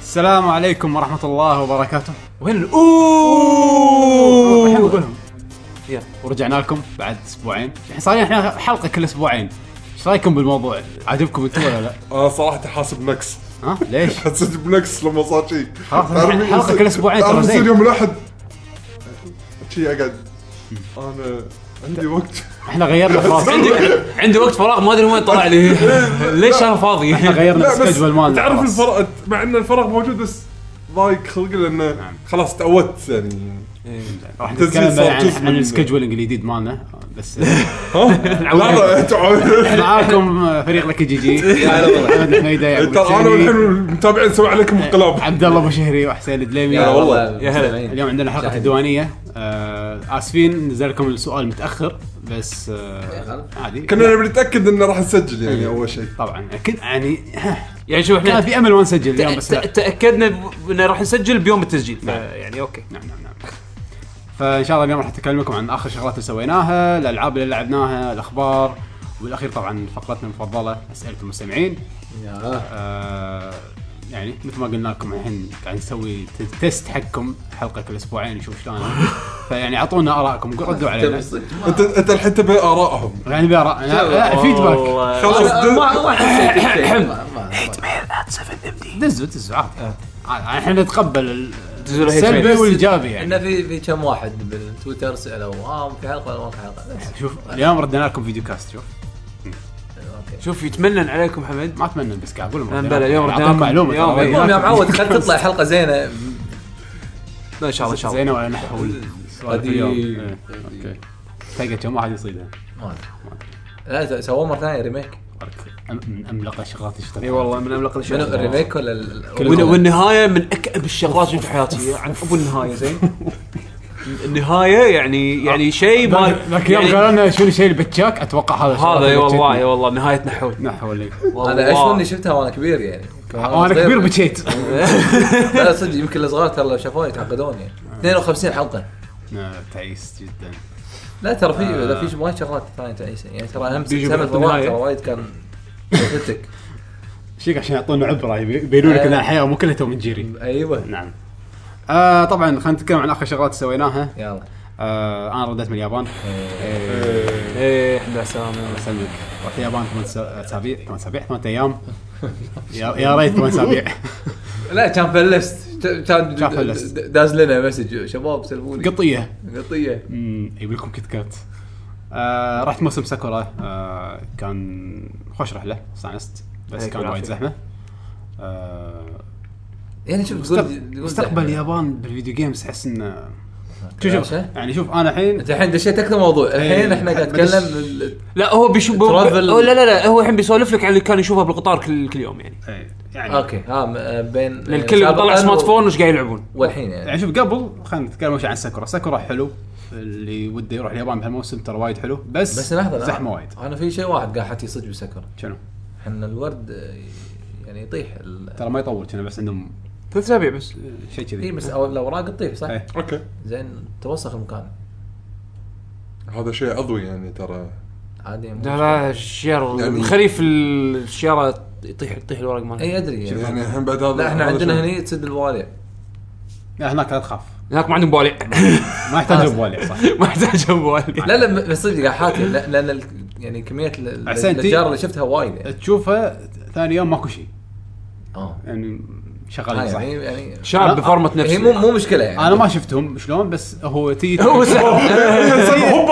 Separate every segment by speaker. Speaker 1: السلام عليكم ورحمة الله وبركاته
Speaker 2: وين ال- اوه
Speaker 1: الحين بقولهم
Speaker 2: يلا.
Speaker 1: ورجعنا لكم بعد اسبوعين الحين صار لنا احنا حلقة كل اسبوعين ايش رايكم بالموضوع؟ عاجبكم انتم ولا لا؟
Speaker 3: انا صراحه آه، حاسب نكس
Speaker 1: ها ليش؟
Speaker 3: حسيت بنكس لما صار شيء
Speaker 1: خلاص، حلقة كل أسبوعين ترى
Speaker 3: ترى
Speaker 1: زين.
Speaker 3: زين يوم الاحد شي اقعد انا عندي وقت
Speaker 1: احنا غيرنا خلاص
Speaker 2: عندي عندي وقت فراغ ما ادري وين طلع لي ليش انا فاضي
Speaker 1: احنا غيرنا
Speaker 3: لا بس
Speaker 1: السكجول مالنا
Speaker 3: تعرف
Speaker 1: خلاص.
Speaker 3: الفرق مع ان الفرق موجود بس ضايق خلقي
Speaker 1: نعم.
Speaker 3: لانه خلاص تعودت يعني
Speaker 1: راح
Speaker 3: تسجيل
Speaker 1: نتكلم
Speaker 3: صار
Speaker 1: عن-
Speaker 3: جزء
Speaker 1: عن
Speaker 3: من-
Speaker 1: السكجول الجديد مالنا بس
Speaker 3: لا لا تعود
Speaker 1: معاكم فريق لك جي جي احمد الحميده يعقوب
Speaker 3: ترى انا والحين
Speaker 1: الشهري،
Speaker 3: المتابعين نسوي عليكم انقلاب
Speaker 1: عبد الله ابو شهري وحسين الدليمي
Speaker 3: يا والله.
Speaker 2: يا هلا.
Speaker 1: اليوم عندنا حلقه الديوانيه آه، اسفين نزل لكم السؤال متاخر بس آه، عادي
Speaker 3: كنا نبي نتاكد انه راح نسجل يعني
Speaker 1: أيوه.
Speaker 3: اول شيء
Speaker 1: طبعا كنت يعني
Speaker 2: يعني شوف
Speaker 1: كان
Speaker 2: احنا
Speaker 1: في امل ما نسجل اليوم بس لا.
Speaker 2: ت- تاكدنا ب- انه راح نسجل بيوم التسجيل ف- يعني اوكي
Speaker 1: نعم نعم نعم فان شاء الله اليوم راح اكلمكم عن اخر شغلات اللي سويناها، الالعاب اللي لعبناها، الاخبار والاخير طبعا فقرتنا المفضله اسئله المستمعين. آه يعني مثل ما قلنا لكم الحين قاعد نسوي ت- تيست حقكم حلقه كل اسبوعين نشوف شلون فيعني اعطونا ارائكم ردوا علينا
Speaker 3: انت انت الحين تبي ارائهم
Speaker 1: يعني باراء لا- لا، فيدباك
Speaker 2: والله.
Speaker 3: خلاص دز-
Speaker 4: ما
Speaker 1: إيه،
Speaker 4: حسيت
Speaker 1: دزوا دزوا عادي عادي، احنا آه. نتقبل ال-
Speaker 2: دزوا له هيت
Speaker 1: السلبي
Speaker 2: ميل.
Speaker 1: والايجابي يعني
Speaker 4: انه في في كم واحد بالتويتر سالوا اه في حلقه ولا ما في حلقه بس،
Speaker 1: شوف اليوم ردنا لكم فيديو كاست شوف إيه.
Speaker 4: اوكي
Speaker 2: شوف يتمنن عليكم حمد
Speaker 1: ما اتمنى بس قاعد يعني اقول لهم
Speaker 2: بلى،
Speaker 1: ردنا
Speaker 2: اليوم
Speaker 1: لكم.
Speaker 2: ردنا
Speaker 1: أعطهم
Speaker 2: لكم.
Speaker 1: معلومه
Speaker 2: يوم-
Speaker 1: ترى.
Speaker 4: المهم يا معود خلت تطلع حلقه زينه
Speaker 2: لا، ان شاء الله ان شاء الله
Speaker 1: زينه ولا نحو
Speaker 4: قديم.
Speaker 1: اليوم اوكي تلقى كم واحد يصيدها
Speaker 4: ما ادري لا سووه مره ثانيه ريميك
Speaker 1: أم- من املق الشغلات اللي شفتها
Speaker 2: اي والله من املق الاشياء
Speaker 4: شنو الريميك ولا ال-
Speaker 1: كل-
Speaker 2: وال- والنهايه من اكأب الشغلات اللي في حياتي عن ابو النهايه زين النهايه يعني يعني شيء ما
Speaker 1: ذاك اليوم
Speaker 2: يعني
Speaker 1: قالوا لنا شنو شيء البتشاك اتوقع هذا
Speaker 2: هذا اي والله اي والله نهايه نحو
Speaker 1: نحو اللي
Speaker 4: انا اشوف اني شفتها وانا كبير يعني
Speaker 1: وانا
Speaker 4: صغير-
Speaker 1: كبير بكيت
Speaker 4: لا لا، صدق يمكن الصغار ترى لو شافوها يتعقدون يعني 52 حلقه
Speaker 1: آه، تعيس جدا
Speaker 4: لا ترى في لا في وايد شغلات ثانيه تعيسه يعني ترى اهم
Speaker 2: بيجوا
Speaker 4: سنه
Speaker 2: بالنهاية.
Speaker 4: فضاء ترى وايد كان يفتك
Speaker 1: شيك عشان يعطونا عبره يبي- يبينوا لك ان الحياه مو كلها تو من جيري
Speaker 4: ايوه
Speaker 1: نعم آه طبعا خلينا نتكلم عن اخر شغلات سويناها
Speaker 4: يلا
Speaker 1: آه انا رديت من اليابان إيه،
Speaker 2: ايه احنا سامي
Speaker 1: اسلمك رحت اليابان ثمان سا- اسابيع ثمان اسابيع ثمان ايام يا يا ريت ثمان اسابيع
Speaker 4: لا كان فلست كان
Speaker 1: كان فلست.
Speaker 4: داز لنا مسج شباب سلموني
Speaker 1: قطيه
Speaker 4: قطيه
Speaker 1: امم يجيب لكم كيت كات آه رحت موسم ساكورا آه كان خوش رحله استانست بس
Speaker 2: يعطيك
Speaker 1: كان وايد
Speaker 2: العافية.
Speaker 1: زحمه آه
Speaker 4: يعني شوف تقول-
Speaker 1: مستقبل,
Speaker 4: تقول
Speaker 1: مستقبل
Speaker 4: زحمة.
Speaker 1: اليابان بالفيديو جيمز احس انه شوف
Speaker 4: لا
Speaker 1: شوف
Speaker 4: شيء.
Speaker 1: يعني شوف انا الحين
Speaker 4: انت الحين دشيت اكثر موضوع الحين
Speaker 1: إيه،
Speaker 4: احنا قاعد
Speaker 1: بدش-
Speaker 4: نتكلم ال-
Speaker 2: لا هو بيشوف بو...
Speaker 4: Travel.
Speaker 2: هو لا لا لا هو الحين بيسولف لك عن اللي كان يشوفها بالقطار كل, كل يوم يعني
Speaker 1: إيه، يعني
Speaker 4: اوكي ها م- بين آه،
Speaker 2: لان الكل
Speaker 4: إيه، سابقاً
Speaker 2: طلع سمارت
Speaker 4: و-
Speaker 2: فون وش قاعد يلعبون
Speaker 4: والحين يعني
Speaker 1: يعني شوف قبل خلينا نتكلم شوي عن ساكورا ساكورا حلو اللي وده يروح اليابان بهالموسم ترى وايد حلو بس
Speaker 4: بس لحظه لا.
Speaker 1: زحمه وايد
Speaker 4: انا في شيء واحد قاعد حتي صدق بسكر
Speaker 1: شنو
Speaker 4: احنا الورد آه، يعني يطيح ال-
Speaker 1: ترى ما يطول كنا بس عندهم
Speaker 2: ثلاث اسابيع بس
Speaker 1: شيء
Speaker 4: اي
Speaker 1: كذي
Speaker 4: إيه، بس أو- الاوراق تطيح صح؟
Speaker 1: طيب. إيه.
Speaker 3: اوكي
Speaker 4: زين توسخ المكان
Speaker 3: هذا شيء عضوي يعني ترى
Speaker 4: عادي مو
Speaker 2: لا لا الشير
Speaker 3: يعني-
Speaker 2: الخريف الشيارة يطيح يطيح الورق ماله
Speaker 4: اي ادري يعني
Speaker 3: يعني الحين بعد هذا
Speaker 4: لا احنا
Speaker 3: هذا
Speaker 4: عندنا
Speaker 3: شيء.
Speaker 4: هني تسد الوالع
Speaker 1: لا هناك لا تخاف
Speaker 2: هناك ما عندهم بوالع
Speaker 1: ما يحتاج بوالع صح
Speaker 2: ما يحتاج بوالع
Speaker 4: لا لا بس صدق قاعد حاتي لا- لان ال- يعني كميه ال- ال-
Speaker 1: حسين، تي-
Speaker 4: الاشجار اللي شفتها وايد يعني
Speaker 1: تشوفها ثاني يوم ماكو شيء
Speaker 4: اه
Speaker 1: يعني شغالين
Speaker 4: هاي
Speaker 1: صح
Speaker 4: يعني يعني
Speaker 2: شاب بفورمة
Speaker 4: هي مو
Speaker 2: نفسه
Speaker 4: مو مشكله يعني
Speaker 1: انا ما شفتهم شلون بس هو تي
Speaker 2: هو سحب.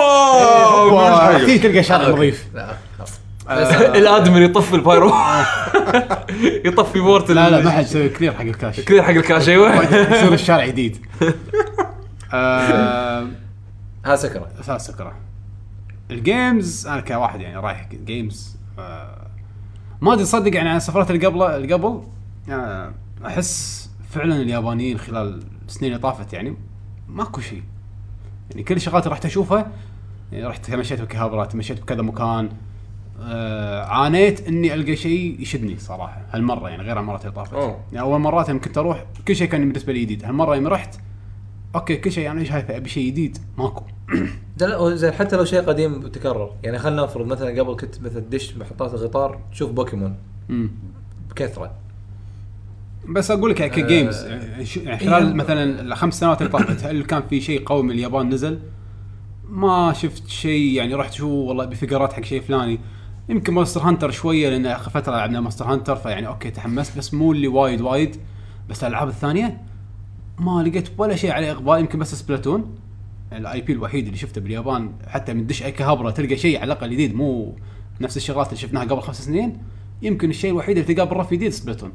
Speaker 3: هوبا
Speaker 1: تي تلقى شارع
Speaker 4: أوكي.
Speaker 1: نظيف
Speaker 4: لا خلاص
Speaker 2: الادمن يطفي البايرو يطفي بورت
Speaker 1: لا لا
Speaker 2: ال-
Speaker 1: ما حد يسوي كلير حق الكاش
Speaker 2: كذا حق الكاش ايوه
Speaker 1: يصير الشارع جديد آه،
Speaker 4: ها سكره
Speaker 1: اساس سكره الجيمز انا كواحد يعني رايح جيمز آه، ما ادري تصدق يعني عن السفرات اللي قبله اللي قبل آه، احس فعلا اليابانيين خلال السنين اللي طافت يعني ماكو شيء يعني كل الشغلات اللي رحت اشوفها يعني رحت تمشيت بكهابرا تمشيت بكذا مكان آه عانيت اني القى شيء يشدني صراحه هالمره يعني غير المرات اللي طافت
Speaker 3: أوه.
Speaker 1: يعني اول مرات يوم كنت اروح كل شيء كان بالنسبه لي جديد هالمره يوم رحت اوكي كل شيء يعني انا ايش هايفه ابي شيء جديد ماكو
Speaker 4: لا، لا هو زين حتى لو شيء قديم متكرر يعني خلينا نفرض مثلا قبل كنت مثلا دش محطات القطار تشوف بوكيمون
Speaker 1: مم.
Speaker 4: بكثره
Speaker 1: بس اقول لك كجيمز يعني ش- يعني خلال
Speaker 4: إيه.
Speaker 1: مثلا الخمس سنوات اللي طافت هل كان في شيء قوي من اليابان نزل؟ ما شفت شيء يعني رحت شو والله بفقرات حق شيء فلاني يمكن مونستر هانتر شويه لان اخر فتره لعبنا مونستر هانتر فيعني اوكي تحمست بس مو اللي وايد وايد بس الالعاب الثانيه ما لقيت ولا شيء عليه اقبال يمكن بس سبلاتون الاي بي الوحيد اللي شفته باليابان حتى من دش اي كهبره تلقى شيء على الاقل جديد مو نفس الشغلات اللي شفناها قبل خمس سنين يمكن الشيء الوحيد اللي تلقاه بالرف جديد سبلاتون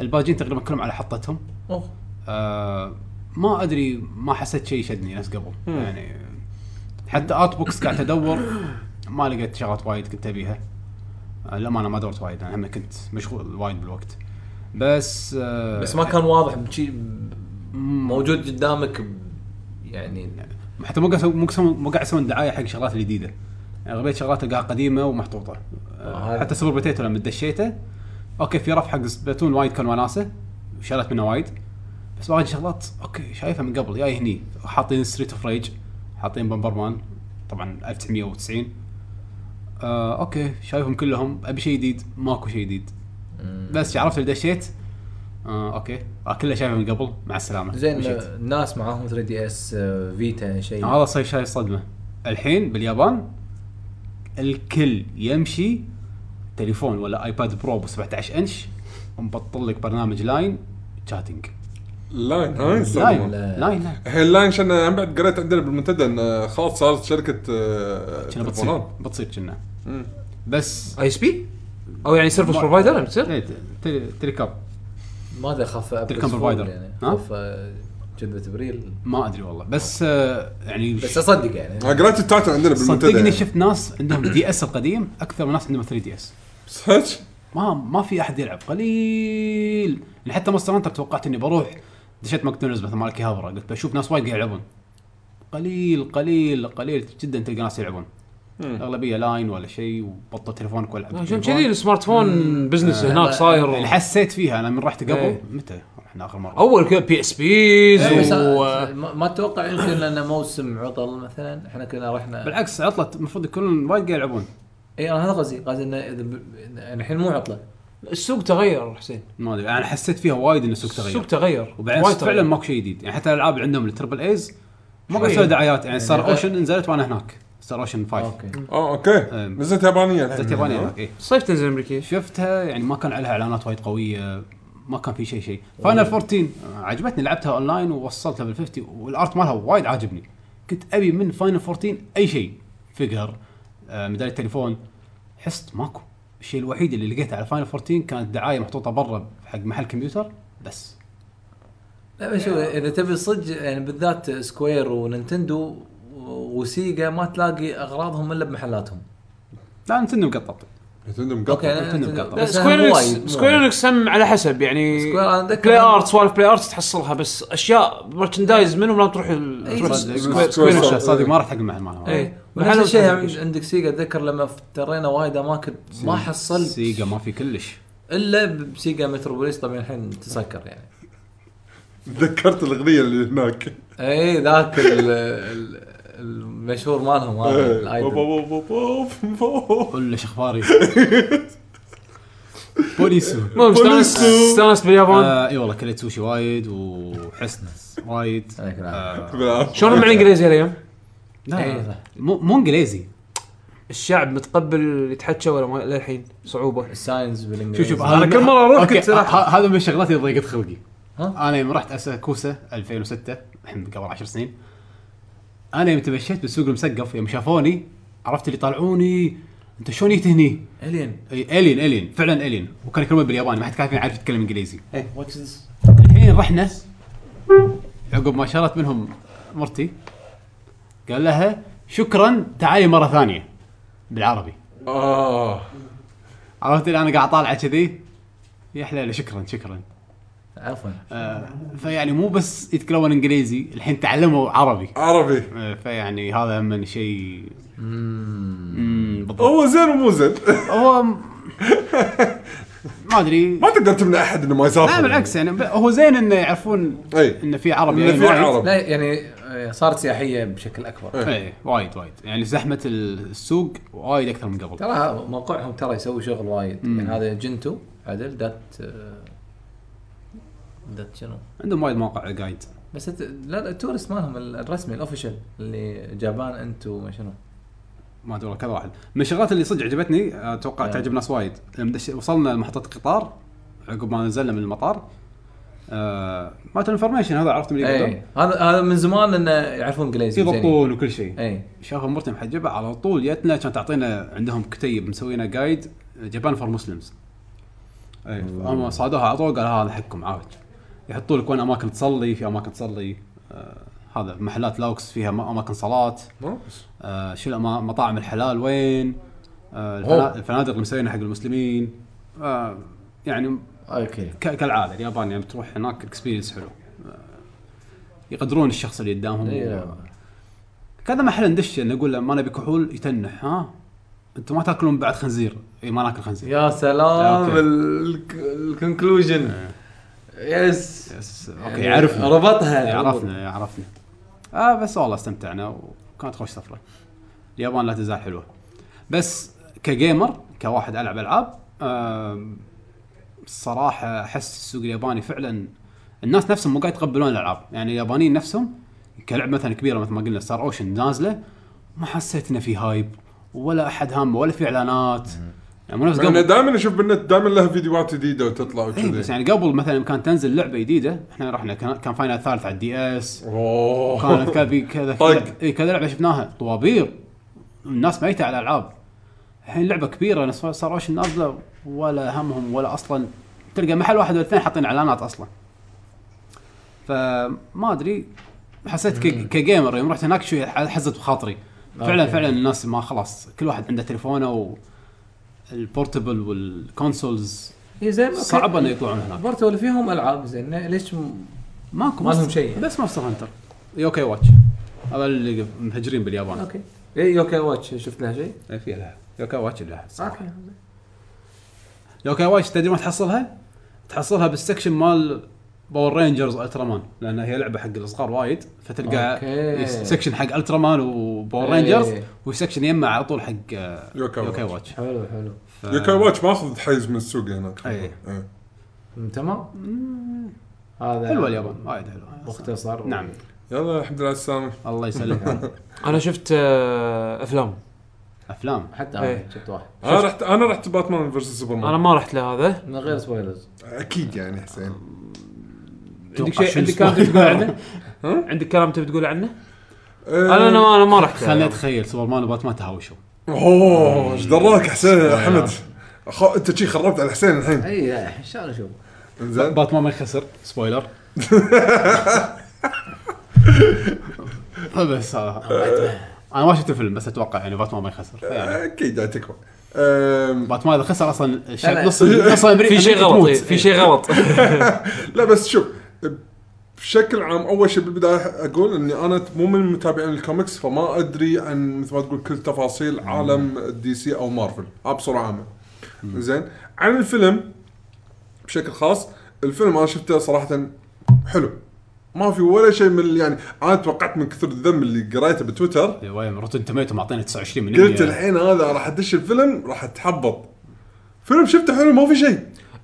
Speaker 1: الباجين تقريبا كلهم على حطتهم
Speaker 4: اوه
Speaker 1: آه ما ادري ما حسيت شيء شدني نفس قبل يعني حتى ارت بوكس قاعد ادور ما لقيت شغلات وايد كنت ابيها آه لما انا ما دورت وايد انا هم كنت مشغول وايد بالوقت بس آه
Speaker 4: بس ما كان واضح بشي موجود قدامك ب- يعني
Speaker 1: حتى مو قاعد يسوون- مو قاعد- مو قاعد يسوون دعايه حق شغلات الجديده يعني اغلبيه شغلات تلقاها قديمه ومحطوطه
Speaker 4: آه،
Speaker 1: آه
Speaker 4: هذا.
Speaker 1: حتى سوبر بوتيتو لما دشيته اوكي في رف حق سبلاتون وايد كان وناسه شالت منه وايد بس وايد شغلات اوكي شايفها من قبل جاي هني حاطين ستريت اوف ريج حاطين بمبرمان طبعا 1990 آه اوكي شايفهم كلهم ابي شيء جديد ماكو شيء جديد بس عرفت اللي دشيت آه اوكي آه كله شايفه من قبل مع السلامه
Speaker 4: زين
Speaker 1: مشيت.
Speaker 4: الناس معاهم 3 دي اس فيتا شيء
Speaker 1: هذا صيف شايف صدمه الحين باليابان الكل يمشي تليفون ولا ايباد برو ب 17 انش ومبطل لك برنامج لاين شاتنج
Speaker 3: لاين ها
Speaker 1: لاين
Speaker 3: يسمونه.
Speaker 4: لا.
Speaker 1: لاين لاين
Speaker 3: هي اللاين عشان انا بعد قريت عندنا بالمنتدى ان آه، خلاص صارت شركه آه،
Speaker 1: كنا بتصير
Speaker 3: تليفونات
Speaker 1: بتصير كنا
Speaker 3: مم.
Speaker 1: بس
Speaker 2: اي اس بي او يعني سيرفيس
Speaker 1: ما-
Speaker 2: بروفايدر بتصير
Speaker 1: إيه، ت- تلي- تليكاب
Speaker 4: ما ادري اخاف
Speaker 1: تلكم provider.
Speaker 4: يعني
Speaker 1: ها؟
Speaker 4: اخاف آه، جذبة بريل
Speaker 1: ما ادري والله بس آه، يعني
Speaker 4: بس اصدق يعني
Speaker 3: آه، قريت التايتل عندنا بالمنتدى
Speaker 1: صدقني
Speaker 3: يعني.
Speaker 1: شفت ناس عندهم دي اس القديم اكثر من ناس عندهم 3 دي اس
Speaker 3: صدق؟
Speaker 1: ما ما في احد يلعب قليل يعني حتى مونستر هانتر توقعت اني بروح دشيت ماكدونالدز مثل مالك هابرا قلت بشوف ناس وايد قاعد يلعبون قليل قليل قليل جدا تلقى ناس يلعبون الاغلبيه لاين ولا شيء وبطل تليفونك والعب
Speaker 2: عشان
Speaker 1: بالتليفون.
Speaker 2: كذي السمارت فون بزنس
Speaker 1: آه،
Speaker 2: هناك
Speaker 1: يعني
Speaker 2: صاير
Speaker 1: حسيت فيها انا من رحت قبل
Speaker 2: إيه.
Speaker 1: متى رحنا اخر مره
Speaker 2: اول كذا بي اس بيز
Speaker 1: إيه،
Speaker 4: بس
Speaker 2: و
Speaker 4: آه، ما ما اتوقع يمكن انه موسم عطل مثلا احنا كنا رحنا
Speaker 1: بالعكس عطلت المفروض يكونون وايد قاعد يلعبون
Speaker 4: اي انا هذا قصدي قصدي انه إذا ب- يعني الحين مو عطله
Speaker 2: السوق تغير حسين
Speaker 1: ما ادري انا حسيت فيها وايد ان السوق تغير
Speaker 2: السوق تغير
Speaker 1: وبعدين
Speaker 2: وايد
Speaker 1: فعلا
Speaker 2: تغير.
Speaker 1: ماكو شيء جديد يعني حتى الالعاب اللي عندهم التربل ايز ما قاعد
Speaker 2: شوية.
Speaker 1: يسوي دعايات يعني ستار
Speaker 4: يعني-
Speaker 1: اوشن نزلت وانا هناك ستار اوشن 5
Speaker 4: اوكي
Speaker 3: اه اوكي
Speaker 1: أم.
Speaker 3: نزلت يابانيه الحين.
Speaker 1: نزلت يابانيه هناك إيه.
Speaker 2: الصيف تنزل امريكيه
Speaker 1: شفتها يعني ما كان عليها اعلانات وايد قويه ما كان في شيء شيء فاينل 14 عجبتني لعبتها اونلاين ووصلتها بال 50 والارت مالها وايد عاجبني كنت ابي من فاينل 14 اي شيء فيجر آه، ميداليه تليفون حست ماكو الشيء الوحيد اللي لقيته على فاينل 14 كانت دعايه محطوطه برا حق محل كمبيوتر بس
Speaker 4: لا بس شوف اذا تبي صدق يعني بالذات سكوير وننتندو وسيجا ما تلاقي اغراضهم الا بمحلاتهم
Speaker 1: لا نتندو مقطط
Speaker 3: نتندو
Speaker 4: اوكي
Speaker 3: مقطع
Speaker 1: نتندو
Speaker 4: أنا-
Speaker 1: مقطع.
Speaker 2: لا،
Speaker 4: يعني بس
Speaker 2: سكوير
Speaker 4: أنا مو
Speaker 2: انكس
Speaker 4: وايد- مو
Speaker 2: سكوير
Speaker 4: وايد.
Speaker 2: انكس هم على حسب يعني
Speaker 4: سكوير أنا أتذكر
Speaker 2: بلاي
Speaker 4: إنه-
Speaker 2: ارتس ولا بلاي ارتس تحصلها بس اشياء مرشندايز منهم لازم تروح ال-
Speaker 4: أي،
Speaker 2: تروح
Speaker 4: إيه، بس-
Speaker 2: ال-
Speaker 4: بس-
Speaker 2: سكوير-
Speaker 3: بس-
Speaker 2: سكوير
Speaker 3: بس-
Speaker 2: انكس.
Speaker 1: صادق ما رحت حق المحل مالها
Speaker 4: اي إيه، ونفس
Speaker 2: محلهم
Speaker 4: الشيء
Speaker 2: تلاقي
Speaker 4: يعني
Speaker 2: شيء.
Speaker 4: عندك سيجا اتذكر لما افترينا وايد اماكن ما حصلت
Speaker 1: سيجا ما في كلش
Speaker 4: الا بسيجا متروبوليس طبعا الحين تسكر يعني
Speaker 3: تذكرت الاغنيه اللي هناك
Speaker 1: آه،
Speaker 4: اي إيه، ذاك ال- ال- المشهور مالهم هذا
Speaker 3: إيه. بوب
Speaker 4: الايدول
Speaker 3: بوب بوب بوب بوب.
Speaker 1: كلش اخباري بوليسو
Speaker 2: المهم استانست
Speaker 3: بوليسو.
Speaker 2: استانست باليابان
Speaker 1: آه اي والله كليت سوشي وايد وحسن وايد
Speaker 4: عليك العافية.
Speaker 1: آه
Speaker 3: بالعافية.
Speaker 2: شلون مع الانجليزي اليوم؟
Speaker 1: لا
Speaker 4: إيه.
Speaker 1: لا، مو مو انجليزي
Speaker 2: الشعب متقبل يتحكى ولا ما للحين صعوبه
Speaker 4: الساينز بالانجليزي
Speaker 1: شوف شوف
Speaker 4: هذا
Speaker 1: هذا
Speaker 2: كل مرة أروح
Speaker 1: إيه. أوكي،
Speaker 2: كنت راح.
Speaker 1: ه- هذا من الشغلات اللي ضيقت خلقي
Speaker 4: ها؟
Speaker 1: انا يوم رحت اساكوسا 2006 الحين قبل 10 سنين انا يوم تمشيت بالسوق المسقف يوم شافوني عرفت اللي طلعوني انت شلون جيت هني؟
Speaker 4: الين
Speaker 1: إي، الين الين فعلا الين وكان يكلمون بالياباني ما حد كان يعرف يتكلم انجليزي
Speaker 4: واتش ذس
Speaker 1: الحين رحنا عقب ما شرت منهم مرتي قال لها شكرا تعالي مره ثانيه بالعربي
Speaker 3: اه
Speaker 1: عرفت اللي انا قاعد طالعه كذي يا حلال شكرا شكرا
Speaker 4: عفوا
Speaker 1: آه، فيعني مو بس يتكلمون انجليزي الحين تعلموا عربي
Speaker 3: عربي
Speaker 1: آه، فيعني هذا هم شيء مم، بالضبط
Speaker 3: هو زين ومو زين
Speaker 1: هو م- ما ادري
Speaker 3: ما تقدر تمنع احد انه ما يسافر
Speaker 1: لا بالعكس يعني ب- هو زين انه يعرفون
Speaker 3: اي
Speaker 1: انه في عربي
Speaker 3: انه
Speaker 1: يعني
Speaker 3: في
Speaker 1: وايد.
Speaker 3: عرب
Speaker 4: لا يعني آه، صارت سياحيه بشكل اكبر
Speaker 3: إيه.
Speaker 1: ايه وايد وايد يعني زحمه السوق وايد اكثر من قبل
Speaker 4: ترى موقعهم ترى يسوي شغل وايد يعني هذا جنتو عدل دات آه، دات شنو
Speaker 1: عندهم وايد مواقع جايد
Speaker 4: بس الت- لا لا، التورست مالهم ال- الرسمي الاوفيشال اللي جابان انتو ما شنو
Speaker 1: ما ادري والله كذا واحد من الشغلات اللي صدق عجبتني آه، اتوقع
Speaker 4: نعم.
Speaker 1: تعجب ناس وايد لما دش- وصلنا لمحطه القطار عقب ما نزلنا من المطار آه مالت الانفورميشن هذا عرفت من اللي
Speaker 4: اي إيه. هذا هذا من زمان انه يعرفون إيه. انجليزي زين.
Speaker 1: يضبطون وكل شيء
Speaker 4: اي
Speaker 1: شافوا مرتي محجبه على طول جتنا كانت تعطينا عندهم كتيب مسوينا جايد جابان فور مسلمز اي هم إيه، صادوها على طول قال هذا حقكم عاوج يحطوا لك وين اماكن تصلي في اماكن تصلي آه هذا محلات لاوكس فيها م- اماكن صلاه آه شو الأما- مطاعم الحلال وين آه الفنا-
Speaker 4: أوه.
Speaker 1: الفنادق اللي مسوينها حق المسلمين آه يعني
Speaker 4: اوكي
Speaker 1: ك- كالعاده اليابان يعني بتروح هناك اكسبيرينس حلو آه، يقدرون الشخص اللي قدامهم
Speaker 4: إيه.
Speaker 1: كذا محل ندش نقول له ما نبي كحول يتنح ها انتم ما تاكلون بعد خنزير اي ما ناكل خنزير
Speaker 4: يا سلام
Speaker 1: أوكي.
Speaker 4: الكونكلوجن يس
Speaker 1: يس اوكي عرفنا
Speaker 4: ربطها
Speaker 1: إيه، عرفنا إيه، عرفنا اه بس والله استمتعنا وكانت خوش سفره اليابان لا تزال حلوه بس كجيمر كواحد العب العاب آم، الصراحه احس السوق الياباني فعلا الناس نفسهم مو قاعد يتقبلون الالعاب يعني اليابانيين نفسهم كلعب مثلا كبيره مثل ما قلنا ستار اوشن نازله ما حسيت انه في هايب ولا احد هامه ولا في اعلانات يعني مو نفس
Speaker 3: انا
Speaker 1: قبل
Speaker 3: دائما اشوف بالنت دائما لها فيديوهات جديده وتطلع
Speaker 1: إيه، بس
Speaker 3: وكذا
Speaker 1: يعني قبل مثلا كان تنزل لعبه جديده احنا رحنا كان كان فاينل ثالث على الدي اس
Speaker 3: اوه
Speaker 1: كانت كذا كذا
Speaker 4: طيب.
Speaker 3: طق.
Speaker 1: اي كذا لعبه شفناها طوابير الناس ميته على الالعاب الحين لعبه كبيره ناس صار اوشن نازله ولا همهم ولا اصلا تلقى محل واحد ولا اثنين حاطين اعلانات اصلا فما ادري حسيت ك- كجيمر يوم رحت هناك شوي حزت بخاطري فعلا
Speaker 4: أوكي.
Speaker 1: فعلا الناس ما خلاص كل واحد عنده تليفونه والبورتبل والكونسولز
Speaker 4: هي إيه، زين أوكي.
Speaker 1: صعب انه يطلعون هناك
Speaker 4: برضو اللي فيهم العاب زين ليش م-
Speaker 1: ماكو
Speaker 4: ما لهم
Speaker 1: مصر-
Speaker 4: شيء.
Speaker 1: بس ماستر هانتر يوكي واتش هذا اللي مهجرين باليابان
Speaker 4: اوكي اي يوكي إيه، واتش شفت لها شيء؟
Speaker 1: اي في لها يوكاي واتش لها
Speaker 4: اوكي
Speaker 1: يوكاي واتش تدري ما تحصلها؟ تحصلها بالسكشن مال باور رينجرز الترامان لان هي لعبه حق الصغار وايد فتلقى
Speaker 4: أوكي.
Speaker 1: سكشن حق الترامان وباور
Speaker 4: إيه.
Speaker 1: رينجرز وسكشن يمه على طول حق آه،
Speaker 3: يوكاي
Speaker 1: يوكاي
Speaker 3: واتش.
Speaker 1: واتش
Speaker 4: حلو حلو
Speaker 1: ف-
Speaker 3: يوكاي واتش ماخذ حيز من السوق هناك
Speaker 1: أي.
Speaker 3: إيه.
Speaker 4: م- تمام هذا
Speaker 1: حلوه اليابان وايد حلوه
Speaker 4: مختصر
Speaker 1: نعم
Speaker 3: يلا الحمد لله على السلامه
Speaker 1: الله يسلمك
Speaker 2: انا شفت آه، افلام
Speaker 1: افلام
Speaker 4: حتى
Speaker 2: إيه.
Speaker 4: انا شفت واحد
Speaker 3: انا رحت انا رحت باتمان فيرسس
Speaker 2: انا
Speaker 3: سوبرمان
Speaker 2: ما رحت لهذا
Speaker 4: من غير سبويلرز
Speaker 3: اكيد يعني حسين
Speaker 1: عندك
Speaker 2: أتوقع
Speaker 1: شيء
Speaker 2: شنو
Speaker 1: عندك كلام
Speaker 2: اسمه؟
Speaker 1: تبي تقول عنه؟
Speaker 2: عندك كلام تبي تقول عنه؟ انا
Speaker 3: انا
Speaker 2: انا ما- انا ما رحت
Speaker 1: خليني اتخيل سوبرمان وباتمان تهاوشوا
Speaker 3: اوه ايش دراك حسين احمد أخو... انت شي خربت على حسين الحين
Speaker 4: اي ان شاء الله شوف
Speaker 3: زين
Speaker 1: باتمان ما يخسر سبويلر طيب بس آه. انا ما شفت الفيلم بس اتوقع يعني باتمان ما يخسر يعني
Speaker 3: اكيد يعني تكفى أم،
Speaker 1: باتمان اذا خسر اصلا
Speaker 4: لا.
Speaker 1: الشعب نص نص امريكا
Speaker 2: في شيء
Speaker 1: أمريكا
Speaker 2: غلط
Speaker 1: تموت. يعني
Speaker 2: إيه، في شيء غلط
Speaker 3: لا بس شوف بشكل عام اول شيء بالبدايه اقول اني انا مو من متابعين الكوميكس فما ادري عن مثل ما تقول كل تفاصيل عالم دي سي او مارفل ها بصوره عامه أه، زين عن الفيلم بشكل خاص الفيلم انا شفته صراحه حلو ما في ولا شيء من اللي- يعني انا توقعت من كثر الذم اللي قريته بتويتر
Speaker 1: إيه، وين روتن توميتو معطينا 29 من
Speaker 3: قلت
Speaker 1: 100.
Speaker 3: الحين هذا راح ادش الفيلم راح اتحبط فيلم شفته حلو ما في شيء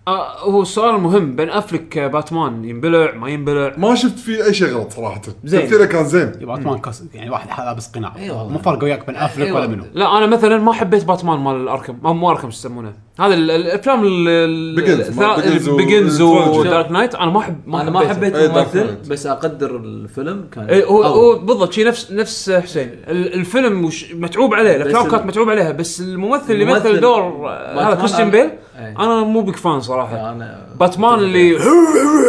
Speaker 2: آه، هو السؤال المهم بين افلك آه، باتمان ينبلع ما ينبلع
Speaker 3: ما شفت فيه اي شيء غلط صراحه
Speaker 2: زين.
Speaker 3: تمثيله كان زين
Speaker 1: إيه، باتمان كس يعني واحد لابس قناع
Speaker 2: أيوة
Speaker 4: إي والله.
Speaker 1: مو فرق وياك بن افلك
Speaker 4: إي
Speaker 1: ولا
Speaker 4: والله.
Speaker 1: منو
Speaker 2: لا انا مثلا ما حبيت باتمان مال اركم ما مو اركم شو يسمونه هذا ال- الافلام
Speaker 3: Begins، مال Begins و-
Speaker 2: بيجنز
Speaker 3: Trilogy.
Speaker 2: ودارك نايت انا ما احب ما
Speaker 4: انا ما
Speaker 2: حبيته.
Speaker 4: حبيت
Speaker 3: إيه،
Speaker 4: الممثل
Speaker 3: دارك
Speaker 4: بس اقدر الفيلم كان
Speaker 2: اي إيه، هو
Speaker 4: قوي.
Speaker 2: هو بالضبط شي نفس نفس حسين ال- الفيلم وش متعوب عليه الافلام
Speaker 4: ال-
Speaker 2: كانت متعوب عليها بس الممثل اللي
Speaker 4: الممثل
Speaker 2: مثل دور آه،
Speaker 4: باتمان
Speaker 2: هذا كريستيان
Speaker 4: أنا-
Speaker 2: بيل
Speaker 4: إيه.
Speaker 2: انا مو بيك فان صراحه
Speaker 4: انا
Speaker 2: آه. باتمان اللي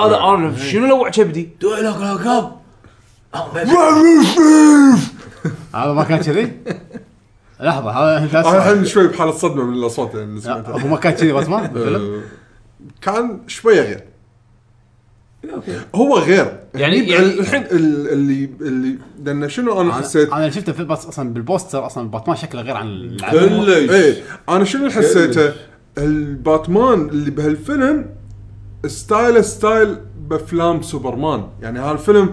Speaker 2: هذا انا شنو لوع كبدي
Speaker 4: دو لك العقاب
Speaker 1: هذا ما كان كذي لحظه هذا انت
Speaker 3: انا
Speaker 1: أسمع.
Speaker 3: الحين شوي بحاله صدمه من الاصوات يعني اللي
Speaker 1: لا،
Speaker 3: سمعتها
Speaker 2: آه،
Speaker 1: هو ما كان كذي باتمان بالفيلم؟
Speaker 3: أه، كان شويه غير هو غير
Speaker 2: يعني-
Speaker 3: هني
Speaker 2: يعني- آه،
Speaker 3: الحين ال- اللي اللي لان شنو انا حسيت
Speaker 1: انا شفته في بس اصلا بالبوستر اصلا باتمان شكله غير عن العادي
Speaker 5: كلش
Speaker 3: ايه انا شنو اللي حسيته؟ الباتمان اللي بهالفيلم ستايله ستايل بافلام سوبرمان يعني هالفيلم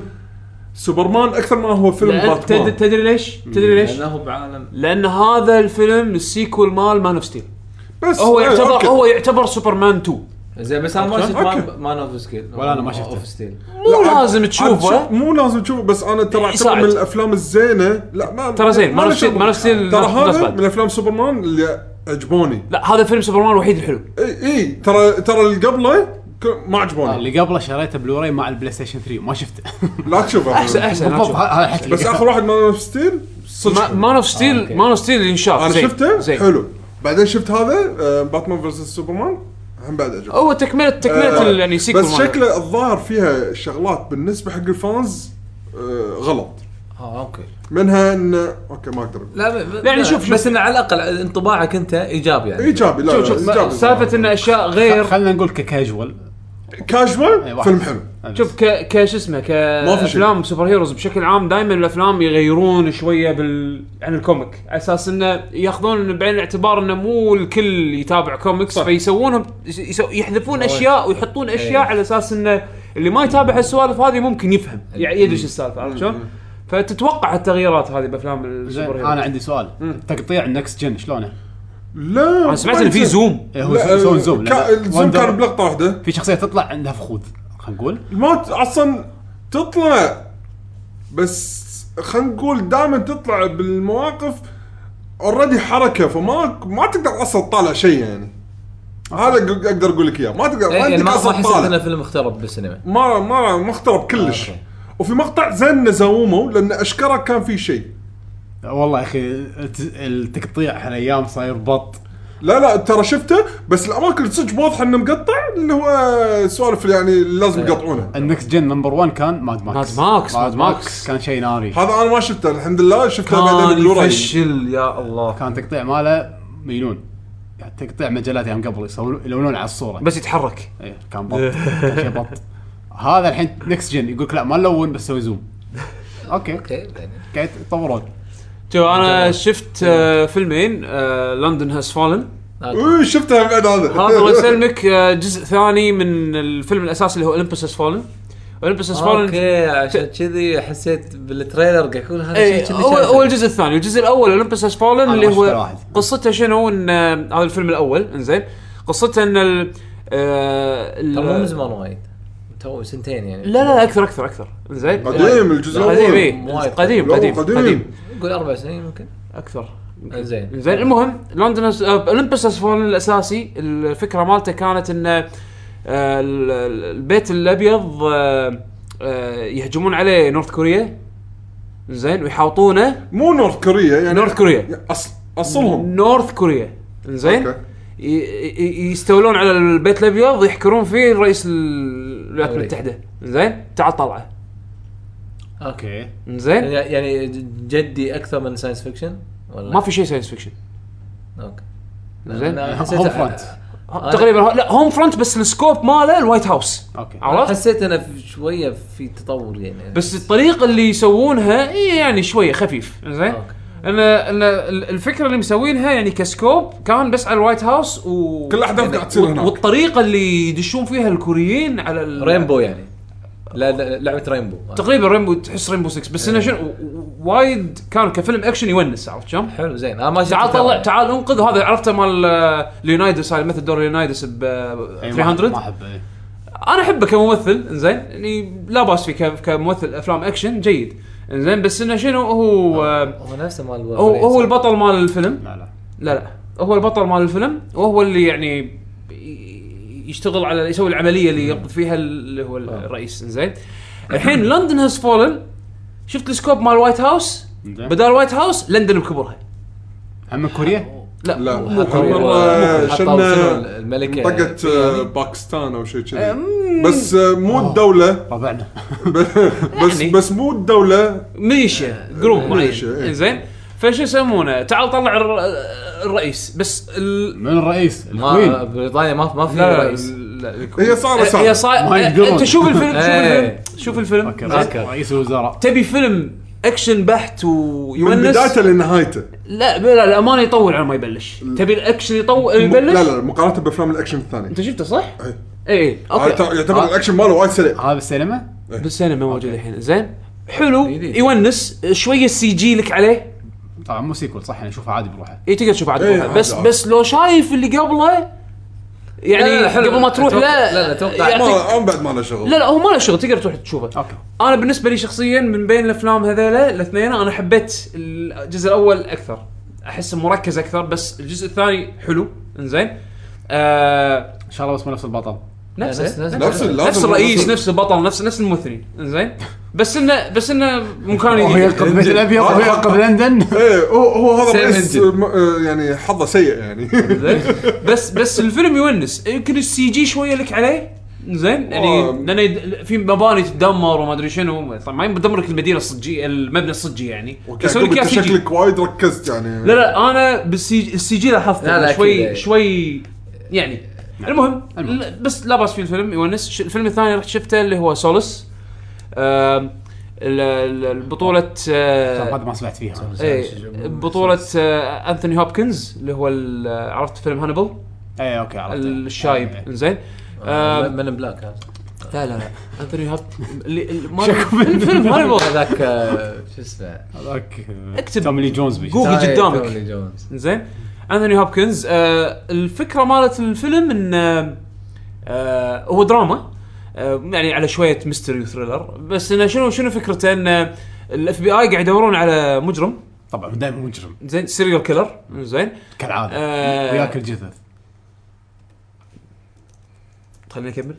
Speaker 3: سوبرمان اكثر ما هو فيلم
Speaker 2: لأن- تد-
Speaker 3: باتمان
Speaker 2: تدري ليش؟ تدري ليش؟
Speaker 4: لانه هو بعالم
Speaker 2: لان هذا الفيلم السيكول مال مان اوف ستيل
Speaker 3: بس
Speaker 2: هو
Speaker 3: إيه،
Speaker 2: يعتبر
Speaker 3: أوكي.
Speaker 2: هو يعتبر سوبرمان 2
Speaker 4: زين بس انا ما
Speaker 3: أوكي.
Speaker 4: شفت
Speaker 3: أوكي.
Speaker 4: مان اوف ستيل
Speaker 1: ولا أنا ما شفته.
Speaker 4: اوف ستيل
Speaker 2: مو
Speaker 3: لا، عاد-
Speaker 2: لازم
Speaker 3: عاد
Speaker 2: تشوفه إيه،
Speaker 3: شوف- مو لازم تشوفه بس انا ترى اعتبر
Speaker 2: يساعد.
Speaker 3: من الافلام الزينه لا ما
Speaker 2: ترى زين، Man of Steel-
Speaker 3: شغل.
Speaker 2: Man of Steel
Speaker 3: ترى
Speaker 2: ناس- ناس
Speaker 3: هذا
Speaker 2: بعد.
Speaker 3: من افلام سوبرمان اللي عجبوني
Speaker 2: لا هذا فيلم سوبرمان الوحيد الحلو
Speaker 3: اي اي ترى ترى اللي قبله ك- ما
Speaker 2: آه،
Speaker 3: عجبوني
Speaker 1: آه، اللي قبله شريته بلوراي مع البلاي ستيشن 3 ما شفته
Speaker 3: لا تشوفه
Speaker 2: احسن احسن
Speaker 1: بالضبط
Speaker 2: أنا
Speaker 1: هذا حكي
Speaker 3: بس اخر واحد مان اوف ستيل
Speaker 2: أشوف.
Speaker 3: صدق
Speaker 2: ما- مان اوف
Speaker 4: آه،
Speaker 2: ستيل
Speaker 4: أوكي.
Speaker 2: مان اوف ستيل ينشاف
Speaker 3: انا
Speaker 2: زين.
Speaker 3: شفته
Speaker 2: زين.
Speaker 3: حلو بعدين شفت هذا آه، باتمان فيرسس سوبرمان هم بعد عجبني
Speaker 2: هو تكمله تكمله
Speaker 3: آه،
Speaker 2: ال- يعني سيكول
Speaker 3: بس
Speaker 2: مال.
Speaker 3: شكله الظاهر فيها شغلات بالنسبه حق الفانز آه، غلط
Speaker 4: اه اوكي
Speaker 3: منها انه اوكي ما اقدر أقول.
Speaker 4: لا ب- ب-
Speaker 2: يعني شوف- إيه، شوف.
Speaker 4: بس انه على الاقل انطباعك انت ايجابي يعني
Speaker 3: ايجابي لا
Speaker 2: شوف شوف
Speaker 3: لا،
Speaker 2: ما-
Speaker 3: ايجابي
Speaker 2: سالفه ان اشياء غير
Speaker 1: خلينا نقول ككاجوال أي
Speaker 3: كاجوال
Speaker 1: واحد.
Speaker 3: فيلم حلو
Speaker 2: شوف ك ك شو اسمه ك
Speaker 3: في شيء.
Speaker 2: افلام سوبر هيروز بشكل عام دائما الافلام يغيرون شويه بال عن الكوميك على اساس انه ياخذون بعين الاعتبار انه مو الكل يتابع كوميكس فيسوونهم يسو يحذفون اشياء ويحطون
Speaker 3: إيه.
Speaker 2: اشياء على اساس انه اللي ما يتابع هالسوالف هذه ممكن يفهم يعني يدري شو السالفه عرفت
Speaker 3: إيه.
Speaker 2: شلون؟ فتتوقع التغييرات هذه بافلام
Speaker 1: زين
Speaker 2: السوبر
Speaker 1: انا
Speaker 2: هيروز
Speaker 1: عندي سؤال تقطيع النكست جن شلونه؟
Speaker 3: لا
Speaker 2: انا سمعت ان في زوم
Speaker 1: إيه، هو يسوون زوم لأن
Speaker 3: الزوم
Speaker 1: Wonder-
Speaker 3: كان بلقطه واحده
Speaker 1: في شخصيه تطلع عندها فخوذ خلينا نقول
Speaker 3: ما ت- اصلا تطلع بس خلينا نقول دائما تطلع بالمواقف اوريدي حركه فما ما تقدر اصلا تطالع شيء يعني هذا ق- اقدر اقول لك اياه ما تقدر
Speaker 4: إيه،
Speaker 3: ما
Speaker 4: يعني
Speaker 3: عندك
Speaker 4: ما ما
Speaker 3: اصلا
Speaker 4: حسيت انه
Speaker 3: تطالع
Speaker 4: فيلم مخترب بالسينما
Speaker 3: ما ما ما اخترب كلش
Speaker 4: آه، أوكي.
Speaker 3: وفي مقطع زين نزومه لان اشكره كان في شيء
Speaker 1: والله يا اخي الت- التقطيع هالايام صاير بط
Speaker 3: لا لا ترى شفته بس الاماكن صدق واضحه انه مقطع اللي هو سوالف يعني
Speaker 2: إيه.
Speaker 3: لازم يقطعونه
Speaker 1: النكست جن نمبر 1 كان ماد ماكس
Speaker 2: ماد ماكس،
Speaker 1: ماد
Speaker 2: ماد
Speaker 1: ماكس
Speaker 2: ماكس.
Speaker 1: كان شيء ناري
Speaker 3: هذا انا ما شفته الحمد لله شفته بعدين
Speaker 2: كان
Speaker 3: بلوراي
Speaker 2: يفشل يا الله
Speaker 1: كان تقطيع ماله مجنون يعني تقطيع مجلات ايام قبل يسوون- يلونون على الصوره
Speaker 2: بس يتحرك
Speaker 1: ايه كان بط كان شيء بط هذا الحين نكست جن يقول لك لا ما نلون بس سوي زوم اوكي
Speaker 4: اوكي يعني
Speaker 1: قاعد يتطورون
Speaker 2: شوف انا شفت آه، فيلمين آه، لندن هاز فالن
Speaker 3: اوه شفتها إيه، بعد هذا
Speaker 2: هذا الله يسلمك آه، جزء ثاني من الفيلم الاساسي اللي هو اولمبس هاز فالن اولمبس هاز فالن
Speaker 4: اوكي عشان كذي حسيت بالتريلر قاعد يقول هذا شيء كذي
Speaker 2: اول
Speaker 4: شايفه.
Speaker 2: اول الجزء الثاني الجزء الاول اولمبس هاز فالن
Speaker 1: أنا
Speaker 2: اللي
Speaker 1: ما شفت ولا
Speaker 2: هو
Speaker 1: واحد.
Speaker 2: قصته شنو ان آه، هذا الفيلم الاول انزين قصته ان ال آه، ال-
Speaker 4: ترى مو من زمان وايد تو سنتين يعني
Speaker 2: لا لا اكثر اكثر اكثر انزين
Speaker 3: قديم الجزء
Speaker 2: قديم
Speaker 3: الاول
Speaker 2: إيه.
Speaker 4: مو وايد
Speaker 2: قديم
Speaker 3: لا،
Speaker 2: قديم
Speaker 3: قديم.
Speaker 2: قديم
Speaker 4: قول اربع سنين ممكن
Speaker 2: اكثر
Speaker 4: زين.
Speaker 2: زين المهم لندن آه، اولمبس اسفون الاساسي الفكره مالته كانت ان آه، ال- ال- البيت الابيض آه، آه، يهجمون عليه نورث كوريا زين ويحاوطونه
Speaker 3: مو نورث كوريا يعني
Speaker 2: نورث كوريا
Speaker 3: أصل اصلهم
Speaker 2: نورث كوريا زين
Speaker 3: أوكي.
Speaker 2: يستولون على البيت الابيض يحكرون فيه الرئيس ال- الولايات
Speaker 4: أمريكا.
Speaker 2: المتحده زين تعال طلعه
Speaker 1: اوكي
Speaker 2: زين
Speaker 4: يعني- يعني جدي اكثر من ساينس فيكشن ولا
Speaker 2: ما في شيء ساينس فيكشن
Speaker 4: اوكي
Speaker 2: زين
Speaker 4: أنا حسيت-
Speaker 1: هوم فرونت
Speaker 4: أنا-
Speaker 2: تقريبا لا هوم فرونت بس السكوب ماله الوايت هاوس
Speaker 1: اوكي
Speaker 2: عرفت
Speaker 4: حسيت انا في- شويه في تطور يعني
Speaker 2: بس الطريقه اللي يسوونها إيه يعني شويه خفيف زين
Speaker 4: أوكي.
Speaker 2: انا انا ال- الفكره اللي مسوينها يعني كسكوب كان بس على الوايت هاوس و
Speaker 3: كل الاحداث قاعد تصير هناك
Speaker 2: والطريقه اللي يدشون فيها الكوريين على ال...
Speaker 4: رينبو يعني لا لا- لعبه رينبو
Speaker 2: تقريبا رينبو تحس رينبو 6 بس انه
Speaker 1: إيه.
Speaker 2: شنو و- و- وايد كان كفيلم اكشن يونس عرفت شلون؟
Speaker 4: حلو زين انا ما شفت
Speaker 2: تعال
Speaker 4: التريلر.
Speaker 2: طلع تعال انقذ هذا عرفته مال آه، ليونايدس هاي مثل دور ليونايدس ب
Speaker 1: إيه،
Speaker 2: آه،
Speaker 1: ما-
Speaker 2: 300
Speaker 1: ما احب إيه.
Speaker 2: انا احبه كممثل انزين يعني لا باس فيه ك- كممثل افلام اكشن جيد انزين بس انه شنو هو آه،
Speaker 4: هو نفسه مال
Speaker 2: هو
Speaker 4: وولفرين،
Speaker 2: هو
Speaker 4: صح؟
Speaker 2: البطل مال الفيلم
Speaker 1: لا لا
Speaker 2: لا لا هو البطل مال الفيلم وهو اللي يعني ي- يشتغل على يسوي العمليه اللي يقبض فيها اللي هو الرئيس زين الحين لندن هاز فولن شفت السكوب مال وايت هاوس
Speaker 1: إنزين.
Speaker 2: بدال وايت هاوس لندن بكبرها
Speaker 1: هم كوريا
Speaker 2: لا,
Speaker 3: لا
Speaker 2: مو
Speaker 4: حطوا-
Speaker 2: كوريا.
Speaker 3: مرة
Speaker 4: حطوا
Speaker 3: شلنا
Speaker 4: شنو الملكه
Speaker 3: طقت آه،
Speaker 4: يعني.
Speaker 3: باكستان او شيء كذي بس آه، مو الدوله
Speaker 1: طبعنا
Speaker 3: بس
Speaker 2: يعني.
Speaker 3: بس مو الدوله
Speaker 2: ميليشيا جروب معين
Speaker 3: ميليشيا، إيه.
Speaker 2: زين فشو يسمونه تعال طلع الر- الرئيس بس ال...
Speaker 1: من الرئيس
Speaker 4: ما
Speaker 1: الكوين
Speaker 4: بريطانيا ما ما في
Speaker 2: لا
Speaker 4: رئيس
Speaker 2: ال-
Speaker 3: هي صارت
Speaker 2: هي
Speaker 3: صارت
Speaker 2: صار
Speaker 1: ما يقدرون.
Speaker 2: انت شوف الفيلم شوف الفيلم
Speaker 4: إيه.
Speaker 2: شوف الفيلم
Speaker 1: اوكي
Speaker 2: زين؟
Speaker 1: رئيس- رئيس الوزراء
Speaker 2: تبي فيلم اكشن بحت
Speaker 3: من
Speaker 2: ويونس
Speaker 3: بدايته لنهايته
Speaker 2: لا لا الامانه يطول على ما يبلش تبي الاكشن يطول يبلش
Speaker 3: لا لا مقارنه بافلام الاكشن الثانيه
Speaker 2: انت شفته صح؟
Speaker 3: إيه.
Speaker 2: اي
Speaker 3: يعتبر
Speaker 2: اوكي
Speaker 3: يعتبر الاكشن ماله وايد سريع
Speaker 1: هذا السينما
Speaker 2: بالسينما موجود الحين زين حلو
Speaker 4: جديد.
Speaker 2: يونس شويه السي جي لك عليه
Speaker 1: طبعا مو سيكول صح انا اشوفه عادي بروحه
Speaker 2: اي تقدر تشوف عاد
Speaker 3: إيه،
Speaker 2: روحه. بس
Speaker 3: عادي.
Speaker 2: بس لو شايف اللي قبله يعني قبل ما تروح لا
Speaker 4: لا لا اتوقع
Speaker 2: يعني-
Speaker 3: ما أم بعد ما له شغل
Speaker 2: لا لا هو ما له شغل تقدر تروح تشوفه
Speaker 1: اوكي
Speaker 2: انا بالنسبه لي شخصيا من بين الافلام هذيلا الاثنين انا حبيت الجزء الاول اكثر احس مركز اكثر بس الجزء الثاني حلو انزين آه
Speaker 1: ان شاء الله بس مو نفس البطل
Speaker 2: نفسه
Speaker 4: نفس- نفس-
Speaker 3: نفس ال-
Speaker 2: نفس
Speaker 3: لازم-
Speaker 2: الرئيس
Speaker 3: لازم-
Speaker 2: نفس البطل نفس نفس الممثلين انزين بس انه بس انه مكان
Speaker 1: وهو يلقى
Speaker 2: جديد.
Speaker 1: بالبيت الابيض وهو يلقى بلندن
Speaker 3: ايه هو هو هذا
Speaker 4: سيم
Speaker 3: الرئيس
Speaker 4: إنجن.
Speaker 3: م- آه، يعني حظه سيء يعني
Speaker 2: زين بس بس الفيلم يونس يمكن السي جي شويه لك عليه زين يعني
Speaker 3: آه.
Speaker 2: لان يد- في مباني تدمر وما ادري شنو طبعا ما يدمر لك المدينه الصجيه المبنى الصجي يعني بس يسوي لك
Speaker 3: انت
Speaker 2: إياه CG.
Speaker 3: شكلك وايد ركزت يعني
Speaker 2: لا لا انا بالسي السي جي لاحظته
Speaker 4: لا، لا،
Speaker 2: شوي
Speaker 4: أكيد، أي.
Speaker 2: شوي يعني المهم,
Speaker 1: المهم.
Speaker 2: لا- بس لا باس فيه الفيلم يونس ش- الفيلم الثاني رحت شفته اللي هو سولس آم، ال- ال- البطولة
Speaker 1: هذا
Speaker 2: آه،
Speaker 1: ما سمعت فيها
Speaker 2: إيه، بطولة آه، انثوني هوبكنز اللي هو ال- عرفت فيلم هانيبال
Speaker 1: اي اوكي عرفت إيه.
Speaker 2: الشايب انزين
Speaker 4: آه،
Speaker 2: آم،
Speaker 4: من إن بلاك هذا
Speaker 2: لا لا لا انثوني هوبكنز الفيلم هانيبال
Speaker 4: هذاك آه، شو اسمه
Speaker 1: هذاك
Speaker 2: اكتب.
Speaker 1: توم لي جونز بي
Speaker 2: جوجل.
Speaker 4: هاي
Speaker 2: قدامك.
Speaker 4: توني جونز.
Speaker 2: زين انثوني هوبكنز آه الفكره مالت الفيلم ان آه، آه هو دراما آه يعني على شويه ميستري وثريلر بس انه شنو شنو فكرته آه، ان الاف بي اي قاعد يدورون على مجرم
Speaker 1: طبعا دائما مجرم
Speaker 2: زين سيريال كيلر زين
Speaker 1: كالعاده
Speaker 2: آه.
Speaker 1: وياكل جثث
Speaker 2: خليني اكمل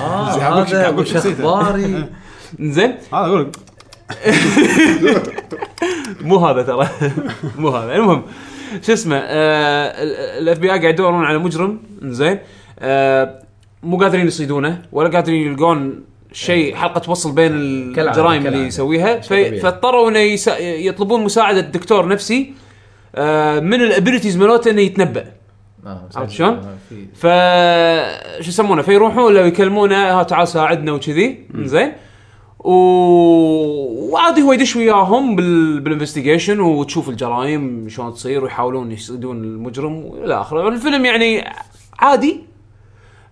Speaker 4: آه،
Speaker 1: زين، أقول شو-
Speaker 4: هذا
Speaker 1: أقول شو
Speaker 4: وش
Speaker 1: نسيته.
Speaker 4: اخباري
Speaker 2: زين
Speaker 1: هذا اقول آه، لك
Speaker 2: مو هذا ترى مو هذا المهم شو اسمه آه، الاف بي اي قاعد يدورون على مجرم زين آه مو قادرين يصيدونه ولا قادرين يلقون شيء حلقه توصل بين
Speaker 4: أيوة. كالعادة،
Speaker 2: الجرائم اللي
Speaker 4: كالعادة.
Speaker 2: يسويها
Speaker 4: شيء
Speaker 2: ف-
Speaker 4: طبيعي.
Speaker 2: فاضطروا انه يسا- يطلبون مساعده دكتور نفسي آه من الابيلتيز مالته انه يتنبأ
Speaker 4: آه،
Speaker 2: عرفت شلون؟
Speaker 4: آه، في-
Speaker 2: ف شو يسمونه فيروحون لو يكلمونه ها تعال ساعدنا وكذي زين و... وعادي هو يدش وياهم بال... بالانفستيجيشن وتشوف الجرائم شلون تصير ويحاولون يصيدون المجرم والى اخره الفيلم يعني عادي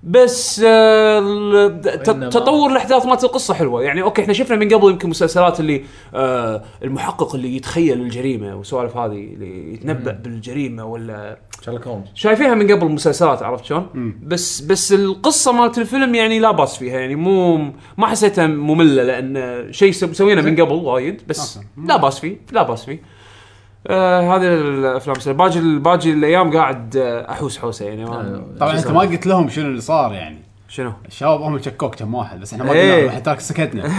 Speaker 2: بس آه، ال- ت-
Speaker 4: وإنما-
Speaker 2: تطور الاحداث مالت القصه حلوه يعني اوكي احنا شفنا من قبل يمكن مسلسلات اللي آه، المحقق اللي يتخيل الجريمه وسوالف هذه اللي يتنبأ بالجريمه ولا
Speaker 4: شارلوك هومز
Speaker 2: شايفينها من قبل مسلسلات عرفت شلون؟
Speaker 1: مم.
Speaker 2: بس بس القصه مالت الفيلم يعني لا باس فيها يعني مو ما حسيتها ممله لان شيء سو- سوينا من قبل وايد بس
Speaker 1: أوكي.
Speaker 2: لا باس فيه لا باس فيه. آه هذه الافلام السنة. باجي باجي الايام قاعد آه، احوس حوسه يعني ما
Speaker 4: آه.
Speaker 1: طبعا انت ما قلت لهم شنو اللي صار يعني
Speaker 2: شنو؟
Speaker 1: الشباب هم شكوك كم واحد بس احنا ما
Speaker 2: إيه.
Speaker 1: قلنا لهم، احنا ترك سكتنا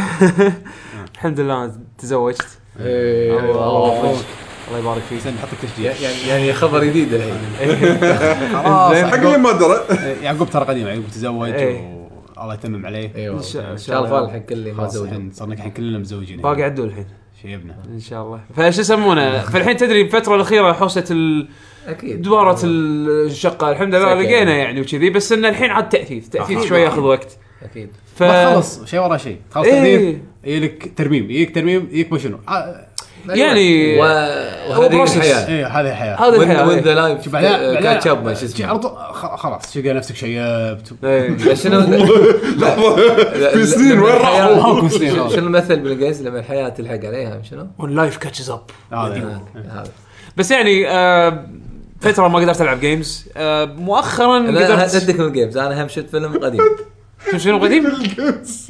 Speaker 2: الحمد لله أنا تزوجت
Speaker 4: الله يوفقك.
Speaker 2: إيه، الله يبارك فيك.
Speaker 1: زين نحطك تشجيع
Speaker 4: يعني يعني خبر جديد الحين
Speaker 1: خلاص
Speaker 3: حق اللي
Speaker 1: يعقوب-
Speaker 3: ما درى
Speaker 1: يعقوب ترى قديم يعقوب تزوج
Speaker 2: إيه.
Speaker 1: والله يتمم عليه
Speaker 4: ايوه
Speaker 2: إن شاء- إن
Speaker 4: ان
Speaker 2: شاء
Speaker 4: شاء
Speaker 2: الله.
Speaker 4: الله الحين كل اللي ما
Speaker 1: خلاص
Speaker 4: زوجهم
Speaker 1: الحين صرنا الحين كلنا مزوجين
Speaker 2: باقي عدول الحين
Speaker 1: شيبنا
Speaker 2: ان شاء الله. فشو يسمونه؟ فالحين تدري الفتره الاخيره حوسه ال...
Speaker 4: اكيد
Speaker 2: دبارة الشقة الحمد لله
Speaker 4: سكن.
Speaker 2: لقينا يعني وكذي بس ان الحين عاد تأثيث تأثيث
Speaker 1: أكيد.
Speaker 2: شوي ياخذ وقت
Speaker 4: اكيد
Speaker 2: ف
Speaker 1: خلص شيء ورا شيء خلاص
Speaker 2: إيه.
Speaker 1: ترميم يجيك ترميم يجيك ترميم يجيك ما شنو آه،
Speaker 2: يعني-
Speaker 4: أيوة. و...
Speaker 2: هو
Speaker 4: وهذه
Speaker 2: process.
Speaker 4: الحياه
Speaker 1: ايه هذه الحياه
Speaker 2: هذا الحياة
Speaker 4: وين ذا
Speaker 2: إيه.
Speaker 4: لايف
Speaker 1: شوف بعدين
Speaker 4: كاتش اب ما
Speaker 1: بعدين-
Speaker 4: شو
Speaker 1: شي
Speaker 4: اسمه
Speaker 1: عرض- خ- خلاص تلقى نفسك شيبت
Speaker 2: إيه.
Speaker 4: شنو
Speaker 3: في سنين وين راحوا؟
Speaker 1: ماكو سنين
Speaker 4: شنو
Speaker 1: خلاص.
Speaker 4: شنو المثل بالانجليزي لما الحياه تلحق عليها شنو؟
Speaker 2: When life catches up
Speaker 1: هذا
Speaker 4: هذا
Speaker 2: بس يعني آه فترة ما قدرت العب جيمز آه مؤخرا
Speaker 4: انا
Speaker 2: قدرت
Speaker 4: هددك من الجيمز انا هم شفت فيلم قديم
Speaker 2: شنو- شنو قديم؟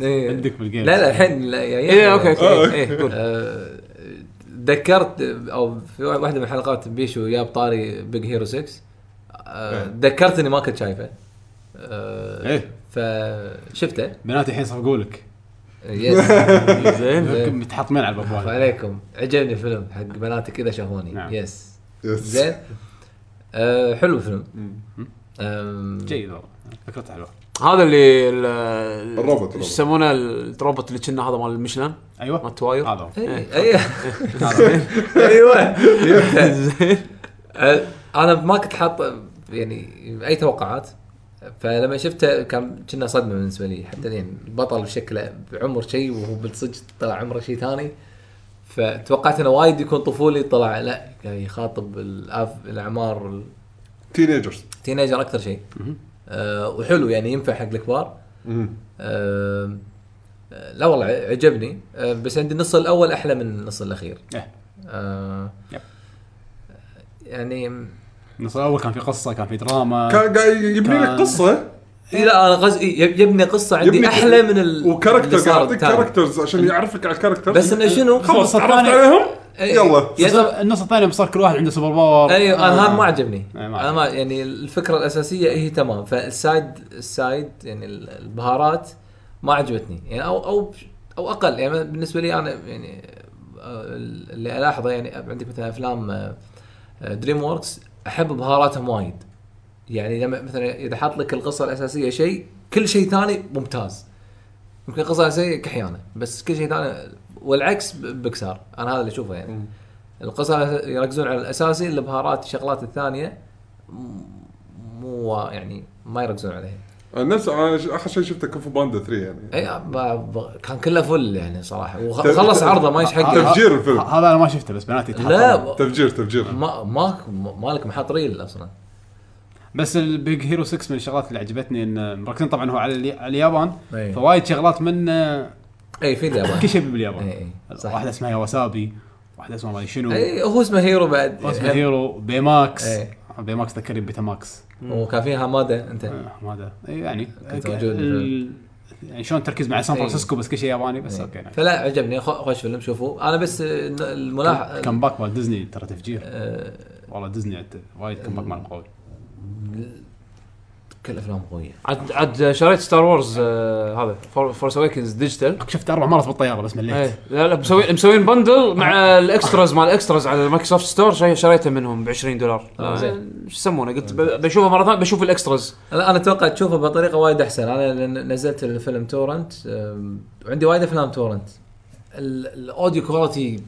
Speaker 4: إيه.
Speaker 1: عندك بالجيم
Speaker 4: لا لا الحين لا يعني
Speaker 2: ايه اوكي اوكي إيه، ايه قول
Speaker 4: آه، تذكرت او في واحده من الحلقات بيشو جاب طاري بيج هيرو 6 آه، تذكرت اني ما كنت شايفه آه،
Speaker 1: ايه
Speaker 4: فشفته
Speaker 1: بنات الحين صفقوا لك
Speaker 4: يس
Speaker 2: زين
Speaker 4: زين.
Speaker 1: متحطمين على الابواب
Speaker 4: عليكم عجبني الفيلم حق بناتي كذا شافوني
Speaker 1: نعم.
Speaker 4: يس
Speaker 3: يس.
Speaker 4: زين آه، حلو الفيلم
Speaker 1: جيد والله فكرته حلوه
Speaker 2: هذا اللي ال- ال-
Speaker 3: الروبوت، الروبوت.
Speaker 2: شو يسمونه الروبوت اللي كنا هذا مال المشلان مال
Speaker 1: ايوه
Speaker 2: التواير
Speaker 1: هذا هو
Speaker 4: ايوه ايوه زين. آه، انا ما كنت حاط يعني اي توقعات آه، فلما شفته كان كنا صدمه بالنسبه لي حتى الحين البطل بشكله بعمر شيء وهو بالصدق طلع عمره شيء ثاني فتوقعت انه وايد يكون طفولي طلع لا قاعد يخاطب الأف- الاعمار
Speaker 3: تينيجرز
Speaker 4: التينيجر اكثر شيء
Speaker 1: مهم.
Speaker 4: أه وحلو يعني ينفع حق الكبار
Speaker 3: مم.
Speaker 4: آم، آه، لا والله عجبني آه، بس عندي النص الاول احلى من النص الاخير
Speaker 1: إيه.
Speaker 4: آه،
Speaker 1: يب.
Speaker 4: يعني
Speaker 1: النص الاول كان في قصه كان في دراما
Speaker 3: كان قاعد يبني لك
Speaker 1: كان-
Speaker 3: قصه
Speaker 4: إيه، لا انا قصدي إيه، يبني قصه عندي
Speaker 3: يبني-
Speaker 4: احلى من ال... اللي
Speaker 3: وكاركتر
Speaker 4: صار
Speaker 3: قاعد يعطيك
Speaker 4: التالي.
Speaker 3: كاركترز عشان يعرفك على الكاركترز
Speaker 4: بس انه شنو
Speaker 3: خلص
Speaker 1: النص
Speaker 3: تعرفت
Speaker 1: الثاني-
Speaker 3: عليهم
Speaker 4: إيه،
Speaker 3: يلا.
Speaker 4: يعني-
Speaker 1: النص- النص الثاني صار كل واحد عنده سوبر باور
Speaker 4: ايوه انا هذا ما عجبني
Speaker 1: إيه، ما
Speaker 4: انا ما يعني الفكره الاساسيه هي تمام فالسايد السايد يعني ال- البهارات ما عجبتني يعني او او او اقل يعني بالنسبه لي انا يعني آه، اللي الاحظه يعني عندك مثلا افلام دريم ووركس احب بهاراتهم وايد يعني لما مثلا اذا حط لك القصه الاساسيه شيء كل شيء ثاني ممتاز يمكن القصه الاساسيه كحيانه بس كل شيء ثاني والعكس ب- بكسار انا هذا اللي اشوفه يعني
Speaker 3: مم.
Speaker 4: القصة يركزون على الاساسي البهارات الشغلات الثانيه م- مو يعني ما يركزون عليها
Speaker 3: آه، نفس انا ش- اخر شيء شفته كفو باندا 3 يعني
Speaker 4: اي ب- ب- كان كله فل يعني صراحه وخلص عرضه ما ايش حقه
Speaker 3: تفجير الفيلم.
Speaker 1: هذا انا ما شفته بس بناتي
Speaker 4: لا
Speaker 1: تحطموا.
Speaker 4: ب-
Speaker 3: تفجير تفجير
Speaker 4: ما ما مالك محط ريل اصلا
Speaker 1: بس البيج هيرو 6 من الشغلات اللي عجبتني ان مركزين طبعا هو على الي- على اليابان
Speaker 4: أي.
Speaker 1: فوايد شغلات منه
Speaker 4: اي في اليابان
Speaker 1: كل شيء باليابان
Speaker 4: اي اي إيه. صح إيه.
Speaker 1: واحده اسمها يواسابي واحده اسمها ما أدري شنو
Speaker 4: اي هو اسمه هيرو بعد
Speaker 1: اسمها هيرو بيماكس
Speaker 4: إيه.
Speaker 1: بيماكس تذكرني بيتاماكس
Speaker 4: وكان في هامادا انت
Speaker 1: آه، هذا إي يعني
Speaker 4: كنت موجود إيه.
Speaker 1: ال- يعني شلون تركيز مع سان
Speaker 4: إي.
Speaker 1: فرانسيسكو بس كل شيء ياباني بس
Speaker 4: إيه.
Speaker 1: اوكي نعم.
Speaker 4: فلا عجبني خو- خوش فيلم شوفوا انا بس الملاحظ
Speaker 1: الكمباك مال ديزني ترى تفجير
Speaker 4: إيه.
Speaker 1: والله ديزني عد- وايد كمباك مال قوي
Speaker 4: كل افلام قويه
Speaker 2: عاد عاد شريت ستار وورز آه، هذا فورس اويكنز ديجيتال
Speaker 1: شفت اربع مرات بالطياره بس مليت
Speaker 4: إيه.
Speaker 2: ايه لا لا مسوين مسوين بندل مع الاكستراز مال الاكستراز على المايكروسوفت ستور شي- شريته منهم ب 20 دولار
Speaker 4: آه،
Speaker 2: زين شو يسمونه قلت ب- بشوفه مره ثانيه بشوف الاكستراز
Speaker 4: لا انا اتوقع تشوفه بطريقه وايد احسن انا لأن نزلت الفيلم تورنت أم، وعندي وايد افلام تورنت ال- الاوديو كواليتي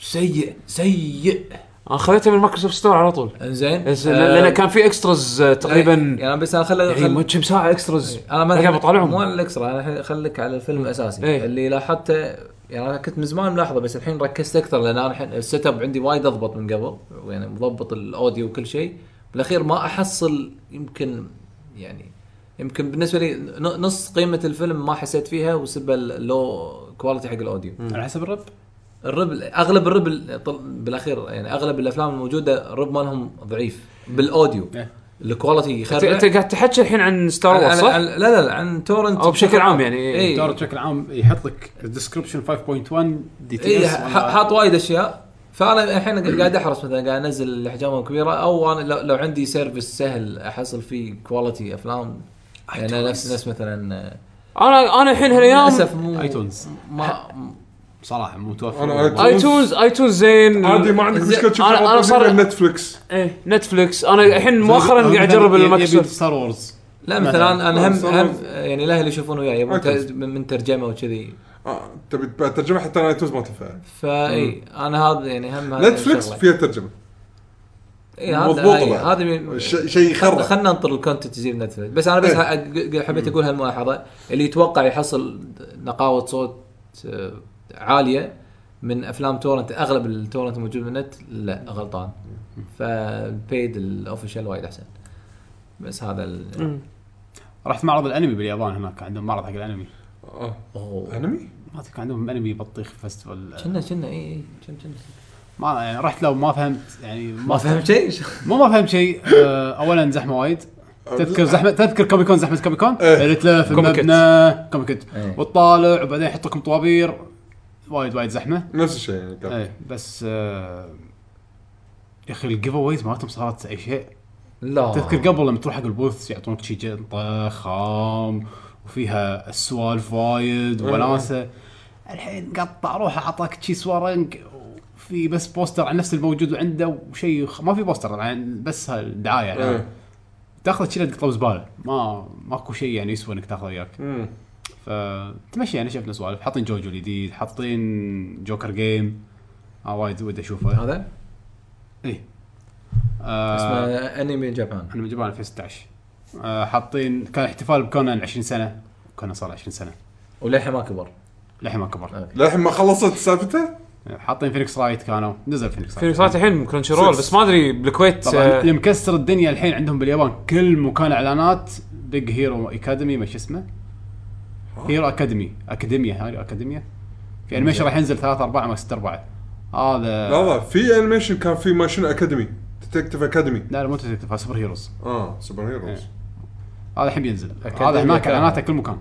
Speaker 4: سيء سيء
Speaker 2: انا آه، خذيته من مايكروسوفت ستور على طول
Speaker 4: انزين
Speaker 2: بس-
Speaker 4: أه،
Speaker 2: لان كان في اكستراز آه، تقريبا
Speaker 4: يعني بس انا خل إيه.
Speaker 2: يعني مو
Speaker 4: خل-
Speaker 2: كم ساعه اكستراز
Speaker 4: انا ما
Speaker 2: قاعد بطالعهم.
Speaker 4: مو على الاكسترا انا الحين خليك على الفيلم الاساسي
Speaker 2: إيه.
Speaker 4: اللي لاحظته يعني انا كنت من زمان ملاحظه بس الحين ركزت اكثر لان انا الحين السيت اب عندي وايد اضبط من قبل يعني مضبط الاوديو وكل شيء بالاخير ما احصل يمكن يعني يمكن بالنسبه لي ن- نص قيمه الفيلم ما حسيت فيها وسبه اللو كواليتي حق الاوديو
Speaker 1: على حسب الرب
Speaker 4: الرب اغلب الرب ال- طل- بالاخير يعني اغلب الافلام الموجوده الرب مالهم ضعيف بالاوديو
Speaker 1: إيه.
Speaker 4: الكواليتي
Speaker 2: انت
Speaker 4: يخرب
Speaker 2: أنت قاعد تحكي الحين عن ستار
Speaker 4: عن-
Speaker 2: وورز
Speaker 4: عن-
Speaker 2: صح؟
Speaker 4: عن- لا لا لا عن تورنت
Speaker 2: او بشكل عام يعني إيه.
Speaker 4: إيه.
Speaker 1: الدور بشكل عام يحط لك الديسكربشن 5.1 دي تي
Speaker 4: اي
Speaker 1: اس
Speaker 4: إيه، ح- حاط وايد اشياء فانا الحين قاعد احرص مثلا قاعد انزل الاحجام كبيره او انا لو, لو عندي سيرفس سهل احصل فيه كواليتي افلام يعني نفس نفس مثلا آه،
Speaker 2: انا انا الحين هالايام
Speaker 4: للاسف مو
Speaker 1: iTunes.
Speaker 4: ما
Speaker 1: صراحه مو
Speaker 3: أنا
Speaker 1: متوفر
Speaker 3: iTunes.
Speaker 2: ايتونز ايتونز زين
Speaker 3: عادي ما عندك
Speaker 2: زين.
Speaker 3: مشكله تشوف
Speaker 2: انا انا صار
Speaker 3: نتفلكس
Speaker 2: ايه نتفلكس انا الحين مؤخرا قاعد اجرب المايكروسوفت
Speaker 1: ستار وورز
Speaker 4: لا مثلا انا هم
Speaker 3: مثلاً.
Speaker 4: هم آه، يعني الاهل يشوفون وياي يبون
Speaker 3: iTunes.
Speaker 4: ت- من من ترجمه وكذي
Speaker 3: آه، تبي ترجمه حتى انا توز ما تنفع
Speaker 4: فاي انا هذا يعني هم هذا
Speaker 3: نتفلكس
Speaker 4: الشغلة.
Speaker 3: فيها ترجمه
Speaker 4: إي، هذا-
Speaker 3: مضبوطة
Speaker 4: إي،
Speaker 3: بعد.
Speaker 4: هذا من-
Speaker 3: ش- شيء يخرب
Speaker 4: خلنا خلنا ننطر الكونتنت يصير نتفلكس بس انا بس
Speaker 3: إيه.
Speaker 4: ح- ق- حبيت اقول هالملاحظه اللي يتوقع يحصل نقاوه صوت آه، عاليه من افلام تورنت اغلب التورنت الموجود بالنت لا غلطان فالبيد الاوفيشال وايد احسن بس هذا ال...
Speaker 1: رحت معرض الانمي باليابان هناك عندهم معرض حق الانمي
Speaker 3: آه،
Speaker 4: اوه
Speaker 3: انمي
Speaker 1: ما أدري، كان عندهم انمي بطيخ فيستيفال
Speaker 4: كنا كنا إيه، اي اي كنا كنا
Speaker 1: ما يعني رحت لو ما فهمت يعني
Speaker 4: ما
Speaker 1: ما
Speaker 4: فهمت شيء
Speaker 1: مو ما فهمت شيء آه، اولا زحمه وايد تذكر زحمه تذكر كومي كون زحمه كومي كون
Speaker 3: إيه.
Speaker 1: اللي تلف
Speaker 2: كوميكت.
Speaker 1: المبنى كومي كت
Speaker 4: إيه.
Speaker 1: وتطالع وبعدين يحط لكم طوابير وايد وايد زحمه
Speaker 3: نفس الشيء يعني كان.
Speaker 1: ايه بس آه، يا اخي الجيف اويز مالتهم صارت اي شيء
Speaker 4: لا
Speaker 1: تذكر قبل لما تروح حق البوث يعطونك شي جنطه خام وفيها السوالف وايد
Speaker 3: إيه.
Speaker 1: وناسه الحين قطع روحه عطاك شي سوارنج وفي بس بوستر عن نفس الموجود عنده وشيء خ- ما في بوستر عن بس هالدعايه يعني
Speaker 3: إيه.
Speaker 1: تاخذ شيله تقطه بزباله ما ماكو شيء يعني يسوى انك تاخذه وياك
Speaker 3: مم.
Speaker 1: فتمشي يعني شفنا سوالف حاطين جوجو الجديد حاطين جوكر جيم انا وايد ودي اشوفه
Speaker 4: هذا
Speaker 1: اي آه
Speaker 4: اسمه انمي جابان
Speaker 1: انا من جبال في 16 آه، حاطين كان احتفال بكونان 20 سنه كونان صار 20 سنه
Speaker 4: وللحين ما كبر
Speaker 1: للحين ما كبر آه،
Speaker 3: للحين ما خلصت سالفته
Speaker 1: حاطين فينيكس رايت كانوا نزل فينيكس
Speaker 2: في
Speaker 1: رايت
Speaker 2: صارت الحين كرانشي رول بس ما ادري بالكويت
Speaker 1: طبعا
Speaker 2: آه،
Speaker 1: اللي مكسر الدنيا الحين عندهم باليابان كل مكان اعلانات بيج هيرو اكاديمي ما شو اسمه هيرو اكاديمي اكاديميا هاي اكاديميا في انيميشن راح ينزل ثلاثة أربعة ما ستة أربعة هذا
Speaker 3: لا لا في انيميشن كان في ماشين اكاديمي ديتكتيف اكاديمي
Speaker 1: لا لا مو تتفا سوبر هيروز
Speaker 3: اه سوبر هيروز
Speaker 1: هذا الحين بينزل
Speaker 4: أكاديميا
Speaker 1: هذا هناك
Speaker 4: كامل.
Speaker 1: اعلاناته كل مكان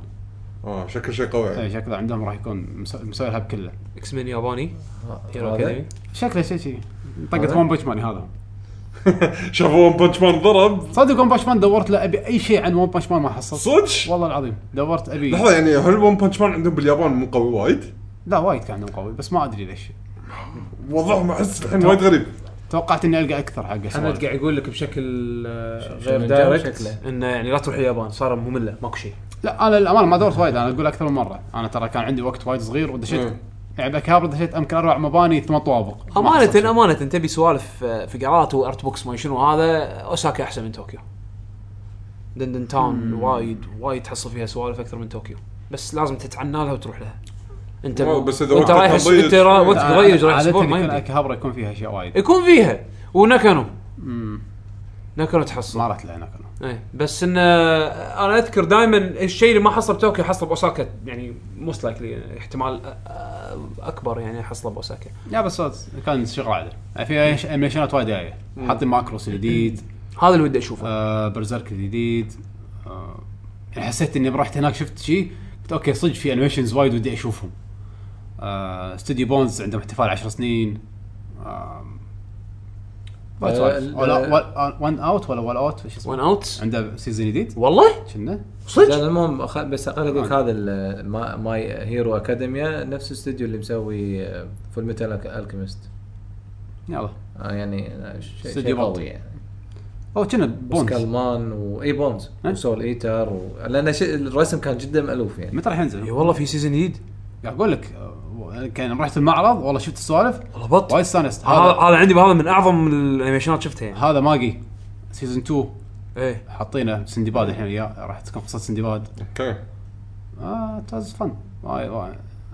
Speaker 3: اه شكل شيء قوي
Speaker 1: إيه، شكله عندهم راح يكون مس- مسوي الهب كله
Speaker 2: اكس مين ياباني هيرو
Speaker 4: هذا؟
Speaker 2: اكاديمي
Speaker 1: شكله شيء شيء طقت
Speaker 4: هذا؟
Speaker 1: ون بنش مان هذا
Speaker 3: شافوا ون بنش مان ضرب
Speaker 1: صدق ون بنش مان دورت له ابي اي شيء عن ون بنش مان ما حصلت
Speaker 3: صدق
Speaker 1: والله العظيم دورت ابي
Speaker 3: لحظه يعني هل ون بنش مان عندهم باليابان مو قوي وايد؟
Speaker 1: لا وايد كان عندهم قوي بس ما ادري ليش
Speaker 3: وضعهم احس الحين وايد غريب
Speaker 1: توقعت اني القى اكثر حق
Speaker 2: انا
Speaker 1: السؤال.
Speaker 2: قاعد اقول لك بشكل آه،
Speaker 4: ش-
Speaker 2: غير
Speaker 4: شنو الجو
Speaker 2: دايركت
Speaker 4: شكله؟
Speaker 2: انه يعني لا تروح اليابان صار ممله ماكو شيء
Speaker 1: لا انا للامانه ما دورت وايد انا اقول اكثر من مره انا ترى كان عندي وقت وايد صغير ودشيت
Speaker 3: مم.
Speaker 1: يعني بكابر دشيت امكن اربع مباني ثمان طوابق ما حصلت شيء.
Speaker 2: امانه امانه تبي سوالف آه، فقرات وارت بوكس ما شنو هذا اوساكا احسن من طوكيو دندن تاون وايد وايد تحصل فيها سوالف اكثر من طوكيو بس لازم تتعنى لها وتروح لها انت
Speaker 3: والله بس إذا
Speaker 2: انت
Speaker 3: وقتك
Speaker 2: رايح
Speaker 3: ضيق.
Speaker 2: انت را- وقتك
Speaker 1: لا،
Speaker 2: ضيق رايح
Speaker 1: عادة
Speaker 2: اسبوع ما
Speaker 1: يكون
Speaker 2: يمديك. إيه.
Speaker 1: اكهابرا يكون فيها اشياء وايد
Speaker 2: يكون فيها ونكنو
Speaker 1: مم.
Speaker 2: نكنو تحصل
Speaker 1: ما رحت لها هناك أنا.
Speaker 2: ايه بس آه، انه انا اذكر دائما الشيء اللي ما حصل بطوكيو حصل باوساكا يعني موست لايكلي احتمال أ- أ- اكبر يعني حصل باوساكا
Speaker 1: لا بس كان شغل عادل في أش- انيميشنات وايد جايه حاطين ماكروس الجديد
Speaker 2: هذا اللي ودي اشوفه
Speaker 1: آه برزيرك الجديد آه يعني حسيت اني رحت هناك شفت شيء قلت اوكي صدق في انيميشنز وايد ودي اشوفهم آه، استوديو بونز عندهم احتفال 10 سنين آم، وايد
Speaker 4: آه،
Speaker 1: سوالف.
Speaker 4: ال-
Speaker 1: ولا- ولا- ون اوت آه، ولا ولا اوت ايش
Speaker 2: وان
Speaker 1: اسمه
Speaker 2: اوت
Speaker 1: عنده سيزون جديد
Speaker 2: والله
Speaker 1: كنا
Speaker 2: صدق
Speaker 4: زين المهم خ- بس خل اقول
Speaker 1: آه.
Speaker 4: لك هذا ال- ما- ماي هيرو اكاديميا نفس الاستوديو اللي مسوي آه، فول ميتال الكيمست
Speaker 1: يلا
Speaker 4: يعني شيء
Speaker 1: استوديو
Speaker 4: شي
Speaker 1: بونز.
Speaker 4: قوي يعني
Speaker 1: او كنا
Speaker 4: بونز
Speaker 1: بونز
Speaker 4: كالمان واي بونز
Speaker 1: ها؟
Speaker 4: وسول ايتر و... لان شيء الرسم كان جدا مألوف يعني
Speaker 1: متى راح ينزل؟
Speaker 2: اي والله في سيزون جديد
Speaker 1: قاعد اقول لك آه، كان رحت المعرض والله شفت السوالف
Speaker 2: والله بط
Speaker 1: وايد
Speaker 2: هذا
Speaker 1: استانست هذا
Speaker 2: هذا عندي هذا من اعظم الانيميشنات شفتها يعني
Speaker 1: هذا ماجي سيزون 2
Speaker 2: ايه
Speaker 1: حاطينه سندباد الحين وياه راح تكون قصه سندباد
Speaker 3: اوكي
Speaker 1: اه تاز فن واي- واي.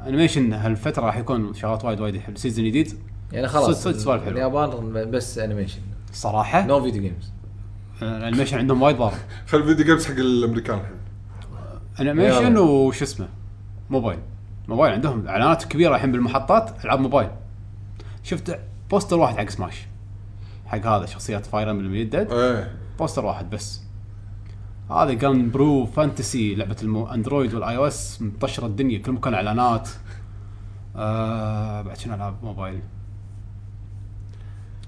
Speaker 1: انيميشن هالفتره راح يكون شغلات وايد وايد حلو سيزون جديد
Speaker 4: يعني خلاص
Speaker 1: صدق- صدق سوالف حلوة.
Speaker 4: اليابان بس انيميشن
Speaker 1: صراحه
Speaker 4: نو فيديو جيمز
Speaker 1: آه، الانيميشن عندهم وايد ضارب
Speaker 3: خل الفيديو جيمز حق الامريكان الحين
Speaker 1: انيميشن
Speaker 4: يلا.
Speaker 1: وش اسمه موبايل موبايل عندهم اعلانات كبيره الحين بالمحطات العاب موبايل شفت بوستر واحد حق سماش حق هذا شخصيات فاير امبلم الجدد
Speaker 3: ايه
Speaker 1: بوستر واحد بس هذا جان برو فانتسي لعبه الاندرويد والاي او اس منتشره الدنيا كل مكان اعلانات آه بعد شنو العاب موبايل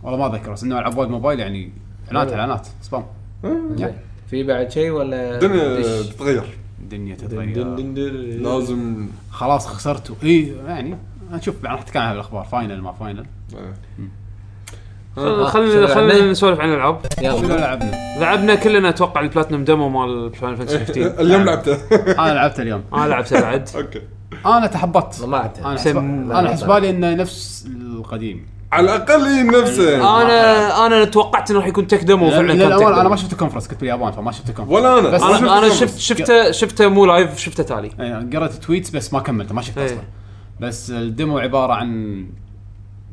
Speaker 1: والله ما اذكر بس انه العاب وايد موبايل يعني اعلانات اعلانات سبام يا.
Speaker 4: في بعد شيء ولا طيب.
Speaker 3: الدنيا
Speaker 4: دش؟
Speaker 3: تتغير
Speaker 1: الدنيا
Speaker 4: دن- دن-
Speaker 1: تتغير
Speaker 4: دن- دن-
Speaker 3: لازم
Speaker 1: خلاص خسرتوا اي يعني نشوف راح نتكلم عن الاخبار فاينل ما فاينل
Speaker 3: إيه.
Speaker 2: خل-
Speaker 4: شنو
Speaker 2: آه، خلينا خلينا
Speaker 4: لعبنا؟
Speaker 2: نسولف عن الالعاب
Speaker 1: شنو
Speaker 4: يلا
Speaker 1: لعبنا؟
Speaker 2: لعبنا كلنا اتوقع البلاتنم ديمو مال فاينل فانتسي
Speaker 1: إيه.
Speaker 2: 15
Speaker 3: آه، اليوم لعبته
Speaker 1: انا لعبت اليوم
Speaker 2: انا لعبت بعد
Speaker 3: اوكي
Speaker 1: انا تحبطت
Speaker 4: ما
Speaker 1: انا
Speaker 4: عدت
Speaker 1: حسب...
Speaker 2: سم-
Speaker 1: انا حسبالي انه نفس القديم
Speaker 3: على الاقل هي نفسه
Speaker 2: آه. انا انا توقعت انه راح يكون تك ديمو فعلا كان تك
Speaker 1: للامانه
Speaker 2: ديمو.
Speaker 1: انا ما شفت الكونفرنس كنت باليابان فما شفت الكونفرنس
Speaker 3: ولا أنا.
Speaker 1: بس
Speaker 3: ما شفت
Speaker 2: انا انا
Speaker 3: الكاميرا.
Speaker 2: شفت شفته شفته مو لايف شفته تالي
Speaker 1: يعني قرأت تويتس بس ما كملته ما شفته
Speaker 2: إيه.
Speaker 1: اصلا بس الديمو عباره عن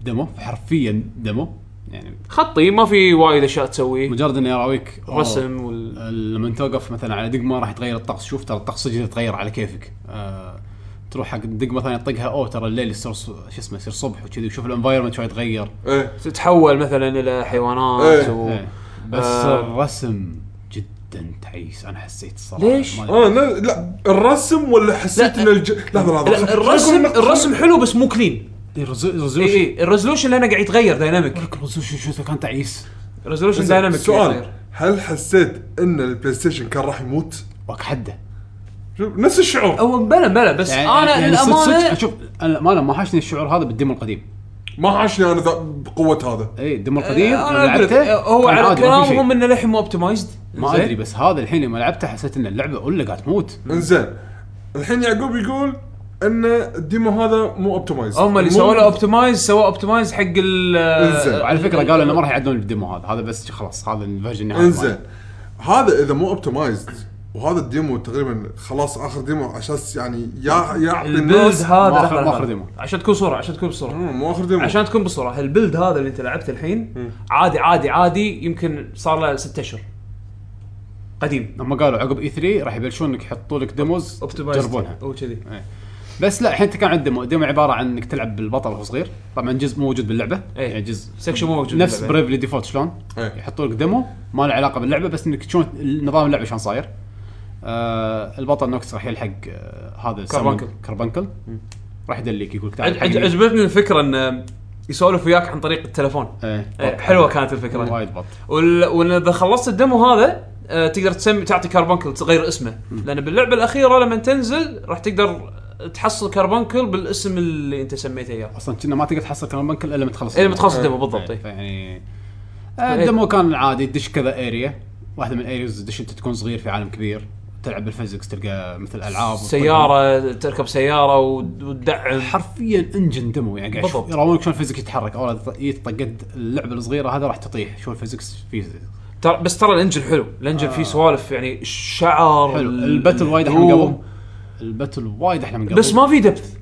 Speaker 1: ديمو حرفيا ديمو يعني
Speaker 2: خطي ما في وايد اشياء تسويه
Speaker 1: مجرد انه يراويك أوه،
Speaker 2: رسم وال
Speaker 1: لما توقف مثلا على دقمه راح يتغير الطقس شوف ترى الطقس صدق يتغير على كيفك آه تروح حق دقمه ثانيه تطقها اوه ترى الليل يصير ص- شو اسمه يصير صبح وكذي وشوف الانفايرمنت شوي يتغير
Speaker 3: ايه
Speaker 2: تتحول مثلا الى حيوانات
Speaker 3: إيه.
Speaker 2: و...
Speaker 1: إيه. بس
Speaker 2: آه.
Speaker 1: الرسم جدا تعيس انا حسيت الصراحه
Speaker 2: ليش؟
Speaker 1: ما أدري.
Speaker 3: اه لا, لا الرسم ولا حسيت
Speaker 2: لا.
Speaker 3: ان الج... لحظه لحظه
Speaker 2: لا،
Speaker 3: خل-
Speaker 2: الرسم
Speaker 3: خل-
Speaker 2: الرسم حلو بس مو كلين
Speaker 1: الرزو-
Speaker 2: اي
Speaker 3: إيه،
Speaker 1: الرزولوشن
Speaker 2: اي الريزولوشن لانه قاعد يتغير دايناميك
Speaker 1: لك الرزولوشن شو كان تعيس
Speaker 2: الريزولوشن
Speaker 3: زين،
Speaker 2: دايناميك
Speaker 3: سؤال هل حسيت ان البلاي ستيشن كان راح يموت؟
Speaker 1: وك حده
Speaker 3: شوف، نفس الشعور
Speaker 2: او بلا بلا بس
Speaker 1: يعني
Speaker 2: انا
Speaker 1: يعني صدق- صدق
Speaker 2: للامانه
Speaker 1: شوف انا ما ما حاشني الشعور هذا بالديمو القديم
Speaker 3: ما عاشني انا ذا- بقوه هذا
Speaker 1: اي الديمو القديم لما
Speaker 2: أنا أقول لك،
Speaker 1: لعبته
Speaker 2: هو
Speaker 1: كان
Speaker 2: على
Speaker 1: عادي، ما في شيء.
Speaker 2: كلامهم انه للحين مو اوبتمايزد
Speaker 1: ما ادري بس هذا الحين لما لعبته حسيت ان اللعبه اولى قاعد تموت
Speaker 3: انزين الحين يعقوب يقول ان الديمو هذا مو اوبتمايز
Speaker 2: هم اللي سووا له اوبتمايز سووا اوبتمايز حق ال
Speaker 3: إنزين.
Speaker 1: وعلى فكره قالوا انه ما راح يعدلون الديمو هذا هذا بس خلاص هذا الفيرجن النهائي
Speaker 3: انزين هذا اذا مو اوبتمايزد وهذا الديمو تقريبا خلاص اخر ديمو عشان يعني يا يعطي
Speaker 2: البيلد
Speaker 3: الناس
Speaker 2: هذا
Speaker 1: ما آخر-
Speaker 2: لحظة،
Speaker 1: ما
Speaker 2: لحظة.
Speaker 1: آخر ديمو.
Speaker 2: عشان تكون صوره عشان تكون بصوره
Speaker 3: مم، مو اخر ديمو
Speaker 2: عشان تكون بصوره البيلد هذا اللي انت لعبته الحين عادي عادي عادي يمكن صار له ست اشهر قديم
Speaker 1: هم قالوا عقب اي 3 راح يبلشون انك يحطوا لك ديموز
Speaker 2: اوبتمايز
Speaker 1: تجربونها
Speaker 2: او كذي
Speaker 1: بس لا الحين أنت كان عندك ديمو ديمو عباره عن انك تلعب بالبطل وهو صغير طبعا جزء مو موجود باللعبه
Speaker 2: إيه.
Speaker 1: يعني جزء
Speaker 2: سكشن مو موجود
Speaker 1: نفس
Speaker 2: باللعبة.
Speaker 1: بريفلي ديفولت شلون
Speaker 3: إيه.
Speaker 1: يحطوا لك ديمو ما له علاقه باللعبه بس انك تشوف نظام اللعبه شلون صاير آه البطل نوكس راح يلحق آه هذا يسمونه
Speaker 2: كربنكل.
Speaker 1: كربنكل راح يدليك يقول لك تعال
Speaker 2: عج- عج-
Speaker 1: الحقني.
Speaker 2: عجبتني الفكره ان يسولف وياك عن طريق التلفون
Speaker 1: إيه.
Speaker 2: إيه، حلوه كانت الفكره
Speaker 1: وايد بط
Speaker 2: وال- واذا خلصت الدمو هذا آه، تقدر تسمي تعطي كاربونكل تغير اسمه لان باللعبه الاخيره لما تنزل راح تقدر تحصل كاربونكل بالاسم اللي انت سميته اياه
Speaker 1: اصلا كنا ما تقدر تحصل كربنكل الا لما تخلص
Speaker 2: إيه، لما تخلص
Speaker 1: إيه.
Speaker 2: الدمو بالضبط طيب. إيه.
Speaker 1: يعني الدمو كان عادي تدش كذا اريا واحده من الاريز تدش انت تكون صغير في عالم كبير تلعب بالفيزكس تلقى مثل العاب
Speaker 2: سياره تركب سياره ود- وتدعم
Speaker 1: حرفيا انجن دمو يعني قاعد
Speaker 2: بالضبط.
Speaker 1: شوف- يراونك شلون الفيزكس يتحرك اول طقت اللعبه الصغيره هذا راح تطيح شو الفيزكس فيه
Speaker 2: ترى بس ترى الانجن حلو الانجن فيه سوالف يعني الشعر
Speaker 1: آه. حلو
Speaker 2: ال-
Speaker 1: الباتل وايد احلى من
Speaker 2: الروم.
Speaker 1: قبل الباتل وايد احلى من قبل
Speaker 2: بس ما في دبث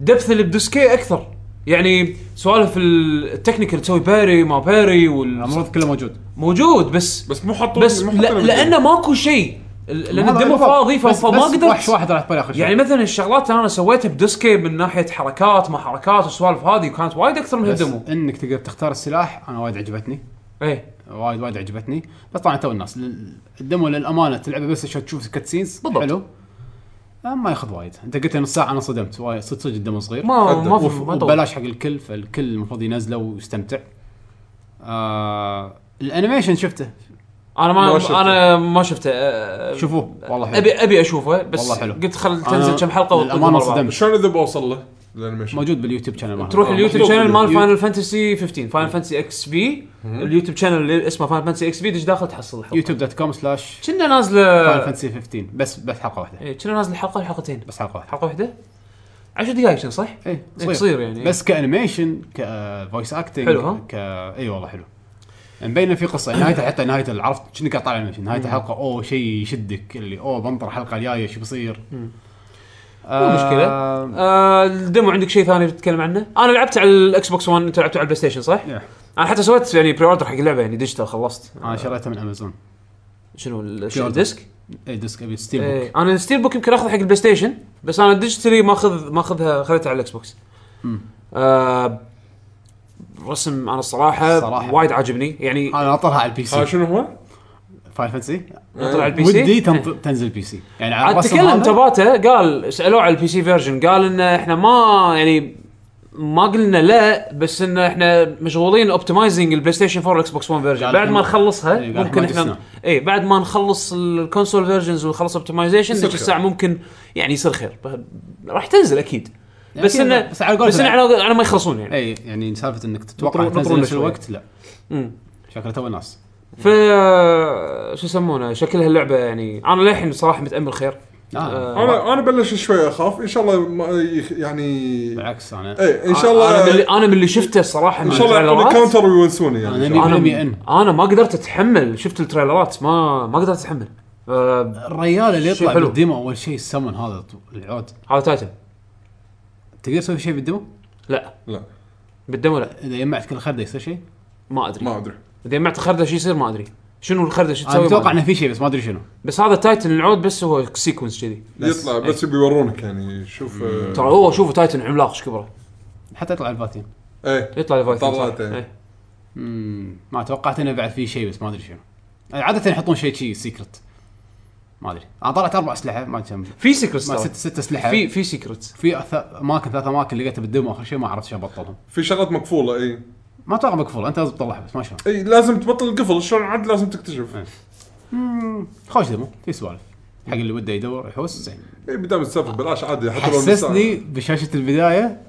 Speaker 2: دبث اللي بدسكي اكثر يعني سوالف ال- التكنيكال تسوي باري ما باري وال...
Speaker 1: المفروض كله موجود
Speaker 2: موجود بس
Speaker 3: بس مو حطوا
Speaker 2: بس
Speaker 3: مو
Speaker 2: لا
Speaker 3: حطوا
Speaker 2: لانه ماكو شيء ال- لان
Speaker 1: هذا
Speaker 2: الدمو
Speaker 1: بالضبط.
Speaker 2: فاضي ف-
Speaker 1: بس-
Speaker 2: فما
Speaker 1: بس وحش
Speaker 2: قدرت
Speaker 1: واحد راح تبالي اخر شيء
Speaker 2: يعني مثلا الشغلات اللي انا سويتها بدسكي من ناحيه حركات ما حركات والسوالف هذه كانت وايد اكثر من
Speaker 1: بس
Speaker 2: الدمو
Speaker 1: انك تقدر تختار السلاح انا وايد عجبتني
Speaker 2: ايه
Speaker 1: وايد وايد عجبتني بس طبعا تو الناس لل- الدمو للامانه تلعبه بس عشان تشوف الكاتسينز
Speaker 2: بالضبط.
Speaker 1: حلو أه، ما ياخذ وايد انت قلت لي نص ساعه انا صدمت وايد صدق صدق الدمو صغير
Speaker 2: ما
Speaker 3: أدى.
Speaker 2: ما في
Speaker 1: وف-
Speaker 2: ما طول.
Speaker 1: وببلاش حق الكل فالكل المفروض ينزله ويستمتع آه الانيميشن شفته
Speaker 2: انا
Speaker 3: ما
Speaker 2: ما
Speaker 3: شفته.
Speaker 2: انا ما شفته آه،
Speaker 1: شوفوه والله حلو
Speaker 2: ابي ابي اشوفه بس
Speaker 1: والله حلو.
Speaker 2: قلت خل
Speaker 1: أنا
Speaker 2: تنزل كم حلقه
Speaker 1: للأمانة
Speaker 2: ونطقهم مع بعض.
Speaker 1: انصدمت.
Speaker 3: شلون اذا بوصل له الانيميشن
Speaker 1: موجود باليوتيوب شانل مالهم.
Speaker 2: تروح
Speaker 1: آه،
Speaker 2: اليوتيوب
Speaker 1: موجود
Speaker 2: شانل مال
Speaker 1: باليوتيوب.
Speaker 2: فاينل فانتسي 15 فاينل فانتسي اكس بي اليوتيوب شانل اللي اسمه فاينل فانتسي اكس بي دش داخل تحصل الحلقه
Speaker 1: يوتيوب دوت كوم سلاش
Speaker 2: كنا نازله
Speaker 1: فاينل فانتسي 15 بس بس حلقه واحده
Speaker 2: إيه، كنا نازله حلقه حلقتين
Speaker 1: بس حلقه واحده
Speaker 2: حلقه واحده 10 دقائق شنو صح؟
Speaker 1: اي
Speaker 2: إيه، قصير يعني
Speaker 1: بس كانيميشن كفويس اكتنج
Speaker 2: حلو، ها؟
Speaker 1: ك اي والله حلو مبينه في قصه نهايته حتى نهايته اللي عرفت كأنك قاعد طالع انيميشن نهايه الحلقه اوه شيء يشدك اللي اوه بنطر الحلقه الجايه شو بيصير
Speaker 2: مو مشكلة. آه الدمو عندك شيء ثاني تتكلم عنه؟ انا لعبت على الاكس بوكس 1 انت لعبت على البلاي ستيشن صح؟
Speaker 1: Yeah.
Speaker 2: انا حتى سويت يعني بري اوردر حق اللعبه يعني ديجيتال خلصت
Speaker 1: انا شريته من امازون
Speaker 2: شنو ال-
Speaker 1: آه. Pre-order.
Speaker 2: الديسك؟
Speaker 1: اي ديسك ابي ستيل بوك
Speaker 2: إيه. انا الستيل بوك يمكن اخذ حق البلاي ستيشن بس انا ديجيتالي ماخذ ماخذها خذيتها على الاكس بوكس آه رسم انا الصراحه
Speaker 1: الصراحة.
Speaker 2: وايد عاجبني يعني
Speaker 1: انا اطلعها على البي
Speaker 3: ها
Speaker 1: سي
Speaker 3: آه، شنو هو؟
Speaker 1: فاين فانسي
Speaker 2: طلع البي سي
Speaker 1: ودي تنط- تنزل بي سي يعني على
Speaker 2: إيه. عاد
Speaker 1: الرسم
Speaker 2: تكلم
Speaker 1: هذا-
Speaker 2: تباتا قال سالوه على البي سي فيرجن قال ان احنا ما يعني ما قلنا لا بس ان احنا مشغولين اوبتمايزنج البلاي ستيشن 4 والاكس بوكس 1 فيرجن
Speaker 1: قال
Speaker 2: بعد ما
Speaker 1: إحنا-
Speaker 2: نخلصها
Speaker 1: إيه، قال
Speaker 2: ممكن
Speaker 1: إحنا
Speaker 2: احنا
Speaker 1: ما
Speaker 2: اي بعد ما نخلص الكونسول فيرجنز ونخلص اوبتمايزيشن
Speaker 3: يصير
Speaker 2: ذيك الساعه ممكن يعني يصير خير ب- راح تنزل اكيد
Speaker 1: يعني
Speaker 2: بس
Speaker 1: أكيد،
Speaker 2: انه
Speaker 1: بس على قولتهم
Speaker 2: بس انه
Speaker 1: يعني.
Speaker 2: على على ما يخلصون يعني
Speaker 1: اي يعني سالفه انك تتوقع
Speaker 2: بطرون-
Speaker 1: تنزل
Speaker 2: بطرون
Speaker 1: نفس
Speaker 2: شوي.
Speaker 1: الوقت لا
Speaker 2: مم.
Speaker 1: شكله تو الناس
Speaker 2: ف شو يسمونه شكلها اللعبه يعني انا للحين صراحه متامل خير
Speaker 1: آه.
Speaker 2: آه،
Speaker 3: انا انا بلش شوي اخاف ان شاء الله ما يخ- يعني
Speaker 1: بالعكس
Speaker 2: إيه.
Speaker 1: انا
Speaker 3: ايه ان شاء الله
Speaker 2: انا من اللي, أنا من اللي شفته الصراحه من
Speaker 3: ان شاء الله يعطوني
Speaker 2: التريلرات،
Speaker 3: كاونتر ويونسوني يعني
Speaker 1: أنا
Speaker 3: إن شاء الله.
Speaker 1: بالمية
Speaker 2: انا
Speaker 1: إن.
Speaker 2: انا ما قدرت اتحمل شفت التريلرات ما ما قدرت آه، اتحمل ف-
Speaker 1: الريال اللي
Speaker 2: شيء
Speaker 1: يطلع
Speaker 2: حلو.
Speaker 1: بالديمو اول شيء السمن هذا طو- العود
Speaker 2: هذا تايتن
Speaker 1: تقدر تسوي شيء بالديمو؟
Speaker 2: لا
Speaker 3: لا
Speaker 2: بالدمو لا
Speaker 1: اذا جمعت كل خرده يصير شيء؟
Speaker 2: ما ادري
Speaker 3: ما ادري
Speaker 2: اذا جمعت خرده شو يصير ما ادري شنو الخرده شو
Speaker 1: انا
Speaker 2: تسوي ما
Speaker 1: متوقع
Speaker 2: أدري.
Speaker 1: انه في شيء بس ما ادري شنو
Speaker 2: بس هذا تايتن العود بس هو سيكونس كذي
Speaker 3: يطلع بس بيورونك يعني شوف آه،
Speaker 2: ترى هو شوفوا تايتن عملاق ايش كبره
Speaker 1: حتى يطلع الفاتين
Speaker 3: ايه
Speaker 2: يطلع ليفايثن
Speaker 3: طلعت،
Speaker 2: صح.
Speaker 3: إيه.
Speaker 2: إيه.
Speaker 1: امم ما توقعت انه بعد في شيء بس ما ادري شنو عاده يحطون شيء شيء سيكرت ما ادري انا طلعت اربع اسلحه ما أدري كم
Speaker 2: في سيكرتس
Speaker 1: ما
Speaker 2: ترى.
Speaker 1: ست ست اسلحه
Speaker 2: في
Speaker 1: في
Speaker 2: في سيكرتس
Speaker 1: في أث- اماكن ثلاث اماكن لقيتها بالديمو اخر شيء ما عرفت شلون بطلهم
Speaker 3: في شغلات مقفوله اي
Speaker 1: ما اتوقع مقفول انت لازم تطلعها بس ما شلون
Speaker 3: اي لازم تبطل القفل شلون عاد لازم تكتشف
Speaker 1: خوش ديمو في سوالف حق اللي وده يدور يحوس زين
Speaker 3: اي إيه، بدام السفر بلاش عادي حتى لو إيه،
Speaker 1: حسسني بشاشه البدايه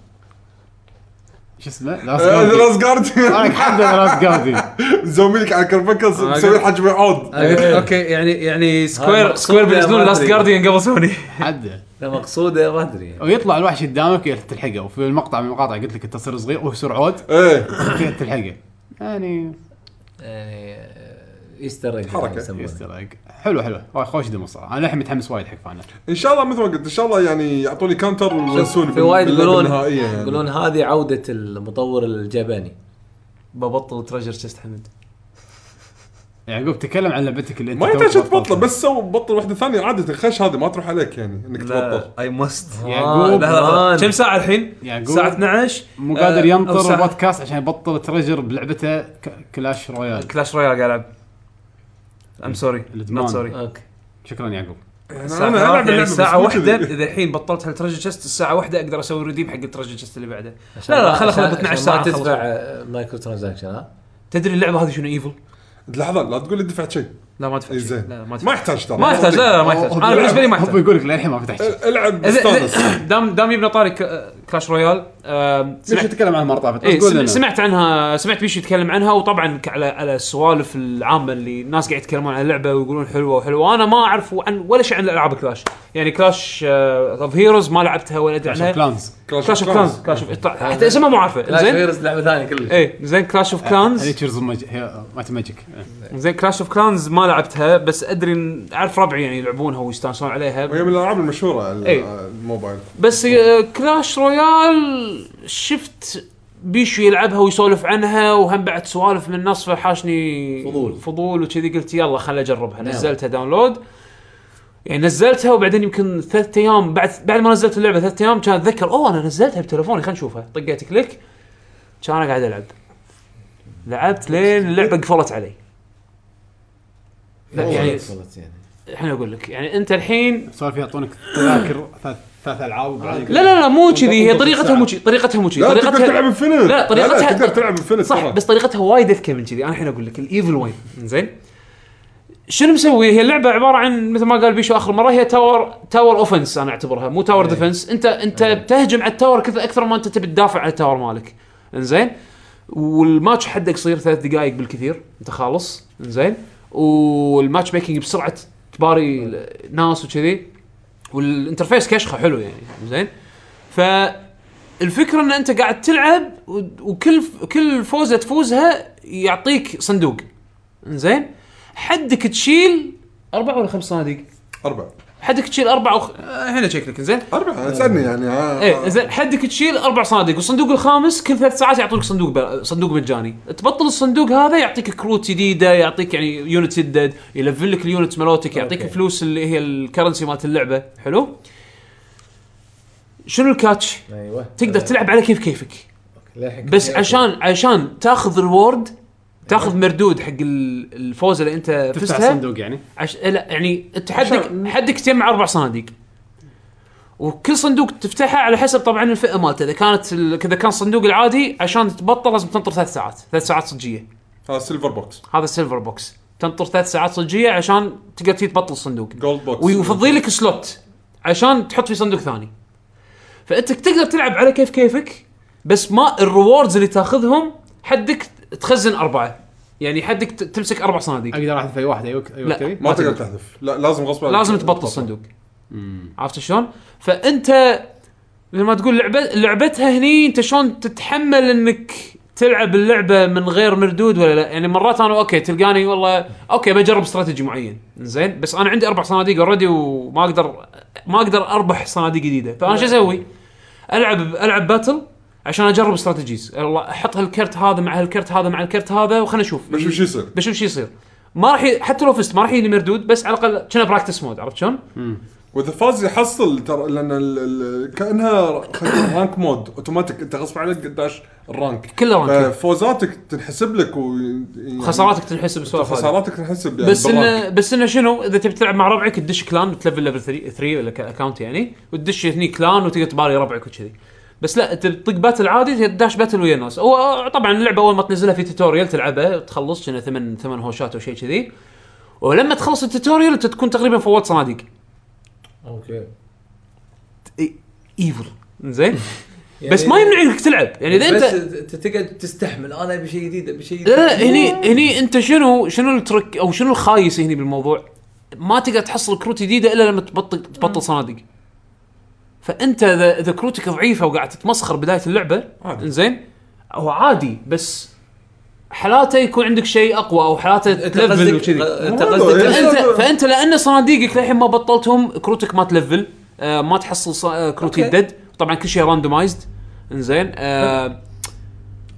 Speaker 1: شو اسمه لاست جاردي
Speaker 3: راس جارد
Speaker 1: انا حد لاست جاردي
Speaker 3: زوميلك على كربكه مسوي حجم عود
Speaker 2: اوكي يعني يعني سكوير
Speaker 4: مقصود
Speaker 2: سكوير
Speaker 4: يا
Speaker 2: بينزلون
Speaker 4: ما
Speaker 2: لاست
Speaker 4: أدري.
Speaker 2: جارديان قبل سوني
Speaker 1: حد
Speaker 4: لا مقصوده ما ادري
Speaker 1: ويطلع الوحش قدامك ويا تلحقه وفي المقطع من المقاطع قلت لك التصوير
Speaker 3: إيه.
Speaker 1: صغير وهو يصير عود
Speaker 3: ايه
Speaker 1: ويا تلحقه يعني
Speaker 4: يعني آه، ايستر ايج
Speaker 3: حركة.
Speaker 1: يستر إيج. حلو حلو وايد خوش ديمو صراحه انا الحين متحمس وايد حق فاينل
Speaker 3: ان شاء الله مثل ما قلت ان شاء الله يعني يعطوني كانتر وينسوني
Speaker 4: في وايد
Speaker 3: باللعبة
Speaker 4: يقولون
Speaker 3: النهائية يعني.
Speaker 4: يقولون هذه عوده المطور الجباني
Speaker 2: ببطل تريجر تشست حمد
Speaker 1: يعقوب يعني تكلم عن لعبتك اللي انت
Speaker 3: ما
Speaker 1: توك
Speaker 3: يحتاج تبطله
Speaker 1: بطلتها.
Speaker 3: بس سو بطل واحده ثانيه عاده الخش هذه ما تروح عليك يعني انك تبطل
Speaker 2: لا يعني، اي
Speaker 4: آه،
Speaker 2: ماست
Speaker 1: يعقوب
Speaker 2: لحظه لحظة.
Speaker 4: مان.
Speaker 2: كم ساعه الحين؟ آه،
Speaker 1: يعقوب.
Speaker 2: الساعه 12
Speaker 1: مو قادر ينطر
Speaker 2: البودكاست
Speaker 1: البودكاست عشان يبطل تريجر بلعبته ك- كلاش رويال
Speaker 2: كلاش رويال قاعد العب ام سوري
Speaker 1: الإدمان.
Speaker 2: نوت سوري
Speaker 4: اوكي
Speaker 1: شكرا يعقوب
Speaker 3: يعني
Speaker 2: الساعة
Speaker 3: أنا ألعب
Speaker 2: ثلاثة، يعني
Speaker 3: اللعبة بس
Speaker 2: الساعة
Speaker 3: مو
Speaker 2: واحدة
Speaker 3: كذي.
Speaker 2: إذا الحين بطلت هالترجر تشست الساعة واحدة أقدر أسوي ريديم حق الترجر تشست اللي بعده
Speaker 4: عشان
Speaker 2: لا،
Speaker 4: ما-
Speaker 2: خله- خله
Speaker 4: عشان-
Speaker 2: 12
Speaker 4: عشان
Speaker 2: ساعة
Speaker 4: ما
Speaker 2: خلص.
Speaker 4: تدفع آه، مايكرو ترانزاكشن ها
Speaker 2: تدري اللعبة هذه شنو ايفل؟
Speaker 3: لحظه لا تقول لي دفعت شيء
Speaker 2: لا ما
Speaker 1: إيه،
Speaker 2: تفتح
Speaker 3: اي
Speaker 2: شيء.
Speaker 3: زين
Speaker 2: لا
Speaker 3: ما يحتاج ترى
Speaker 2: ما يحتاج لا لا ما يحتاج انا بالنسبه لي ما
Speaker 1: هو
Speaker 2: يحتاج
Speaker 1: يقول لك للحين ما فتحت شيء
Speaker 3: العب
Speaker 2: إذا- إذا-
Speaker 3: استانس
Speaker 2: دام دام يبنى طاري ك- كلاش رويال آم،
Speaker 1: ليش
Speaker 2: سمعت
Speaker 1: تتكلم عن المره طافت
Speaker 2: إيه
Speaker 1: بس قول
Speaker 2: سم-
Speaker 1: لنا
Speaker 2: سمعت عنها سمعت بيشو يتكلم عنها وطبعا ك- على على السوالف العامه اللي الناس قاعد يتكلمون عن اللعبه ويقولون حلوه وحلوه انا ما اعرف عن ولا شيء عن العاب كلاش يعني كلاش اوف هيروز ما لعبتها ولا ادري
Speaker 1: عشان
Speaker 2: عنها
Speaker 1: كلانز
Speaker 2: كلاش اوف كلانز كلاش اوف طيب، حتى اسمها مو عارفه
Speaker 4: كلاش
Speaker 2: زين إيه.
Speaker 4: فيروس لعبه ثانيه كلش
Speaker 2: اي زين كلاش اوف
Speaker 1: هذه
Speaker 2: كلانز
Speaker 1: تشيرز مالت ماجيك
Speaker 2: زين كلاش اوف كلانز ما لعبتها بس ادري إن- اعرف ربعي يعني يلعبونها ويستانسون عليها
Speaker 3: وهي من الالعاب المشهوره ال-
Speaker 2: إيه.
Speaker 3: الموبايل
Speaker 2: بس كلاش رويال شفت بيشو يلعبها ويسولف عنها وهم بعد سوالف من النص فحاشني
Speaker 4: فضول.
Speaker 2: فضول وكذي قلت يلا خل اجربها
Speaker 4: نعم.
Speaker 2: نزلتها داونلود يعني نزلتها وبعدين يمكن ثلاث ايام بعد بعد ما نزلت اللعبه ثلاث ايام كان اتذكر اوه انا نزلتها بتلفوني خلينا نشوفها طقيت كليك كان انا قاعد العب لعبت لين اللعبه قفلت علي لا، يعني
Speaker 4: خلص يعني
Speaker 2: الحين اقول لك يعني انت الحين
Speaker 1: سوالف يعطونك تذاكر ثلاث ثلاث العاب وبعدين
Speaker 2: لا لا لا مو كذي هي طريقتها مو كذي طريقتها مو كذي
Speaker 3: لا تقدر تلعب
Speaker 2: طريقتها
Speaker 3: انفنت
Speaker 2: لا، طريقتها-
Speaker 3: تقدر تلعب انفنت
Speaker 2: صح بس طريقتها وايد اذكى من كذي انا الحين اقول لك الايفل وين زين شنو مسوي هي اللعبه عباره عن مثل ما قال بيشو اخر مره هي تاور تاور اوفنس انا اعتبرها مو تاور ديفنس انت انت بتهجم على التاور كذا اكثر ما انت تبي تدافع على التاور مالك انزين والماتش حدك قصير ثلاث دقائق بالكثير انت خالص انزين والماتش ميكينج بسرعه تباري ال- ناس وكذي والانترفيس كشخه حلو يعني زين ف الفكره ان انت قاعد تلعب و- وكل كل فوزه تفوزها يعطيك صندوق زين حدك تشيل اربع ولا خمس صناديق
Speaker 3: اربع
Speaker 2: حدك تشيل اربع وخ... آه، هنا شكلك لك زين
Speaker 3: اربع اسالني يعني آه.
Speaker 2: ايه زين حدك تشيل اربع صناديق والصندوق الخامس كل ثلاث ساعات يعطوك صندوق بل... صندوق مجاني تبطل الصندوق هذا يعطيك كروت جديده يعطيك يعني يونت جدد يلفل لك اليونت مالوتك يعطيك
Speaker 4: أوكي.
Speaker 2: فلوس اللي هي الكرنسي مالت اللعبه حلو شنو الكاتش
Speaker 4: ايوه
Speaker 2: تقدر تلعب على كيف كيفك
Speaker 4: للحين
Speaker 2: بس
Speaker 4: كذا.
Speaker 2: عشان عشان تاخذ ريورد تاخذ مردود حق ال- الفوز اللي انت
Speaker 1: تفتح
Speaker 2: فزتها
Speaker 1: صندوق يعني
Speaker 2: عش... لا يعني انت حدك حدك تجمع اربع صناديق وكل صندوق تفتحه على حسب طبعا الفئه مالته اذا كانت ال- اذا كان الصندوق العادي عشان تبطل لازم تنطر ثلاث ساعات ثلاث ساعات صجيه
Speaker 3: هذا سيلفر بوكس
Speaker 2: هذا السيلفر بوكس تنطر ثلاث ساعات صجيه عشان تقدر تجي تبطل الصندوق
Speaker 3: جولد بوكس
Speaker 2: ويفضي لك سلوت عشان تحط فيه صندوق ثاني فانت تقدر تلعب على كيف كيفك بس ما الريوردز اللي تاخذهم حدك تخزن اربعه يعني حدك ت- تمسك اربع صناديق
Speaker 1: اقدر احذف اي واحد اي وقت اي
Speaker 2: لا.
Speaker 1: وقت
Speaker 3: ما تقدر تحذف لا لازم غصب عنك.
Speaker 2: لازم تبطل الصندوق عرفت شلون؟ فانت مثل ما تقول لعبه لعبتها هني انت شلون تتحمل انك تلعب اللعبه من غير مردود ولا لا؟ يعني مرات انا اوكي تلقاني والله اوكي بجرب استراتيجي معين، زين؟ بس انا عندي اربع صناديق اوريدي وما اقدر ما اقدر اربح صناديق جديده، فانا شو اسوي؟ العب العب باتل عشان اجرب استراتيجيز، والله احط هالكرت هذا مع هالكرت هذا مع الكرت هذا وخلنا نشوف
Speaker 3: بشوف شو يصير
Speaker 2: بشوف شو يصير. ما راح ي- حتى لو فزت ما راح يجيني مردود بس على الاقل كنا براكتس مود عرفت شلون؟
Speaker 4: نعم.
Speaker 3: واذا فاز يحصل ترى لان ال... ال... كانها خلينا نقول رانك مود اوتوماتيك انت غصب عنك قداش الرانك
Speaker 2: كله رانك.
Speaker 3: فوزاتك تنحسب لك و... يعني
Speaker 2: خساراتك تنحسب بسوالف هذه.
Speaker 3: خساراتك تنحسب يعني
Speaker 2: بس
Speaker 3: بالرانك.
Speaker 2: انه بس انه شنو اذا تبي تلعب مع ربعك تدش كلان تلفل ليفل 3 3 ولا اكونت يعني وتدش هني كلان وتقدر تباري ربعك وكذي بس لا انت بتطق باتل عادي تداش باتل ويا الناس هو طبعا اللعبه اول ما تنزلها في توتوريال تلعبها تخلص كنا ثمان ثمان هوشات او شيء كذي ولما تخلص التوتوريال انت تكون تقريبا فوت صناديق
Speaker 4: اوكي
Speaker 2: إي- ايفل زين
Speaker 4: يعني-
Speaker 2: بس ما يمنع انك تلعب يعني اذا انت
Speaker 4: بس انت تقعد تستحمل انا ابي شيء جديد ابي شيء جديد
Speaker 2: لا لا إيه، هني هني انت شنو شنو الترك او شنو الخايس هني بالموضوع؟ ما تقدر تحصل كروت جديده الا لما تبطل تبطل صناديق. فانت اذا اذا كروتك ضعيفه وقاعد تتمسخر بدايه اللعبه
Speaker 3: عادي.
Speaker 2: زين هو عادي بس حالاته يكون عندك شيء اقوى او حالاته
Speaker 4: انت
Speaker 2: إيه، تلفل
Speaker 4: قصدك
Speaker 2: وكذي
Speaker 4: انت
Speaker 3: والله
Speaker 4: قصدك
Speaker 3: يعني.
Speaker 2: فانت فانت لان صناديقك للحين ما بطلتهم كروتك ما تلفل آه ما تحصل ص... آه كروت
Speaker 4: أوكي.
Speaker 2: ديد طبعا كل شيء راندمايزد انزين آه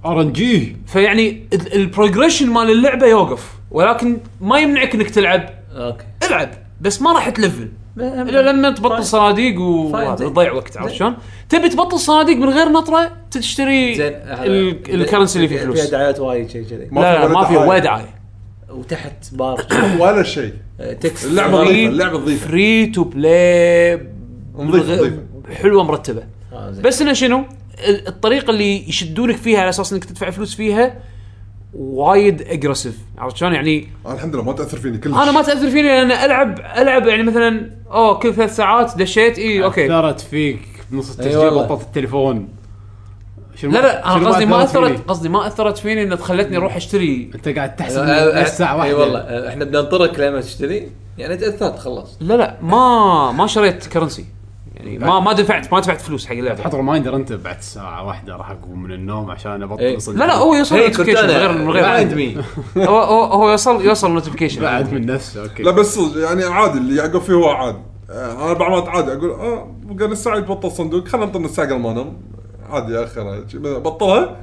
Speaker 1: ار ان جي
Speaker 2: فيعني ال- البروجريشن مال اللعبه يوقف ولكن ما يمنعك انك تلعب
Speaker 4: اوكي
Speaker 2: العب بس ما راح تلفل الا لما تبطل صناديق
Speaker 4: فاين، طيب. زين.
Speaker 2: وتضيع وقت عرفت
Speaker 4: زين.
Speaker 2: شلون؟ تبي تبطل صناديق من غير نطره تشتري
Speaker 4: زين
Speaker 2: ال- الكرنسي اللي فيه
Speaker 4: فيها
Speaker 2: فلوس لا
Speaker 4: دعايات وايد شيء كذي
Speaker 3: ما في
Speaker 2: لا
Speaker 3: ولا
Speaker 2: ما في
Speaker 3: دعاية.
Speaker 2: ولا دعايه
Speaker 4: وتحت آه، بار
Speaker 3: ولا شيء
Speaker 4: تكست
Speaker 3: اللعبه نظيفه اللعبه نظيفه
Speaker 2: فري تو بلاي
Speaker 3: نظيفة، نظيفة.
Speaker 2: حلوه مرتبه
Speaker 4: آه، زين.
Speaker 2: بس انه شنو؟ ال- الطريقه اللي يشدونك فيها على اساس انك تدفع فلوس فيها وايد اجريسيف عرفت شلون يعني
Speaker 3: أنا الحمد لله ما تاثر فيني كلش
Speaker 2: انا ما تاثر فيني لان العب العب يعني مثلا اوه كل ثلاث ساعات دشيت اي اوكي
Speaker 1: اثرت فيك بنص التسجيل
Speaker 4: والله.
Speaker 1: بطلت التليفون شنو
Speaker 2: لا لا
Speaker 1: شنو
Speaker 2: انا قصدي ما
Speaker 1: أثرت
Speaker 2: اثرت
Speaker 1: فيني؟
Speaker 2: قصدي ما اثرت فيني انها خلتني اروح اشتري
Speaker 1: انت قاعد تحسب
Speaker 4: آه، آه،
Speaker 1: نفس ساعه واحده
Speaker 4: اي والله آه، احنا بننطرك لما تشتري يعني تاثرت خلاص
Speaker 2: لا لا ما ما شريت كرنسي يعني ما ما دفعت ما دفعت فلوس حق اللعبه
Speaker 1: تحط ريمايندر انت بعد ساعه واحده راح اقوم من النوم عشان
Speaker 4: إيه.
Speaker 1: ابطل صدق.
Speaker 2: لا لا هو يوصل
Speaker 4: هي إيه،
Speaker 2: notification
Speaker 4: كنت
Speaker 2: من
Speaker 4: أنا-
Speaker 2: غير من غير
Speaker 1: بعد مي
Speaker 2: هو هو- هو يوصل يوصل نوتيفيكيشن
Speaker 1: بعد من نفسه اوكي
Speaker 3: لا بس يعني عادي اللي يعقب فيه هو عادي آه، انا بعض مرات عادي اقول اه بقى نص ساعه يتبطل صندوق خلينا نطلع نص ساعه قبل ما انام عادي اخرها بطلها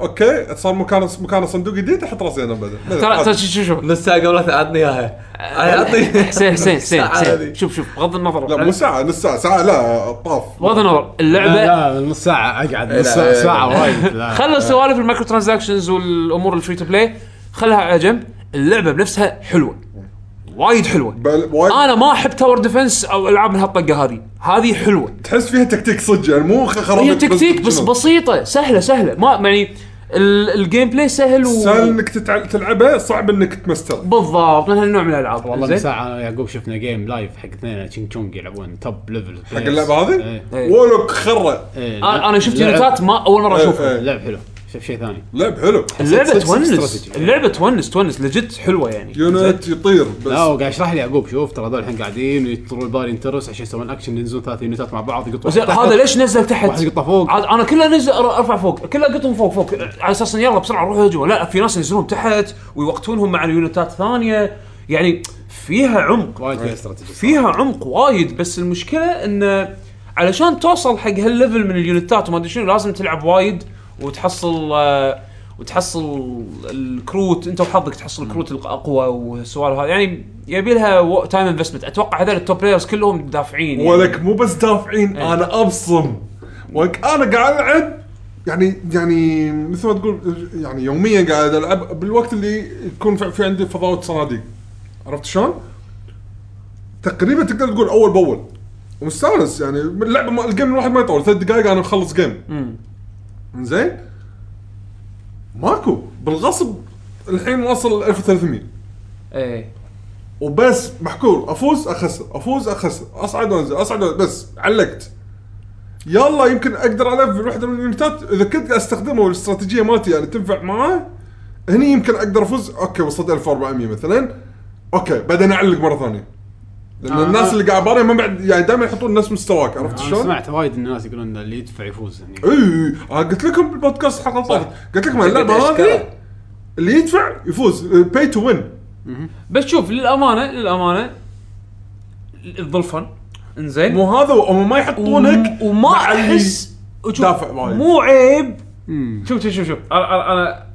Speaker 3: اوكي صار مكان مكان صندوق جديد احط راسي انا بدل
Speaker 2: ترى ترى
Speaker 3: عادي.
Speaker 2: شوف شوف شوف.
Speaker 4: نص ساعه قبل لا عطني اياها
Speaker 2: آه،
Speaker 4: عطني
Speaker 2: حسين حسين حسين
Speaker 4: الساعة
Speaker 2: حسين
Speaker 4: هذه.
Speaker 2: شوف شوف بغض
Speaker 3: لا مو
Speaker 2: النظر
Speaker 3: ساعه نص ساعه ساعه لا طاف
Speaker 2: بغض النظر
Speaker 1: لا,
Speaker 2: اللعبه
Speaker 1: لا نص ساعه اقعد نص
Speaker 4: لا،
Speaker 1: ساعه,
Speaker 4: لا، لا.
Speaker 1: ساعة وايد لا
Speaker 2: خلى سوالف المايكرو ترانزاكشنز والامور الفري تو بلاي خلها على جنب اللعبه بنفسها حلوه وايد حلوه
Speaker 3: بل وايد
Speaker 2: انا ما احب تاور ديفنس او العاب من هالطقه هذه هذه حلوه
Speaker 3: تحس فيها تكتيك صدق يعني مو خ- خرابيط
Speaker 2: هي تكتيك بس
Speaker 3: شنو؟
Speaker 2: بسيطه سهله سهله ما يعني ال- الجيم بلاي سهل و...
Speaker 3: سهل انك تتع- تلعبه صعب انك تمستر
Speaker 2: بالضبط من هالنوع من الالعاب
Speaker 1: والله
Speaker 2: زين؟
Speaker 1: من ساعه يعقوب شفنا جيم لايف حق اثنين تشينج تشونج يلعبون توب ليفل
Speaker 3: حق اللعبه هذه ولك خره
Speaker 1: إيه،
Speaker 2: انا آه، أنا شفت يونتات ما اول مره اشوفها
Speaker 3: إيه، إيه.
Speaker 1: اللعب حلو شوف شيء ثاني
Speaker 3: لعب حلو
Speaker 2: اللعبه
Speaker 1: صدق- صدق
Speaker 2: تونس
Speaker 1: استراتيجي.
Speaker 2: اللعبه تونس تونس لجت حلوه يعني
Speaker 3: يونت يطير
Speaker 1: لا
Speaker 3: بس
Speaker 1: هو قاعد يشرح لي يعقوب شوف ترى هذول الحين قاعدين يطرون البار ينترس عشان يسوون اكشن ينزلون ثلاث يونتات مع بعض يقطوا
Speaker 2: زين
Speaker 1: واحد تحت،
Speaker 2: هذا ليش نزل تحت؟
Speaker 1: واحد يقطه فوق
Speaker 2: عاد انا كله نزل أر- ارفع فوق كله قطهم فوق فوق على اساس إن يلا بسرعه روحوا هجوم لا في ناس ينزلون تحت ويوقتونهم مع اليونتات الثانيه يعني فيها عمق
Speaker 1: وايد فيها استراتيجي
Speaker 2: فيها عمق وايد بس المشكله انه علشان توصل حق هالليفل من اليونتات وما ادري شنو لازم تلعب وايد وتحصل آه، وتحصل الكروت انت وحظك تحصل الكروت الاقوى والسوالف هذه يعني يبي لها تايم انفستمنت اتوقع هذول التوب بلايرز كلهم دافعين يعني. إيه.
Speaker 3: ولك مو بس دافعين انا ابصم ولك انا قاعد العب يعني يعني مثل ما تقول يعني يوميا قاعد العب بالوقت اللي يكون في في عندي فضاوه صناديق عرفت شلون؟ تقريبا تقدر تقول اول باول ومستانس يعني اللعبه ما الجيم الواحد ما يطول ثلاث دقائق انا مخلص جيم زين ماكو بالغصب الحين واصل 1300
Speaker 2: ايه
Speaker 3: وبس محكور افوز اخسر افوز اخسر اصعد وانزل اصعد وانزل بس علقت يلا يمكن اقدر الف وحده من اليونتات اذا كنت استخدمه والاستراتيجيه مالتي يعني تنفع معاه هني يمكن اقدر افوز اوكي وصلت 1400 مثلا اوكي بعدين اعلق مره ثانيه لان
Speaker 1: آه.
Speaker 3: آه. الناس اللي قاعد باري ما بعد يعني دائما يحطون نفس مستواك عرفت
Speaker 1: انا
Speaker 3: شلون؟
Speaker 1: سمعت وايد إن الناس يقولون إن اللي يدفع يفوز يعني
Speaker 3: اي انا قلت لكم بالبودكاست الحلقه اللي طافت قلت لكم اللعبه هذه
Speaker 4: أشكره.
Speaker 3: اللي يدفع يفوز آه، باي تو وين
Speaker 2: بس شوف للامانه للامانه الظلفن انزين
Speaker 3: مو هذا هم ما يحطونك
Speaker 2: وم- وما
Speaker 3: مع اللي
Speaker 2: احس وشوف،
Speaker 3: دافع وايد.
Speaker 2: مو عيب شوف شوف شوف شوف أنا- انا انا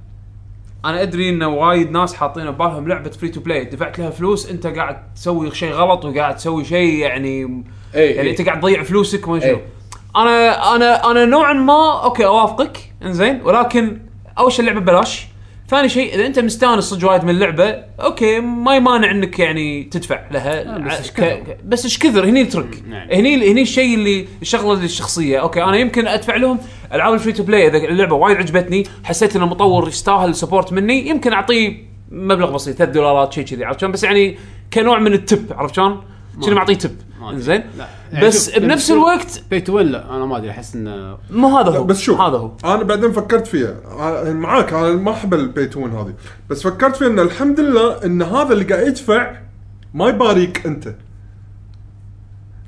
Speaker 2: انا ادري ان وايد ناس حاطين ببالهم لعبه فري تو بلاي دفعت لها فلوس انت قاعد تسوي شيء غلط وقاعد تسوي شيء يعني
Speaker 4: إي،
Speaker 3: إيه،
Speaker 2: يعني
Speaker 4: إي.
Speaker 2: انت قاعد تضيع فلوسك وما شنو
Speaker 4: إي.
Speaker 2: انا انا انا نوعا ما اوكي اوافقك انزين ولكن اول شيء اللعبه ببلاش ثاني شيء اذا انت مستانس صدق وايد من اللعبه اوكي ما يمانع انك يعني تدفع
Speaker 3: آه،
Speaker 2: لها
Speaker 1: بس
Speaker 2: ع-
Speaker 1: إيش
Speaker 2: ك-
Speaker 1: كثر؟
Speaker 2: ك- بس ايش كثر هني الترك
Speaker 1: نعم.
Speaker 2: هني هني الشيء اللي الشغله اللي الشخصيه اوكي انا يمكن ادفع لهم العاب الفري تو بلاي اذا اللعبه وايد عجبتني حسيت ان المطور يستاهل سبورت مني يمكن اعطيه مبلغ بسيط 3 دولارات شيء كذي عرفت شلون بس يعني كنوع من التب عرفت شلون؟ كنا معطيه تب
Speaker 1: ما أدري.
Speaker 2: زين
Speaker 1: لا، يعني
Speaker 2: بس
Speaker 1: شوف، لما
Speaker 2: بنفس
Speaker 1: تصير
Speaker 2: الوقت
Speaker 1: بي تو وين لا انا ما ادري احس انه
Speaker 2: ما هذا
Speaker 3: لا
Speaker 2: هو
Speaker 3: بس شوف
Speaker 2: هذا هو
Speaker 3: انا بعدين فكرت فيها أنا معاك انا ما احب البيتون هذه بس فكرت فيها ان الحمد لله ان هذا اللي قاعد يدفع ما يباريك انت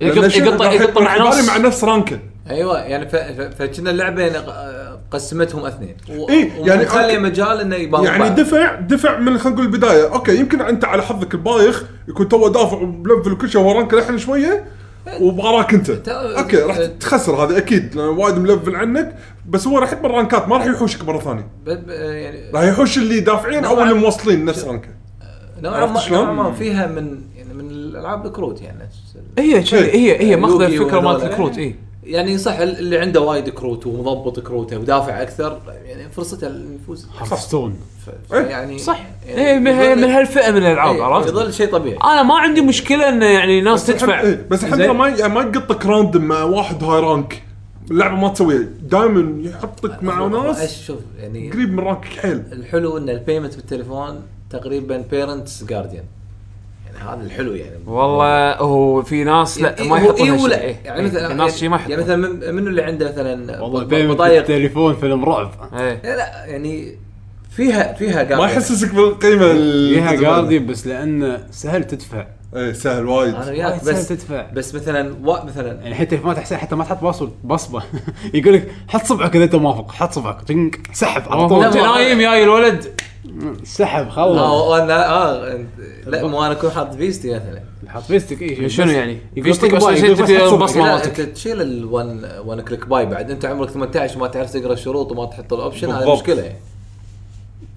Speaker 3: لأن
Speaker 2: يقط-
Speaker 3: الشيء
Speaker 2: يقط-
Speaker 3: راح
Speaker 2: يقط
Speaker 3: يكون
Speaker 2: مع ناس.
Speaker 3: اجباري مع نفس رانكن
Speaker 4: ايوه يعني ف- ف- فكنا اللعبه يعني ق- قسمتهم اثنين و-
Speaker 3: إيه، يعني
Speaker 4: ومخلي
Speaker 3: أوكي.
Speaker 4: مجال انه يباوع
Speaker 3: يعني
Speaker 4: بعض.
Speaker 3: دفع دفع من خلينا نقول البدايه اوكي يمكن انت على حظك البايخ يكون تو دافع وبلفل وكل شيء هو رانك الحين شويه وبغراك انت
Speaker 2: أه،
Speaker 3: اوكي راح تخسر هذا اكيد لان وايد ملفل عنك بس هو راح يتمر رانكات ما راح يحوشك مره ثانيه
Speaker 4: ب- ب- يعني
Speaker 3: راح يحوش اللي دافعين او اللي موصلين نفس رانكه
Speaker 4: نوعا
Speaker 3: عرفت
Speaker 4: ما
Speaker 3: شلون؟
Speaker 4: نوعا ما فيها من يعني من الالعاب الكروت يعني نفس ال-
Speaker 2: هي شي- هي هي ماخذه
Speaker 4: يوغي
Speaker 2: الفكره مالت
Speaker 4: وهذول.
Speaker 2: الكروت اي
Speaker 4: يعني صح اللي عنده وايد كروت ومضبط كروته ودافع اكثر يعني فرصته انه يفوز
Speaker 1: ستون
Speaker 2: طيب،
Speaker 4: ف- ف- يعني
Speaker 2: إيه، صح إيه، هي من هي- من هالفئه من الالعاب
Speaker 4: إيه،
Speaker 2: عرفت؟ آه،
Speaker 4: يظل شيء طبيعي
Speaker 2: انا ما عندي مشكله انه يعني ناس تدفع
Speaker 3: إيه، بس الحين
Speaker 2: زين.
Speaker 3: ترى ما يعني ما يقطك راندم مع واحد هاي رانك اللعبه ما تسويها دائما يحطك مع ناس
Speaker 4: أش- شوف يعني
Speaker 3: قريب من رانكك حيل
Speaker 4: الحلو ان البيمنت بالتليفون تقريبا بيرنتس جارديان يعني هذا الحلو يعني
Speaker 2: والله هو في ناس لا ما
Speaker 4: إيه، هو
Speaker 2: يحطون
Speaker 4: إيه
Speaker 2: هالشيء.
Speaker 4: ولا.
Speaker 2: إيه.
Speaker 4: يعني مثلا
Speaker 2: في ناس شي ما
Speaker 4: يعني
Speaker 2: يحطون
Speaker 4: مثلا من- منو اللي عنده مثلا
Speaker 1: والله
Speaker 2: طيب،
Speaker 4: ب-
Speaker 1: بيمنت
Speaker 4: بضايق
Speaker 1: التليفون فيلم رعب
Speaker 2: إيه.
Speaker 4: إيه، لا يعني فيها فيها جارديان
Speaker 3: ما يحسسك بالقيمه ال-
Speaker 1: فيها
Speaker 2: طيب.
Speaker 3: التزامية.
Speaker 1: جاردي بس لانه سهل تدفع
Speaker 3: ايه سهل وايد
Speaker 4: انا
Speaker 1: وايد
Speaker 4: وياك
Speaker 1: سهل
Speaker 4: بس
Speaker 1: تدفع
Speaker 4: بس مثلا و... مثلا
Speaker 1: يعني حتى ما تحسن حتى ما تحط باصل بصبه يقول لك حط صبعك اذا انت موافق حط صبعك تنك سحب على
Speaker 2: هو
Speaker 1: طول
Speaker 2: انت نايم جاي الولد
Speaker 1: سحب
Speaker 4: اه
Speaker 1: خلص
Speaker 4: وانا اه أنت- لا مو انا اكون حاط فيستي مثلا
Speaker 1: حط فيستك اي شيء.
Speaker 2: شنو
Speaker 1: بس-
Speaker 2: يعني؟
Speaker 1: يقول
Speaker 2: فيستك
Speaker 1: طق
Speaker 2: أصلاً
Speaker 1: باي،
Speaker 2: شيء
Speaker 1: يقول
Speaker 2: تبي
Speaker 1: بس حط صبعك.
Speaker 2: بصمة.
Speaker 4: لا،
Speaker 2: مالتك.
Speaker 4: انت تشيل الون وان كليك باي بعد انت عمرك 18 ما تعرف تقرا الشروط وما تحط الاوبشن هذه
Speaker 3: بالضبط.
Speaker 4: مشكله يعني.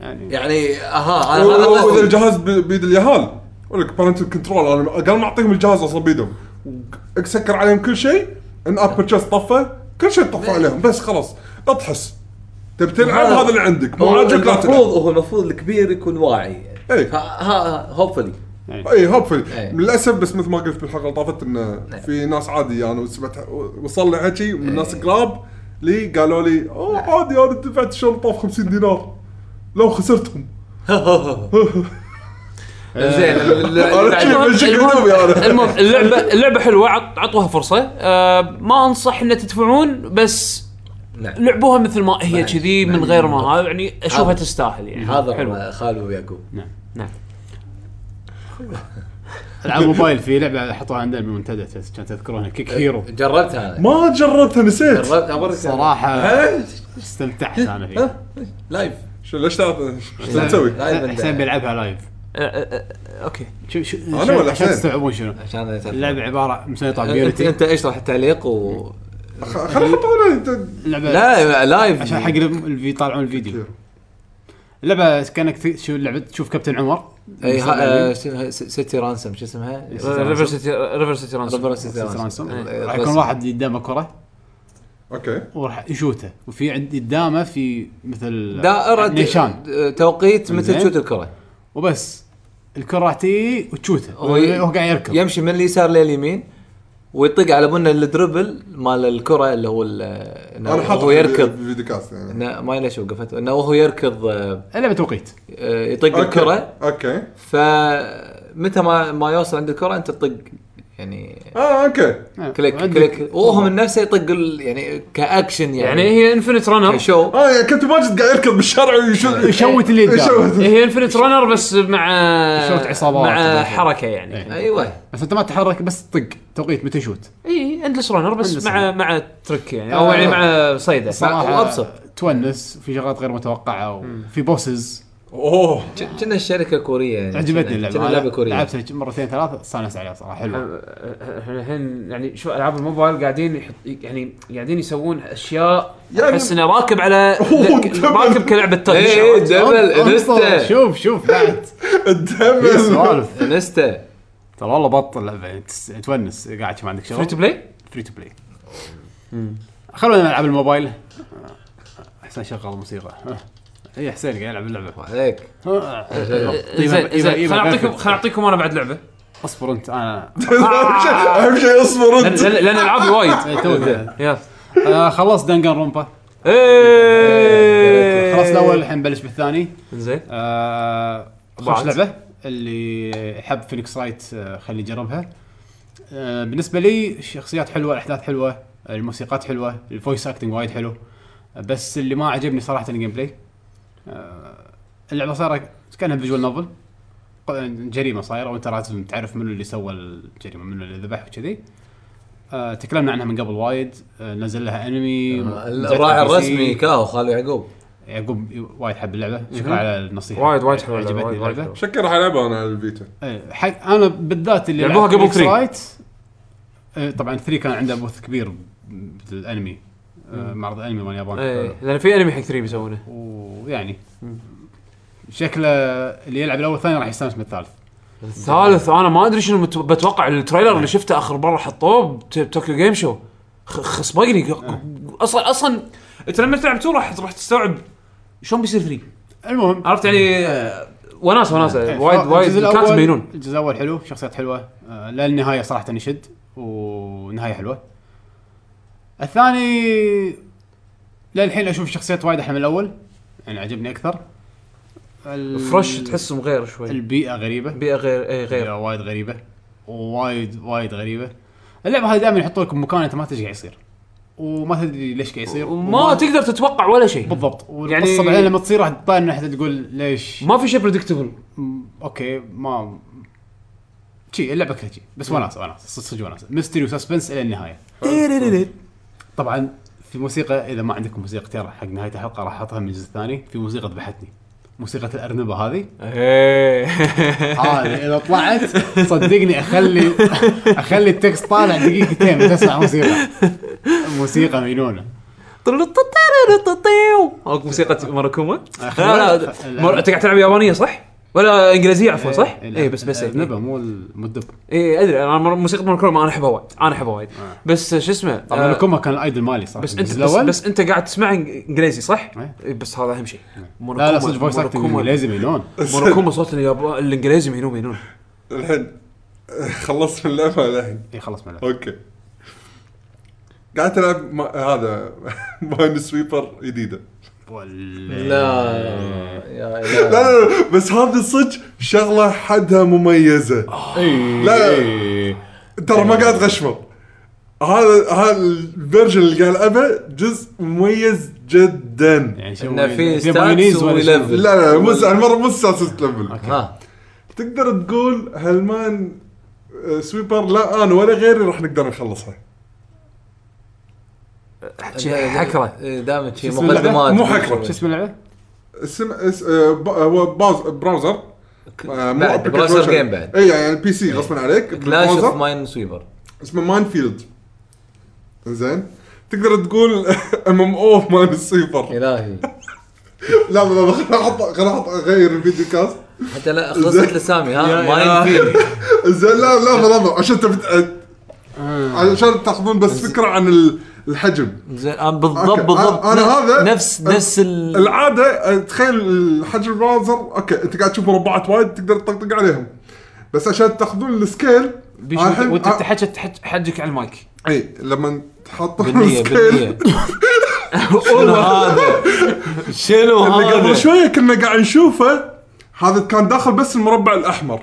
Speaker 1: يعني
Speaker 4: يعني اها انا هذا
Speaker 3: واذا
Speaker 4: قصدي.
Speaker 3: الجهاز ب- بيد اليهال اقول لك بارنتال كنترول انا قال ما اعطيهم الجهاز اصلا بيدهم وق- سكر عليهم كل شيء ان اب
Speaker 4: أه.
Speaker 3: بيرتشيز طفى كل شيء
Speaker 4: إيه.
Speaker 3: طفى عليهم بس خلاص لا تحس تبي تلعب
Speaker 4: هذا-
Speaker 3: هذا اللي عندك مو
Speaker 4: أه. آه. هو
Speaker 3: عاجبك لا
Speaker 4: المفروض
Speaker 3: تلعب
Speaker 4: هو المفروض الكبير يكون واعي
Speaker 3: إيه.
Speaker 4: ها هوبفلي
Speaker 3: اي هوبفلي
Speaker 4: إيه.
Speaker 3: للاسف بس مثل ما قلت بالحلقه اللي طافت ان في ناس عادي يعني وسمعت وصل لي
Speaker 4: إيه.
Speaker 3: حكي من ناس قراب لي قالوا لي اوه عادي انا دفعت شرطه ب 50 دينار لو خسرتهم
Speaker 4: آه، زين ال- ال-
Speaker 3: انا شي من شكل دوبي انا
Speaker 2: المهم اللعبه اللعبه حلوه عط- عطوها فرصه آه، ما انصح ان تدفعون بس
Speaker 4: نعم.
Speaker 2: لعبوها مثل ما هي
Speaker 4: نعم.
Speaker 2: كذي من
Speaker 4: نعم.
Speaker 2: غير ما هذا يعني اشوفها
Speaker 4: هذا-
Speaker 2: تستاهل يعني
Speaker 4: حاضر خالو ويعقوب
Speaker 1: العاب موبايل في لعبه حطوها عندنا بالمنتدى تس- كانت تذكرونها كيك
Speaker 3: أه،
Speaker 1: هيرو
Speaker 4: جربتها انا
Speaker 3: ما جربتها نسيت
Speaker 4: جربت ابرك
Speaker 1: صراحه
Speaker 4: ها؟
Speaker 1: استمتعت انا فيها
Speaker 4: لايف
Speaker 3: شو ليش تعرف إيه، شو تسوي؟
Speaker 1: حسين- حسين بيلعبها لايف
Speaker 2: آه، آه، آه، اوكي
Speaker 1: شو شو
Speaker 3: أنا
Speaker 1: شو-
Speaker 3: ولا
Speaker 1: عشان
Speaker 3: حسين؟
Speaker 1: تستوعبون شنو
Speaker 4: عشان
Speaker 1: اللعبه عباره مسيطره
Speaker 4: انت
Speaker 1: بيونتي
Speaker 4: انت اشرح التعليق و
Speaker 3: خلينا نحطها
Speaker 1: اللعبه
Speaker 4: لا لايف
Speaker 1: عشان حق الم- اللي يطالعون الفيديو
Speaker 3: كثير.
Speaker 1: اللعبه كانك ت- شو اللعبه تشوف كابتن عمر
Speaker 4: اي
Speaker 1: يصير
Speaker 4: ها- آه،
Speaker 1: لعبي.
Speaker 4: شنو- س- سيتي رانسم شو اسمها؟
Speaker 2: ريفر سيتي ريفر سيتي
Speaker 4: ريفر
Speaker 2: رانسوم.
Speaker 4: سيتي
Speaker 1: يصير
Speaker 4: رانسم
Speaker 1: رانسوم.
Speaker 4: آه،
Speaker 1: راح
Speaker 4: بس-
Speaker 1: يكون واحد قدامه كره
Speaker 3: اوكي
Speaker 1: وراح يشوته وفي عند قدامه في مثل
Speaker 4: دائرة
Speaker 1: نيشان
Speaker 4: آه، توقيت متى
Speaker 1: زين.
Speaker 4: تشوت الكرة
Speaker 1: وبس الكره راح تجي وتشوته
Speaker 4: هو
Speaker 1: هو
Speaker 4: ي-
Speaker 1: قاعد يركض
Speaker 4: يمشي من اليسار لليمين ويطق على بنا الدربل مال الكرة اللي هو ال- آه، إنه
Speaker 3: انا حاطه
Speaker 4: وهو يركض
Speaker 3: فيديو كاست يعني
Speaker 4: إنه ما ليش وقفت انه وهو يركض آه،
Speaker 1: اللعبه توقيت
Speaker 4: آه، يطق
Speaker 3: أوكي.
Speaker 4: الكرة
Speaker 3: اوكي
Speaker 4: فمتى ما ما يوصل عند الكرة انت تطق يعني
Speaker 3: اه اوكي
Speaker 4: كليك
Speaker 1: وعندك-
Speaker 4: كليك وهو من نفسه يطق ال- يعني كاكشن يعني
Speaker 2: يعني هي انفنت رانر
Speaker 4: كشو
Speaker 3: اه يعني كنت ماجد قاعد يركض بالشارع ويشوت
Speaker 1: يشوت اللي قدامه
Speaker 3: يشوت.
Speaker 2: هي انفنت رانر بس مع
Speaker 1: شوت عصابات.
Speaker 2: مع حركه يعني
Speaker 1: إيه.
Speaker 4: ايوه
Speaker 1: بس انت ما تتحرك بس تطق توقيت متى يشوت
Speaker 2: اي اندلس رانر
Speaker 1: Endless
Speaker 2: بس مع
Speaker 1: runner. آه.
Speaker 2: مع ترك يعني او يعني مع صيده
Speaker 1: صراحه
Speaker 4: وأبسط.
Speaker 1: تونس في شغلات غير متوقعه وفي بوسز
Speaker 3: اوه
Speaker 4: ك- كنا الشركه كوريه يعني
Speaker 1: عجبتني اللعبه
Speaker 4: كنا- كنا آه.
Speaker 1: أنا
Speaker 4: لعبه كوريه
Speaker 1: لعبتها مرتين ثلاث استانست عليها صراحه حلوه
Speaker 2: احنا الحين يعني شو العاب الموبايل قاعدين يحط يعني قاعدين يسوون اشياء
Speaker 3: يعني-
Speaker 2: احس انه راكب على
Speaker 3: أوه،
Speaker 2: راكب كلعبه
Speaker 4: إيه،
Speaker 2: تاتش
Speaker 4: إيه. دبل،
Speaker 1: أنصر،
Speaker 4: انستا.
Speaker 1: شوف شوف بعد في
Speaker 3: الدمل
Speaker 1: سوالف
Speaker 4: انستا
Speaker 1: ترى والله بطل لعبه تس- تونس قاعد ما عندك شغل
Speaker 2: فري تو بلاي
Speaker 1: فري تو بلاي خلونا نلعب الموبايل آه، حسين شغل موسيقى اي حسين قاعد يلعب اللعبه
Speaker 4: عليك
Speaker 1: آه،
Speaker 2: إيه، زين
Speaker 1: إيفا-
Speaker 2: زين
Speaker 1: إيفا- إيفا
Speaker 2: خليني اعطيكم
Speaker 1: بيرفكت.
Speaker 2: خليني اعطيكم انا بعد لعبه
Speaker 1: اصبر انت انا
Speaker 3: اهم شيء اصبر
Speaker 2: لان
Speaker 3: انت
Speaker 2: لأن- لأن العابي وايد
Speaker 1: إيه، توك.
Speaker 2: يلا
Speaker 1: آه، خلصت دنجن رومبا
Speaker 2: إيه.
Speaker 1: خلصت الاول الحين نبلش بالثاني
Speaker 2: زين
Speaker 1: آه، خوش
Speaker 2: بعد.
Speaker 1: لعبه اللي يحب فينيكس رايت آه، خليه يجربها آه، بالنسبه لي الشخصيات حلوه الاحداث حلوه الموسيقات حلوه الفويس اكتنج وايد حلو آه، بس اللي ما عجبني صراحه الجيم بلاي آه، اللعبه صارت كانها فيجوال نوفل جريمه صايره وانت لازم تعرف منو اللي سوى الجريمه منو اللي ذبح وكذي آه، تكلمنا عنها من قبل وايد آه، نزل لها انمي نزلت
Speaker 4: آه، الراعي
Speaker 1: على PC.
Speaker 4: الرسمي كاو خالد يعقوب
Speaker 1: يعقوب يعني وايد حب اللعبه شكرا على النصيحه
Speaker 2: وايد وايد حلوه
Speaker 1: عجبتني
Speaker 2: وايد- وايد
Speaker 1: اللعبة.
Speaker 2: حلوة.
Speaker 3: شكل راح العبها انا على الفيتا
Speaker 1: إيه، حق انا بالذات اللي
Speaker 2: لعبوها
Speaker 1: لعبت
Speaker 2: قبل
Speaker 1: Phoenix
Speaker 2: 3.
Speaker 1: Wright، آه، طبعا 3 كان عنده بوث كبير بالانمي آه، معرض الانمي مال اليابان
Speaker 2: ايه لان في انمي حق 3 بيسوونه
Speaker 1: ويعني شكله اللي يلعب الاول والثاني راح يستانس من الثالث
Speaker 2: الثالث انا ما ادري شنو مت- بتوقع التريلر اللي شفته اخر مره حطوه بتوكيو جيم شو خ- خصبقني ق-
Speaker 1: إيه.
Speaker 2: ق- اصلا اصلا انت لما تلعب 2 راح راح تستوعب شلون بيصير 3
Speaker 1: المهم
Speaker 2: عرفت يعني آه، وناسه
Speaker 1: إيه،
Speaker 2: وناسه وايد
Speaker 1: فالجزء
Speaker 2: وايد
Speaker 1: الأول-
Speaker 2: كانت مبينون
Speaker 1: الجزء الاول حلو شخصيات حلوه آه، لا النهايه صراحه يشد ونهايه حلوه الثاني للحين اشوف شخصيات وايد احلى من الاول يعني عجبني اكثر ال-
Speaker 2: فرش تحسهم غير شوي
Speaker 1: البيئه غريبه
Speaker 2: بيئه غير ايه
Speaker 1: بيئه
Speaker 2: غير
Speaker 1: وايد غريبه وايد وايد غريبه اللعبه هذه دائما يحطوا لك مكان انت ما تدري قاعد يصير وما تدري ليش قاعد يصير
Speaker 2: وما تقدر تتوقع ولا شيء
Speaker 1: بالضبط
Speaker 2: يعني-
Speaker 1: والقصه بعدين لما تصير راح تطالع من ناحيه تقول ليش
Speaker 2: ما في شيء بريدكتبل
Speaker 1: م- اوكي ما شي اللعبه كلها شي بس وناس وناس صدق صدق وناس ميستري وسسبنس الى النهايه طبعا في موسيقى اذا ما عندكم موسيقى اختيار حق نهايه الحلقه راح احطها من الجزء الثاني في موسيقى ذبحتني موسيقى الارنبه هذه إيه. هذه اذا طلعت صدقني اخلي اخلي التكست طالع دقيقتين تسمع موسيقى موسيقى مجنونه
Speaker 2: هاك موسيقى مراكوما
Speaker 1: أخي،
Speaker 2: لا لا
Speaker 1: لا،
Speaker 2: مر- انت قاعد تلعب يابانيه صح؟ ولا انجليزيه عفوا صح؟
Speaker 1: إيه،
Speaker 2: اي بس بس
Speaker 1: الارنبه مو ال- مو الدب
Speaker 2: اي ادري انا مر- موسيقى مراكوما انا احبها وايد انا احبها وايد بس آه، شو اسمه
Speaker 1: طبعا
Speaker 2: آه،
Speaker 1: الكوما كان الايدل مالي صح
Speaker 2: بس انت بس, بس انت قاعد تسمع إنج- انجليزي صح؟
Speaker 1: إيه.
Speaker 2: إيه، بس هذا اهم شيء
Speaker 1: لا لا صدق فويس اكتنج
Speaker 2: مراكوما-
Speaker 1: انجليزي مجنون
Speaker 2: مراكوما صوت اليابا- الانجليزي مجنون مجنون
Speaker 3: الحين خلصت من اللعبه الحين
Speaker 1: اي خلص ملعب
Speaker 3: اوكي قاعد العب ما... هذا ماين سويبر جديده
Speaker 4: لا يا إله.
Speaker 3: لا لا لا، بس هذه صدق شغله حدها مميزه لا، ترى ما قاعد غشمر هذا هذا الفيرجن اللي قاعد العبه جزء مميز جدا
Speaker 1: يعني شو
Speaker 4: إنه في
Speaker 1: في
Speaker 4: ستاتس
Speaker 1: مايونيز ولا شو؟
Speaker 4: وليفل.
Speaker 3: لا لا لا، مو س- المره مو سالفه ليفل
Speaker 4: ها
Speaker 3: تقدر تقول هالمان آه، سويبر لا انا ولا غيري راح نقدر نخلصها
Speaker 2: شي حكره
Speaker 4: دامج إيه، شي
Speaker 1: شو اسمه؟
Speaker 4: مقدمات
Speaker 3: مو حكرة.
Speaker 1: شو اسم اللعبه؟
Speaker 3: اسم اس- آه، ب- هو باوز- براوزر آه، مو
Speaker 4: بعد،
Speaker 3: أبليكيشن.
Speaker 4: براوزر جيم بعد.
Speaker 3: اي يعني البي سي غصبا عليك
Speaker 4: كلاش اوف
Speaker 3: براوزر.
Speaker 4: ماين سويبر
Speaker 3: اسمه ماينفيلد زين تقدر تقول ام ام او مان السويبر
Speaker 4: الهي
Speaker 3: لا لا لا خليني احط خليني احط اغير الفيديو كاست
Speaker 4: حتى لا خلصت لسامي ها ماين فيلد
Speaker 3: زين لا لا لحظه عشان تبت عشان تاخذون بس فكره عن ال- الحجم
Speaker 4: زين انا بالضبط
Speaker 3: أوكي،
Speaker 4: بالضبط
Speaker 3: أنا- أنا هذا-
Speaker 4: نفس نفس ال
Speaker 3: العاده آه، تخيل الحجم براوزر اوكي انت قاعد تشوف مربعات وايد تقدر تطقطق عليهم بس عشان تاخذون السكيل
Speaker 2: بيشو
Speaker 3: الحين-
Speaker 2: وانت
Speaker 3: آه،
Speaker 2: تحكي تحكي- حجك على المايك
Speaker 3: اي إيه، لما تحطون
Speaker 4: بالنية
Speaker 3: السكيل
Speaker 4: بالنية شنو هذا؟ شنو
Speaker 3: اللي يعني قبل
Speaker 4: هذا؟
Speaker 3: شويه كنا قاعد نشوفه هذا كان داخل بس المربع الاحمر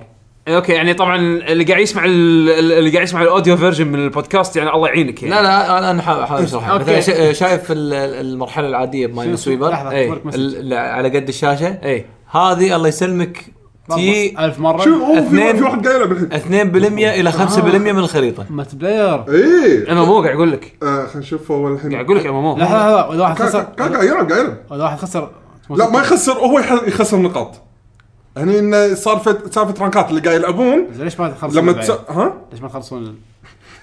Speaker 2: اوكي يعني طبعا اللي قاعد يسمع ال- اللي قاعد يسمع الاوديو فيرجن من البودكاست يعني الله يعينك يعني
Speaker 4: لا لا انا انا حا- حاول اشرح
Speaker 2: أوكي.
Speaker 4: مثلا شا- شايف ال- ال- المرحله العاديه بماين
Speaker 1: شنو-
Speaker 4: سويبر
Speaker 1: لحظة،
Speaker 4: إيه،
Speaker 1: أعطيك مسج.
Speaker 4: ال- ال- على قد الشاشه
Speaker 2: اي
Speaker 4: هذه الله يسلمك تي
Speaker 1: ألف مرة
Speaker 3: شوف هو في
Speaker 4: اثنين.
Speaker 3: في واحد قايله بالحين
Speaker 4: 2% الى
Speaker 1: آه.
Speaker 4: 5% من الخريطه
Speaker 1: مالتي بلاير
Speaker 3: اي
Speaker 2: ام ام او قاعد اقول لك
Speaker 3: إيه، آه خلينا نشوف هو الحين
Speaker 2: قاعد اقول لك ام ام
Speaker 1: لحظة
Speaker 2: او
Speaker 1: لحظة إذا واحد
Speaker 3: كان
Speaker 1: خسر
Speaker 3: كان- كان قاعد يلعب قاعد يلعب
Speaker 1: إذا واحد خسر
Speaker 3: لا ما يخسر هو يح- يخسر نقاط هني انه صار فت- سالفه رانكات اللي قاعد يلعبون
Speaker 1: زين ليش ما تخلصون
Speaker 3: لما
Speaker 1: بعد؟
Speaker 3: تس... ها
Speaker 1: ليش ما تخلصون ال-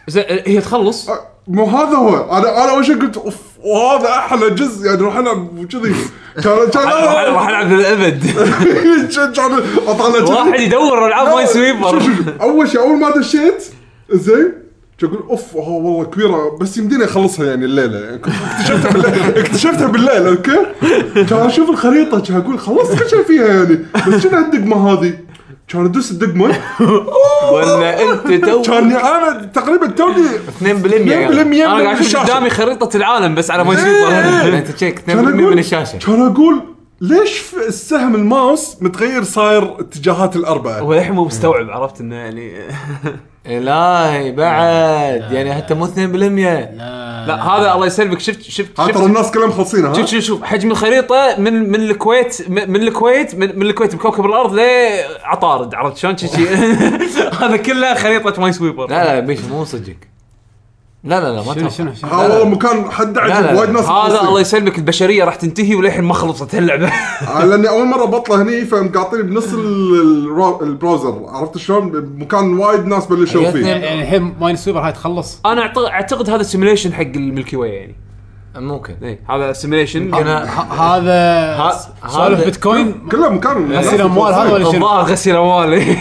Speaker 2: زين هي تخلص
Speaker 3: آه، مو هذا هو انا انا اول شيء قلت اوف وهذا احلى جزء يعني راح العب وكذي كان كان
Speaker 2: راح العب للابد
Speaker 3: كان- كان اطالع كذي.
Speaker 2: واحد يدور العاب ماين
Speaker 3: شوف
Speaker 2: سويبر
Speaker 3: شوف شوف. اول شيء اول ما دشيت زين شو اقول اوف هو والله كبيره بس يمديني اخلصها يعني الليله يعني كنت اكتشفتها بالليل اكتشفتها بالليل اوكي كان اشوف الخريطه كان اقول خلصت كل شيء فيها يعني بس شنو الدقمه هذه؟ كان ادوس الدقمه
Speaker 4: ولا انت تو
Speaker 3: كان انا تقريبا توني
Speaker 4: 2% يعني
Speaker 3: 2%
Speaker 2: انا
Speaker 3: من
Speaker 2: قاعد اشوف
Speaker 3: الشاشه
Speaker 2: قدامي خريطه العالم بس على ماين سويبر
Speaker 4: انت تشيك 2%
Speaker 3: كان
Speaker 4: من
Speaker 3: اقول
Speaker 4: الشاشه
Speaker 3: كان اقول ليش في السهم الماوس متغير صاير اتجاهات الاربعه؟
Speaker 2: هو الحين مو مستوعب عرفت انه يعني
Speaker 4: الهي بعد يعني حتى مو 2%
Speaker 2: لا هذا الله يسلمك شفت شفت
Speaker 3: ها
Speaker 2: شفت
Speaker 3: ترى الناس كلهم خلصينها
Speaker 2: شوف
Speaker 3: ها؟
Speaker 2: شوف شوف حجم الخريطه من من الكويت من من الكويت من, من الكويت بكوكب الارض لعطارد عرفت شلون شي- شي هذا كله خريطه ماي سويبر
Speaker 4: لا لا بيش مو صدقك لا لا لا
Speaker 1: شنو
Speaker 4: ما تنفع.
Speaker 1: شنو شنو
Speaker 3: ها والله مكان حد
Speaker 4: لا، لا،
Speaker 3: عجب
Speaker 4: لا.
Speaker 3: وايد ناس
Speaker 2: هذا
Speaker 3: مخلصين.
Speaker 2: الله يسلمك البشريه راح تنتهي وللحين ما خلصت هاللعبه
Speaker 3: آه، لاني اول مره بطله هني فمقاطيني بنص ال- الرو- البراوزر عرفت شلون بمكان وايد ناس بلشوا فيه
Speaker 4: حياتنا.
Speaker 1: يعني الحين ماين سويبر هاي تخلص
Speaker 2: انا أعت- اعتقد هذا سيميليشن حق الملكي واي يعني
Speaker 4: ممكن
Speaker 2: إيه، هذا يعني سيميليشن
Speaker 4: انا
Speaker 1: ه- هذا
Speaker 4: ه-
Speaker 1: سوالف
Speaker 4: هذا-
Speaker 1: بيتكوين
Speaker 3: كله مكان ناس
Speaker 1: غسيل اموال هذا ولا شنو؟
Speaker 2: الظاهر غسيل اموال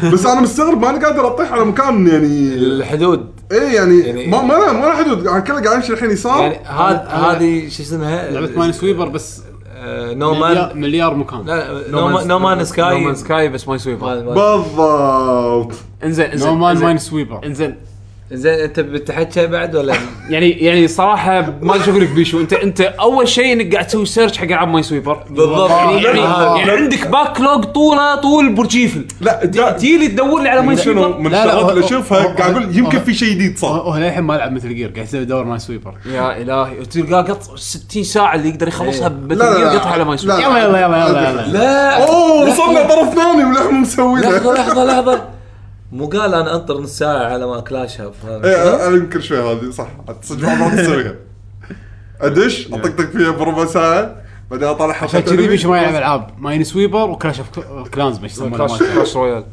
Speaker 3: بس انا مستغرب ماني قادر اطيح على مكان يعني
Speaker 4: الحدود
Speaker 3: ايه يعني,
Speaker 4: يعني-
Speaker 3: ما ما له ما له حدود انا كله قاعد امشي الحين يسار
Speaker 4: يعني هذا
Speaker 1: أنا-
Speaker 4: هذه شو اسمها
Speaker 1: لعبه ماين سويبر بس
Speaker 4: آه، نو
Speaker 1: مليار,
Speaker 4: مان
Speaker 1: مليار مكان
Speaker 4: لا لا، نو مان سكاي
Speaker 2: مان سكاي بس ما يسوي
Speaker 3: بالضبط
Speaker 2: انزين انزين
Speaker 1: نو مان
Speaker 2: إنزين،
Speaker 1: ماين سويبر
Speaker 2: انزين
Speaker 4: زين انت بتحكي بعد ولا
Speaker 2: يعني يعني صراحه ما ادري شو اقول لك بيشو انت انت اول شيء انك قاعد تسوي سيرش حق العاب ماي سويبر
Speaker 4: بالضبط
Speaker 1: يعني-
Speaker 2: يعني,
Speaker 1: آه.
Speaker 2: يعني عندك باك لوج طوله طول برج ايفل
Speaker 3: لا دا-
Speaker 2: تجي لي تدور لي على ماي
Speaker 3: من شنو
Speaker 2: سويبر
Speaker 1: لا،
Speaker 3: من
Speaker 1: لا،
Speaker 3: الشغلات اللي
Speaker 1: هو-
Speaker 3: اشوفها
Speaker 1: هو-
Speaker 3: قاعد اقول يمكن
Speaker 1: هو-
Speaker 3: في شيء جديد صار
Speaker 1: هو للحين ما لعب مثل جير قاعد يسوي دور ماين سويبر
Speaker 2: يا الهي تلقاه قط 60 ساعه اللي يقدر يخلصها
Speaker 3: لا، لا،
Speaker 2: بتلقاه
Speaker 3: لا.
Speaker 2: قطع على ماي سويبر
Speaker 3: لا.
Speaker 1: يلا يلا يلا يلا يلا
Speaker 4: لا
Speaker 3: اوه وصلنا طرف ثاني ولحم
Speaker 4: لحظه
Speaker 3: مسوينه
Speaker 4: لحظه لحظه مو قال انا انطر نص ساعه على ما كلاشها
Speaker 1: أه؟
Speaker 3: ايه انا يمكن شوي هذه صح صدق ما تسويها ادش اطقطق فيها بربع ساعه بعدين اطلع
Speaker 1: عشان
Speaker 3: حلقه
Speaker 1: كذي بيش ما يلعب العاب ماين سويبر وكلاش اوف كلانز ما يسمونه
Speaker 2: كلاش
Speaker 1: مالته.
Speaker 2: كلاش رويال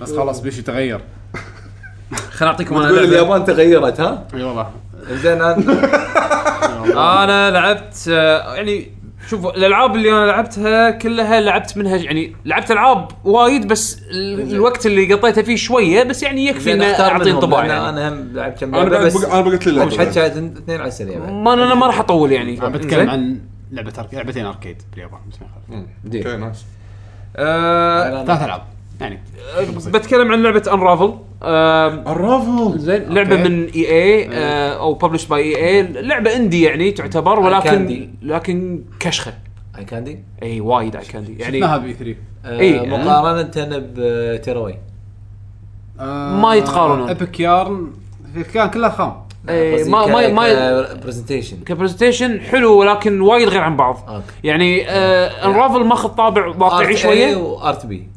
Speaker 1: بس خلاص بيش يتغير
Speaker 2: خليني اعطيكم انا
Speaker 4: تقول
Speaker 2: لعبة.
Speaker 4: اليابان تغيرت ها
Speaker 1: اي والله
Speaker 4: زين انا
Speaker 2: انا لعبت آه، يعني شوف الالعاب اللي انا لعبتها كلها لعبت منها يعني لعبت العاب وايد بس ال- الوقت اللي قطيته فيه شويه بس يعني يكفي
Speaker 4: زين
Speaker 2: ان
Speaker 4: اختار
Speaker 2: اعطي
Speaker 4: منهم،
Speaker 2: انطباع
Speaker 4: لأن
Speaker 2: يعني
Speaker 4: انا هم لعبت كم
Speaker 3: انا
Speaker 4: لعبه
Speaker 3: بعد
Speaker 4: بس
Speaker 3: بق- انا بقيت لي
Speaker 4: مش
Speaker 3: لعبه
Speaker 4: حكي اثنين على السريع بعد.
Speaker 2: ما انا أنا ما راح اطول يعني
Speaker 1: انا بتكلم
Speaker 2: زين؟
Speaker 1: عن لعبه أرك... لعبتين اركيد باليابان بس ما يخالف.
Speaker 2: دي.
Speaker 3: اوكي نايس
Speaker 2: آه،
Speaker 4: أنا-
Speaker 1: ثلاث العاب يعني
Speaker 2: بتكلم عن لعبه انرافل آه،
Speaker 3: الرافل
Speaker 2: زين لعبه
Speaker 1: أوكي.
Speaker 2: من آه، اي
Speaker 4: إيه.
Speaker 2: اي او ببلش باي اي اي لعبه اندي يعني تعتبر
Speaker 4: Candy.
Speaker 2: ولكن لكن كشخه
Speaker 4: اي كاندي
Speaker 2: اي وايد اي كاندي يعني
Speaker 1: شفناها بي 3
Speaker 2: إيه.
Speaker 4: آه، مقارنه بتيراوي
Speaker 2: ما يتقارنون.
Speaker 1: ابيك يارن آه، في كان كلها خام
Speaker 2: إيه، ما ما ما
Speaker 4: برزنتيشن
Speaker 2: كبرزنتيشن حلو ولكن وايد غير عن بعض
Speaker 4: أوكي. آه،
Speaker 2: يعني آه الرافل ماخذ طابع واقعي شويه
Speaker 4: وارت بي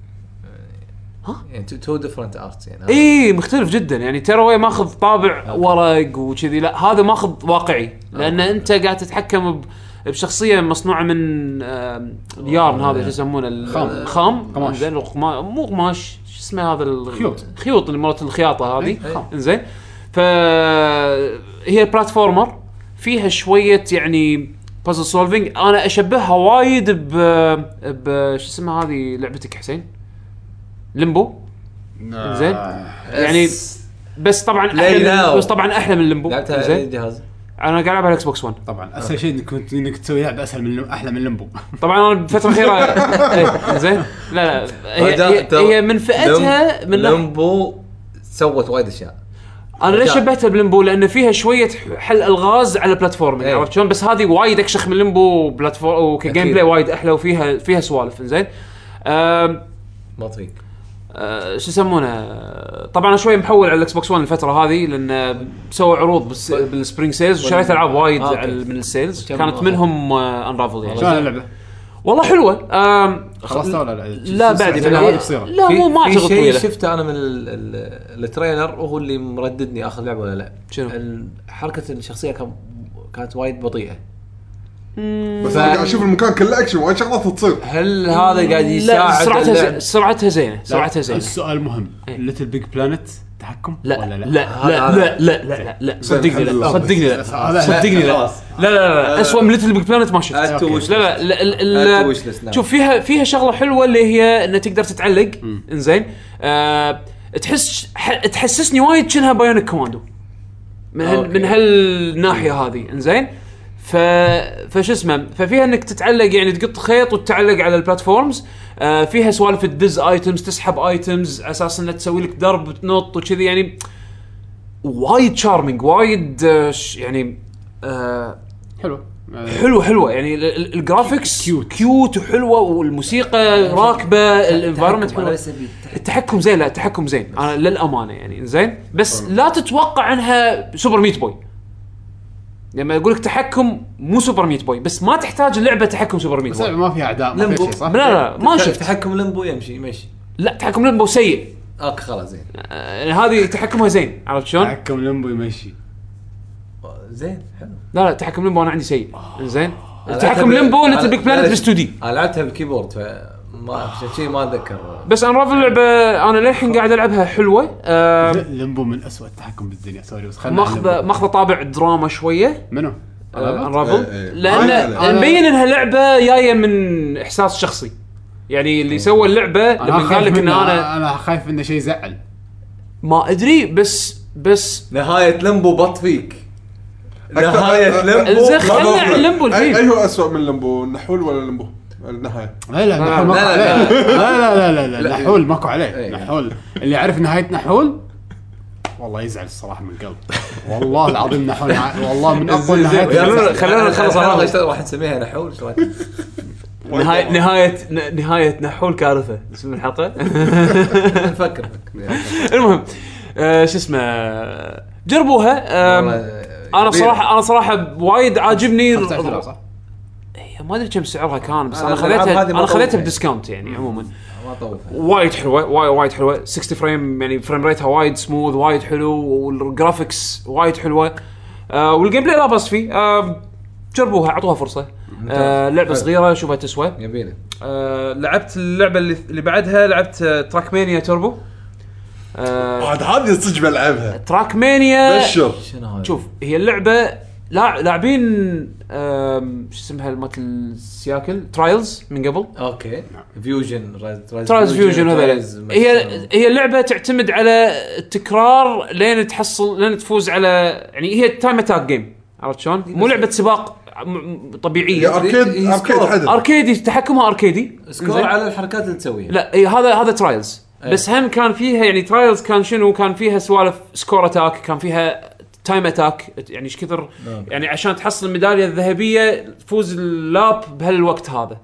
Speaker 4: ها يعني تو ديفرنت ارتس يعني
Speaker 2: اي مختلف جدا يعني تيراوي ماخذ طابع ورق وكذي لا هذا ماخذ واقعي لان انت قاعد تتحكم ب- بشخصيه مصنوعه من آه، اليارن هذا شو يسمونه
Speaker 1: إيه. خام.
Speaker 2: الخام خام
Speaker 1: قماش.
Speaker 2: زين مو قماش شو اسمه هذا ال-
Speaker 1: خيوط.
Speaker 2: خيوط اللي مرات الخياطه هذه
Speaker 1: إي، خام.
Speaker 2: زين فهي بلاتفورمر فيها شويه يعني بازل سولفينج انا اشبهها وايد ب ب شو اسمها هذه لعبتك حسين ليمبو زين
Speaker 4: آه،
Speaker 2: يعني بس طبعا
Speaker 4: Now.
Speaker 2: احلى بس طبعا احلى من ليمبو
Speaker 4: لعبتها على اي
Speaker 2: زين
Speaker 4: جهاز؟
Speaker 2: انا قاعد العب على الاكس بوكس 1
Speaker 1: طبعا اسهل شيء انك كنت انك تسوي لعبه اسهل من احلى من لمبو
Speaker 2: طبعا انا بالفتره الاخيره إيه، زين لا لا هي, هي, هي من فئتها من ناحية-
Speaker 4: لمبو سوت وايد اشياء
Speaker 2: انا ليش
Speaker 4: رجال.
Speaker 2: شبهتها بلمبو لان فيها شويه حل الغاز على بلاتفورمينج
Speaker 4: إيه.
Speaker 2: عرفت شلون بس هذه وايد اكشخ من لمبو بلاتفورم وكجيم
Speaker 4: أكيد.
Speaker 2: بلاي وايد احلى وفيها فيها سوالف زين أم-
Speaker 4: ما تضيق
Speaker 2: أه، شو يسمونه طبعا أنا شوي محول على الاكس بوكس 1 الفتره هذه لان سووا عروض بالس- بالسبرينج سيلز وشريت العاب وايد
Speaker 4: آه، أوكي.
Speaker 2: على- من السيلز
Speaker 4: كم-
Speaker 2: كانت منهم انرافل يعني
Speaker 1: شلون اللعبه؟
Speaker 2: والله حلوه أم،
Speaker 1: خلصتها ولا لا؟
Speaker 2: لا بعد
Speaker 1: سلسلة
Speaker 2: لا,
Speaker 1: هذه قصيره
Speaker 2: لا مو ما
Speaker 4: في
Speaker 2: اعتقد
Speaker 4: شيء
Speaker 2: طويله
Speaker 4: شفته انا من ال- ال- التريلر وهو اللي مرددني اخذ لعبه ولا لا
Speaker 2: شنو؟
Speaker 4: ال- حركه الشخصيه كان كانت وايد بطيئه
Speaker 3: بس انا قاعد اشوف المكان كله اكشن وايد شغلات تصير
Speaker 4: هل هذا
Speaker 2: لا
Speaker 4: قاعد يساعد
Speaker 2: سرعتها زي-
Speaker 4: اللعب؟
Speaker 2: سرعتها زينه سرعتها زينه
Speaker 1: السؤال مهم ليتل بيج بلانت تحكم
Speaker 2: إيه. لا
Speaker 1: ولا لا؟
Speaker 2: لا لا لا لا لا لا صدقني لا صدقني لا
Speaker 1: هذا-
Speaker 2: صدقني لا
Speaker 4: خلاص.
Speaker 2: لا لا لا اسوء من ليتل بيج بلانت ما شفت
Speaker 4: Add to wish
Speaker 2: لا لا لا لا-
Speaker 4: Add to
Speaker 2: لا-
Speaker 4: wish list now.
Speaker 2: شوف فيها فيها شغله حلوه اللي هي انها تقدر تتعلق انزين آه، تحس ح- تحسسني وايد شنها بايونيك كوماندو من هال
Speaker 4: أوكي.
Speaker 2: من هالناحيه هذه انزين ف فش اسمه ففيها انك تتعلق يعني تقط خيط وتتعلق على البلاتفورمز آه فيها سوالف الدز ايتمز تسحب ايتمز على اساس انها تسوي لك درب تنط وكذي يعني وايد شارمينج وايد آه، ش- يعني آه
Speaker 1: حلو
Speaker 2: حلوه حلوه يعني ال- ال- الجرافيكس كيوت كيوت وحلوه والموسيقى راكبه الانفايرمنت
Speaker 4: التحكم
Speaker 2: حلوه
Speaker 4: على سبيل التحكم.
Speaker 2: التحكم زين لا التحكم زين انا للامانه يعني زين بس لا تتوقع انها سوبر ميت بوي لما اقول لك تحكم مو سوبر ميت بوي بس ما تحتاج اللعبه تحكم سوبر ميت
Speaker 1: بس
Speaker 2: بوي
Speaker 1: ما في اعداء ما في
Speaker 4: لمبو.
Speaker 1: شيء صح؟
Speaker 2: لا لا ما
Speaker 4: تح-
Speaker 2: شفت
Speaker 4: تحكم لمبو يمشي يمشي
Speaker 2: لا تحكم لمبو سيء
Speaker 4: اوكي خلاص زين
Speaker 2: آه، هذه تحكمها زين عرفت شلون؟
Speaker 1: تحكم لمبو يمشي
Speaker 4: زين حلو
Speaker 2: لا لا تحكم لمبو انا عندي سيء زين
Speaker 4: أنا
Speaker 2: تحكم
Speaker 4: لعبتها
Speaker 2: لمبو
Speaker 4: بال-
Speaker 2: ليتل
Speaker 4: أنا-
Speaker 2: بيج بلانت بس 2 دي
Speaker 4: انا لعبتها بالكيبورد فما عشان شيء ما اتذكر
Speaker 2: بس انرافل لعبه انا للحين قاعد العبها حلوه آه،
Speaker 1: لمبو من أسوأ التحكم بالدنيا سوري بس خلنا عن
Speaker 2: ماخذه
Speaker 1: لمبو.
Speaker 2: ماخذه طابع دراما شويه
Speaker 1: منو؟
Speaker 2: آه، انرافل
Speaker 3: إيه، إيه. أنا-
Speaker 2: لان
Speaker 1: أنا-
Speaker 2: مبين انها لعبه جايه من احساس شخصي يعني اللي سوى اللعبه
Speaker 1: انا
Speaker 2: لما قال
Speaker 1: خايف
Speaker 2: لك ان
Speaker 1: منه
Speaker 2: انا
Speaker 1: انا انا خايف انه شيء يزعل
Speaker 2: ما ادري بس بس
Speaker 4: نهايه لمبو بط فيك نهايه لمبو
Speaker 2: زين
Speaker 4: بط
Speaker 2: خلينا عن
Speaker 4: فيك.
Speaker 2: لمبو
Speaker 3: اي
Speaker 2: الحين
Speaker 3: أي هو اسوء من لمبو النحول ولا لمبو النهايه
Speaker 1: لا لا نحول ماكو
Speaker 4: لا، لا،
Speaker 1: عليه لا لا لا لا لا
Speaker 4: لا.
Speaker 1: نحول ماكو عليه
Speaker 4: إيه.
Speaker 1: نحول اللي يعرف نهايه نحول والله يزعل الصراحه من قلب والله العظيم نحول ع- والله من اقوى النهايات
Speaker 4: زين،
Speaker 1: اللي
Speaker 2: خلونا-
Speaker 1: تزعل.
Speaker 2: خلونا نخلص على هذا.
Speaker 4: إيش راح نسميها نحول ايش رايك؟
Speaker 2: نهايه نهايه نهايه نحول كارثه اسم الحلقه
Speaker 4: نفكر
Speaker 2: المهم آه، شو اسمه جربوها آم، انا بصراحه انا صراحه وايد عاجبني
Speaker 1: 15 دولار صح؟
Speaker 2: هي ما ادري كم سعرها كان بس
Speaker 4: أنا
Speaker 2: انا
Speaker 4: الألعاب
Speaker 2: خذيتها
Speaker 4: هذه ما
Speaker 2: انا خذيتها
Speaker 4: طولتها.
Speaker 2: بديسكاونت يعني عموما
Speaker 4: ما طوفها
Speaker 2: وايد حلوه وايد وايد حلوه 60 فريم يعني فريم ريتها وايد سموث وايد حلو والجرافكس وايد حلوه آه والجيم بلاي لا باس فيه آه جربوها اعطوها فرصه آه لعبه
Speaker 4: حلو.
Speaker 2: صغيره شوفها تسوى
Speaker 4: يبينا
Speaker 2: آه لعبت اللعبه اللي, اللي بعدها لعبت تراك مانيا توربو آه
Speaker 3: عاد هذه صدق بلعبها
Speaker 2: تراك مانيا
Speaker 3: بشر
Speaker 4: شنو هذا؟
Speaker 2: شوف هي اللعبه لا لاعبين آم، شو اسمها مالت السياكل ترايلز من قبل
Speaker 4: اوكي فيوجن رايز
Speaker 2: ترايلز فيوجن هذول هي هي اللعبه تعتمد على التكرار لين تحصل لين تفوز على يعني هي تايم اتاك جيم عرفت شلون؟ مو لعبه سباق م- م-
Speaker 3: يا
Speaker 2: طبيعيه
Speaker 3: اركيد
Speaker 4: إيه،
Speaker 3: اركيد
Speaker 4: سكور.
Speaker 3: حدث
Speaker 2: اركيدي تحكمها اركيدي
Speaker 4: سكور على الحركات اللي تسويها
Speaker 2: لا إيه هذا هذا ترايلز
Speaker 4: إيه.
Speaker 2: بس هم كان فيها يعني ترايلز كان شنو كان فيها سوالف سكور اتاك كان فيها تايم اتاك يعني ايش كثر
Speaker 4: أوكي.
Speaker 2: يعني عشان تحصل الميداليه الذهبيه تفوز اللاب بهالوقت هذا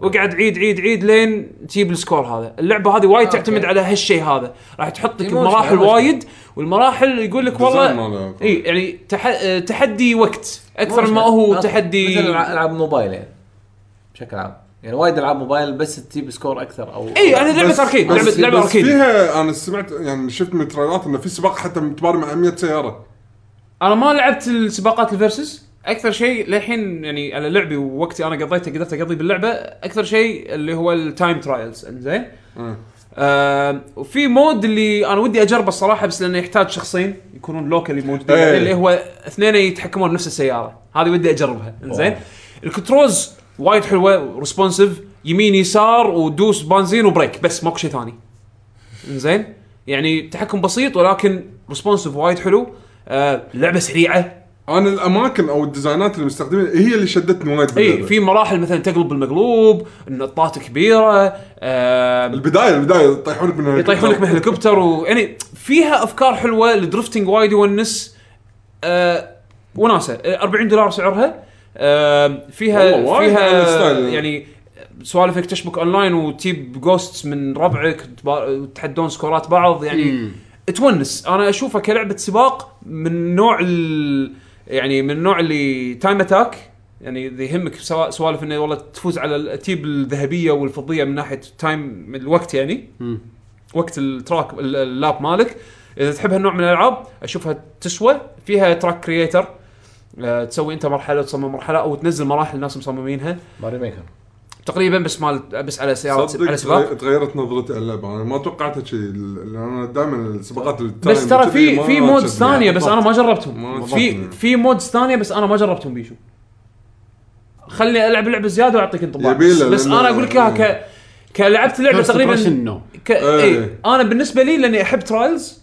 Speaker 2: واقعد عيد عيد عيد لين تجيب السكور هذا اللعبه هذه وايد
Speaker 4: أوكي.
Speaker 2: تعتمد على هالشيء هذا راح تحطك
Speaker 4: إي مو
Speaker 2: بمراحل
Speaker 4: مشكلة، مو
Speaker 2: وايد والمراحل يقول لك والله اي يعني تح... آه، تحدي وقت اكثر ما هو تحدي
Speaker 4: مثل الع- العاب موبايل يعني بشكل عام يعني وايد العاب موبايل بس تجيب سكور اكثر او
Speaker 2: اي انا لعبه اركيد لعبه
Speaker 3: بس-
Speaker 2: لعبه
Speaker 3: بس
Speaker 2: اركيد
Speaker 3: فيها انا سمعت يعني شفت من التريلات انه في سباق حتى متبار مع 100 سياره
Speaker 2: انا ما لعبت السباقات الفيرسز اكثر شيء للحين يعني على لعبي ووقتي انا قضيته قدرت اقضي باللعبه اكثر شيء اللي هو التايم ترايلز انزين
Speaker 3: مم.
Speaker 2: آه وفي مود اللي انا ودي اجربه الصراحه بس لانه يحتاج شخصين يكونون لوكالي موجودين
Speaker 3: إيه.
Speaker 2: اللي هو اثنين يتحكمون بنفس السياره هذه ودي اجربها انزين الكنترولز وايد حلوه ريسبونسيف يمين يسار ودوس بنزين وبريك بس ماكو شيء ثاني انزين يعني تحكم بسيط ولكن ريسبونسيف وايد حلو آه لعبه سريعه
Speaker 3: انا الاماكن او الديزاينات اللي مستخدمينها هي اللي شدتني وايد
Speaker 2: اي
Speaker 3: باللعبة.
Speaker 2: إيه، في مراحل مثلا تقلب المقلوب النطات كبيره آه
Speaker 3: البدايه البدايه يطيحونك من
Speaker 2: يطيحون لك من هليكوبتر ويعني فيها افكار حلوه الدرفتنج وايد يونس آه وناسه آه، 40 دولار سعرها آه
Speaker 3: والله
Speaker 2: فيها
Speaker 3: وايد على
Speaker 2: فيها
Speaker 3: الستايل.
Speaker 2: يعني سوالفك تشبك اونلاين وتجيب جوستس من ربعك وتبا- وتحدون سكورات بعض يعني تونس انا اشوفها كلعبه سباق من نوع ال يعني من النوع اللي تايم اتاك يعني إذا يهمك سوا- سوالف انه والله تفوز على ال- تجيب الذهبيه والفضيه من ناحيه تايم من الوقت يعني وقت التراك ال- اللاب مالك اذا تحب هالنوع من الالعاب اشوفها تسوى فيها تراك كرييتر آه، تسوي انت مرحله تصمم مرحله او تنزل مراحل الناس مصممينها
Speaker 4: ماري ميكر
Speaker 2: تقريبا بس مال بس على سيارات
Speaker 3: صدق
Speaker 2: على سباق
Speaker 3: تغي- تغيرت نظرتي على اللعبه انا ما توقعتها كذي لان انا دائما السباقات اللي
Speaker 2: بس ترى في في مودز ثانيه بس انا ما
Speaker 3: يعني ما
Speaker 2: جربتهم في
Speaker 3: بالضبط.
Speaker 2: في مودز ثانيه بس انا ما جربتهم بيشو خلني العب لعبه زياده واعطيك انطباع بس,
Speaker 3: يبيله
Speaker 2: بس
Speaker 3: لأنه-
Speaker 2: انا اقول لك اياها ك كلعبت لعبه
Speaker 1: First impression،
Speaker 2: تقريبا
Speaker 1: no.
Speaker 2: ك...
Speaker 3: إيه.
Speaker 2: ايه. انا بالنسبه لي لاني احب ترايلز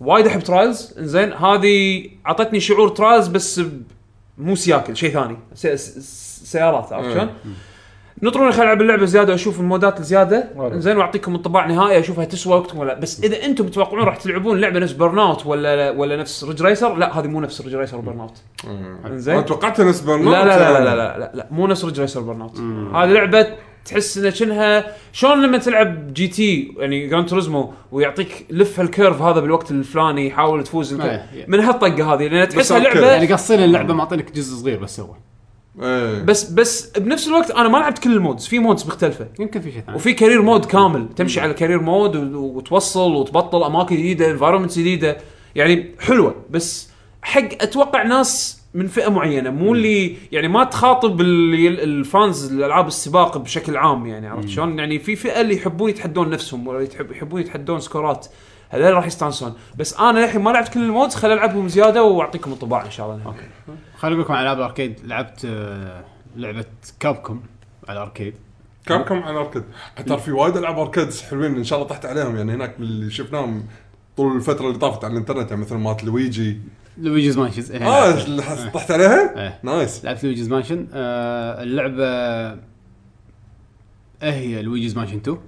Speaker 2: وايد احب ترايلز انزين هذه اعطتني شعور ترايلز بس ب- مو سياكل شيء ثاني س... س... سيارات عرفت
Speaker 3: إيه.
Speaker 2: شلون؟ نطروني خل العب اللعبه زياده واشوف المودات الزياده
Speaker 4: واضح.
Speaker 2: زين واعطيكم انطباع نهائي اشوفها تسوى وقتكم ولا لا. بس اذا انتم تتوقعون راح تلعبون لعبه نفس برن اوت ولا ولا نفس ريج ريسر لا هذه مو نفس ريج ريسر وبرن اوت
Speaker 3: انزين
Speaker 2: إنزين.
Speaker 3: انا توقعتها نفس برنامج
Speaker 2: لا لا
Speaker 1: يعني.
Speaker 2: لا لا لا لا, لا مو نفس ريج ريسر برن اوت هذه لعبه تحس انها شنها شلون لما تلعب جي تي يعني جراند توريزمو ويعطيك لف هالكيرف هذا بالوقت الفلاني يحاول تفوز الكيرف.
Speaker 1: إيه.
Speaker 2: من هالطقه هذه لان تحسها
Speaker 3: هالكيرف.
Speaker 2: لعبه
Speaker 1: يعني قصين اللعبه معطينك جزء صغير بس هو
Speaker 3: ايه
Speaker 2: بس بس بنفس الوقت انا ما لعبت كل المودز في مودز مختلفه
Speaker 1: يمكن في شيء ثاني
Speaker 2: وفي كارير مود كامل تمشي على كارير مود و- وتوصل وتبطل اماكن جديده انفايرمنتس جديده يعني حلوه بس حق اتوقع ناس من فئه معينه مو اللي يعني ما تخاطب اللي- الفانز الالعاب السباق بشكل عام يعني عرفت شلون؟ يعني في فئه اللي يحبون يتحدون نفسهم ولا يتحب- يحبون يتحدون سكورات هذول راح يستانسون بس انا للحين ما لعبت كل المودز خل العبهم زياده واعطيكم انطباع ان شاء الله
Speaker 1: اوكي خليني اقول لكم عن العاب الاركيد لعبت آه، لعبه كابكم على الاركيد
Speaker 3: كم كم على الاركيد حتى في وايد العاب اركيدز حلوين ان شاء الله طحت عليهم يعني هناك اللي شفناهم طول الفتره اللي طافت على الانترنت يعني مثل مالت لويجي
Speaker 1: لويجيز مانشن
Speaker 2: إيه.
Speaker 3: اه اللي طحت عليها؟
Speaker 1: إيه.
Speaker 3: نايس
Speaker 1: لعبت لويجيز مانشن آه، اللعبه إيه هي لويجيز مانشن 2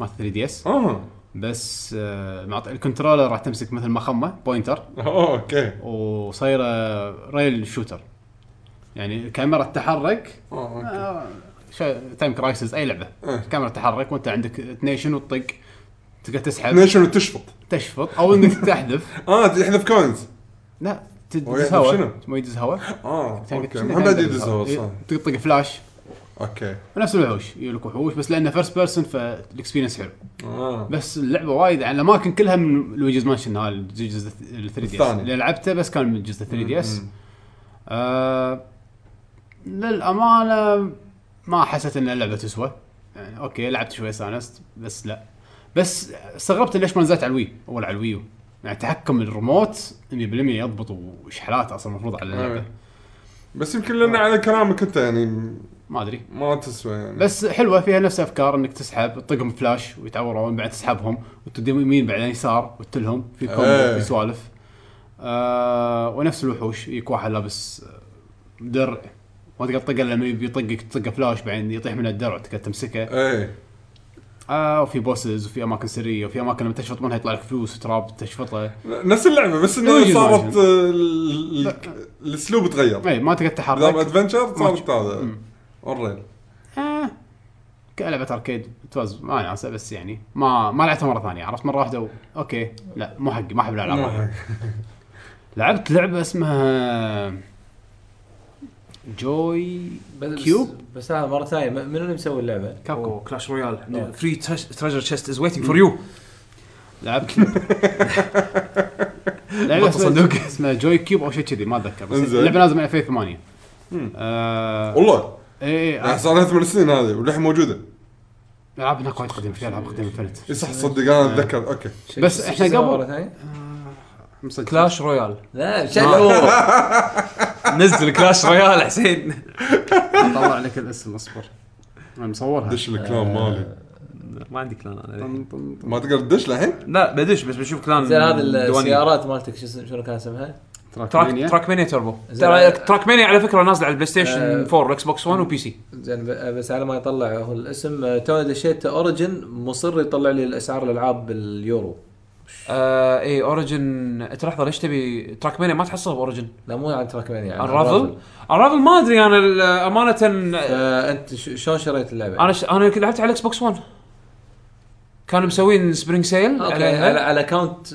Speaker 1: مال 3 دي اس
Speaker 3: اه
Speaker 1: بس آه، معط- الكنترولر راح تمسك مثل مخمه بوينتر
Speaker 3: آه، اوكي
Speaker 1: وصايره ريل شوتر يعني الكاميرا تتحرك
Speaker 3: آه، أوكي.
Speaker 1: آه، شا- تايم كرايسز اي لعبه
Speaker 3: إيه.
Speaker 1: الكاميرا تتحرك وانت عندك تنيشن وتطق تقدر تسحب
Speaker 3: نيشن وتشفط
Speaker 1: تشفط او انك تحذف
Speaker 3: اه تحذف كوينز
Speaker 1: لا
Speaker 3: هو
Speaker 1: تدز
Speaker 3: يحذف شنو؟
Speaker 1: هواء ما يدز هواء
Speaker 3: اه
Speaker 1: تقدر-
Speaker 3: اوكي
Speaker 1: تقدر-
Speaker 3: ما بعد
Speaker 1: تقدر-
Speaker 3: يدزها صح
Speaker 1: تطق فلاش
Speaker 3: اوكي
Speaker 1: نفس الوحوش يجيلك وحوش بس لانه فيرست بيرسون فالاكسبيرينس حلو
Speaker 3: اه
Speaker 1: بس اللعبه وايد يعني، عن الاماكن كلها من لويجيز مانشن هذا الجزء 3 دي اس
Speaker 3: الثاني.
Speaker 1: اللي لعبته بس كان من جزء 3 دي اس آه، للامانه ما حسيت ان اللعبه تسوى يعني اوكي لعبت شوي استانست بس لا بس استغربت ليش ما نزلت على الوي اول على الويو يعني تحكم الريموت 100% يضبط وشحالات اصلا المفروض على اللعبه
Speaker 3: إيه. بس يمكن لان على كلامك انت يعني
Speaker 1: ما ادري
Speaker 3: ما تسوى يعني
Speaker 1: بس حلوه فيها نفس افكار انك تسحب تطقهم فلاش ويتعورون بعد تسحبهم وتديهم يمين بعدين يسار وتلهم في كومبو
Speaker 3: إيه.
Speaker 1: في سوالف آه ونفس الوحوش يجيك واحد لابس آه، درع ما تقدر تطقه لما يبي يطقك تطقه فلاش بعدين يطيح من الدرع تقدر تمسكه
Speaker 3: ايه
Speaker 1: آه وفي بوسز وفي اماكن سريه وفي اماكن لما تشفط منها يطلع لك فلوس وتراب تشفطه
Speaker 3: نفس اللعبه بس انها
Speaker 2: إيه،
Speaker 1: لويجيز
Speaker 3: صارت
Speaker 1: مانشن.
Speaker 3: آه، ال- ال- الاسلوب تغير
Speaker 1: اي إيه، ما تقدر
Speaker 3: دام
Speaker 1: تتحرك
Speaker 3: ادفنشر صارت
Speaker 1: ماتش.
Speaker 3: هذا
Speaker 1: مم.
Speaker 3: اونريل
Speaker 1: آه كلعبة اركيد تواز ما ناسه بس يعني ما ما لعبتها مره ثانيه عرفت مره واحده و... اوكي لا مو حقي ما احب الالعاب هذي. لعبت لعبه اسمها جوي
Speaker 4: بس
Speaker 1: كيوب؟
Speaker 4: بس هذا مره ثانيه م- منو اللي مسوي اللعبه؟
Speaker 1: كابكوم
Speaker 2: كلاش رويال فري تريجر تشيست از ويتنج فور يو
Speaker 1: لعبت لعبه صندوق اسمها جوي كيوب او شيء كذي ما اتذكر بس
Speaker 3: انزين.
Speaker 1: اللعبه نازله من 2008 آه...
Speaker 3: والله
Speaker 1: اي
Speaker 3: يعني
Speaker 1: اي
Speaker 3: صار لها ثمان سنين هذه وللحين موجوده
Speaker 1: العاب هناك وايد قديمه في العاب قديمه فلت
Speaker 3: اي إيه،
Speaker 2: إيه.
Speaker 3: صح تصدق انا اتذكر اوكي
Speaker 1: بس
Speaker 4: شو- شو
Speaker 1: إحنا
Speaker 4: اسمها
Speaker 1: قبل-
Speaker 4: مرة ثانية؟
Speaker 1: آه،
Speaker 2: كلاش رويال
Speaker 4: لا شلو
Speaker 2: آه، نزل كلاش رويال حسين
Speaker 1: طلع لك الاسم اصبر انا مصورها
Speaker 3: دش الكلام
Speaker 2: إيه.
Speaker 3: مالي
Speaker 2: ما عندي كلان انا
Speaker 1: طن- طن- طن.
Speaker 3: ما تقدر تدش للحين
Speaker 2: لا بدش بس بشوف كلان
Speaker 4: زين هذه
Speaker 2: الديوانية.
Speaker 4: السيارات مالتك شو اسم- شنو كان اسمها؟
Speaker 2: تراك
Speaker 1: مانيا.
Speaker 2: تراك مانيا توربو
Speaker 4: زين.
Speaker 2: ترى تراك مانيا على فكره نازله على البلاي
Speaker 4: آه.
Speaker 2: ستيشن 4 اكس بوكس 1 وبي سي
Speaker 4: زين ب- بس على ما يطلع هو الاسم آه، تونا دشيت اوريجن مصر يطلع لي الاسعار الالعاب باليورو
Speaker 2: آه اي اوريجن انت لحظه ليش تبي تراك مانيا ما تحصلها باوريجن
Speaker 4: لا مو عن تراك مانيا يعني
Speaker 2: الرافل الرافل ما ادري انا ال- امانه
Speaker 4: فانت آه، ش- شلون شريت اللعبه؟
Speaker 2: انا ش... انا لعبت على الاكس بوكس 1 كانوا مسوين سبرينج سيل
Speaker 4: اوكي على
Speaker 2: عليها
Speaker 4: على اكونت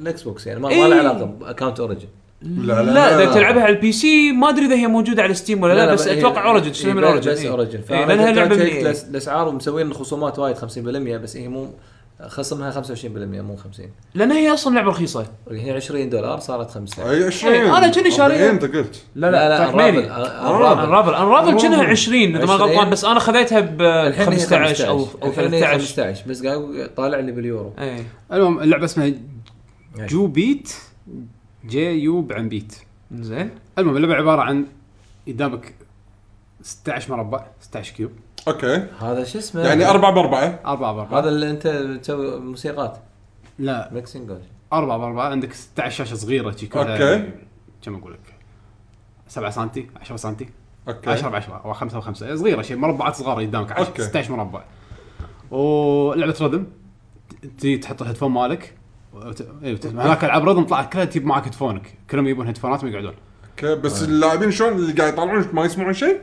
Speaker 4: الاكس بوكس يعني ما
Speaker 2: إيه.
Speaker 4: ما له علاقه باكونت اوريجن
Speaker 3: لا
Speaker 2: لا اذا
Speaker 4: لا.
Speaker 2: تلعبها على البي سي ما ادري اذا هي موجوده على ستيم ولا لا, بس
Speaker 4: إيه،
Speaker 2: اتوقع
Speaker 4: إيه،
Speaker 2: اوريجن
Speaker 4: إيه،
Speaker 2: تشتري من
Speaker 4: بس-
Speaker 2: اوريجن
Speaker 4: بس اوريجن
Speaker 2: إيه، لانها لعبه من إيه.
Speaker 4: الاسعار ومسوين خصومات وايد 50% بس هي مو خصمها 25% مو 50
Speaker 2: لان هي اصلا لعبه رخيصه
Speaker 4: اللي هي 20 دولار صارت 5
Speaker 3: اي 20
Speaker 2: إيه، أنا كني شاريها.
Speaker 3: 40 انت قلت
Speaker 2: لا
Speaker 4: الرابل الرابل
Speaker 2: انرافل انرافل كأنها 20 اذا ما
Speaker 4: 20.
Speaker 2: غلطان بس انا خذيتها ب
Speaker 4: الحين هي
Speaker 2: 15 او او
Speaker 4: الحين هي
Speaker 2: 13
Speaker 4: 15 بس قاعد طالع لي باليورو
Speaker 2: اي
Speaker 1: المهم اللعبه اسمها جو بيت جي يو بعن بيت
Speaker 2: زين
Speaker 1: المهم اللعبه عباره عن قدامك 16 مربع 16 كيوب
Speaker 3: اوكي
Speaker 4: هذا شو اسمه
Speaker 2: إيه.
Speaker 3: يعني 4 ب 4
Speaker 1: 4 ب 4
Speaker 4: هذا اللي انت تسوي موسيقات
Speaker 1: لا
Speaker 4: ميكسنج
Speaker 1: 4 ب 4 عندك 16 شاشه صغيره شي كلها
Speaker 3: أوكي.
Speaker 1: كم اقول لك 7 سم 10 سم 10
Speaker 3: اوكي
Speaker 1: ب 10 او 5 ب 5 صغيره شيء مربعات صغار قدامك عش-
Speaker 3: أوكي.
Speaker 1: 16 مربع ولعبه رذم ت- تجي تحط الهيدفون مالك وت- إيه، وت- هناك العاب رذم طلعت كلها تجيب معك هيدفونك كلهم يبون هيدفونات ويقعدون
Speaker 3: اوكي بس اللاعبين شلون اللي قاعد يطالعون ما يسمعون شيء؟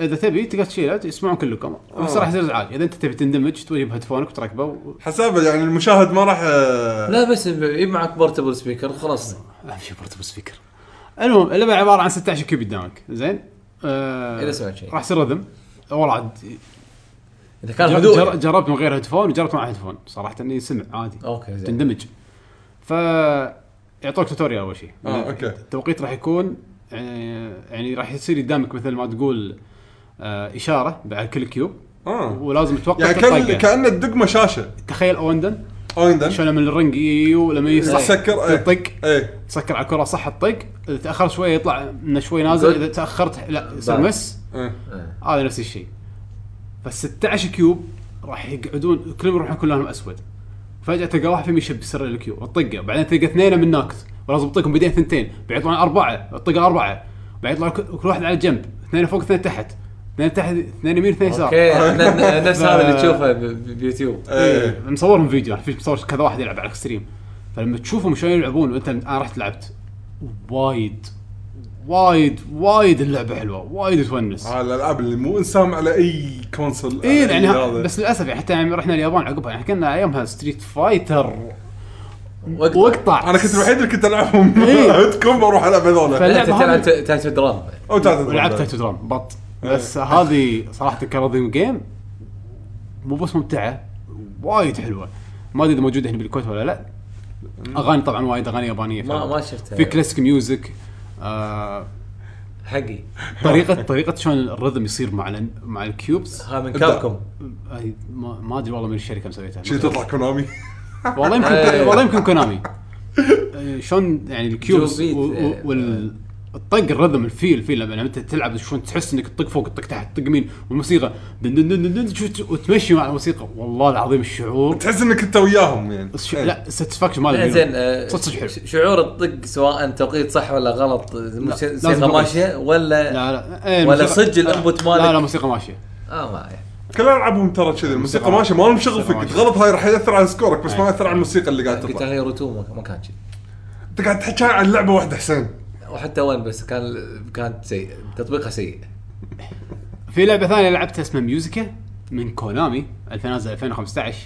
Speaker 1: اذا تبي تقدر تشيله يسمعون كلكم بس
Speaker 3: آه.
Speaker 1: راح يصير ازعاج اذا انت تبي تندمج تجيب هيدفونك وتركبه و-
Speaker 3: حسابه يعني المشاهد ما راح
Speaker 1: أه.
Speaker 3: آه،
Speaker 4: لا بس يجيب معك بورتبل سبيكر وخلاص
Speaker 1: اهم شيء بورتبل سبيكر المهم اللعبه عباره عن 16 كيوب قدامك زين آه،
Speaker 4: إذا سويت شيء.
Speaker 1: راح يصير رذم والله عاد
Speaker 4: اذا كان
Speaker 1: جر-
Speaker 4: هدوء
Speaker 1: جر-
Speaker 4: يعني.
Speaker 1: جربت من غير هيدفون وجربت مع هيدفون صراحه اني سمع عادي
Speaker 4: اوكي زين
Speaker 1: تندمج ف يعطوك توتوريال اول شيء يعني
Speaker 3: آه، أوكي.
Speaker 1: التوقيت راح يكون آه، يعني راح يصير قدامك مثل ما تقول آه، اشاره بعد كل كيوب
Speaker 3: اه
Speaker 1: ولازم توقف
Speaker 3: يعني كان
Speaker 1: الطقة.
Speaker 3: كان الدقمه شاشه
Speaker 1: تخيل اوندن
Speaker 3: اويندن
Speaker 1: شلون من الرنج يو لما
Speaker 3: راح
Speaker 1: يصح
Speaker 3: سكر ايه
Speaker 1: تطق
Speaker 3: ايه
Speaker 1: تسكر على الكره صح تطق اذا تاخرت شوي يطلع منه شوي نازل
Speaker 4: Good.
Speaker 1: اذا تاخرت لا يصير
Speaker 4: Bad.
Speaker 1: مس
Speaker 3: إيه.
Speaker 4: أه.
Speaker 1: هذا نفس الشيء بس 16 كيوب راح يقعدون كلهم يروحون كلهم اسود فجاه تلقى واحد فيهم يشب سر الكيوب الطقه بعدين تلقى اثنين من ناكس ولازم يطقهم بعدين ثنتين بعدين يطلعون اربعه الطقه الاربعه بعدين يطلع كل كل واحد على جنب اثنين فوق اثنين تحت اثنين تحت اثنين يمين اثنين يسار
Speaker 4: اوكي احنا ن- نفس هذا اللي تشوفه ب- ب- بيوتيوب
Speaker 1: أه.
Speaker 3: ايه
Speaker 1: إيه، مصورهم فيديو يعني في مصور كذا واحد يلعب على الاكستريم فلما تشوفهم شلون يلعبون وانت انا رحت لعبت وايد وايد وايد اللعبه حلوه وايد تونس
Speaker 3: على الالعاب اللي مو انسام على اي كونسل
Speaker 1: اي
Speaker 3: على أي
Speaker 1: يعني ها-
Speaker 3: هذا.
Speaker 1: بس للاسف يعني حتى يعني رحنا اليابان عقبها يعني كنا ايامها ستريت فايتر
Speaker 4: وقت
Speaker 1: واقطع
Speaker 3: انا كنت الوحيد اللي كنت العبهم
Speaker 1: إيه.
Speaker 3: عندكم بروح العب هذول
Speaker 1: فال-
Speaker 4: انت
Speaker 1: اللعبة
Speaker 4: تلعب
Speaker 1: هذه-
Speaker 4: ت- تايتو درام
Speaker 3: او تعال
Speaker 1: ولعبت تايتو درام بط بس هذه صراحه كرضيم جيم مو بس ممتعه وايد حلوه ما ادري اذا موجوده هنا بالكويت ولا لا اغاني طبعا وايد اغاني يابانيه
Speaker 4: ما
Speaker 1: فعلا.
Speaker 4: ما شفتها
Speaker 1: في كلاسيك ميوزك آه
Speaker 4: حقي
Speaker 1: طريقه طريقه شلون الرذم يصير مع ال- مع الكيوبس
Speaker 4: ها من كابكم
Speaker 1: هاي ما ما ادري والله من الشركه مسويتها
Speaker 3: شي تطلع كونامي
Speaker 1: والله
Speaker 4: إيه.
Speaker 1: يمكن والله يمكن كونامي آه، شلون يعني الكيوبس
Speaker 4: جو بيت،
Speaker 1: و-
Speaker 4: آه.
Speaker 1: وال الطق الرذم الفيل الفيل لما لما انت تلعب شلون تحس انك تطق فوق تطق تحت تطق يمين والموسيقى دن دن دن دن دن شو- شو- وتمشي مع الموسيقى والله العظيم الشعور
Speaker 3: تحس انك انت وياهم يعني
Speaker 1: الش-
Speaker 3: إيه.
Speaker 1: لا الساتسفاكشن ماله
Speaker 4: لا، زين آه،
Speaker 1: بينهم. صدق صدق حلو
Speaker 4: ش- شعور الطق سواء توقيت صح ولا غلط موسيقى
Speaker 1: لازم
Speaker 4: موسيقى
Speaker 1: توقيت.
Speaker 4: ماشيه ولا
Speaker 1: لا لا إيه،
Speaker 4: ولا
Speaker 1: الموسيقى-
Speaker 4: صدق الانبوت
Speaker 1: لا لا
Speaker 4: مالك
Speaker 1: موسيقى ماشيه
Speaker 4: اه ما
Speaker 3: كل العابهم ترى كذي الموسيقى
Speaker 1: موسيقى
Speaker 3: ماشيه ما لهم شغل
Speaker 1: موسيقى
Speaker 3: فيك
Speaker 1: ماشية. إيه.
Speaker 3: تغلط هاي راح ياثر على سكورك بس ما
Speaker 1: أي.
Speaker 3: ياثر على الموسيقى اللي قاعد
Speaker 4: قلت
Speaker 3: تطلع
Speaker 4: هي رتومه ما كان شيء
Speaker 3: انت قاعد تحكي عن لعبه واحده حسين
Speaker 4: وحتى وين بس كان كانت سيء تطبيقها سيء
Speaker 1: في لعبه ثانيه لعبتها اسمها ميوزيكا من كونامي 2000 2015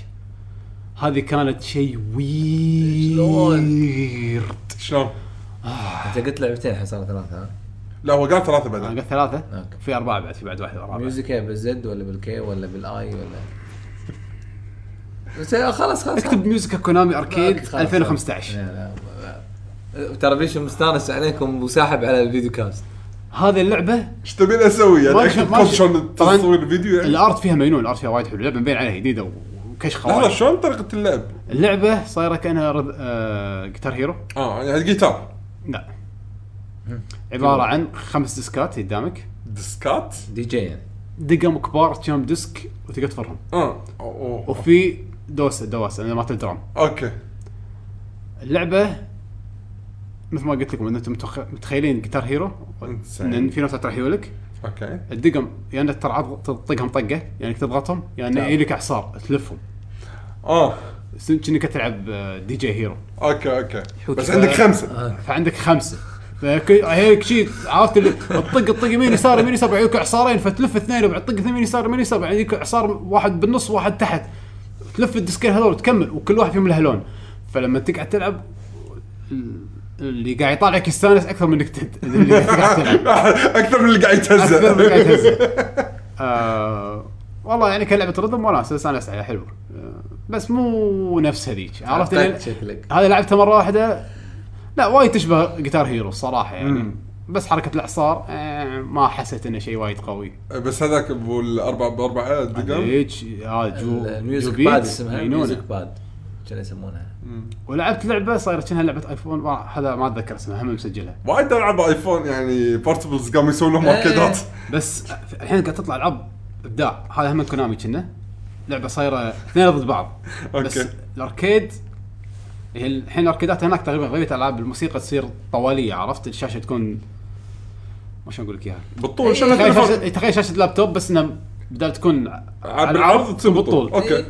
Speaker 1: هذه كانت شيء ويرد
Speaker 3: شلون؟
Speaker 4: انت قلت لعبتين الحين صار ثلاثه ها
Speaker 3: لا هو قال ثلاثه
Speaker 1: انا
Speaker 3: بعدين
Speaker 1: قلت ثلاثه
Speaker 4: اوكي
Speaker 1: في اربعه بعد في بعد واحده رابعه
Speaker 4: ميوزك إيه، بالزد ولا بالكي ولا بالاي ولا بس إيه، خلاص خلاص
Speaker 1: اكتب ميوزك كونامي اركيد
Speaker 4: خلاص، خلاص.
Speaker 1: 2015
Speaker 4: لا، لا، لا. ترى بيش مستانس عليكم وساحب على الفيديو كاست
Speaker 1: هذه اللعبه
Speaker 3: ايش تبين اسوي يعني
Speaker 1: ماشي-
Speaker 3: اكتب
Speaker 1: ماشي.
Speaker 3: كود شلون
Speaker 1: طبعاً
Speaker 3: تصوير الفيديو يعني
Speaker 1: الارت فيها مجنون الارت فيها وايد حلو لعبه مبين عليها جديده و- وكشخه
Speaker 3: لحظه
Speaker 1: وايد
Speaker 3: شلون طريقه اللعب؟
Speaker 1: اللعبه صايره كانها رذ... آه... جيتار هيرو
Speaker 3: اه يعني جيتار
Speaker 1: لا عباره عن خمس ديسكات قدامك
Speaker 3: ديسكات
Speaker 4: دي جي يعني
Speaker 1: دقم كبار كم ديسك وتقدر تفرهم
Speaker 3: اه أوه. أوه.
Speaker 1: وفي دوسه دواسه لما درام
Speaker 3: اوكي
Speaker 1: اللعبه مثل ما قلت لكم ان انتم متخ... متخيلين جيتار هيرو
Speaker 3: إنسان.
Speaker 1: ان في ناس راح يولك
Speaker 3: اوكي
Speaker 1: الدقم يا انك ترعض تطقهم طقه يا انك تضغطهم يا انه يجي لك اعصار تلفهم
Speaker 3: اه
Speaker 1: س- كأنك تلعب آه، دي جي هيرو
Speaker 3: اوكي اوكي بس
Speaker 1: ف-
Speaker 3: عندك خمسه
Speaker 1: فعندك خمسه فك- هيك شي عرفت اللي الطق الطق يمين يسار يمين يسار يجيك اعصارين فتلف اثنين وبعد طق اثنين يمين يسار يمين يسار بعد يجيك اعصار واحد بالنص واحد تحت تلف الديسكين هذول وتكمل وكل واحد فيهم له لون فلما تقعد تلعب ال- اللي قاعد يطالعك يستانس اكثر من انك تد- اللي قاعد تلعب
Speaker 3: اكثر من اللي قاعد
Speaker 1: اكثر من قاعد
Speaker 3: يتهزأ
Speaker 1: تهزه. آه، والله يعني كلعبه رذم وناس استانست عليها حلوه آه، بس مو نفس هذيك عرفت
Speaker 4: أعطاك
Speaker 1: اللي-
Speaker 4: شكلك
Speaker 1: هذه لعبتها مره واحده لا وايد تشبه جيتار هيرو صراحه يعني
Speaker 3: مم.
Speaker 1: بس حركه الاعصار آه، ما حسيت انه شيء وايد قوي
Speaker 3: بس هذاك ابو الاربع باربع دقم
Speaker 1: هيك آه، جو جو
Speaker 4: الميوزك
Speaker 1: بيت،
Speaker 4: باد اسمها ميوزك
Speaker 1: مجنونة.
Speaker 4: باد شنو يسمونها
Speaker 1: ولعبت لعبه صارت كأنها لعبه ايفون ما- هذا ما اتذكر اسمها هم مسجلها
Speaker 3: وايد العاب ايفون يعني بورتبلز قاموا يسوون
Speaker 1: إيه.
Speaker 3: لهم اركيدات
Speaker 1: بس الحين قاعد تطلع العاب ابداع هذا هم كونامي كنا لعبه صايره اثنين ضد بعض بس
Speaker 3: أوكي.
Speaker 1: الاركيد هي الحين الاركيدات هناك تقريبا غالبيه العاب الموسيقى تصير طواليه عرفت الشاشه تكون ما شلون اقول لك اياها
Speaker 3: بالطول شنو
Speaker 1: تخيل
Speaker 3: التليفون؟
Speaker 1: شاشة تخيل شاشة لابتوب بس انها بدل تكون ع- على
Speaker 3: بالعرض تصير بالطول
Speaker 1: بالطول
Speaker 3: اوكي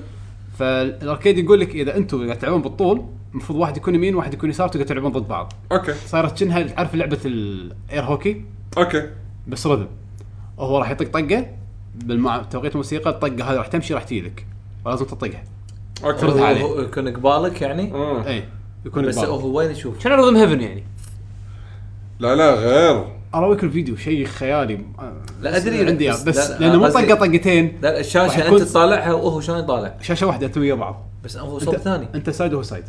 Speaker 1: فالاركيد يقول لك اذا انتم قاعد تلعبون بالطول المفروض واحد يكون يمين واحد يكون يسار تقعد تلعبون ضد بعض
Speaker 3: اوكي
Speaker 1: صارت شنها تعرف لعبه الاير هوكي
Speaker 3: اوكي
Speaker 1: بس رذم هو راح يطق طقه بالمع... توقيت الموسيقى الطقه هذه راح تمشي راح تجيلك ولازم تطقها
Speaker 3: اوكي
Speaker 1: فرض عليه.
Speaker 4: هو يكون قبالك يعني
Speaker 3: آه.
Speaker 1: اي إيه. يكون
Speaker 4: بس
Speaker 1: بس
Speaker 4: هو وين يشوف
Speaker 2: كان رذم هيفن يعني
Speaker 3: لا لا غير
Speaker 1: اراويك الفيديو شيء خيالي
Speaker 4: لا أدري،
Speaker 1: عندي
Speaker 4: بس-
Speaker 1: بس, بس
Speaker 4: لا،
Speaker 1: لانه مو
Speaker 4: قصدي-
Speaker 1: طقه طقتين
Speaker 4: لا الشاشه
Speaker 1: راح
Speaker 4: انت
Speaker 1: يكون-
Speaker 4: تطالعها وهو شلون يطالع
Speaker 1: شاشه واحده توي بعض
Speaker 4: بس هو
Speaker 1: انت
Speaker 4: صوب ثاني
Speaker 1: انت سايد وهو سايد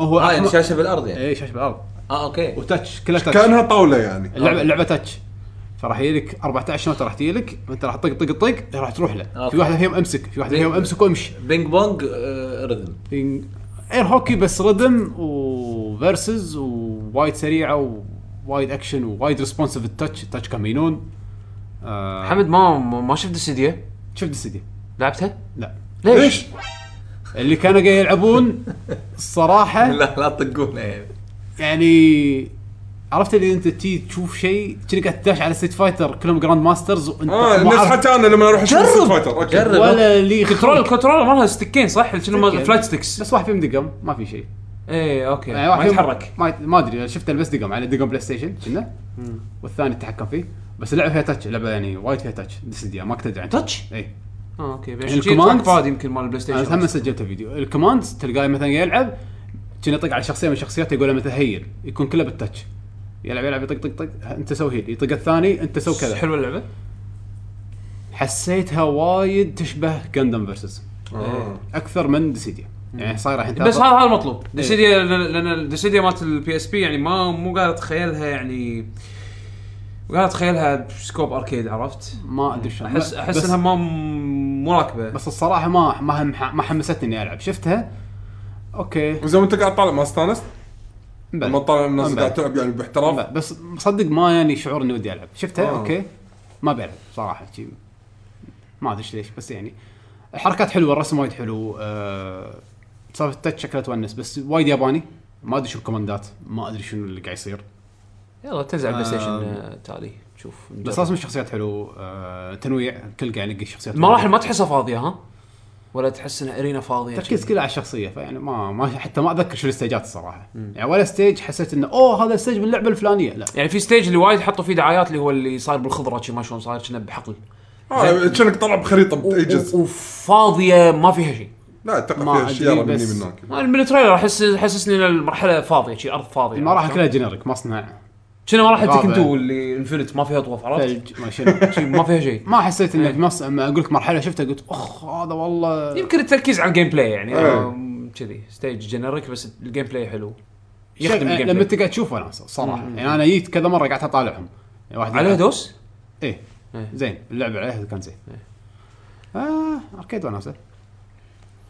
Speaker 1: هو
Speaker 4: اه يعني
Speaker 1: أحمر-
Speaker 4: شاشه بالارض يعني
Speaker 1: اي شاشه بالارض
Speaker 4: اه اوكي
Speaker 1: وتاتش كلها تاتش
Speaker 3: كانها طاوله يعني
Speaker 1: اللعبه
Speaker 4: آه.
Speaker 1: اللعبه تاتش فراح يجي لك 14 نوته راح تجي لك فانت راح تطق طق طق راح تروح له
Speaker 4: آه، أوكي.
Speaker 1: في واحده فيهم امسك في واحده فيهم امسك وامشي
Speaker 4: بينج بونج آه، رذم
Speaker 1: إن- اير هوكي بس ردم وفيرسز ووايد سريعه ووايد اكشن ووايد ريسبونسيف التاتش التاتش كان مجنون آه
Speaker 2: حمد ما ما شفت السيدية
Speaker 1: شفت السيدي
Speaker 2: لعبتها؟
Speaker 1: لا
Speaker 2: ليش؟
Speaker 1: اللي كانوا قاعد يلعبون الصراحه
Speaker 4: لا لا تطقونه يعني
Speaker 1: يعني عرفت اللي انت تي تشوف شيء كأنك قاعد تداش على ستيت فايتر كلهم جراند ماسترز وانت
Speaker 3: اه
Speaker 1: مو
Speaker 3: الناس
Speaker 1: عارف
Speaker 3: حتى انا لما اروح اشوف
Speaker 4: جرب.
Speaker 3: ستريت فايتر اوكي
Speaker 4: جرب.
Speaker 1: ولا لي
Speaker 2: كنترول
Speaker 1: خلق.
Speaker 2: الكنترول مالها ستيكين صح؟ شنو
Speaker 1: ستيكين.
Speaker 2: فلايت ستيكس
Speaker 1: بس واحد فيهم دقم ما في شيء
Speaker 2: اي اوكي
Speaker 1: يعني
Speaker 2: إيه، ما
Speaker 1: واحد فيهم-
Speaker 2: يتحرك
Speaker 1: ما يت- ما ادري شفت بس دقم على دقم بلاي ستيشن كنا والثاني التحكم فيه بس اللعبه فيها تاتش اللعبه يعني وايد فيها تاتش دس دي ما كنت ادري عنها
Speaker 2: تاتش؟
Speaker 1: اي
Speaker 2: اه اوكي
Speaker 1: يعني
Speaker 2: عشان شي
Speaker 1: الكوماند-
Speaker 2: تراك باد يمكن مال البلاي
Speaker 1: انا هم
Speaker 2: ستيشن
Speaker 1: سجلت فيديو الكوماندز تلقاه مثلا يلعب كنا يطق على شخصيه من الشخصيات يقول له مثلا هيل يكون كله بالتاتش يلعب يلعب يطق طق طق انت سوي هيل يطق الثاني انت سوي كذا
Speaker 2: حلوه اللعبه
Speaker 1: حسيتها وايد تشبه جندم فيرسز
Speaker 3: آه.
Speaker 1: اكثر من ديسيديا يعني صايره الحين
Speaker 2: بس
Speaker 1: تاخذ-
Speaker 2: هذا هذا المطلوب ديسيديا إيه، لأن- لان الديسيديا مالت البي اس بي يعني ما مو قاعد اتخيلها يعني قاعد اتخيلها سكوب اركيد عرفت؟
Speaker 1: ما ادري شلون
Speaker 2: احس احس
Speaker 1: بس-
Speaker 2: انها ما مراكبه
Speaker 1: بس الصراحه ما ما هم- ما حمستني اني العب شفتها اوكي
Speaker 3: وزي ما انت قاعد طالع ما استانست
Speaker 1: بل.
Speaker 3: لما طالع الناس
Speaker 1: بل.
Speaker 3: قاعد تلعب يعني باحتراف
Speaker 1: لا بس صدق ما يعني شعور اني ودي العب شفتها
Speaker 3: آه.
Speaker 1: آه. اوكي ما بلعب صراحه شي ما ادري إيش ليش بس يعني الحركات حلوه الرسم وايد حلو آه، سالفه التاتش شكلها تونس بس وايد ياباني ما ادري شو الكوماندات ما ادري شنو اللي قاعد يصير
Speaker 2: يلا تنزل على البلاي ستيشن
Speaker 1: آم.
Speaker 2: آه، تالي شوف
Speaker 1: بس رسم الشخصيات حلو آه، تنويع كل قاعد يلقى شخصيات
Speaker 2: المراحل ما تحسها فاضيه ها؟ ولا تحس ان ارينا فاضيه
Speaker 1: التركيز كله على الشخصيه فيعني ما ما حتى ما اتذكر شو الستيجات الصراحه يعني ولا ستيج حسيت انه اوه هذا ستيج من اللعبه الفلانيه لا
Speaker 2: يعني في ستيج اللي وايد حطوا فيه دعايات اللي هو اللي صاير بالخضره شي ما شلون صاير كنا بحقل
Speaker 3: اه كأنك طالع بخريطه
Speaker 2: و-
Speaker 3: بتيجز
Speaker 2: وفاضيه ما فيها شيء
Speaker 3: لا تقع
Speaker 1: ما
Speaker 3: فيها
Speaker 1: أدري
Speaker 3: اشياء مني
Speaker 1: بس-
Speaker 3: من هناك
Speaker 2: ما- من التريلر احس حسسني ان المرحله فاضيه شي ارض فاضيه
Speaker 3: يعني
Speaker 1: المراحل كلها جينيريك مصنع
Speaker 2: شنو مراحل
Speaker 1: غابة.
Speaker 2: تكن تو اللي انفنت ما فيها طوف عرفت؟
Speaker 1: ثلج ما شنو
Speaker 2: شي ما فيها شيء
Speaker 1: ما حسيت انه في مصر لما اقول لك مرحله شفتها قلت اخ هذا والله
Speaker 2: يمكن التركيز على الجيم بلاي يعني
Speaker 3: إيه.
Speaker 2: آم، كذي ستيج جنريك بس الجيم بلاي حلو
Speaker 1: شيء-
Speaker 2: يخدم الجيم
Speaker 1: آه، لما
Speaker 2: بلاي
Speaker 1: انت قاعد تشوف انا صراحه يعني انا جيت كذا مره قعدت اطالعهم يعني واحد
Speaker 2: عليها دوس؟
Speaker 1: ايه
Speaker 2: إيه.
Speaker 1: زين اللعب عليها كان زين اه اركيد وناسه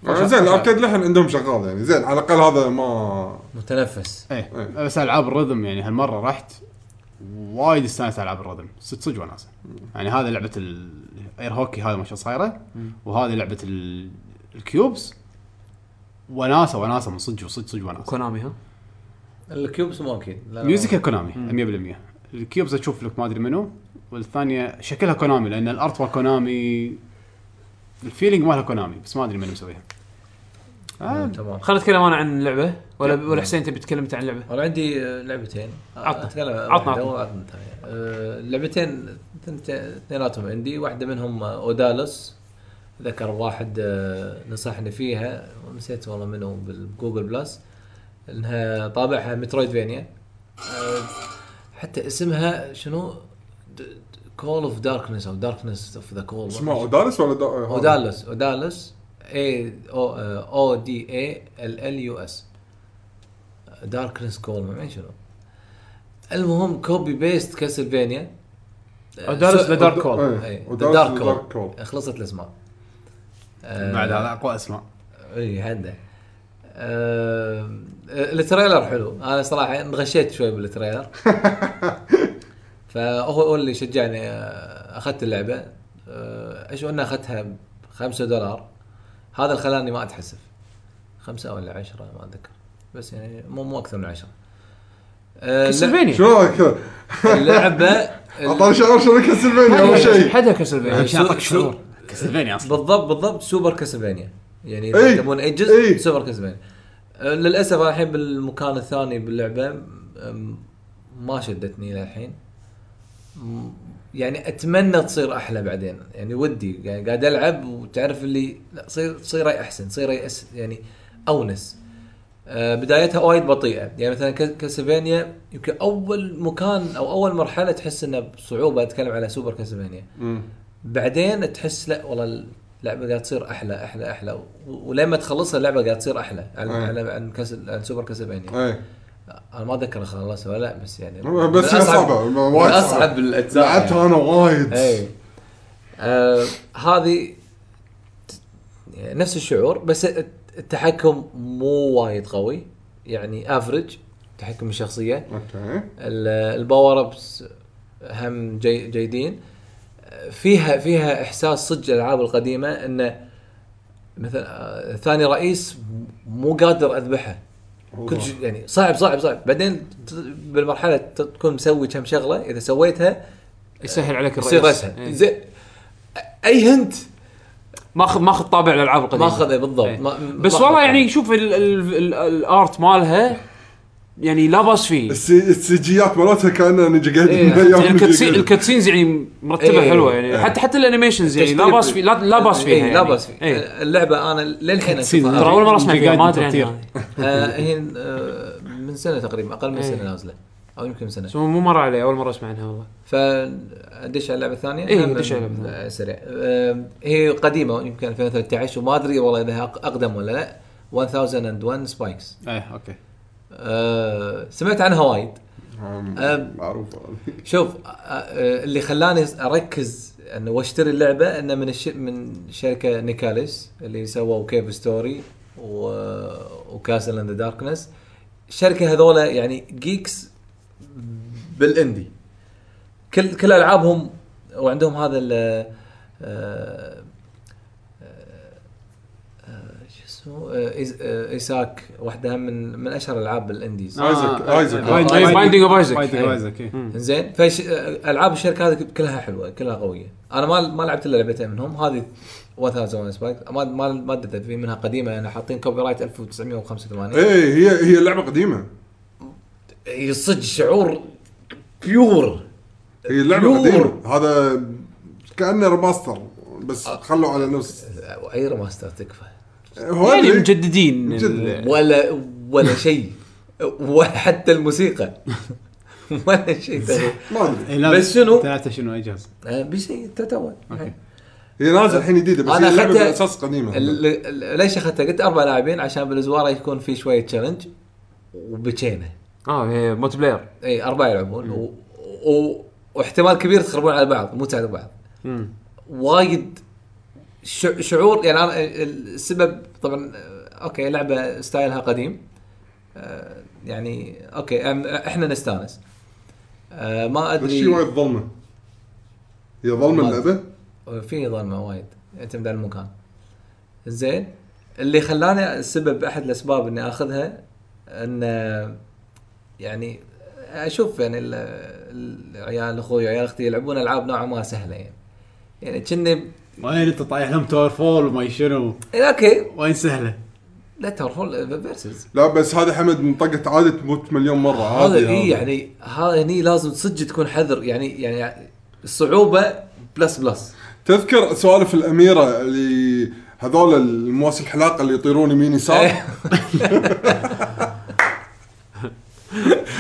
Speaker 3: آه، زين الاركيد لحن عندهم شغال يعني زين على الاقل هذا ما
Speaker 4: متنفس
Speaker 1: ايه
Speaker 3: إيه.
Speaker 1: بس العاب الرذم يعني هالمره رحت وايد استانست على العاب الرذم صدق صدق وناسه يعني هذا لعبه الاير هوكي هذا ما شو صايره وهذه لعبه ال- الكيوبس وناسه وناسه من صدق وصدق صدق وناسه
Speaker 2: كونامي ها؟
Speaker 4: الكيوبس مو اكيد لا، لا،
Speaker 1: ميوزيكا كونامي 100% الكيوبز اشوف لك ما ادري منو والثانيه شكلها كونامي لان الارت مال كونامي الفيلينج مالها كونامي بس ما ادري منو مسويها آه
Speaker 4: تمام
Speaker 2: خلينا نتكلم انا عن اللعبه ولا ولا حسين تبي تتكلم انت عن اللعبه؟
Speaker 4: انا عندي آه، لعبتين
Speaker 2: عطنا.
Speaker 4: اتكلم
Speaker 2: عطنا، عطنا.
Speaker 4: عطنا أه، لعبتين ثنت- اثنيناتهم عندي واحده منهم آه، اودالوس ذكر واحد آه، نصحني فيها ونسيت والله منو بالجوجل بلس انها طابعها مترويد فينيا حتى اسمها شنو كول اوف داركنس او داركنس اوف ذا كول
Speaker 3: اسمه اودالس ولا دا... آه، هذا؟
Speaker 4: اودالوس اودالوس اي او او دي اي ال ال يو اس داركنس كول ما أدري شنو المهم كوبي بيست كاسلفينيا
Speaker 2: أودالوس
Speaker 4: سو-
Speaker 2: ذا دارك كول.
Speaker 3: إيه،
Speaker 4: إيه، ذا
Speaker 3: أودالس
Speaker 4: دارك
Speaker 3: ذا
Speaker 4: كول.
Speaker 3: دارك كول.
Speaker 4: خلصت الاسماء آه،
Speaker 1: بعد هذا اقوى اسماء
Speaker 4: اي عنده آه، التريلر حلو انا صراحه انغشيت شوي بالتريلر فهو هو اللي شجعني آه، اخذت اللعبه آه، ايش قلنا اخذتها ب 5 دولار هذا اللي خلاني ما اتحسف خمسة ولا عشرة ما اتذكر بس يعني مو مو اكثر من عشرة آه،
Speaker 2: كاسلفينيا
Speaker 3: شنو هذا كذا؟
Speaker 4: اللعبة
Speaker 3: اعطاني شعور شنو كاسلفينيا اول شيء
Speaker 2: حدها كاسلفينيا
Speaker 1: عشان اعطيك
Speaker 4: شو-
Speaker 1: شعور آه، كاسلفينيا اصلا
Speaker 4: بالضبط بالضبط سوبر كاسلفينيا يعني
Speaker 3: إي،
Speaker 4: اذا تبون اي جزء
Speaker 3: إي.
Speaker 4: سوبر كاسلفينيا أه، للاسف انا الحين بالمكان الثاني باللعبه أم، ما شدتني للحين م- يعني اتمنى تصير احلى بعدين يعني ودي يعني قاعد العب وتعرف اللي لا صير صير اي احسن صير اي أس يعني اونس آه، بدايتها وايد بطيئه يعني مثلا كاس- كاسلفينيا يمكن اول مكان او اول مرحله تحس انه بصعوبه اتكلم على سوبر كاسلفينيا بعدين تحس لا والله اللعبه قاعد تصير احلى احلى احلى و- ولما تخلصها اللعبه قاعد تصير احلى عن
Speaker 3: أي.
Speaker 4: على عن كاس- عن سوبر كاسلفينيا
Speaker 3: ايه
Speaker 4: انا ما اتذكر خلصها ولا لا بس يعني
Speaker 3: بس هي صعبه وايد
Speaker 4: وايد
Speaker 3: صعبة.
Speaker 4: اصعب الاجزاء يعني.
Speaker 3: لعبتها انا وايد
Speaker 4: اي إيه. آه هذه ت- يعني نفس الشعور بس الت- التحكم مو وايد قوي يعني افرج تحكم الشخصيه
Speaker 3: اوكي
Speaker 4: ال- الباور ابس هم جي جيدين آه، فيها فيها احساس صدق الالعاب القديمه انه مثلا آه، ثاني رئيس مو قادر اذبحه كنت ج- يعني صعب صعب صعب بعدين ت- بالمرحله ت- تكون مسوي كم شغله اذا سويتها
Speaker 2: يسهل عليك
Speaker 4: يصير
Speaker 2: الرئيس
Speaker 4: اسهل
Speaker 2: إيه.
Speaker 4: زين اي هنت
Speaker 2: ماخذ ماخذ طابع الالعاب القديمه
Speaker 4: ماخذ إيه بالضبط
Speaker 2: إيه.
Speaker 4: ما م-
Speaker 2: بس
Speaker 4: ماخذ.
Speaker 2: والله يعني شوف ال- ال- ال- الارت مالها يعني لا باس فيه
Speaker 3: السي- السيجيات مالتها كانها نجي قاعد
Speaker 2: يعني الكتسين الكتسينز يعني مرتبه
Speaker 4: إيه.
Speaker 2: حلوه يعني حتى حتى الانيميشنز يعني لا
Speaker 4: تشطيب.
Speaker 2: باس فيه لا, لا باس فيها
Speaker 4: إيه،
Speaker 2: يعني.
Speaker 4: لا باس فيه
Speaker 2: إيه.
Speaker 4: اللعبه انا للحين
Speaker 1: كتسين.
Speaker 4: أشوفها.
Speaker 2: ترى اول مره اسمع
Speaker 1: إنت
Speaker 2: فيها
Speaker 1: قاعد
Speaker 2: ما ادري
Speaker 1: تطير.
Speaker 2: عنها.
Speaker 4: آه، هي آه، من سنه تقريبا اقل من
Speaker 2: إيه.
Speaker 4: سنه نازله او يمكن سنه
Speaker 2: بس مو مر علي اول مره اسمع عنها والله
Speaker 4: فادش على اللعبه الثانيه
Speaker 2: إيه،
Speaker 4: أنا
Speaker 2: دش على اللعبة
Speaker 4: م-
Speaker 2: الثانية.
Speaker 4: سريع آه، هي قديمه يمكن 2013 وما ادري والله اذا أق- اقدم ولا لا 1001 سبايكس
Speaker 1: ايه اوكي
Speaker 4: آه، سمعت عنها وايد أم.
Speaker 3: معروفه
Speaker 4: شوف آه، آه، اللي خلاني اركز انه واشتري اللعبه انه من الش... من شركه نيكاليس اللي سووا كيف ستوري و... وكاسل اند داركنس الشركه هذولا يعني جيكس بالاندي كل كل العابهم وعندهم هذا ال آه، آه، آه، شو اسمه آه، إيز- آه، ايساك واحده من من اشهر العاب الانديز
Speaker 1: آه،
Speaker 3: آيزك- آيزك.
Speaker 2: Binding of Isaac.
Speaker 1: بايندينج اوف
Speaker 4: أي.
Speaker 1: ايزك إيه.
Speaker 4: زين فش العاب الشركه هذه كلها حلوه كلها قويه انا ما ما لعبت الا لعبتين منهم هذه 1001 سبايك ما ما ما دت في منها قديمه انا حاطين كوبي رايت 1985
Speaker 3: ايه هي هي لعبه قديمه
Speaker 4: هي صدق شعور بيور
Speaker 3: هي لعبه
Speaker 4: يور.
Speaker 3: قديمه هذا كانه ريماستر بس
Speaker 4: أه.
Speaker 3: خلوا على نفس
Speaker 4: اي ريماستر تكفى
Speaker 3: هو
Speaker 2: يعني
Speaker 3: اللي-
Speaker 2: مجددين
Speaker 3: مجدد.
Speaker 2: ال-
Speaker 4: ولا ولا شيء ولا حتى الموسيقى ولا شيء ترى.
Speaker 3: ما ادري
Speaker 1: إيه، لا،
Speaker 4: بس شنو؟ إيه.
Speaker 1: ثلاثة شنو اي جهاز
Speaker 4: آه، بشيء تتوه
Speaker 1: اوكي
Speaker 3: هي نازل الحين جديده بس
Speaker 4: أنا
Speaker 3: هي اللعبه
Speaker 4: أخذتها-
Speaker 3: بالاساس قديمه
Speaker 4: ال- ال- ليش اخذتها؟ قلت اربع لاعبين عشان بالزواره يكون في شويه تشالنج وبكينا
Speaker 2: اه هي موت بلاير
Speaker 4: اي اربعه يلعبون و... و... واحتمال كبير تخربون على بعض مو تعرف بعض وايد ش... شعور يعني انا السبب طبعا آه، اوكي لعبه ستايلها قديم آه، يعني اوكي أم- احنا نستانس آه، ما
Speaker 3: بس
Speaker 4: ادري
Speaker 3: شي وايد ظلمه هي ظلمه
Speaker 4: ما-
Speaker 3: اللعبه
Speaker 4: في ظلمه وايد يعتمد على المكان زين اللي خلاني السبب احد الاسباب اني اخذها ان يعني اشوف يعني ال- ال- عيال اخوي وعيال اختي يلعبون العاب نوعا ما سهله يعني يعني كني
Speaker 1: وين انت طايح لهم تاور فول وما شنو
Speaker 4: إيه، اوكي
Speaker 1: وين سهله
Speaker 4: لا ترفول فيرسز
Speaker 3: لا بس هذا حمد منطقه عاده تموت مليون مره
Speaker 4: هذا
Speaker 3: عادي
Speaker 4: اي يعني هذا هني لازم صدق تكون حذر يعني يعني الصعوبه بلس بلس
Speaker 3: تذكر سوالف الاميره اللي هذول المواس الحلاقه اللي يطيرون يمين يسار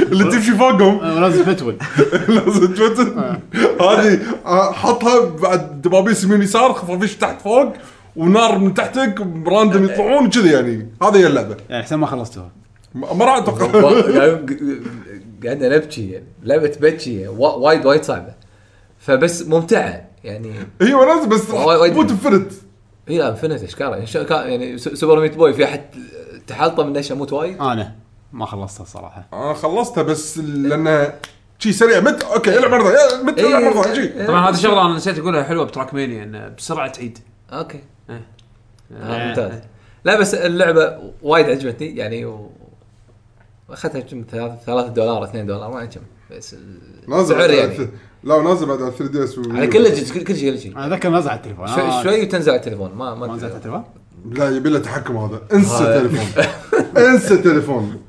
Speaker 3: اللي تمشي فوقهم
Speaker 1: آه، ولازم فتول
Speaker 3: لازم توتن هذه آه، حطها بعد دبابيس يمين يسار خفافيش تحت فوق ونار من تحتك براندم يطلعون كذي يعني هذه هي اللعبه
Speaker 1: يعني احسن ما خلصتوها
Speaker 3: ما ما راح اتوقع
Speaker 4: قاعدة نبكي يعني لعبة تبكي وا- وايد وايد صعبة فبس ممتعة يعني
Speaker 3: هي وناسه بس
Speaker 4: وايد- وايد.
Speaker 3: تموت بفرد
Speaker 4: هي انفنت اشكالها شو- كان- يعني س- سوبر ميت بوي في احد تحلطه من ليش اموت وايد
Speaker 1: انا ما خلصتها صراحه
Speaker 3: انا خلصتها بس لانها شي سريع مت اوكي العب مره ثانية، مت
Speaker 4: إيه،
Speaker 3: العب مره ثانية، شي
Speaker 2: طبعا هذه شغله انا نسيت اقولها حلوه بتراك مانيا انه بسرعه تعيد
Speaker 4: اوكي
Speaker 2: إيه.
Speaker 4: آه، ممتاز لا بس اللعبة وايد عجبتني يعني و... اخذتها كم 3 دولار 2 دولار ما ادري كم بس ال-
Speaker 3: نازل
Speaker 4: سعر
Speaker 3: بعد
Speaker 4: يعني
Speaker 3: لا ونازل بعد على 3 دي اس
Speaker 4: على كل جزء- كل- كل شيء كل شيء
Speaker 1: انا ذكر نزع على التليفون
Speaker 4: شوي-
Speaker 1: آه،
Speaker 4: شوي وتنزل على التليفون ما
Speaker 1: ما نزعت على
Speaker 4: ما
Speaker 1: التليفون
Speaker 3: لا يبي له تحكم هذا انسى
Speaker 4: هذا-
Speaker 3: تليفون انسى تليفون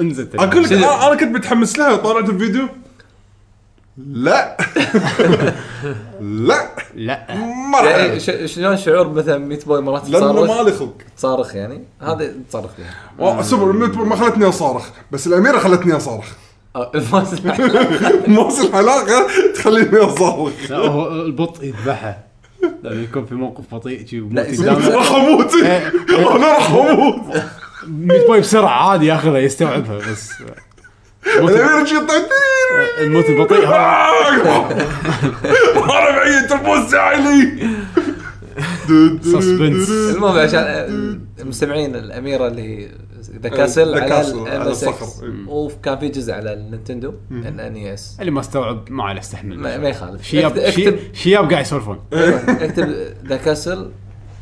Speaker 1: انزل
Speaker 3: اقول لك
Speaker 1: التليفون.
Speaker 3: انا أنا كنت متحمس لها طالعت الفيديو لا لا
Speaker 1: لا
Speaker 3: ما راح
Speaker 4: يعني
Speaker 3: ألعب.
Speaker 4: ش- شلون شعور مثلا ميت بوي مرات
Speaker 3: لانه
Speaker 4: تصارخ
Speaker 3: مالي خلق
Speaker 4: صارخ يعني هذا تصرخ فيها
Speaker 3: وا- سوبر ميت بوي ما خلتني اصارخ بس الاميره خلتني اصارخ
Speaker 4: آه، ما أسمع.
Speaker 3: موصل حلاقه تخليني اصارخ
Speaker 1: لا، هو البطء يذبحه لما يكون في موقف بطيء شي
Speaker 4: لا،
Speaker 1: يموت
Speaker 4: يصير-
Speaker 1: قدامه
Speaker 3: راح اموت انا راح اموت
Speaker 1: ميت بوي بسرعه عادي ياخذها يستوعبها بس
Speaker 3: الاميره شي طيب
Speaker 1: الموت البطيء هو
Speaker 3: انا بعيد تربوز علي
Speaker 1: Suspense.
Speaker 4: المهم عشان آه، المستمعين الاميره اللي ذا كاسل
Speaker 3: The
Speaker 4: إيه، على
Speaker 3: Castle، على الصخر.
Speaker 4: الصخر إيه. وكان في جزء على النينتندو الان اس
Speaker 1: اللي ما استوعب ما عليه استحمل
Speaker 4: ما ما يخالف
Speaker 1: شياب
Speaker 4: اكتب- اكتب
Speaker 1: شي- شياب قاعد يسولفون
Speaker 4: اكتب ذا كاسل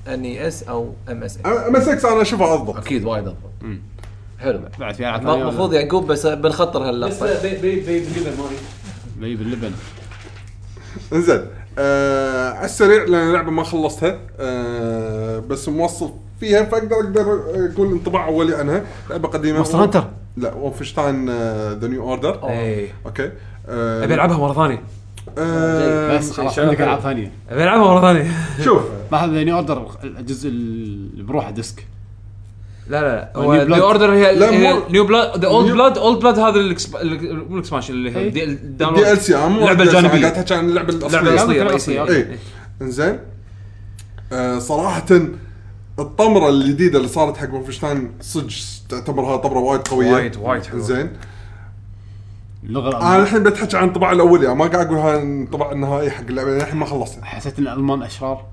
Speaker 4: ان اس او ام اس
Speaker 3: مسكس انا اشوفها افضل
Speaker 4: اكيد وايد افضل حلو
Speaker 1: بعد في العاب ثانية
Speaker 4: المفروض
Speaker 1: ولا؟
Speaker 4: يعقوب بس بنخطر هاللقطه
Speaker 1: بي باللبن
Speaker 3: انزين آه على السريع لان اللعبه ما خلصتها آه بس موصل فيها فاقدر اقدر اقول انطباع اولي عنها لعبه قديمه
Speaker 2: مونستر هانتر
Speaker 3: لا آه، وولفنشتاين ذا نيو اوردر
Speaker 4: اي
Speaker 3: اوكي
Speaker 2: ابي العبها مره ثانيه
Speaker 3: آه
Speaker 1: بس خلاص عندك العاب ثانيه
Speaker 2: ابي العبها مره ثانيه
Speaker 3: شوف
Speaker 1: ما هذا نيو اوردر الجزء اللي بروحه ديسك
Speaker 2: لا لا
Speaker 1: هو New Blood.
Speaker 2: نيو اوردر
Speaker 3: لا،
Speaker 2: هي
Speaker 3: مو-
Speaker 2: نيو بلاد ذا اولد
Speaker 3: New-
Speaker 2: بلاد اولد بلاد هذا الإكسب- ال- مو الاكسبانشن اللي هي
Speaker 1: إيه.
Speaker 2: الدي- الداونلود
Speaker 3: دي ال سي
Speaker 2: اللعبه
Speaker 3: قاعد
Speaker 2: الجانبيه
Speaker 3: تحكي عن اللعبه
Speaker 2: اللعبه
Speaker 3: الاصليه
Speaker 2: الاصليه
Speaker 1: اللعبة
Speaker 2: الرئيسيه
Speaker 1: الأصلية.
Speaker 2: إيه.
Speaker 3: ايه انزين آه صراحة الطمرة الجديدة اللي صارت حق ولفنشتاين صدق تعتبرها طمرة وايد قوية
Speaker 2: وايد- وايد حلوة.
Speaker 3: زين
Speaker 1: اللغه
Speaker 3: انا
Speaker 1: الالمانيه
Speaker 3: الحين بتحكي عن الطباع الاولي أنا ما قاعد اقول هاي الطباع النهائي حق اللعبة لأن الحين ما خلصتها
Speaker 1: حسيت ان الالمان اشرار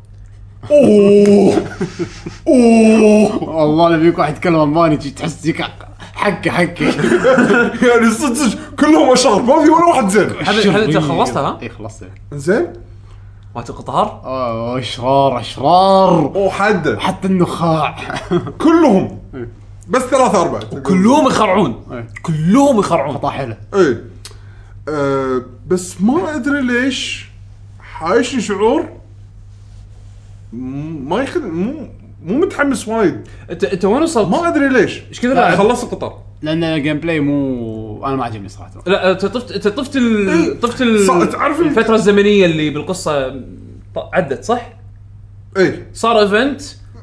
Speaker 3: اوه اوه
Speaker 1: والله لما يكون واحد يتكلم الماني تجي تحس تجيك حكه حكه
Speaker 3: يعني صدق صدق كلهم اشرار ما في ولا واحد زين
Speaker 2: هذا- هذا أنت خلصتها، ها؟
Speaker 1: اي خلصتها
Speaker 3: زين
Speaker 2: مالت القطار
Speaker 1: اوه اشرار اشرار
Speaker 3: اوه حده
Speaker 1: حتى النخاع
Speaker 3: كلهم إيه. بس ثلاثة أربعة
Speaker 2: كلهم يخرعون
Speaker 1: إيه.
Speaker 2: كلهم يخرعون
Speaker 1: قطع حلو
Speaker 3: ايه أه بس ما ادري ليش عايشني شعور م- ما يخد مو مو متحمس وايد
Speaker 2: انت انت وين وصلت؟
Speaker 3: ما ادري ليش
Speaker 2: ايش كثر لعب؟
Speaker 3: خلصت القطار
Speaker 1: لان الجيم بلاي مو انا ما عجبني صراحه
Speaker 2: لا انت طفت انت طفت
Speaker 3: إيه.
Speaker 2: ال... طفت
Speaker 3: صح،
Speaker 2: ال...
Speaker 3: تعرف ال-
Speaker 2: الفتره الزمنيه اللي بالقصه ط- عدت صح؟
Speaker 3: ايه
Speaker 2: صار ايفنت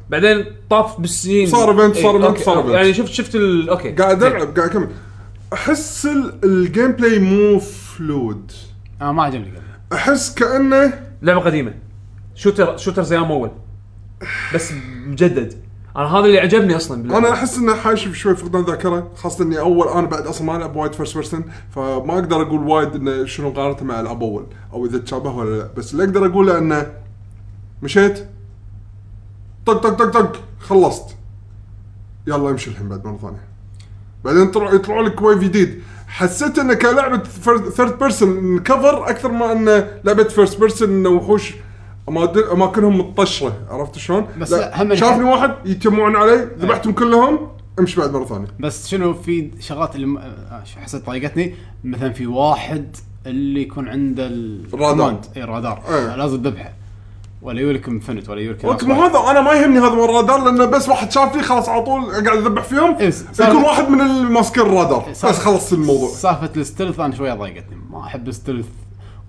Speaker 2: بعدين طاف بالسنين
Speaker 3: صار event، صار
Speaker 2: إيه،
Speaker 3: event،
Speaker 2: أوكي،
Speaker 3: صار
Speaker 2: أوكي.
Speaker 3: event.
Speaker 2: يعني شفت شفت ال... اوكي
Speaker 3: قاعد العب قاعد اكمل احس ال- الجيم بلاي مو فلويد
Speaker 1: انا ما عجبني الجيم بلاي.
Speaker 3: احس كانه
Speaker 2: لعبه قديمه شوتر شوتر زي ما اول بس مجدد انا هذا اللي عجبني اصلا باللعبة.
Speaker 3: انا احس انه حاشي بشوي فقدان ذاكره خاصه اني اول انا بعد اصلا ما العب وايد فيرست بيرسون فما اقدر اقول وايد انه شنو قارنته مع العاب اول او اذا تشابه ولا لا بس اللي اقدر اقوله انه مشيت طق طق طق طق خلصت يلا امشي الحين بعد مره ثانيه بعدين طلع يطلعوا لك ويف جديد حسيت انه كلعبه ثيرد بيرسون كفر اكثر ما انه لعبه فيرست بيرسون انه وحوش أماد- اماكنهم متطشره عرفت شلون؟
Speaker 1: بس
Speaker 3: لا،
Speaker 1: لا، هم
Speaker 3: شافني
Speaker 1: الحين-
Speaker 3: واحد يتجمعون علي
Speaker 2: إيه.
Speaker 3: ذبحتهم كلهم امشي بعد مره ثانيه
Speaker 1: بس شنو في شغلات اللي م- آه، شو حسيت ضايقتني مثلا في واحد اللي يكون عنده
Speaker 3: الرادار.
Speaker 1: الرادار اي الرادار
Speaker 3: إيه.
Speaker 1: لازم تذبحه ولا يولك انفنت ولا يولك
Speaker 3: اوكي ما هذا انا ما يهمني هذا من الرادار لانه بس واحد شافني خلاص على طول قاعد اذبح فيهم
Speaker 1: إيه، صار-
Speaker 3: يكون واحد من اللي ماسكين الرادار
Speaker 2: إيه،
Speaker 1: صار-
Speaker 3: بس خلص الموضوع
Speaker 1: سالفه الستلث انا شويه ضايقتني ما احب الستلث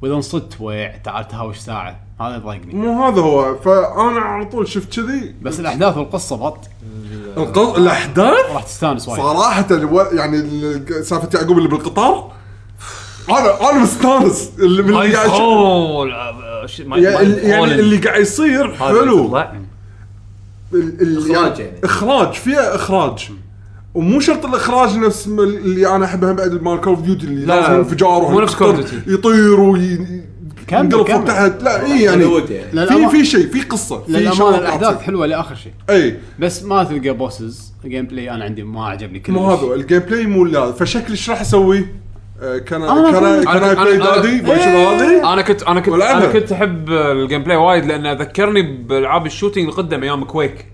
Speaker 1: واذا انصدت ويع تعال تهاوش ساعه هذا ضايقني
Speaker 3: مو هذا هو فانا على طول شفت كذي
Speaker 1: بس الاحداث والقصه بط
Speaker 3: القط- الاحداث
Speaker 1: راح تستانس وايد
Speaker 3: طيب. صراحة الو... يعني ال- سالفة يعقوب اللي بالقطار انا انا مستانس اللي من اللي قاعد يش-
Speaker 2: أوه، لا، ش- ما-
Speaker 3: يعني
Speaker 2: ما-
Speaker 3: اللي- يعني
Speaker 2: هولند.
Speaker 3: اللي قاعد يصير
Speaker 2: هذا اللي
Speaker 3: حلو
Speaker 2: طلع.
Speaker 3: ال- ال-
Speaker 4: إخراج يعني.
Speaker 3: اخراج فيها اخراج ومو شرط الاخراج نفس م- اللي انا احبها بعد مال كول اوف ديوتي اللي
Speaker 2: لا،
Speaker 3: لازم انفجار
Speaker 2: مو نفس Call of
Speaker 3: وهالقطار
Speaker 2: Duty.
Speaker 3: يطير وي-
Speaker 1: كمل،
Speaker 3: ينقلب فوق
Speaker 1: كمل.
Speaker 3: تحت لا اي يعني
Speaker 4: هوليوود يعني.
Speaker 1: للأما-
Speaker 3: في في شيء في قصه في
Speaker 1: للامانه
Speaker 3: شغلات
Speaker 1: الاحداث
Speaker 3: تصير.
Speaker 1: حلوه لاخر شيء
Speaker 3: اي
Speaker 1: بس ما تلقى بوسز الجيم بلاي انا عندي ما عجبني كلش
Speaker 3: مو هذا الجيم بلاي مو اللي هذا فشكلي ايش راح اسوي؟ آه، كان
Speaker 1: أنا
Speaker 3: كان
Speaker 1: أقول- إيه.
Speaker 3: كان
Speaker 2: أنا-
Speaker 3: اي بلاي
Speaker 2: أنا- إيه.
Speaker 3: دادي
Speaker 2: أنا-
Speaker 3: ما شنو هذه
Speaker 2: انا كنت انا كنت
Speaker 3: والعبها.
Speaker 2: انا كنت احب الجيم بلاي وايد لانه ذكرني بالعاب الشوتينج اللي قدم ايام كويك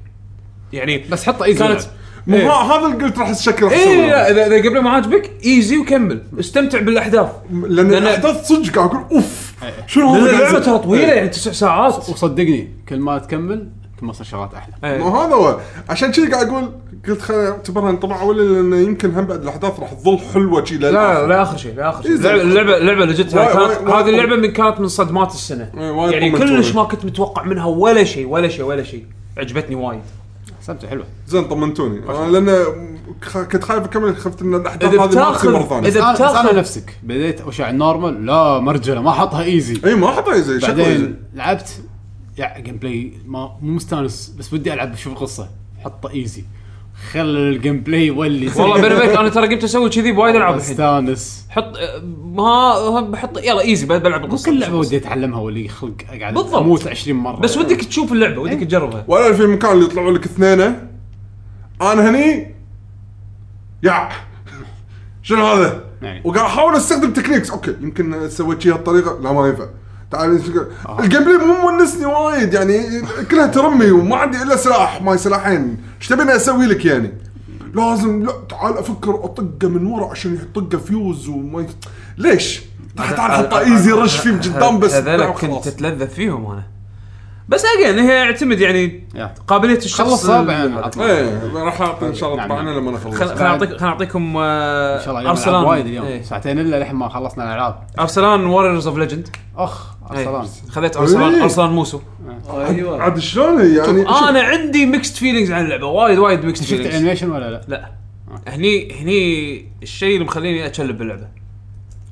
Speaker 2: يعني
Speaker 1: بس حطه ايزي
Speaker 2: كانت
Speaker 1: لعب.
Speaker 3: مو
Speaker 2: إيه.
Speaker 3: ها- هذا اللي قلت راح الشكل راح
Speaker 2: اي
Speaker 3: اسوي
Speaker 2: لا اذا اذا قبل ما عاجبك ايزي وكمل استمتع بالاحداث
Speaker 3: لان
Speaker 2: لأن- إيه.
Speaker 3: الاحداث صدق قاعد اقول اوف شنو هذا
Speaker 2: لان اللعبه
Speaker 3: قاعد-
Speaker 2: ترى طويله يعني تسع ساعات إيه.
Speaker 1: وصدقني كل ما تكمل ثم صار شغلات احلى
Speaker 3: مو هذا هو عشان كذي قاعد اقول قلت خليني اعتبرها انطباع اولي لانه يمكن هم بعد الاحداث راح تظل حلوه شي
Speaker 2: لا لا اخر شيء لا اخر شيء
Speaker 3: إيه،
Speaker 2: اللعبه اللعبه اللعبه
Speaker 3: وايد-
Speaker 2: لجتها كانت
Speaker 3: وايد-
Speaker 2: هذه اللعبه من كانت من صدمات السنه
Speaker 3: إيه، وايد
Speaker 2: يعني
Speaker 3: قمة
Speaker 2: كلش
Speaker 3: وايد.
Speaker 2: ما كنت متوقع منها ولا شيء ولا شيء ولا شيء عجبتني وايد
Speaker 1: حسبته حلوه
Speaker 3: زين طمنتوني أنا لان خ- كنت خايف اكمل خفت ان الاحداث
Speaker 2: إذا
Speaker 3: هذه ما تصير مره
Speaker 2: بتاخذ
Speaker 3: ثانيه
Speaker 2: اذا
Speaker 1: بس انا
Speaker 2: بتاخذ
Speaker 1: نفسك بديت اشع النورمال لا مرجله ما حطها ايزي
Speaker 3: اي ما حطها زي إيه، شكله إيزي.
Speaker 1: بعدين لعبت يعني جيم بلاي ما مو مستانس بس ودي العب اشوف القصه حطه ايزي خل الجيم بلاي يولي
Speaker 2: والله بيني وبينك انا ترى قمت اسوي كذي بوايد العاب الحين
Speaker 1: مستانس
Speaker 2: حط ها بحط يلا ايزي بلعب
Speaker 1: مو
Speaker 2: القصه
Speaker 1: كل لعبه ودي اتعلمها ولي خلق اقعد
Speaker 2: بالضبط.
Speaker 1: اموت 20 مره
Speaker 2: بس ودك تشوف اللعبه
Speaker 1: إيه.
Speaker 2: ودك تجربها
Speaker 3: ولا في مكان اللي يطلعوا لك اثنينه انا هني يع شنو هذا؟
Speaker 1: يعني.
Speaker 3: وقاعد احاول استخدم تكنيكس اوكي يمكن سويت شيء هالطريقه لا ما ينفع تعال
Speaker 1: آه.
Speaker 3: الجيم بلاي مو مونسني وايد يعني كلها ترمي وما عندي الا سلاح ماي سلاحين ايش تبيني اسوي لك يعني؟ لازم لا تعال افكر اطقه من ورا عشان يطقه فيوز وما ي- ليش؟ تعال تعال حطه ايزي رش فيه من قدام بس
Speaker 2: هذول
Speaker 3: خلاص.
Speaker 2: كنت اتلذذ فيهم انا بس اجين هي يعتمد يعني
Speaker 1: يا.
Speaker 2: قابليه الشخص
Speaker 1: خلصها
Speaker 2: ال-
Speaker 1: بعدين عطنا.
Speaker 3: ايه راح اعطي ان شاء الله
Speaker 1: نعم،
Speaker 3: طبعنا
Speaker 1: نعم.
Speaker 3: لما نخلص
Speaker 2: خل- خل اعطيك خل اعطيكم آه،
Speaker 1: ان شاء الله اليوم نلعب وايد اليوم
Speaker 2: إيه.
Speaker 1: ساعتين الا لحين ما خلصنا الالعاب
Speaker 2: ارسلان ووريرز اوف ليجند
Speaker 1: اخ ارسلان
Speaker 2: إيه. خذيت ارسلان
Speaker 3: إيه.
Speaker 2: ارسلان موسو
Speaker 4: ايوه
Speaker 3: عاد شلون هي يعني شوف،
Speaker 2: انا عندي ميكست فيلينجز عن اللعبه وايد وايد ميكست
Speaker 1: شفت
Speaker 2: فيلينجز
Speaker 1: الانيميشن ولا لا؟
Speaker 2: لا هني هني الشيء اللي مخليني اتشلب باللعبه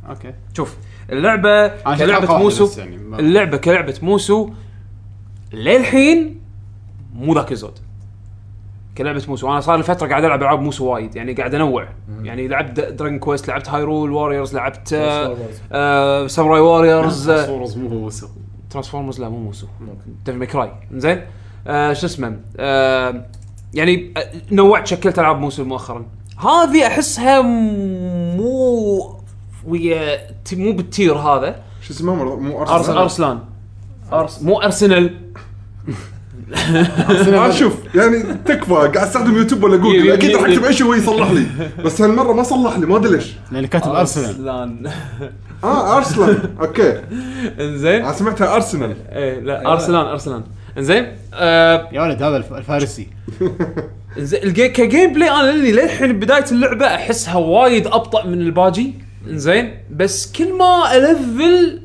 Speaker 1: اوكي
Speaker 2: شوف اللعبه
Speaker 1: شفت حلقة
Speaker 2: كلعبه
Speaker 1: واحدة
Speaker 2: موسو
Speaker 1: بس يعني ما-
Speaker 2: اللعبه كلعبه موسو للحين مو ذاك الزود كلعبه موسو انا صار لي فتره قاعد العب العاب موسو وايد يعني قاعد انوع يعني لعبت دراجون كويست لعبت هايرول واريورز لعبت آه، آه، ساموراي واريورز آه،
Speaker 1: صورز مو هو وسو
Speaker 2: ترانسفورمرز لا مو موسو ديفل ماي كراي زين آه شو اسمه آه يعني آه، نوعت شكلت العاب موسو مؤخرا هذه احسها مو ويا ت- مو بالتير هذا
Speaker 3: شو اسمه مرة- مو
Speaker 2: أرس
Speaker 3: ارسنال
Speaker 2: ارسلان أرس مو ارسنال
Speaker 3: انا شوف يعني تكفى قاعد استخدم يوتيوب ولا جوجل
Speaker 2: يب-
Speaker 3: اكيد راح
Speaker 2: يب-
Speaker 3: اكتب اي شيء هو يصلح لي بس هالمره ما صلح لي ما ادري ليش
Speaker 1: لان كاتب
Speaker 2: آه،
Speaker 1: ارسلان
Speaker 2: ارسلان
Speaker 3: اه ارسلان اوكي
Speaker 2: انزين
Speaker 3: انا سمعتها ارسنال
Speaker 2: ايه لا ارسلان ارسلان انزين آه
Speaker 1: يا ولد هذا الف- الفارسي
Speaker 2: زين الجي كجيم بلاي انا لاني للحين بدايه اللعبه احسها وايد ابطا من الباجي زين بس كل ما الفل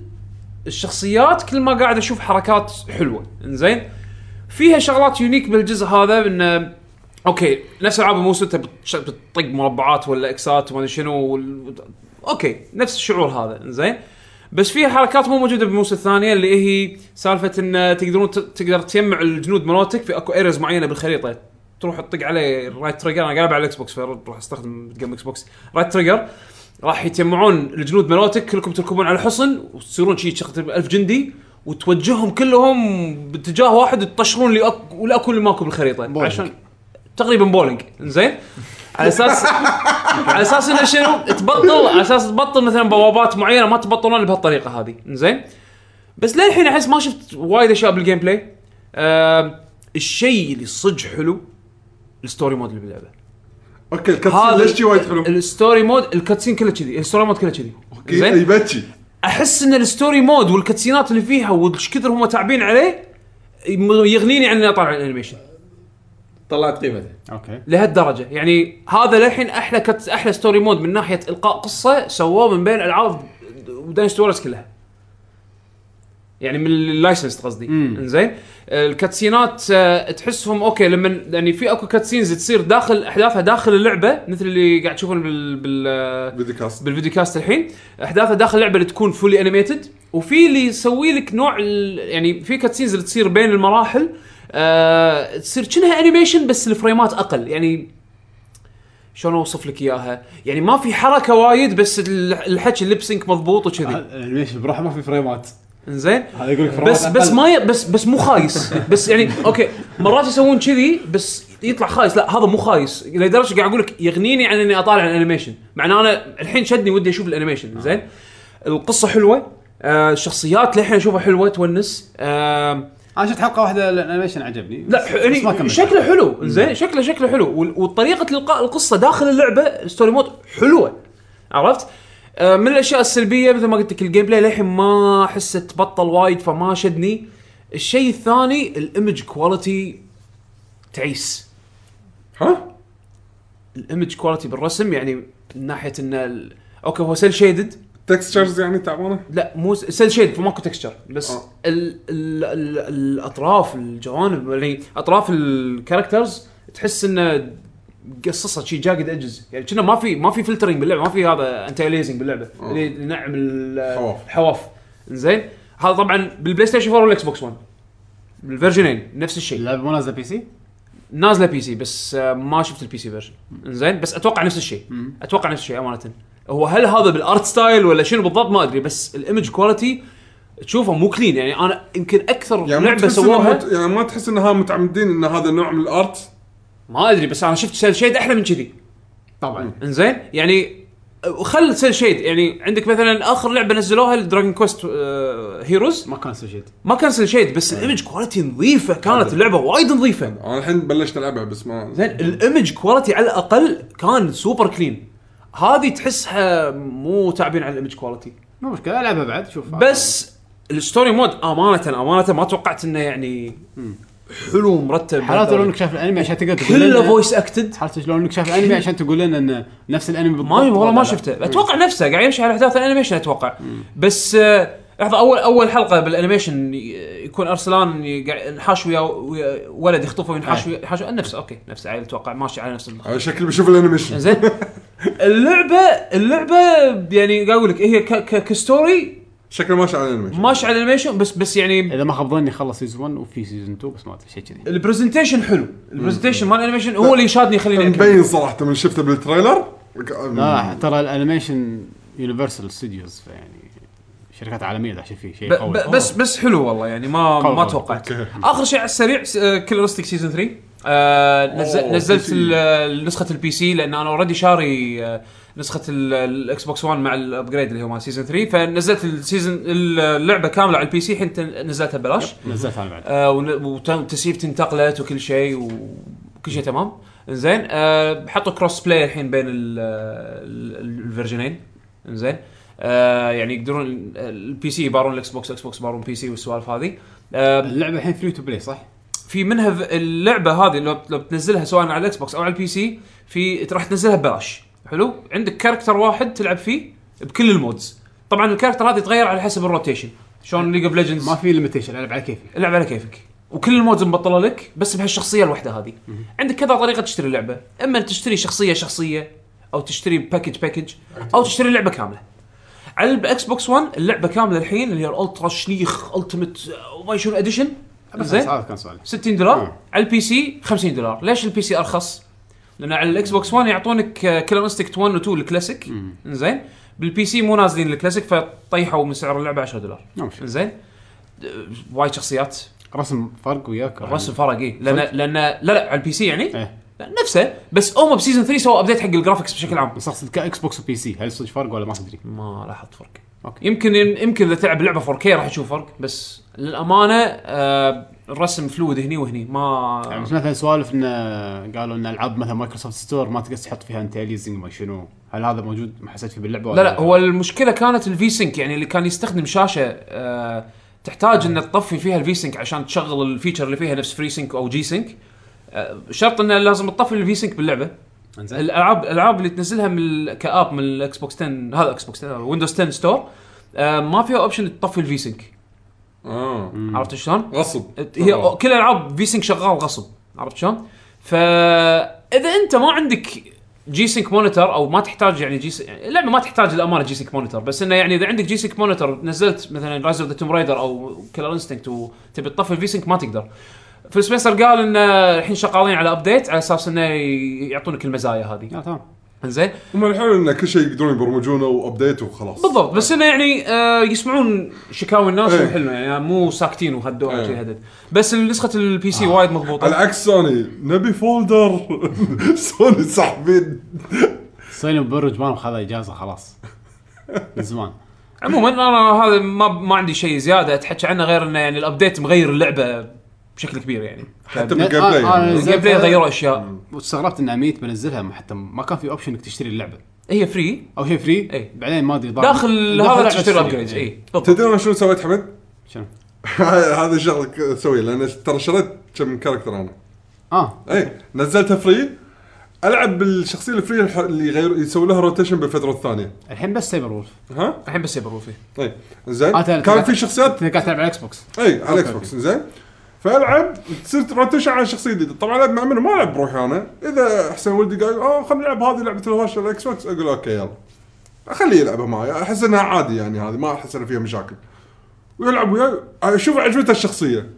Speaker 2: الشخصيات كل ما قاعد اشوف حركات حلوه زين فيها شغلات يونيك بالجزء هذا انه اوكي نفس العاب الموسو انت بتش- بتطق مربعات ولا اكسات وما ادري شنو وال- اوكي نفس الشعور هذا زين بس فيها حركات مو موجوده بالموسم الثانيه اللي هي سالفه ان تقدرون ت- تقدر تجمع الجنود مالتك في اكو اريز معينه بالخريطه تروح تطق عليه الرايت تريجر انا قاعد ألعب على الاكس بوكس فراح استخدم جيم اكس بوكس رايت تريجر راح يتجمعون الجنود مالتك كلكم تركبون على حصن وتصيرون شي تشخطب ألف جندي وتوجههم كلهم باتجاه واحد وتطشرون اللي أك... ولاكو اللي ماكو بالخريطه
Speaker 1: بولينج.
Speaker 2: عشان تقريبا بولينج زين على اساس على اساس انه شنو تبطل على اساس تبطل مثلا بوابات معينه ما تبطلون بهالطريقه هذه زين بس للحين احس ما شفت وايد اشياء بالجيم بلاي آه الشيء اللي صدق حلو الستوري مود اللي باللعبه
Speaker 3: اوكي الكاتسين ليش شي وايد حلو؟
Speaker 2: الستوري مود الكاتسين كله كذي الستوري مود كله كذي
Speaker 3: أوكي، يبكي
Speaker 2: احس ان الستوري مود والكاتسينات اللي فيها وش كثر هم تعبين عليه يم- يغنيني عن اني اطالع الانيميشن
Speaker 4: طلعت قيمته
Speaker 1: اوكي
Speaker 2: لهالدرجه يعني هذا للحين احلى كت... احلى ستوري مود من ناحيه القاء قصه سووه من بين العاب وداينستورز كلها يعني من اللايسنس قصدي انزين الكاتسينات آه، تحسهم اوكي لما يعني في اكو كاتسينز تصير داخل احداثها داخل اللعبه مثل اللي قاعد تشوفون بال, بال... آه،
Speaker 3: فيديو كاست
Speaker 2: بالفيديو كاست الحين احداثه داخل اللعبه اللي تكون فولي انيميتد وفي اللي يسوي لك نوع ال- يعني في كاتسينز اللي تصير بين المراحل آه تصير كأنها انيميشن بس الفريمات اقل يعني شلون اوصف لك اياها؟ يعني ما في حركه وايد بس ال- الحكي اللب سينك مضبوط وكذي
Speaker 1: هذا الانيميشن بروحه ما في فريمات
Speaker 2: انزين
Speaker 1: هذا يقول لك فريمات
Speaker 2: بس بس
Speaker 1: أقل.
Speaker 2: ما ي... بس بس مو خايس بس يعني اوكي مرات يسوون كذي بس يطلع خايس لا هذا مو خايس لدرجه قاعد اقول لك يغنيني عن اني اطالع الانيميشن مع ان انا الحين شدني ودي اشوف الانيميشن زين القصه حلوه آه الشخصيات للحين اشوفها حلوه تونس آه
Speaker 1: انا شفت حلقه واحده الانيميشن عجبني
Speaker 2: لا
Speaker 1: بس-
Speaker 2: ح-
Speaker 1: بس ما
Speaker 2: يعني
Speaker 1: كملت.
Speaker 2: شكله حلو زين شكله شكله حلو وال- وطريقه القاء القصه داخل اللعبه الستوري مود حلوه عرفت آه، من الاشياء السلبيه مثل ما قلت لك الجيم بلاي للحين ما احسه تبطل وايد فما شدني الشيء الثاني الايمج كواليتي تعيس
Speaker 3: ها؟
Speaker 2: الايمج كواليتي بالرسم يعني من ناحيه ان ال... اوكي هو سيل شيدد
Speaker 3: تكستشرز يعني تعبانه؟
Speaker 2: لا مو سيل شيد فماكو تكستشر بس
Speaker 3: آه.
Speaker 2: ال ال ال الاطراف الجوانب يعني اطراف الكاركترز تحس انه قصصها شي جاكد ايدجز يعني كنا ما في ما في فلترنج باللعبه ما في هذا انتي اليزنج باللعبه
Speaker 3: آه.
Speaker 2: اللي ينعم ال-
Speaker 3: حواف.
Speaker 2: الحواف زين هذا طبعا بالبلاي ستيشن 4 والاكس بوكس 1 بالفيرجنين نفس الشيء
Speaker 1: اللعبه مو نازله بي سي؟
Speaker 2: نازله بي سي بس آه، ما شفت البي سي فيرجن زين بس اتوقع نفس الشيء
Speaker 1: مم.
Speaker 2: اتوقع نفس الشيء امانه هو هل هذا بالارت ستايل ولا شنو بالضبط ما ادري بس الايمج كواليتي تشوفه مو كلين يعني انا يمكن اكثر
Speaker 3: يعني
Speaker 2: يعني
Speaker 3: ما
Speaker 2: لعبه
Speaker 3: تحس إنها
Speaker 2: سووها
Speaker 3: مت- يعني ما تحس انها متعمدين ان هذا نوع من الارت
Speaker 2: ما ادري بس انا شفت سيل شيد احلى من كذي
Speaker 1: طبعا
Speaker 2: انزين يعني وخل سيل شيد يعني عندك مثلا اخر لعبه نزلوها الدراجون كويست هيروز
Speaker 1: ما كان سجيد
Speaker 2: آه، ما كان سيل شيد بس
Speaker 3: إيه.
Speaker 2: الايمج كواليتي نظيفه كانت اللعبه وايد نظيفه
Speaker 3: انا الحين بلشت العبها بس ما
Speaker 2: زين الايمج كواليتي على الاقل كان سوبر كلين هذه تحسها مو تعبين على الايمج كواليتي
Speaker 1: مو مشكله العبها بعد شوف
Speaker 2: بس الستوري مود امانه امانه ما توقعت انه يعني حلو مرتب
Speaker 1: حالته لو انك شايف الانمي عشان تقدر تقول
Speaker 2: كله
Speaker 1: لنا-
Speaker 2: فويس اكتد
Speaker 1: حالته لو انك شايف الانمي عشان تقول لنا انه نفس الانمي بالضبط
Speaker 2: ما والله
Speaker 1: ولا
Speaker 2: ما
Speaker 1: لا.
Speaker 2: شفته اتوقع نفسه قاعد يمشي على احداث الانيميشن اتوقع بس آه، لحظه اول اول حلقه بالانيميشن ي- يكون ارسلان ي- قاعد ينحاش ويا ويا ولد يخطفه وينحاش ويا ينحاش ويا- نفسه اوكي نفسه عيل اتوقع ماشي على نفس الخط
Speaker 3: على شكل بشوف الانيميشن
Speaker 2: زين اللعبه اللعبه يعني قاعد اقول لك هي ك- ك- كستوري
Speaker 3: شكله ماشي على الانيميشن
Speaker 2: ماشي على الانيميشن بس بس يعني
Speaker 1: اذا ما خاب ظني خلص سيزون 1 وفي سيزون 2 بس ما ادري شيء كذي
Speaker 2: البرزنتيشن حلو البرزنتيشن مال الانيميشن هو اللي شادني يخليني أكمل.
Speaker 3: مبين صراحه من شفته بالتريلر
Speaker 2: آه.
Speaker 1: لا آه، ترى الانيميشن يونيفرسال ستوديوز فيعني شركات عالميه داشه فيه شيء
Speaker 2: ب-
Speaker 1: قوي
Speaker 2: ب- بس بس حلو والله يعني ما
Speaker 1: قوي.
Speaker 2: ما توقعت
Speaker 3: أوكي.
Speaker 2: اخر شيء على السريع كيلورستيك سيزون 3 آه نزل
Speaker 3: أوه،
Speaker 2: نزلت
Speaker 3: PC.
Speaker 2: ال- آه، ال- نسخه البي سي لان انا اوريدي شاري آه، نسخه ال- الاكس بوكس 1 مع الابجريد اللي هو مال سيزون 3 فنزلت السيزون اللعبه كامله على البي سي الحين تن- نزلتها ببلاش
Speaker 1: نزلتها انا بعد
Speaker 2: آه، ون- وتم- وتسيفتي انتقلت وكل شيء وكل شيء تمام زين أه حطوا كروس بلاي الحين بين ال- ال- الفيرجنين زين أه يعني يقدرون ال- البي سي يبارون الاكس بوكس الاكس بوكس يبارون بي سي والسوالف هذه أه
Speaker 1: اللعبه الحين فري تو بلاي صح؟
Speaker 2: في منها ف- اللعبه هذه لو لو بتنزلها سواء على الاكس بوكس او على البي سي في راح تنزلها ببلاش حلو عندك كاركتر واحد تلعب فيه بكل المودز طبعا الكاركتر هذا يتغير على حسب الروتيشن شلون ليج اوف ليجندز
Speaker 1: ما في ليميتيشن العب على كيفي
Speaker 2: العب على كيفك وكل المودز مبطله لك بس بهالشخصيه الوحده هذه عندك كذا طريقه تشتري اللعبه اما أن تشتري شخصيه شخصيه او تشتري باكج باكج او تشتري اللعبه كامله على الاكس بوكس 1 اللعبه كامله الحين اللي هي الالترا شليخ التيمت وما شنو اديشن
Speaker 1: بس
Speaker 2: آه، زين
Speaker 1: هذا كان سؤالي
Speaker 2: 60 دولار
Speaker 1: مم.
Speaker 2: على البي سي 50 دولار ليش البي سي ارخص لان على الاكس بوكس 1 يعطونك آه، كلانستيك 1 و 2 الكلاسيك زين بالبي سي مو نازلين الكلاسيك فطيحوا من سعر اللعبه 10 دولار
Speaker 1: ما مشكلة.
Speaker 2: زين وايد شخصيات
Speaker 1: رسم فرق وياك
Speaker 2: الرسم فرق اي لان
Speaker 1: صدق؟
Speaker 2: لان لا لا على البي سي يعني
Speaker 1: ايه
Speaker 2: لا نفسه بس هم بسيزون 3 سووا ابديت حق الجرافكس بشكل عام
Speaker 1: بس اقصد كاكس بوكس وبي سي هل صدق فرق ولا ما تدري؟
Speaker 2: ما لاحظت فرق
Speaker 1: اوكي
Speaker 2: يمكن يمكن اذا تلعب لعبه 4K راح تشوف فرق بس للامانه آه الرسم فلود هني وهني
Speaker 1: يعني
Speaker 2: ما
Speaker 1: بس مثلا سوالف انه قالوا ان العاب مثلا مايكروسوفت ستور ما تقدر تحط فيها انتيليزنج ما شنو هل هذا موجود ما حسيت فيه باللعبه
Speaker 2: لا
Speaker 1: ولا
Speaker 2: لا هو المشكله كانت الفي سync يعني اللي كان يستخدم شاشه آه تحتاج انك تطفي فيها الفي سync عشان تشغل الفيتشر اللي فيها نفس فري سync او جي سync آه شرط انه لازم تطفي الفي سync باللعبه
Speaker 1: انزين
Speaker 2: الالعاب الالعاب اللي تنزلها من ال- كاب من الاكس بوكس 10 هذا اكس بوكس 10 ويندوز 10 ستور آه، ما فيها اوبشن تطفي الفي سync
Speaker 1: آه.
Speaker 3: اه
Speaker 2: عرفت شلون؟
Speaker 3: غصب
Speaker 2: هي كل العاب في سينك شغال غصب عرفت شلون؟ فاذا انت ما عندك جي سينك مونيتر او ما تحتاج يعني جي سينك اللعبه ما تحتاج الامانه جي سينك مونيتر بس انه يعني اذا عندك جي سينك مونيتر نزلت مثلا رايز اوف ذا توم رايدر او كلر انستنكت وتبي تطفي الفي سينك ما تقدر. فيل سبنسر قال انه الحين شغالين على ابديت على اساس انه ي- يعطونك المزايا هذه.
Speaker 1: لا تمام
Speaker 2: زين؟
Speaker 3: هم الحلو ان كل شيء يقدرون يبرمجونه وابديت وخلاص
Speaker 2: بالضبط بس انه يعني آه يسمعون شكاوي الناس
Speaker 3: إيه.
Speaker 2: ويحلون يعني مو ساكتين وهدوا
Speaker 3: إيه. آه.
Speaker 2: على شي هدد بس نسخه البي سي وايد مضبوطه
Speaker 3: على عكس سوني نبي فولدر سوني ساحبين
Speaker 1: سوني مبرج ما خذ اجازه خلاص من زمان
Speaker 2: عموما انا هذا ما ما عندي شيء زياده اتحكى عنه غير انه يعني الابديت مغير اللعبه بشكل كبير يعني
Speaker 3: حتى بالجيم بلاي
Speaker 1: آه، آه،
Speaker 3: يعني.
Speaker 2: الجيم بلاي غيروا اشياء
Speaker 1: واستغربت ان اميت بنزلها ما- حتى ما كان في اوبشن انك تشتري اللعبه
Speaker 2: هي فري
Speaker 1: او شيء فري
Speaker 2: إيه.
Speaker 1: بعدين ما ادري ضاع.
Speaker 2: داخل
Speaker 1: لعبة
Speaker 2: هذا تشتري
Speaker 3: إيه.
Speaker 1: فري.
Speaker 2: ابجريدز اي بالضبط
Speaker 3: تدري انا شنو سويت حمد؟
Speaker 1: شنو
Speaker 3: هذا الشغله ك- اسويه لان ترى شريت كم إيه، كاركتر انا
Speaker 1: اه
Speaker 3: اي نزلتها فري العب بالشخصيه الفري الح- اللي يغير يسوي لها روتيشن بالفتره الثانيه
Speaker 1: الحين بس سايبر وولف
Speaker 3: ها
Speaker 2: الحين بس يبرو فيه
Speaker 3: اي زين
Speaker 1: آه، تل-
Speaker 3: كان
Speaker 1: تل-
Speaker 3: في شخصيات
Speaker 1: انت قاعد تلعب على الاكس بوكس
Speaker 3: اي على الاكس بوكس زين فالعب تصير روتيشن على شخصيه جديده طبعا العب مع منو ما العب بروحي انا اذا حسين ولدي قال اه خلينا نلعب هذه لعبه الهوشه على الاكس بوكس اقول اوكي يلا اخليه يلعبها معي احس انها عادي يعني هذه ما احس ان فيها مشاكل ويلعب وياي اشوف عجبته الشخصيه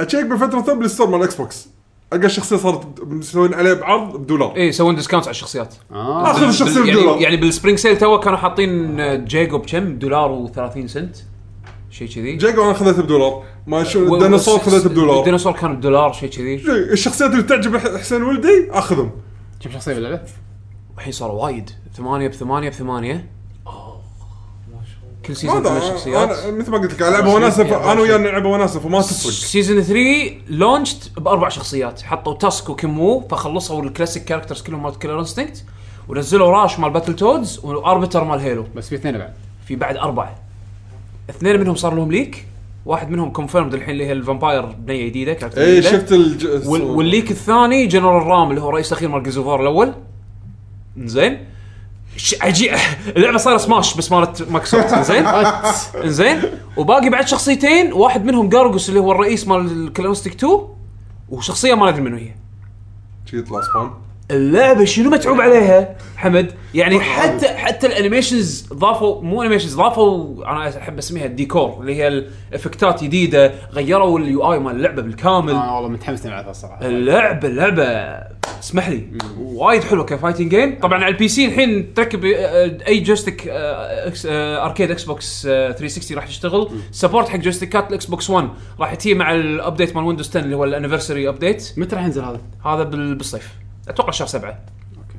Speaker 3: اتشيك بفتره طب بالستور مال الاكس بوكس القى الشخصيه صارت مسوين عليه بعرض بدولار
Speaker 2: اي إيه، يسوون ديسكاونت على الشخصيات
Speaker 3: آه.
Speaker 1: اه
Speaker 3: اخذ الشخصيه
Speaker 2: بال- يعني,
Speaker 3: بدولار
Speaker 2: يعني بالسبرينج سيل تو كانوا حاطين جيجو بكم دولار و30 سنت شيء كذي
Speaker 3: جاكو انا خذيته بدولار ما شو
Speaker 2: و-
Speaker 3: الديناصور
Speaker 2: و-
Speaker 3: خذيته بدولار
Speaker 2: الديناصور كان بدولار شيء كذي
Speaker 3: الشخصيات اللي تعجب حسين ولدي اخذهم
Speaker 1: كم شخصيه باللعبه؟
Speaker 2: الحين صار وايد ثمانية بثمانية بثمانية كل سيزون
Speaker 3: هذا
Speaker 2: ثمان شخصيات
Speaker 3: انا مثل ما قلت لك العبها وناسه ف- انا وياه نلعبها وناسه فما تفرق
Speaker 2: سيزون 3 لونشت باربع شخصيات حطوا تاسك وكمو فخلصوا الكلاسيك كاركترز كلهم مال كيلر انستنكت ونزلوا راش مال باتل تودز واربتر مال هيلو
Speaker 1: بس في اثنين بعد
Speaker 2: في بعد اربعه اثنين منهم صار لهم ليك واحد منهم كونفيرمد الحين اللي هي الفامباير بنيه جديده كاركتر
Speaker 3: اي
Speaker 2: جديدة.
Speaker 3: إيه، شفت الج...
Speaker 2: وال... والليك الثاني جنرال رام اللي هو رئيس الاخير مال جزوفار الاول زين ش... عجيب اللعبه صار سماش بس مالت مايكروسوفت زين زين وباقي بعد شخصيتين واحد منهم جارجوس اللي هو الرئيس مال كلانستيك 2 وشخصيه ما ندري منو هي
Speaker 3: شي يطلع سبون
Speaker 2: اللعبه شنو متعوب عليها حمد يعني حتى حتى الانيميشنز ضافوا مو انيميشنز ضافوا انا احب اسميها الديكور اللي هي الافكتات جديده غيروا اليو اي مال اللعبه بالكامل
Speaker 1: انا آه، والله متحمس نلعبها الصراحه
Speaker 2: اللعبه اللعبه اسمح لي وايد حلوه كفايتنج جيم طبعا على البي سي الحين تركب آه، اي جويستيك آه، إكس- آه، اركيد اكس بوكس آه، 360 راح تشتغل سبورت حق جويستيكات الاكس بوكس 1 راح تجي مع الابديت مال ويندوز 10 اللي هو الانيفرساري ابديت
Speaker 1: متى راح ينزل هذا؟
Speaker 2: هذا بال- بالصيف اتوقع شهر 7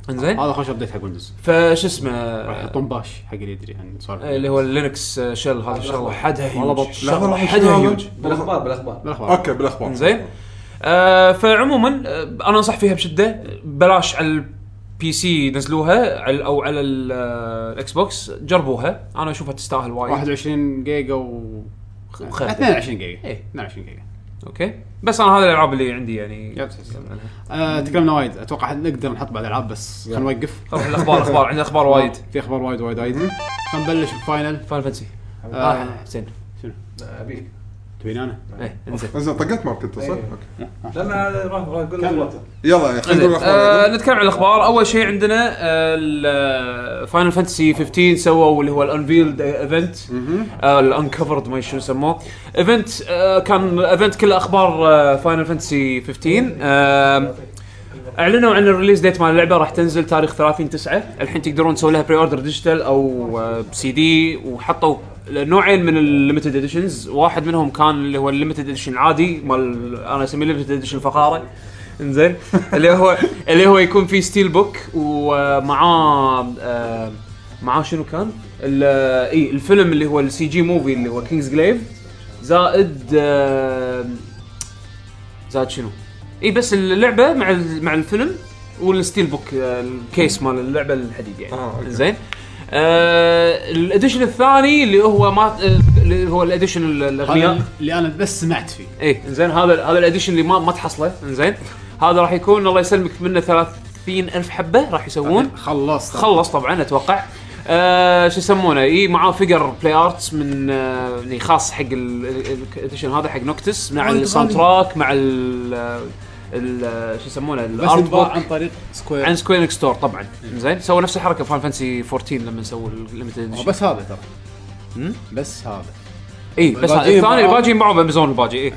Speaker 2: انزين
Speaker 1: هذا خوش ابديت حق ويندوز
Speaker 2: فش اسمه
Speaker 1: آه. راح
Speaker 2: إيه. آه،
Speaker 1: يحطون باش حق اللي يدري عن سوالف
Speaker 2: اللي هو اللينكس آه، شيل هذا الشغله حدها
Speaker 1: والله بط-
Speaker 2: هيوج
Speaker 3: لحظة،
Speaker 2: شغله
Speaker 3: لحظة،
Speaker 2: حدها
Speaker 3: شنو هذا؟
Speaker 2: هيوج
Speaker 4: بالاخبار بالاخبار
Speaker 1: بالاخبار
Speaker 3: اوكي بالاخبار
Speaker 2: زين آه فعموما آه، انا انصح فيها بشده بلاش على البي سي نزلوها على او على ال- آه، الاكس بوكس جربوها انا اشوفها تستاهل وايد
Speaker 1: 21 جيجا و
Speaker 2: وخير.
Speaker 1: 22 جيجا
Speaker 2: إيه.
Speaker 1: 22 جيجا
Speaker 2: اوكي بس انا هذه الالعاب اللي عندي يعني
Speaker 1: يب، تسلم. آه، تكلمنا وايد اتوقع حد- نقدر نحط بعد العاب بس خلينا نوقف
Speaker 2: خلاص الاخبار اخبار عندنا اخبار وايد
Speaker 1: في اخبار وايد وايد وايد خلينا نبلش بفاينل
Speaker 2: فاين فانسي
Speaker 1: آه.
Speaker 2: اه حسين
Speaker 4: ابيك
Speaker 1: تبين انا
Speaker 2: ايه انزين
Speaker 3: زين طقت ماركت صح؟
Speaker 4: إيه.
Speaker 3: اوكي
Speaker 4: لان هذا راح راح اقول لك
Speaker 3: يلا يا اخي نقول
Speaker 2: انزين آه
Speaker 3: الاخبار
Speaker 2: نتكلم عن الاخبار اول شيء عندنا آه، فاينل فانتسي 15 سووا اللي هو الانفيلد ايفنت الانكفرد ما شو يسموه ايفنت آه كان ايفنت كله آه، اخبار فاينل فانتسي 15 آه اعلنوا عن الريليز ديت مال اللعبه راح تنزل تاريخ 30 9 الحين تقدرون تسوي لها بري اوردر ديجيتال او آه، سي دي وحطوا نوعين من الليمتد اديشنز واحد منهم كان اللي هو الليمتد اديشن عادي مال انا اسميه ليمتد اديشن فقاره انزين اللي هو اللي هو يكون فيه ستيل بوك ومعاه آه، معاه شنو كان؟ ال- اي الفيلم اللي هو السي جي موفي اللي هو كينجز جليف زائد آه، زائد شنو؟ اي بس اللعبه مع ال- مع الفيلم والستيل بوك آه، الكيس مال اللعبه الحديد يعني
Speaker 3: آه، أوكي.
Speaker 2: زين آه الاديشن الثاني اللي هو ما آه، اللي هو الاديشن الاغنياء
Speaker 1: هذا اللي انا بس سمعت فيه
Speaker 2: ايه زين هذا هذا الاديشن اللي ما ما تحصله زين هذا راح يكون الله يسلمك منه 30 ألف حبه راح يسوون
Speaker 1: خلصت
Speaker 2: خلص طبعا اتوقع آه شو يسمونه اي معاه فيجر بلاي ارتس من آه يعني خاص حق ال- ال- الاديشن هذا حق نوكتس مع
Speaker 1: وايد
Speaker 2: الساوند
Speaker 1: غالي.
Speaker 2: تراك مع ال ال- شو يسمونه
Speaker 1: بس
Speaker 2: الارت بوك
Speaker 1: يتباع عن طريق سكوير
Speaker 2: عن سكوير انكس ستور طبعا زين سووا نفس الحركه فان فانسي 14 لما سووا الليمتد
Speaker 1: هو بس هذا ترى بس هذا
Speaker 2: اي إيه، بس هذا-
Speaker 1: الباقيين إيه.
Speaker 2: الثاني
Speaker 1: باعوا.
Speaker 2: الباجي ينباعون بامازون الباجي اي إيه.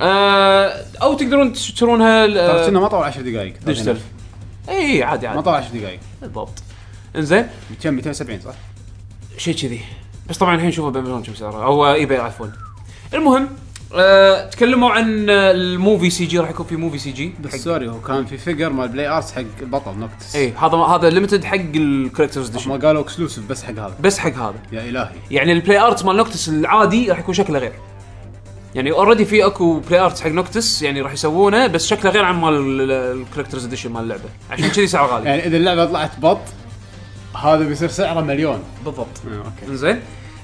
Speaker 2: آه او تقدرون تشترونها ال-
Speaker 1: ترى كنا ما طول 10 دقائق
Speaker 2: ديجيتال اي عادي
Speaker 1: ما
Speaker 2: عادي
Speaker 1: طول 10 دقائق
Speaker 2: بالضبط انزين
Speaker 1: كم 270 صح؟
Speaker 2: شيء كذي بس طبعا الحين شوفوا بامازون كم سعره او اي باي عفوا المهم آه تكلموا عن آه، الموفي سي جي راح يكون في موفي سي جي
Speaker 1: بس سوري هو كان في فيجر مال بلاي ارتس حق البطل نوكتس
Speaker 2: اي إيه، هذا هذا ليمتد حق الكولكترز
Speaker 1: إيه. ما
Speaker 2: ديشن
Speaker 1: قالوا اكسلوسيف بس حق هذا
Speaker 2: بس حق هذا
Speaker 1: يا الهي
Speaker 2: يعني البلاي ارت مال نوكتس العادي راح يكون شكله غير يعني اوريدي في اكو بلاي ارت حق نوكتس يعني راح يسوونه بس شكله غير عن مال الكولكترز اديشن مال اللعبه عشان كذي سعره غالي
Speaker 1: يعني اذا اللعبه طلعت بط هذا بيصير سعره مليون
Speaker 2: بالضبط
Speaker 1: اوكي
Speaker 2: انزين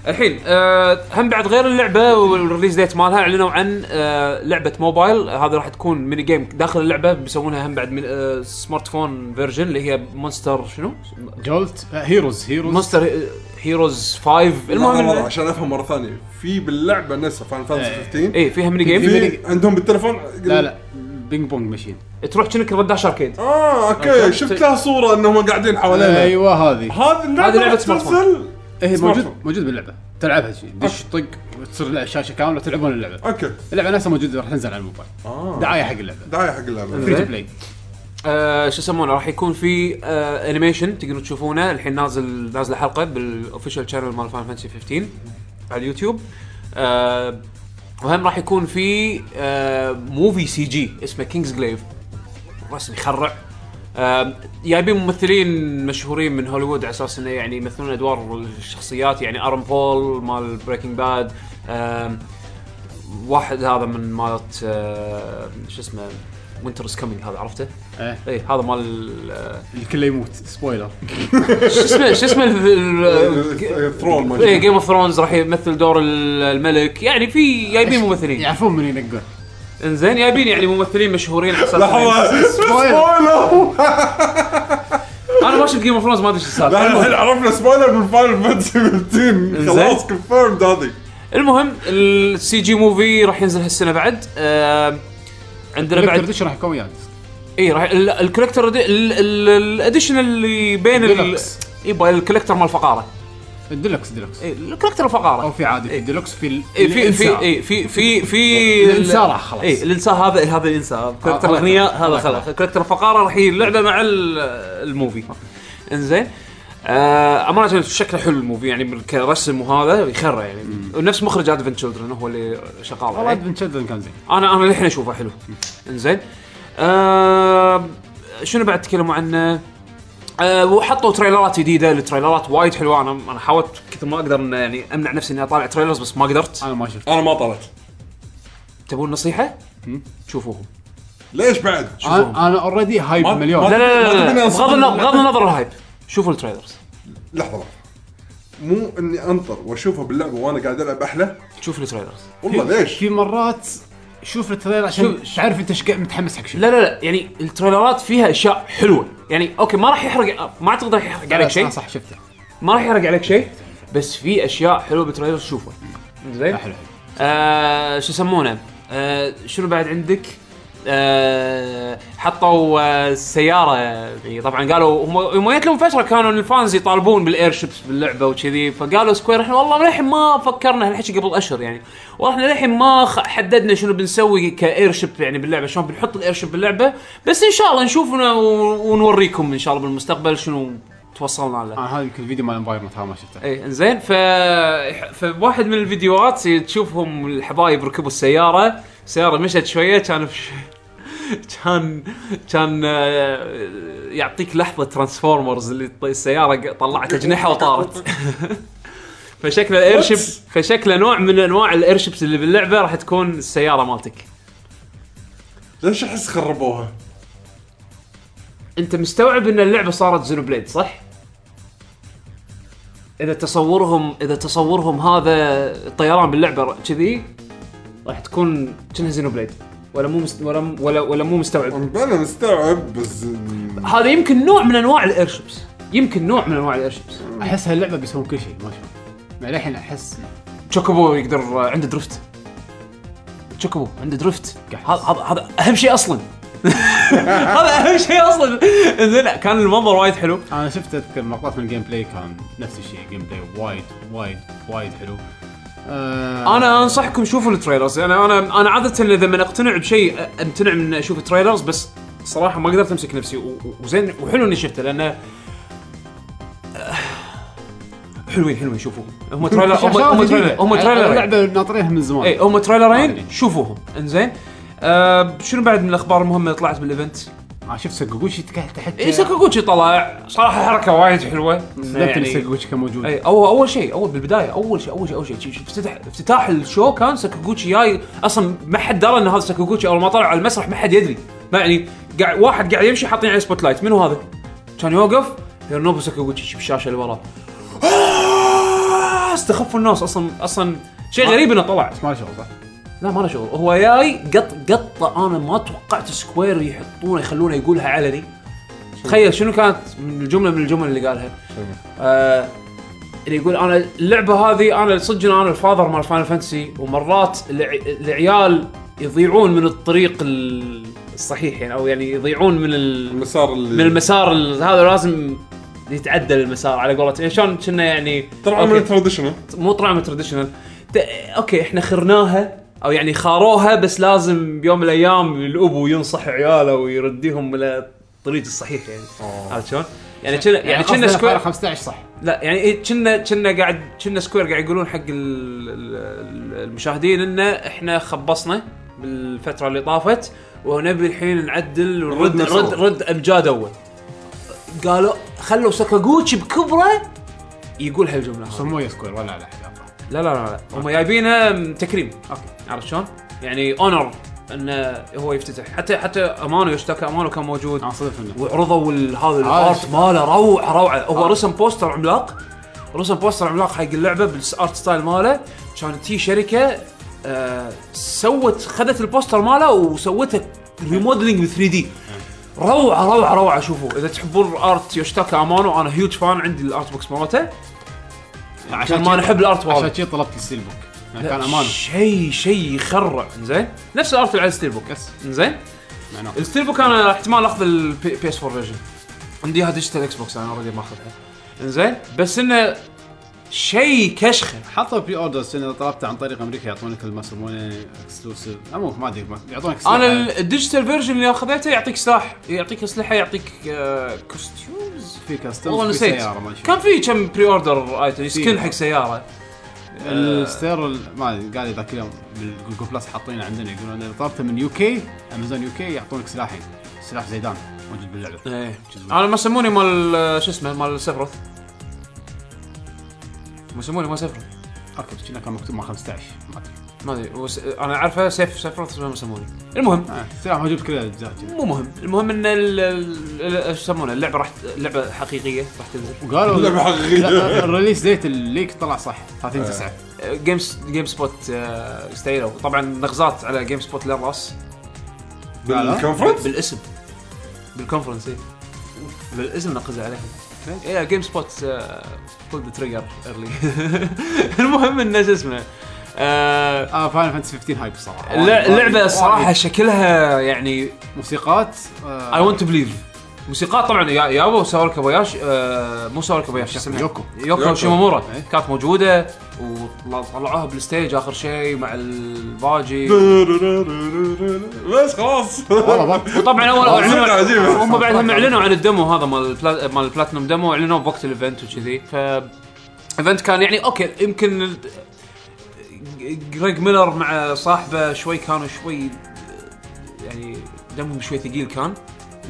Speaker 2: الحين آه هم بعد غير اللعبه والريليز ديت مالها اعلنوا عن آه لعبه موبايل آه، هذه راح تكون ميني جيم داخل اللعبه بيسوونها هم بعد من آه سمارت فون فيرجن اللي هي مونستر شنو؟
Speaker 1: جولت آه، هيروز هيروز
Speaker 2: مونستر هيروز 5
Speaker 3: المهم
Speaker 2: المهم
Speaker 3: عشان افهم مره ثانيه في باللعبه نفسها فان
Speaker 1: إيه.
Speaker 3: فانتسي 15
Speaker 2: اي فيها ميني جيم
Speaker 3: في عندهم بالتليفون
Speaker 1: لا لا بينج بونج ماشين
Speaker 2: تروح كأنك رداش اركيد
Speaker 3: اه اوكي شفت لها صوره انهم قاعدين حوالينا
Speaker 1: ايوه هذه
Speaker 3: هذه
Speaker 2: هذه
Speaker 3: اللعبه
Speaker 2: لعبة
Speaker 3: راح
Speaker 2: سمارت فون.
Speaker 3: تنزل
Speaker 1: هي
Speaker 3: سمارت
Speaker 1: إيه، موجود
Speaker 3: فون.
Speaker 1: موجود باللعبه تلعبها شي دش طق وتصير الشاشه كامله تلعبون اللعبه
Speaker 3: اوكي
Speaker 1: اللعبه نفسها موجوده راح تنزل على الموبايل
Speaker 3: اه
Speaker 1: دعايه حق اللعبه
Speaker 3: دعايه حق
Speaker 1: فري
Speaker 3: اللعبه
Speaker 1: تو بلاي
Speaker 2: آه شو يسمونه راح يكون في آه انيميشن تقدرون تشوفونه الحين نازل نازله حلقه بالاوفيشال شانل مال فان فانسي 15 على اليوتيوب آه وهم راح يكون في آه موفي سي جي اسمه كينجز جليف رسم يخرع آه جايبين ممثلين مشهورين من هوليوود على اساس انه يعني يمثلون ادوار الشخصيات يعني ارم بول مال بريكنج باد واحد هذا من مالت آه شو اسمه وينتر كامينج هذا عرفته؟
Speaker 1: إيه.
Speaker 2: اي هذا مال آه،
Speaker 1: الكل يموت سبويلر
Speaker 2: شو اسمه شو اسمه إيه،
Speaker 3: ثرون ما
Speaker 2: اي
Speaker 3: شاء
Speaker 2: جيم اوف ثرونز راح يمثل دور ال- الملك يعني في جايبين ممثلين
Speaker 1: يعرفون من ينقون
Speaker 2: انزين جايبين يعني ممثلين مشهورين على اساس إنه-
Speaker 3: لحظه
Speaker 1: سبويلر.
Speaker 3: سبويلر
Speaker 2: انا ما شفت جيم اوف ثرونز ما ادري ايش
Speaker 3: لا،
Speaker 2: السالفه
Speaker 3: الحين عرفنا سبويلر من فاينل فانتسي 15 خلاص كونفيرمد هذه
Speaker 2: المهم السي جي موفي راح ينزل هالسنه بعد آه، عندنا
Speaker 1: الكوليكتر
Speaker 2: بعد
Speaker 1: دش راح يكون وياك
Speaker 2: اي راح ال- الكوليكتر ال- ال- الاديشن اللي بين ال-
Speaker 1: ديلوكس.
Speaker 2: اي با- الكوليكتر مال إيه، الفقاره
Speaker 1: الديلوكس ديلوكس
Speaker 2: اي الكوليكتر الفقاره
Speaker 1: او في عادي في الديلوكس في ال-
Speaker 2: إيه في في
Speaker 1: الإنسان.
Speaker 2: إيه في في في
Speaker 1: الإنسان راح خلاص.
Speaker 2: اي الانسان إيه، هذا هذا الانسان كاركتر
Speaker 1: آه، الله
Speaker 2: الاغنياء هذا خلاص كاركتر الفقاره راح يلعبه مع ال- الموفي انزين آه امانه شكله حلو الموفي يعني كرسم وهذا يخرع يعني ونفس مخرج ادفنت تشلدرن هو اللي شغال
Speaker 1: والله
Speaker 2: عليه
Speaker 1: ابن شدن كان زين
Speaker 2: انا انا للحين اشوفه حلو انزين آه شنو بعد تكلموا عنه؟ آه وحطوا تريلرات جديده التريلرات وايد حلوه انا انا حاولت كثر ما اقدر إن يعني امنع نفسي اني اطالع تريلرز بس ما قدرت
Speaker 1: انا ما شفت
Speaker 3: انا ما طلعت
Speaker 2: تبون نصيحه؟
Speaker 1: مم.
Speaker 2: شوفوهم
Speaker 3: ليش بعد؟
Speaker 1: انا انا اوريدي هايب
Speaker 3: ما-
Speaker 1: مليون
Speaker 3: ما-
Speaker 2: لا لا لا,
Speaker 3: تبيني
Speaker 2: لا.
Speaker 3: أصلاً.
Speaker 2: بغض النظر بغض النظر الهايب شوفوا التريلرز
Speaker 3: لحظه لحظه مو اني انطر واشوفها باللعبه وانا قاعد العب احلى
Speaker 2: شوفوا التريلرز
Speaker 3: والله ليش؟
Speaker 1: في مرات شوف التريلر عشان تعرف انت ايش قاعد متحمس حق شيء
Speaker 2: لا لا لا يعني التريلرات فيها اشياء حلوه يعني اوكي ما راح يحرق آه، ما اعتقد راح يحرق عليك شيء
Speaker 1: آه، صح شفته
Speaker 2: ما راح يحرق عليك شيء بس في اشياء حلوه بالتريلر شوفها زين
Speaker 1: آه، حلو
Speaker 2: آه شو يسمونه آه شنو بعد عندك آه حطوا آه، السياره يعني طبعا قالوا هم هم جت لهم فتره كانوا الفانز يطالبون بالاير شيبس باللعبه وكذي فقالوا سكوير احنا والله للحين ما فكرنا هالحكي قبل اشهر يعني واحنا للحين ما خ- حددنا شنو بنسوي كاير شيب يعني باللعبه شلون بنحط الاير شيب باللعبه بس ان شاء الله نشوف ون- ونوريكم ان شاء الله بالمستقبل شنو توصلنا له
Speaker 1: انا هذا يمكن الفيديو مال انفايرمنت هذا ما شفته
Speaker 2: اي انزين إيه، ف فواحد من الفيديوهات تشوفهم الحبايب ركبوا السياره السياره مشت شويه كان في- كان كان آه، يعطيك لحظه ترانسفورمرز اللي ط- السياره ق- طلعت اجنحه وطارت فشكله الايرشيب فشكله نوع من انواع الايرشيبس اللي باللعبه راح تكون السياره مالتك
Speaker 3: ليش احس خربوها؟
Speaker 2: انت مستوعب ان اللعبه صارت زينو بليد صح؟ اذا تصورهم اذا تصورهم هذا الطيران باللعبه ر- كذي راح تكون كأنها زينو بليد ولا مو مست... ولا ولا ولا مو مستوعب
Speaker 3: انا بلا مستوعب بس
Speaker 2: هذا يمكن نوع من انواع الايرشيبس يمكن نوع من انواع الايرشيبس
Speaker 1: احس هاللعبه بيسوون كل شيء ما شفت ما للحين احس
Speaker 2: تشوكوبو يقدر عنده درفت تشوكوبو عنده درفت هذا هذا- هذا اهم شيء اصلا هذا اهم شيء اصلا زين لا، كان المنظر وايد حلو
Speaker 1: انا شفت اذكر مقاطع من الجيم بلاي كان نفس الشيء جيم بلاي وايد وايد وايد حلو آه
Speaker 2: انا انصحكم شوفوا التريلرز يعني انا انا انا عاده اذا من اقتنع بشيء أ- امتنع من اشوف التريلرز بس صراحه ما قدرت امسك نفسي و- و- وزين وحلو اني شفته لانه حلوين حلوين شوفوهم هم تريلر هم هم تريلر هم تريلر يعني. إيه.
Speaker 1: اللعبه ناطرينها من زمان
Speaker 2: اي
Speaker 1: اي
Speaker 2: هم
Speaker 1: ما
Speaker 2: تريلرين
Speaker 1: أدري.
Speaker 2: شوفوهم انزين آه شنو بعد من الاخبار المهمه اللي طلعت بالايفنت؟
Speaker 1: انا آه، شفت سكوكوشي تحت تحت
Speaker 2: اي ساكاغوتشي طلع صراحه حركه وايد حلوه
Speaker 1: صدقت ان
Speaker 2: إيه.
Speaker 1: سكوكوشي كان موجود
Speaker 2: اي اول اول شيء اول بالبدايه اول شيء اول شيء اول شيء شي- شي- افتتح افتتاح الشو كان ساكاغوتشي جاي اصلا ما حد درى ان هذا ساكاغوتشي اول ما طلع على المسرح ما حد يدري ما يعني قاعد واحد قاعد يمشي حاطين عليه سبوت لايت منو هذا؟ كان يوقف يرنوبو ساكاغوتشي شي بالشاشه اللي وراه ناس تخف آه، الناس اصلا اصلا شيء غريب انه طلع
Speaker 1: بس ما له شغل صح؟
Speaker 2: لا ما له شغل هو جاي قط قطه انا ما توقعت سكوير يحطونه يخلونه يقولها علني تخيل شنو كانت من الجمله من الجمل اللي قالها آه اللي يقول انا اللعبه هذه انا صدق انا الفاذر مال فاينل فانتسي ومرات الع- العيال يضيعون من الطريق ال- الصحيح يعني او يعني يضيعون من ال...
Speaker 3: المسار
Speaker 2: من
Speaker 3: اللي
Speaker 2: المسار ال- هذا لازم يتعدل المسار على قولتهم يعني شلون كنا يعني
Speaker 3: طلعوا من
Speaker 2: أوكي.
Speaker 3: التراديشنال
Speaker 2: مو طلع من تراديشنال اوكي احنا خرناها او يعني خاروها بس لازم بيوم من الايام الابو ينصح عياله ويرديهم الى الطريق الصحيح يعني عرفت شلون؟ يعني كنا يعني كنا
Speaker 1: قصدنا
Speaker 2: سكوير
Speaker 1: 15 صح
Speaker 2: لا يعني إيه، كنا كنا قاعد كنا سكوير قاعد يقولون حق ال- ال- المشاهدين انه احنا خبصنا بالفتره اللي طافت ونبي الحين نعدل ونرد
Speaker 3: نرد
Speaker 2: رد رد امجاد اول قالوا خلوا ساكاغوتشي بكبره يقول هالجمله هذه.
Speaker 1: سموه سكوير ولا لا لا.
Speaker 2: لا لا لا, لا. هم جايبينه م- تكريم اوكي عرفت شلون؟ يعني اونر انه هو يفتتح حتى حتى امانو يشتكى امانو كان موجود
Speaker 1: اه صدق انه
Speaker 2: وعرضوا ال- هذا الارت
Speaker 1: شفت.
Speaker 2: ماله روعه روعه هو رسم بوستر عملاق رسم بوستر عملاق حق اللعبه بالارت ستايل ماله كانت تي شركه آه سوت خذت البوستر ماله وسوته ريموديلنج ب 3 دي روعه روعه روعه شوفوا اذا تحبون ارت يوشتاكا امانو انا هيوج فان عندي الارت بوكس مالته عشان ما
Speaker 1: شي-
Speaker 2: نحب الارت ماله
Speaker 1: عشان شي طلبت السيل بوك يعني كان امان
Speaker 2: شيء شيء يخرع زين نفس الارت اللي على الستيل بوك
Speaker 1: يس
Speaker 2: زين
Speaker 1: معناه
Speaker 2: الستيل بوك انا احتمال اخذ البي اس 4 فيرجن عندي اياها ديجيتال اكس بوكس انا اوريدي ماخذها زين بس انه شيء كشخه
Speaker 1: حطوا بري اوردرز اذا طلبته عن طريق امريكا يعطونك الما يسمونه اكسلوسيف مو ما ادري ما- يعطونك سلاح.
Speaker 2: انا ال- الديجيتال فيرجن اللي اخذته يعطيك سلاح يعطيك اسلحه يعطيك آه، كوستيومز
Speaker 1: في كاستمز
Speaker 2: والله
Speaker 1: في
Speaker 2: نسيت
Speaker 1: سياره ما أدري شو.
Speaker 2: كان في كم بري اوردر ايتم سكن
Speaker 1: في.
Speaker 2: حق سياره
Speaker 1: الستير ال- ما أدري، قال لي ذاك اليوم بالجوجل بلس حاطينه عندنا يقولون اذا طلبته من يو كي امازون يو كي يعطونك سلاحين سلاح زيدان موجود باللعبه
Speaker 2: ايه
Speaker 1: جد.
Speaker 2: انا ما سموني مال آه، شو اسمه مال سفرث ما سموني مال سفرث
Speaker 1: اوكي بس كنا كان مكتوب مع 15 ما ادري
Speaker 2: ما ادري وس... انا عارفه سيف سفرث بس ما يسمونه المهم
Speaker 1: آه، السلاح موجود بكل الاجزاء كذي.
Speaker 2: مو مهم المهم ان ال- ال- ال- شو يسمونه اللعبه راح اللعبه حقيقيه راح تنزل
Speaker 1: وقالوا
Speaker 3: لعبة حقيقية.
Speaker 1: لا، الريليس ديت الليك طلع صح 30 9
Speaker 2: آه. جيمز جيم سبوت آه، استعيروا طبعا نغزات على جيم سبوت للراس
Speaker 1: لا، لا.
Speaker 3: بالكونفرنس
Speaker 2: بالاسم بالكونفرنس إيه. بالاسم نقز عليهم ايه جيم سبوت بول ذا تريجر ايرلي المهم انه شو اسمه آه،
Speaker 1: اه فاينل فانتسي 15 هايب الصراحه
Speaker 2: الل- اللعبه
Speaker 1: Oh
Speaker 2: الصراحه شكلها يعني
Speaker 1: موسيقات آه،
Speaker 2: اي ونت تو بليف موسيقات طبعا يا يابا ساور كاباياش آه مو ساور كاباياش اسمها
Speaker 1: يوكو.
Speaker 2: يوكو
Speaker 3: يوكو.
Speaker 2: شيمامورا
Speaker 1: إيه.
Speaker 2: كانت موجوده وطلعوها بالستيج اخر شيء مع الباجي
Speaker 3: بس خلاص
Speaker 1: والله بط-
Speaker 2: وطبعا اول
Speaker 3: موسيقى
Speaker 2: اعلنوا
Speaker 3: عجيبة
Speaker 2: هم بعدهم اعلنوا عن الدمو هذا مال البلا- مال البلاتنوم دمو اعلنوا بوقت الايفنت وكذي ف ايفنت كان يعني اوكي يمكن ال- جريج ميلر مع صاحبه شوي كانوا شوي يعني دمهم شوي ثقيل كان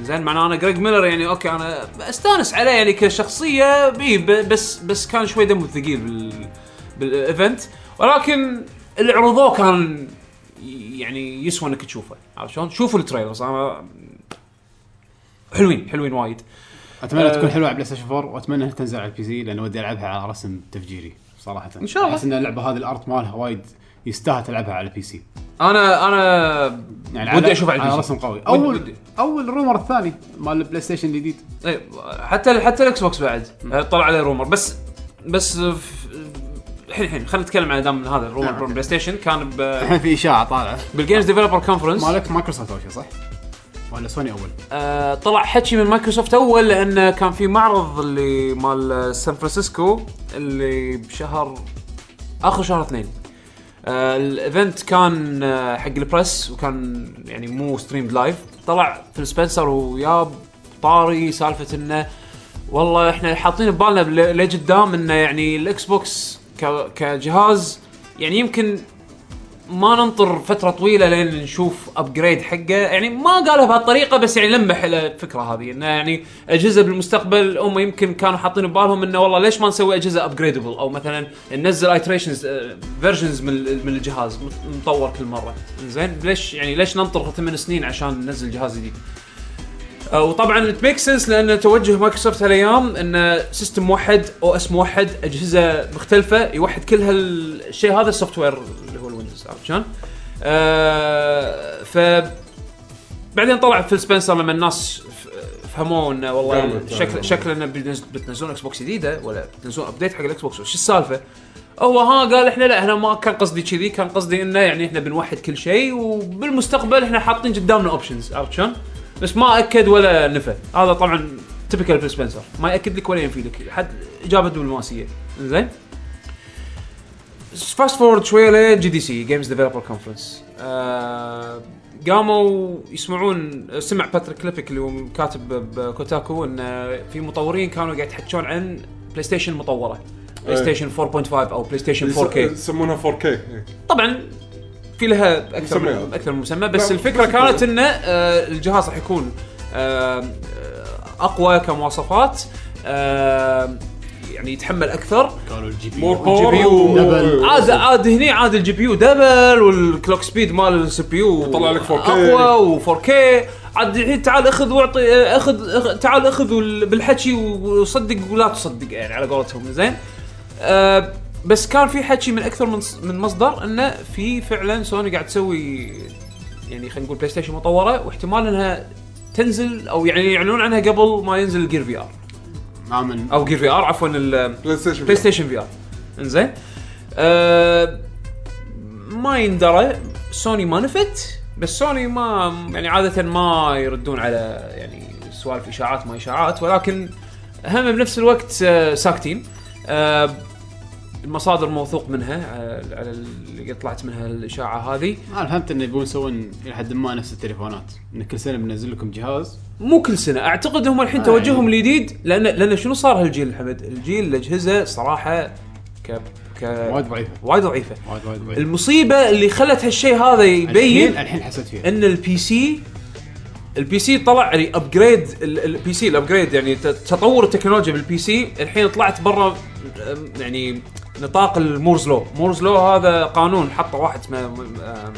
Speaker 2: زين معناه انا جريج ميلر يعني اوكي انا استانس عليه يعني كشخصيه بي ب- بس بس كان شوي دمه ثقيل بال بالايفنت ولكن اللي عرضوه كان ي- يعني يسوى انك تشوفه عرفت شلون؟ شوفوا التريلرز انا حلوين حلوين وايد
Speaker 1: اتمنى
Speaker 2: آه.
Speaker 1: تكون حلوه على بلاي ستيشن 4 واتمنى انها تنزل على البي سي لان ودي العبها على رسم تفجيري صراحه ان
Speaker 2: شاء الله.
Speaker 1: احس ان اللعبه هذه الارت مالها وايد يستاهل تلعبها على البي سي
Speaker 2: انا انا
Speaker 1: يعني
Speaker 2: ودي اشوف على البي سي.
Speaker 1: رسم قوي اول
Speaker 2: ودي.
Speaker 1: اول رومر الثاني مال البلاي ستيشن الجديد
Speaker 2: اي إيه، حتى حتى الاكس بوكس بعد آه، طلع عليه رومر بس بس آه، ف- الحين الحين خلينا نتكلم عن دام هذا الرومر
Speaker 1: نعم.
Speaker 2: بروم بلاي ستيشن كان ب-
Speaker 1: الحين في اشاعه طالعه
Speaker 2: بالجيمز ديفلوبر كونفرنس
Speaker 1: مالك مايكروسوفت اول شيء صح؟ ولا سوني اول؟
Speaker 2: آه، طلع حكي من مايكروسوفت اول لان كان في معرض اللي مال سان فرانسيسكو اللي بشهر اخر شهر اثنين آه، الايفنت كان آه، حق البريس وكان يعني مو ستريمد لايف طلع فيل سبنسر وياب طاري سالفه انه والله احنا حاطين ببالنا بل- لقدام انه يعني الاكس بوكس ك- كجهاز يعني يمكن ما ننطر فتره طويله لين نشوف ابجريد حقه يعني ما قالها بهالطريقه بس يعني لمح الى الفكره هذه انه يعني اجهزه بالمستقبل هم يمكن كانوا حاطين ببالهم انه والله ليش ما نسوي اجهزه ابجريدبل او مثلا ننزل ايتريشنز فيرجنز من ال- من الجهاز مت- مطور كل مره زين ليش يعني ليش ننطر ثمان سنين عشان ننزل جهاز جديد آه، وطبعا تميك سنس لان توجه مايكروسوفت هالايام ان سيستم موحد او اس موحد اجهزه مختلفه يوحد كل هالشيء هذا السوفت وير اللي هو الويندوز عرفت شلون؟ آه ف بعدين طلع فيل سبنسر لما الناس ف- فهموه انه والله
Speaker 3: فهمت،
Speaker 2: شكل
Speaker 3: فهمت.
Speaker 2: شكله انه بتنز- بتنزلون اكس بوكس جديده ولا بتنزلون ابديت حق الاكس بوكس شو السالفه؟ هو ها قال احنا لا احنا ما كان قصدي كذي كان قصدي انه يعني احنا بنوحد كل شيء وبالمستقبل احنا حاطين قدامنا اوبشنز عرفت شلون؟ بس ما اكد ولا نفى هذا طبعا تبكال فيل سبنسر ما ياكد لك ولا ينفي لك حد اجابه دبلوماسيه زين فاست فورد شويه لجي دي سي جيمز ديفلوبر كونفرنس قاموا Uh, يسمعون سمع باتريك كليبك اللي هو كاتب بكوتاكو ان في مطورين كانوا قاعد يتحكون عن بلاي ستيشن مطوره بلاي
Speaker 3: أي.
Speaker 2: ستيشن 4.5 او بلاي ستيشن 4K
Speaker 3: يسمونها 4K إيه.
Speaker 2: طبعا في لها اكثر من
Speaker 3: مسميات.
Speaker 2: اكثر من مسمى بس
Speaker 3: لا،
Speaker 2: الفكره
Speaker 3: بس-
Speaker 2: كانت ان آه، الجهاز راح يكون آه، اقوى كمواصفات آه، يعني يتحمل اكثر
Speaker 1: قالوا الجي بي
Speaker 3: مور
Speaker 1: يو.
Speaker 3: باور
Speaker 2: بي يو.
Speaker 3: و-
Speaker 1: دبل.
Speaker 2: عاد عاد هني عاد الجي بي يو دبل والكلوك سبيد مال السي بي يو
Speaker 3: وطلع لك 4K.
Speaker 2: اقوى و4K عاد الحين تعال اخذ واعطي آه، اخذ أخ- تعال اخذ وال- بالحكي وصدق ولا تصدق يعني على قولتهم زين آه، بس كان في حكي من اكثر من ص- من مصدر انه في فعلا سوني قاعد تسوي يعني خلينا نقول بلاي ستيشن مطوره واحتمال انها تنزل او يعني يعلنون عنها قبل ما ينزل الجير في ار
Speaker 1: ما من
Speaker 2: او جير في ار عفوا ال-
Speaker 3: بلاي ستيشن
Speaker 2: بلاي ستيشن في ار انزين أه ما يندرى سوني ما نفت بس سوني ما يعني عاده ما يردون على يعني سوالف اشاعات ما اشاعات ولكن هم بنفس الوقت آه، ساكتين أه المصادر موثوق منها على- على اللي طلعت منها الاشاعه هذه
Speaker 1: انا فهمت انه يبون يسوون الى حد ما نفس التليفونات ان كل سنه بننزل لكم جهاز
Speaker 2: مو كل سنه اعتقد هم الحين
Speaker 1: آه،
Speaker 2: توجههم
Speaker 1: يعني.
Speaker 2: الجديد لان لان شنو صار هالجيل حمد الجيل الاجهزه صراحه ك ك
Speaker 1: وايد ضعيفه
Speaker 2: وايد ضعيفه
Speaker 1: وايد وايد ضعيفه
Speaker 2: المصيبه اللي خلت هالشيء هذا يبين
Speaker 1: الحين- الحين حسيت فيها
Speaker 2: ان البي سي البي سي طلع يعني ابجريد البي سي الابجريد يعني ت- تطور التكنولوجيا بالبي سي الحين طلعت برا أم، يعني نطاق المورز لو مورز لو هذا قانون حطه واحد اسمه أم، أم،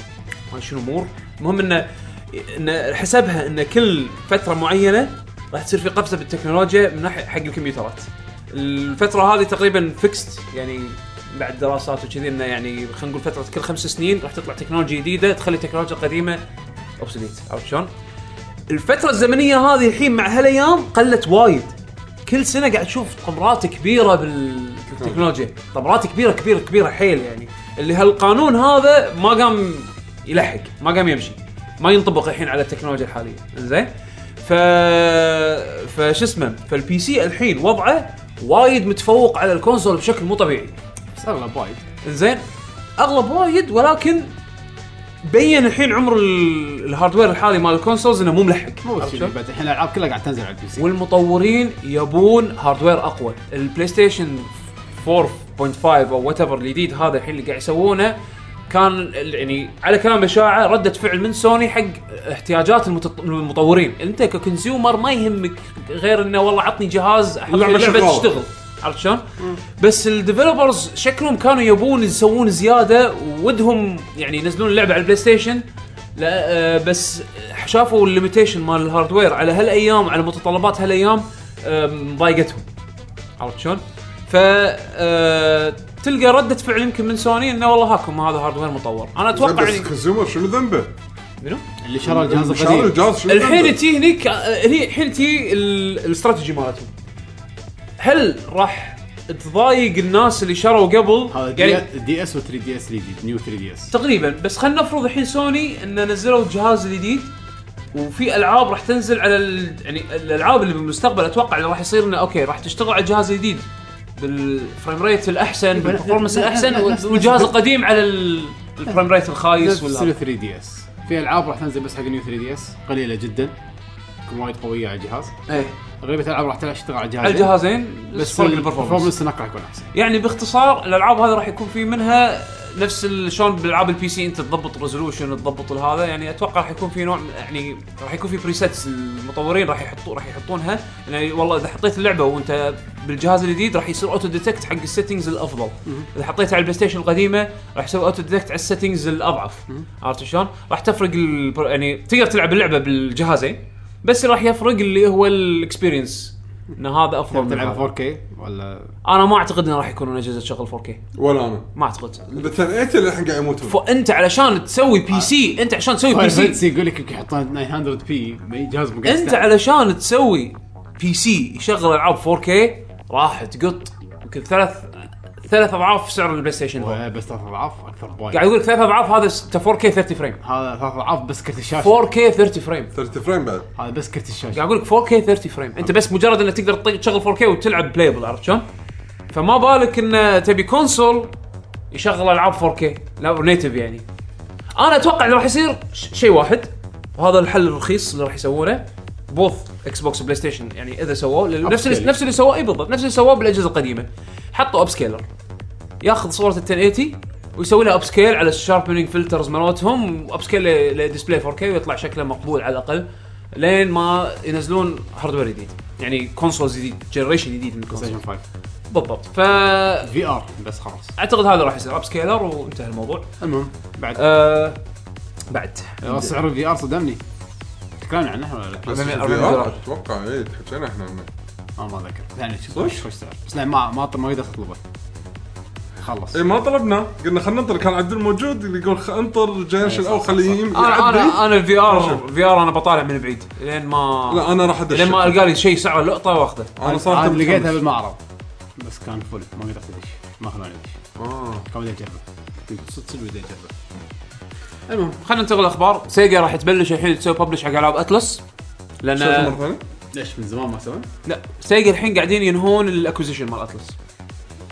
Speaker 2: ما شنو مور المهم انه انه حسبها ان كل فتره معينه راح تصير في قفزه بالتكنولوجيا من ناحيه حق الكمبيوترات الفتره هذه تقريبا فيكست يعني بعد دراسات وكذي انه يعني خلينا نقول فتره كل خمس سنين راح تطلع تكنولوجيا جديده تخلي التكنولوجيا القديمه اوبسوليت عرفت شلون؟ الفتره الزمنيه هذه الحين مع هالايام قلت وايد كل سنه قاعد اشوف طمرات كبيره بال- بالتكنولوجيا طمرات كبيره كبيره كبيره حيل يعني اللي هالقانون هذا ما قام يلحق ما قام يمشي ما ينطبق الحين على التكنولوجيا الحاليه زين ف فش اسمه فالبي سي الحين وضعه وايد متفوق على الكونسول بشكل مو طبيعي
Speaker 1: بس اغلب وايد
Speaker 2: زين اغلب وايد ولكن بين الحين عمر ال- الهاردوير الحالي مال الكونسولز انه مو ملحق
Speaker 1: مو بس
Speaker 2: عرفت
Speaker 1: كذي،
Speaker 2: شلون؟
Speaker 1: بعد الحين الالعاب كلها قاعد تنزل على البي سي
Speaker 2: والمطورين يبون هاردوير اقوى البلاي ستيشن 4.5 او وات ايفر الجديد هذا الحين اللي قاعد يسوونه كان ال- يعني على كلام اشاعه رده فعل من سوني حق احتياجات المتط- المطورين انت ككونسيومر ما يهمك غير انه والله عطني جهاز احط فيه
Speaker 3: اللعبة
Speaker 2: لعبه
Speaker 3: شغالة.
Speaker 2: تشتغل عرفت شلون؟ بس الديفلوبرز شكلهم كانوا يبون يسوون زياده ودهم يعني ينزلون اللعبه على البلاي ستيشن لا آه، بس شافوا الليميتيشن مال الهاردوير على هالايام على متطلبات هالايام آه، مضايقتهم عرفت شلون؟ ف آه، تلقى رده فعل يمكن من سوني انه والله هاكم هذا هاردوير مطور انا اتوقع
Speaker 3: اتوقع
Speaker 2: يعني
Speaker 3: كونسيومر شنو ذنبه؟
Speaker 2: منو؟
Speaker 1: اللي شرى الجهاز
Speaker 3: شاري
Speaker 1: القديم
Speaker 3: الجهاز شنو
Speaker 2: الحين
Speaker 3: ذنبه؟
Speaker 2: تي هنيك آه، هني الحين تي ال- الاستراتيجي مالتهم هل راح تضايق الناس اللي شروا قبل
Speaker 1: هذا دي اس و 3 دي اس جديد نيو 3 دي اس
Speaker 2: تقريبا بس خلينا نفرض الحين سوني ان نزلوا الجهاز الجديد وفي العاب راح تنزل على ال... يعني الالعاب اللي بالمستقبل اتوقع اللي راح يصير انه اوكي راح تشتغل على الجهاز الجديد بالفريم ريت الاحسن بالبرفورمانس الاحسن والجهاز القديم على ال- الفريم ريت الخايس
Speaker 1: نفس
Speaker 2: ولا
Speaker 1: 3 دي اس في العاب راح تنزل بس حق نيو 3 دي اس قليله جدا تكون وايد قويه على الجهاز
Speaker 2: ايه
Speaker 1: اغلبيه الالعاب راح تشتغل على الجهاز
Speaker 2: على الجهازين
Speaker 1: بس
Speaker 2: بس فرق البرفورمانس
Speaker 1: البرفورمانس هناك راح يكون احسن
Speaker 2: يعني باختصار الالعاب هذه راح يكون في منها نفس ال- شلون بالالعاب البي سي انت تضبط الريزولوشن تضبط هذا يعني اتوقع راح يكون في نوع من- يعني راح يكون في بريسيتس المطورين راح يحطوا راح يحطونها يعني والله اذا حطيت اللعبه وانت بالجهاز الجديد راح يصير اوتو ديتكت حق السيتنجز الافضل اذا حطيتها على البلاي ستيشن القديمه راح يسوي اوتو ديتكت على السيتنجز الاضعف عرفت شلون؟ راح تفرق ال- يعني تقدر تلعب اللعبه بالجهازين بس راح يفرق اللي هو الاكسبيرينس ان هذا افضل من هذا.
Speaker 1: تلعب 4K ولا
Speaker 2: انا ما اعتقد انه راح يكونون اجهزه تشغل 4K
Speaker 3: ولا انا
Speaker 2: ما اعتقد
Speaker 3: الاثنين الحين قاعد يموتون
Speaker 2: فانت علشان تسوي بي سي انت عشان تسوي بي
Speaker 1: فاير
Speaker 2: سي
Speaker 1: فانتسي يقول لك يمكن يحطون 900 بي جهاز مو قاعد
Speaker 2: انت
Speaker 1: يستحمل.
Speaker 2: علشان تسوي بي سي يشغل العاب 4K راح تقط يمكن ثلاث ثلاث اضعاف سعر البلاي ستيشن هو.
Speaker 1: بس ثلاث اضعاف اكثر بوايد
Speaker 2: قاعد يقول لك ثلاث اضعاف هذا ست- 4K 30 فريم
Speaker 1: هذا ثلاث اضعاف بس كرت الشاشه
Speaker 2: 4K 30 فريم
Speaker 3: 30 فريم بعد
Speaker 1: هذا بس كرت الشاشه
Speaker 2: قاعد اقول لك 4K 30 فريم انت بس مجرد انك تقدر تطق- تشغل 4K وتلعب بلايبل عرفت شلون؟ فما بالك ان تبي كونسول يشغل العاب 4K لا نيتف يعني انا اتوقع اللي راح يصير ش- شيء واحد وهذا الحل الرخيص اللي راح يسوونه بوث اكس بوكس وبلاي ستيشن يعني اذا سووه لأن نفس اللي
Speaker 1: Upscaling.
Speaker 2: نفس اللي سووه اي بالضبط نفس اللي سووه بالاجهزه القديمه حطوا اب سكيلر ياخذ صوره ال 1080 ويسوي لها اب سكيل على الشاربنينج فلترز مالتهم واب سكيل لديسبلاي 4K ويطلع شكله مقبول على الاقل لين ما ينزلون هاردوير جديد يعني كونسول جديد جنريشن جديد من الكونسول
Speaker 1: ستيشن 5
Speaker 2: بالضبط فاعتقد
Speaker 1: في ار بس خلاص
Speaker 2: هذا راح يصير اب سكيلر وانتهى الموضوع
Speaker 1: المهم بعد
Speaker 2: أه بعد
Speaker 1: آه، سعر الفي ار صدمني تكلمنا عنه ولا لا؟
Speaker 3: بس
Speaker 4: أربعمية-
Speaker 3: في
Speaker 4: أربعمية
Speaker 3: VR
Speaker 4: دولار.
Speaker 3: اتوقع اي تحكينا احنا عنه
Speaker 1: انا ما اذكر يعني شوف
Speaker 3: صدق؟
Speaker 1: وش وش سعر بس لا ما ما ما قدرت اطلبه خلص
Speaker 3: اي إيه، ما طلبنا قلنا خلينا ننطر كان عبد الموجود اللي يقول خ- انطر جنريشن او خليه يم-
Speaker 2: انا
Speaker 3: يعدي
Speaker 2: انا انا الفي ار
Speaker 3: شوف.
Speaker 2: في ار انا بطالع من بعيد لين ما
Speaker 3: لا انا راح ادش
Speaker 2: لين ما القى لي شيء سعره لقطه واخذه
Speaker 3: انا
Speaker 1: عاد
Speaker 3: صارت
Speaker 1: لقيتها بالمعرض بس كان فل ما قدرت ادش ما خلوني ادش
Speaker 3: اه
Speaker 1: كان بدي اجربه صدق صدق بدي اجربه
Speaker 2: خلينا ننتقل الاخبار سيجا راح تبلش الحين تسوي ببلش حق العاب اتلس
Speaker 3: شوفوا مره
Speaker 2: لان
Speaker 3: ثانيه
Speaker 1: ليش من زمان ما سوى؟
Speaker 2: لا سيجا الحين قاعدين ينهون الاكوزيشن مال اتلس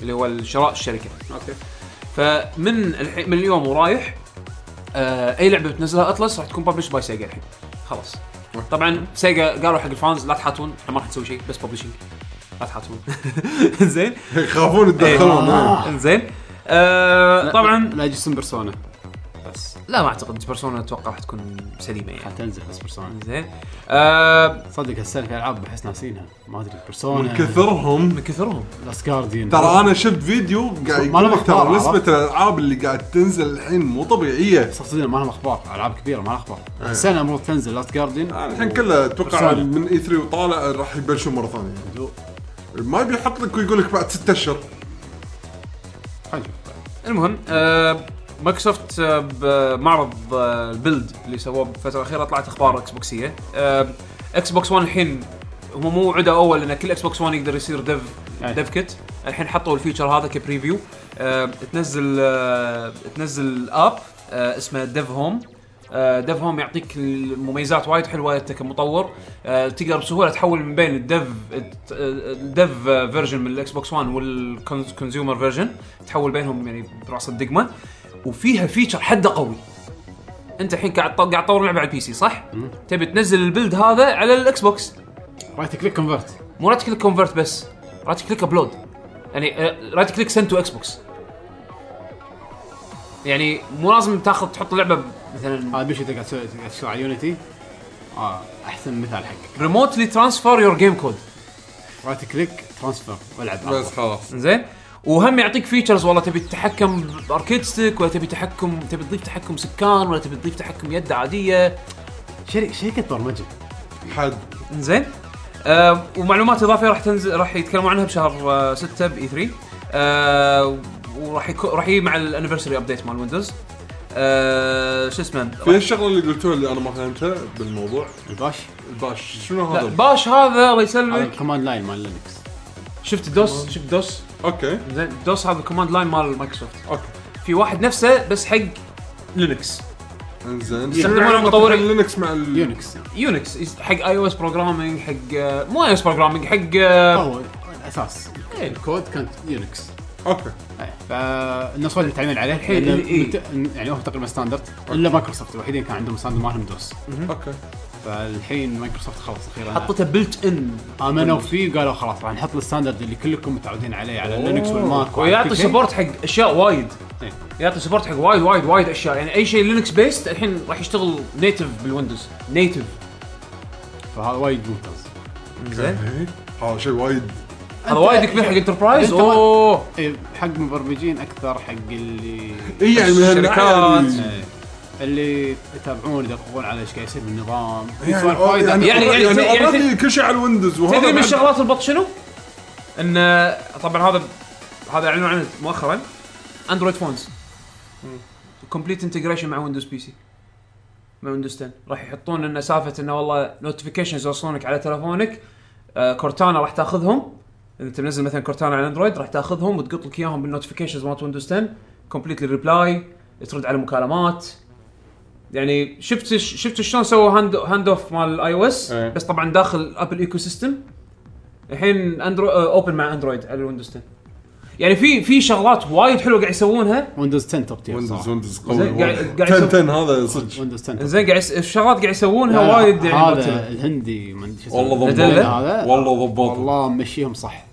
Speaker 2: اللي هو شراء الشركه
Speaker 1: اوكي
Speaker 2: فمن الحين من اليوم ورايح آه اي لعبه بتنزلها اطلس راح تكون ببلش باي سيجا الحين خلاص طبعا سيجا قالوا حق الفانز لا تحاتون احنا ما راح نسوي شيء بس ببلشنج لا تحاتون زين
Speaker 3: يخافون يتدخلون إيه.
Speaker 2: زين آه طبعا
Speaker 1: لا جسم بيرسونا بس
Speaker 2: لا ما اعتقد بيرسونا اتوقع راح تكون سليمه يعني
Speaker 1: حتنزل بس بيرسونا
Speaker 2: زين آه
Speaker 1: صدق هالسنه في العاب بحس ناسينها ما ادري بيرسونا
Speaker 3: كثرهم
Speaker 2: من كثرهم
Speaker 1: لاست جارديان
Speaker 3: ترى انا شفت فيديو قاعد
Speaker 1: ما
Speaker 3: يقول
Speaker 1: لهم
Speaker 3: لك ترى
Speaker 1: أخبار،
Speaker 3: نسبة
Speaker 1: عرفت؟
Speaker 3: الالعاب اللي قاعد تنزل الحين مو طبيعية
Speaker 1: صح صدق ما لهم اخبار العاب كبيره ما لها اخبار السنه المفروض تنزل لاست جارديان
Speaker 3: إيه. آه، الحين كله اتوقع
Speaker 1: بيرسونا.
Speaker 3: من اي 3 وطالع راح يبلشون مرة ثانية
Speaker 1: دو-
Speaker 3: ما يبي يحط لك ويقول لك بعد 6 اشهر
Speaker 1: خلينا نشوف
Speaker 2: المهم آه مايكروسوفت آه بمعرض آه البيلد اللي سووه بالفتره الاخيره طلعت اخبار اكس بوكسيه آه اكس بوكس 1 الحين هم مو عدا اول ان كل اكس بوكس 1 يقدر يصير ديف
Speaker 1: أي.
Speaker 2: ديف كيت الحين حطوا الفيتشر هذا كبريفيو آه تنزل آه تنزل اب آه اسمه ديف هوم آه، ديف هوم يعطيك المميزات وايد حلوه انت كمطور آه، تقدر بسهوله تحول من بين الديف الت- آه، الديف آه، فيرجن من الاكس بوكس 1 والكونسيومر فيرجن تحول بينهم يعني براس الدقمه وفيها فيتشر حده قوي انت الحين قاعد تط- قاعد تطور لعبه على البي سي صح؟ تبي تنزل البلد هذا على الاكس بوكس
Speaker 1: رايت كليك كونفرت
Speaker 2: مو رايت كليك كونفرت بس رايت كليك ابلود يعني آه، رايت كليك سنت تو اكس بوكس يعني مو لازم تاخذ تحط اللعبه مثلا
Speaker 1: هذا بيش انت قاعد تسوي قاعد تشتغل على يونيتي اه احسن مثال حقك
Speaker 2: ريموتلي ترانسفير يور جيم كود
Speaker 1: رايت كليك ترانسفير والعب
Speaker 3: بس خلاص
Speaker 2: زين وهم يعطيك فيتشرز والله تبي تتحكم باركيد ستيك ولا تبي تحكم تبي تضيف تحكم سكان ولا تبي تضيف تحكم يد عاديه
Speaker 1: شركه شركه برمجه
Speaker 3: حد
Speaker 2: زين آه ومعلومات اضافيه راح تنزل راح يتكلموا عنها بشهر آه 6 باي 3 آه وراح يكو... راح يجي مع الانيفرساري ابديت مال ويندوز آه شو اسمه
Speaker 3: في الشغلة اللي قلتوها اللي انا ما فهمتها بالموضوع
Speaker 1: الباش
Speaker 3: الباش شنو
Speaker 2: لا،
Speaker 3: هذا؟
Speaker 2: باش هذا الله
Speaker 1: هذا
Speaker 2: يسلمك
Speaker 1: الكوماند لاين مال لينكس
Speaker 2: شفت دوس شفت دوس
Speaker 3: اوكي
Speaker 2: زين دوس هذا الكوماند لاين مال مايكروسوفت
Speaker 3: اوكي
Speaker 2: في واحد نفسه بس حق لينكس
Speaker 3: انزين
Speaker 2: يستخدمون
Speaker 3: يعني
Speaker 2: المطورين.
Speaker 3: طبعاً لينكس مع ال-
Speaker 1: يونكس
Speaker 2: يونكس يس- حق اي او اس بروجرامينج حق مو اي او اس بروجرامينج حق آه،
Speaker 1: هو الاساس
Speaker 2: إيه،
Speaker 1: الكود كانت يونكس
Speaker 3: اوكي
Speaker 1: إيه، فالناس وايد متعلمين عليه الحين
Speaker 2: إيه، إيه.
Speaker 1: مت- يعني هو تقريبا ستاندرد الا مايكروسوفت الوحيدين كان عندهم ستاندرد مالهم دوس
Speaker 3: اوكي
Speaker 1: فالحين مايكروسوفت خلص اخيرا
Speaker 2: حطته بلت ان
Speaker 1: امنوا فيه قالوا خلاص راح نحط الستاندرد اللي كلكم متعودين عليه على لينكس والماك وعلى
Speaker 2: ويعطي
Speaker 1: كل شيء.
Speaker 2: سبورت حق اشياء وايد
Speaker 1: إيه.
Speaker 2: يعطي سبورت حق وايد وايد وايد اشياء يعني اي شيء لينكس بيست الحين راح يشتغل نيتف بالويندوز نيتف
Speaker 1: فهذا وايد ممتاز
Speaker 2: زين
Speaker 3: إيه. هذا شيء وايد
Speaker 2: هذا وايد كبير حق انتربرايز
Speaker 1: إيه. أنت ما-
Speaker 2: اوه
Speaker 1: إيه، حق مبرمجين اكثر حق اللي
Speaker 3: اي يعني من
Speaker 2: الشركات.
Speaker 3: هالناحية اللي-
Speaker 1: إيه. اللي يتابعون يدققون على ايش قاعد يصير بالنظام في
Speaker 3: يعني
Speaker 1: سوالف وايد
Speaker 3: يعني
Speaker 2: يعني- يعني-
Speaker 3: يعني
Speaker 2: يعني-
Speaker 3: already كل شيء على الويندوز وهذا
Speaker 2: تدري من
Speaker 3: بعد-
Speaker 2: الشغلات البط شنو؟ ان طبعا هذا هذا اعلنوا عنه مؤخرا اندرويد فونز كومبليت انتجريشن مع ويندوز بي سي مع ويندوز 10 راح يحطون انه سالفه انه والله نوتيفيكيشنز يوصلونك على تلفونك آه، كورتانا راح تاخذهم اذا انت منزل مثلا كورتانا على اندرويد راح تاخذهم وتقط لك اياهم بالنوتيفيكيشنز مالت ويندوز 10 كومبليتلي ريبلاي ترد على مكالمات يعني شفت شفت شلون سووا هاند هاند اوف مال الاي او اس
Speaker 3: إيه.
Speaker 2: بس طبعا داخل ابل ايكو سيستم الحين اندرو آه، اوبن مع اندرويد على الويندوز 10 يعني في في شغلات وايد حلوه قاعد يسوونها
Speaker 1: ويندوز 10 توب تير
Speaker 3: ويندوز
Speaker 1: صراحة.
Speaker 3: ويندوز قوي
Speaker 2: زين، قاعد-
Speaker 3: وايد.
Speaker 2: قاعد يسوي-
Speaker 3: 10 10 هذا صدق
Speaker 1: ويندوز 10
Speaker 2: زين قاعد يس- الشغلات قاعد
Speaker 1: لا،
Speaker 2: يسوونها
Speaker 1: لا،
Speaker 2: وايد يعني
Speaker 1: هذا
Speaker 2: مرتبة.
Speaker 1: الهندي ما ادري شو اسمه.
Speaker 3: والله
Speaker 2: ندلة.
Speaker 3: ضبطه
Speaker 1: هذا
Speaker 3: والله ضبطه
Speaker 1: والله مشيهم صح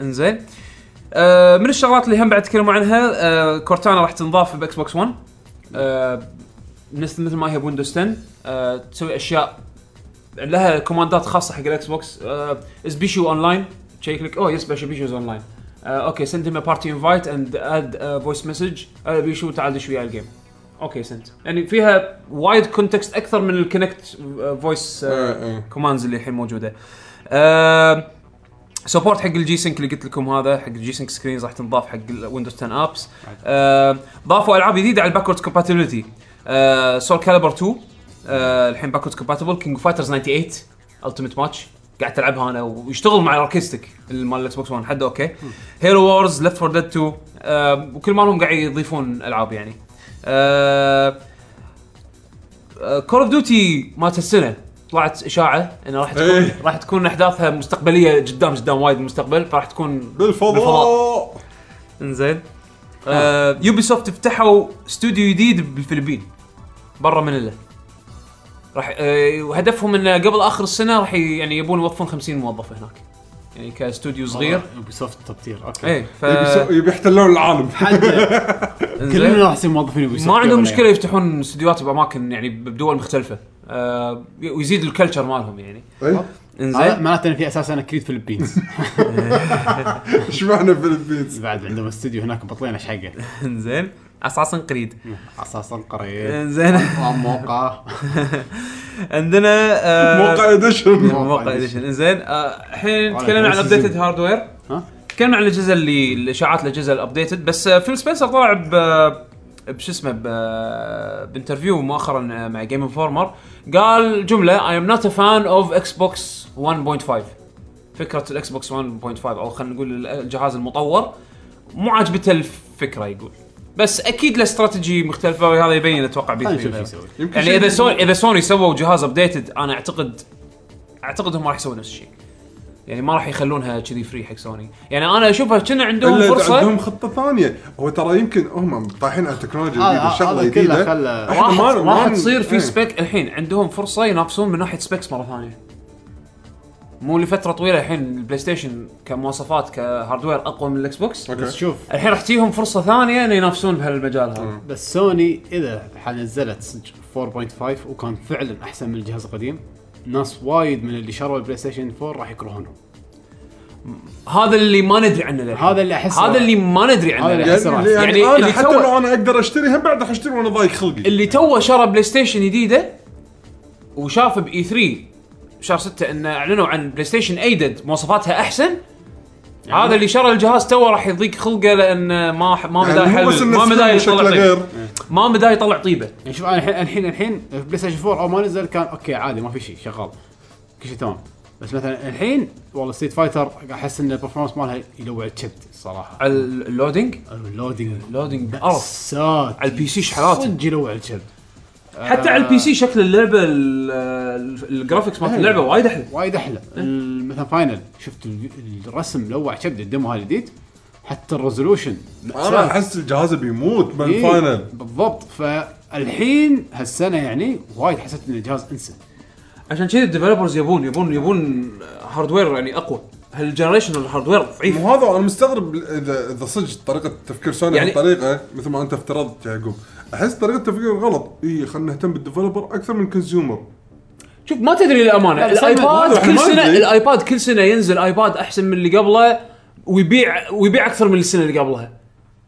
Speaker 2: انزين آه من الشغلات اللي هم بعد تكلموا عنها آه كورتانا راح تنضاف باكس بوكس 1 آه مثل مثل ما هي بويندوز 10 آه تسوي اشياء لها كوماندات خاصه حق الاكس بوكس آه is بيشو اونلاين تشيك لك اوه يس بيشو بيشو اونلاين اوكي سند هيم بارتي انفايت اند اد فويس مسج بيشو تعال آه، دش وياي الجيم اوكي سنت يعني فيها وايد كونتكست اكثر من آه، الكونكت فويس
Speaker 3: إيه، إيه.
Speaker 2: كوماندز اللي الحين موجوده آه، سبورت حق الجي سync اللي قلت لكم هذا حق الجي سync سكرينز راح تنضاف حق ويندوز 10 ابس آه، ضافوا العاب جديده على الباكورد كومباتيبلتي سول كاليبر 2 آه، الحين باكورد كومباتيبل كينج فايترز 98 التيمت ماتش قاعد تلعبها انا ويشتغل مع الاركستيك مال الاكس بوكس 1 حد اوكي هيرو وورز ليفت فور ديد 2 آه، وكل مالهم قاعد يضيفون العاب يعني آه، كول اوف ديوتي مالت السنه طلعت اشاعه انه راح تكون
Speaker 3: إيه.
Speaker 2: راح تكون احداثها مستقبليه قدام قدام وايد المستقبل فراح تكون
Speaker 3: بالفضاء
Speaker 2: انزين يوبي سوفت فتحوا استوديو جديد بالفلبين برا منيلا راح آه، وهدفهم انه قبل اخر السنه راح ي- يعني يبون يوظفون 50 موظف هناك يعني
Speaker 1: آه.
Speaker 2: كاستوديو صغير
Speaker 1: يوبي سوفت توب تير اوكي
Speaker 2: ايه ف
Speaker 3: يبي يسو- يبي يحتلون العالم
Speaker 1: حد كلنا يعني.
Speaker 2: إنزين.
Speaker 1: راح نصير موظفين يوبي سوفت
Speaker 2: ما عندهم
Speaker 1: قبل
Speaker 2: مشكله يفتحون استديوهات باماكن يعني بدول مختلفه آه، ويزيد الكلتشر مالهم يعني
Speaker 3: إيه.
Speaker 1: يعني. هذا
Speaker 2: انزين
Speaker 1: معناته ان في اساسا انا كريد فيلبينز
Speaker 3: ايش معنى فيلبينز
Speaker 1: بعد عندهم استوديو هناك بطلين ايش حقه
Speaker 2: انزين اساسا قريد
Speaker 1: اساسا قريب
Speaker 2: انزين
Speaker 1: موقع
Speaker 2: عندنا آه،
Speaker 3: موقع اديشن
Speaker 2: موقع اديشن انزين آه، الحين
Speaker 1: ولا
Speaker 2: تكلمنا عن
Speaker 1: تنسى
Speaker 2: ابديتد
Speaker 1: زين.
Speaker 2: هاردوير
Speaker 1: ها؟
Speaker 2: تكلمنا عن الاجهزه اللي الاشاعات الاجهزه الابديتد بس آه، فيل سبنسر طلع ب آه، بش اسمه ب- آه، بانترفيو مؤخرا آه، مع جيم انفورمر قال جمله اي ام نوت ا فان اوف اكس بوكس 1.5 فكره الاكس بوكس 1.5 او خلينا نقول الجهاز المطور مو عاجبته الفكره يقول بس اكيد له استراتيجي مختلفه وهذا يبين اتوقع
Speaker 1: خلينا نشوف ايش
Speaker 2: بيثبت
Speaker 1: يسوي
Speaker 3: يمكن
Speaker 2: يعني
Speaker 3: شيء-
Speaker 2: اذا سوني اذا سوني سووا جهاز ابديتد انا اعتقد اعتقد هم راح يسوون نفس الشيء يعني ما راح يخلونها كذي فري حق سوني يعني انا اشوفها كنا عندهم
Speaker 3: الا اذا
Speaker 2: فرصه
Speaker 3: عندهم خطه ثانيه هو ترى يمكن هم طايحين على تكنولوجيا
Speaker 1: هذا-
Speaker 3: جديده شغله
Speaker 1: هذا كله
Speaker 3: جديده
Speaker 1: خلى-
Speaker 3: إحنا
Speaker 2: راح
Speaker 3: ما- ما-
Speaker 2: راح تصير في
Speaker 3: إيه.
Speaker 2: سبيك الحين عندهم فرصه ينافسون من ناحيه سبيكس مره ثانيه مو لفتره طويله الحين البلاي ستيشن كمواصفات كهاردوير اقوى من الاكس بوكس
Speaker 3: أوكي.
Speaker 1: بس شوف
Speaker 2: الحين راح تجيهم فرصه ثانيه ان ينافسون بهالمجال هذا
Speaker 1: بس سوني اذا حنزلت صدق 4.5 وكان فعلا احسن من الجهاز القديم ناس وايد من اللي شروا البلاي ستيشن 4 راح يكرهونهم
Speaker 2: هذا اللي ما ندري عنه للحين.
Speaker 1: هذا اللي احسه
Speaker 2: هذا اللي ما ندري عنه
Speaker 1: هذا
Speaker 2: للحين.
Speaker 1: اللي
Speaker 3: يعني,
Speaker 1: أسرع.
Speaker 3: يعني,
Speaker 2: يعني
Speaker 3: انا
Speaker 2: اللي
Speaker 3: حتى
Speaker 2: سوى-
Speaker 3: لو انا اقدر اشتري هم بعد راح اشتري وانا ضايق خلقي
Speaker 2: اللي توه شرى بلاي ستيشن جديده وشاف باي 3 شهر 6 ان اعلنوا عن بلاي ستيشن ايدد مواصفاتها احسن يعني هذا اللي شرى الجهاز توه راح يضيق خلقه لان ما ح- ما مدى
Speaker 3: يعني مو بس
Speaker 2: حل ما
Speaker 3: إن
Speaker 2: مدى يطلع
Speaker 3: السكرين شكله
Speaker 2: طيب.
Speaker 3: غير
Speaker 2: ما مدى يطلع طيبه
Speaker 1: يعني شوف انا الحين الحين الحين في بلاي ستيشن 4 اول ما نزل كان اوكي عادي ما في شيء شغال كل شيء تمام بس مثلا الحين والله ستيت فايتر احس ان البرفورمانس مالها يلوع الكبد الصراحه
Speaker 2: على اللودينج
Speaker 1: اللودنج
Speaker 2: اللودينج بأرض
Speaker 1: بأسات
Speaker 2: على البي سي شحالات.
Speaker 1: صدق يلوع الكبد
Speaker 2: حتى على
Speaker 3: آه.
Speaker 2: البي سي شكل اللعبه ال- ال- الجرافيكس مالت
Speaker 3: إيه.
Speaker 1: أهلا.
Speaker 2: اللعبه وايد إيه. احلى
Speaker 1: وايد احلى ال- مثلا فاينل شفت ال- الرسم لوع كبد الدمو هذا الجديد حتى الريزولوشن
Speaker 3: انا احس الجهاز بيموت من
Speaker 1: إيه،
Speaker 3: الفاينل
Speaker 1: بالضبط فالحين هالسنه يعني وايد حسيت ان الجهاز انسى
Speaker 2: عشان كذي الديفلوبرز يبون يبون يبون هاردوير يعني اقوى هالجنريشن الهاردوير ضعيف
Speaker 3: مو هذا انا مستغرب اذا اذا صدق طريقه تفكير سوني
Speaker 2: يعني-
Speaker 3: يعني طريقه مثل ما انت افترضت يا يعقوب احس طريقه تفكير غلط اي خلينا نهتم بالديفلوبر اكثر من الكونسيومر
Speaker 2: شوف ما تدري للامانه
Speaker 1: لا، بس أنا-
Speaker 2: الايباد
Speaker 3: واضح،
Speaker 2: كل
Speaker 3: ما
Speaker 2: سنه
Speaker 3: أدري.
Speaker 2: الايباد كل سنه ينزل ايباد احسن من اللي قبله ويبيع ويبيع اكثر من السنه اللي قبلها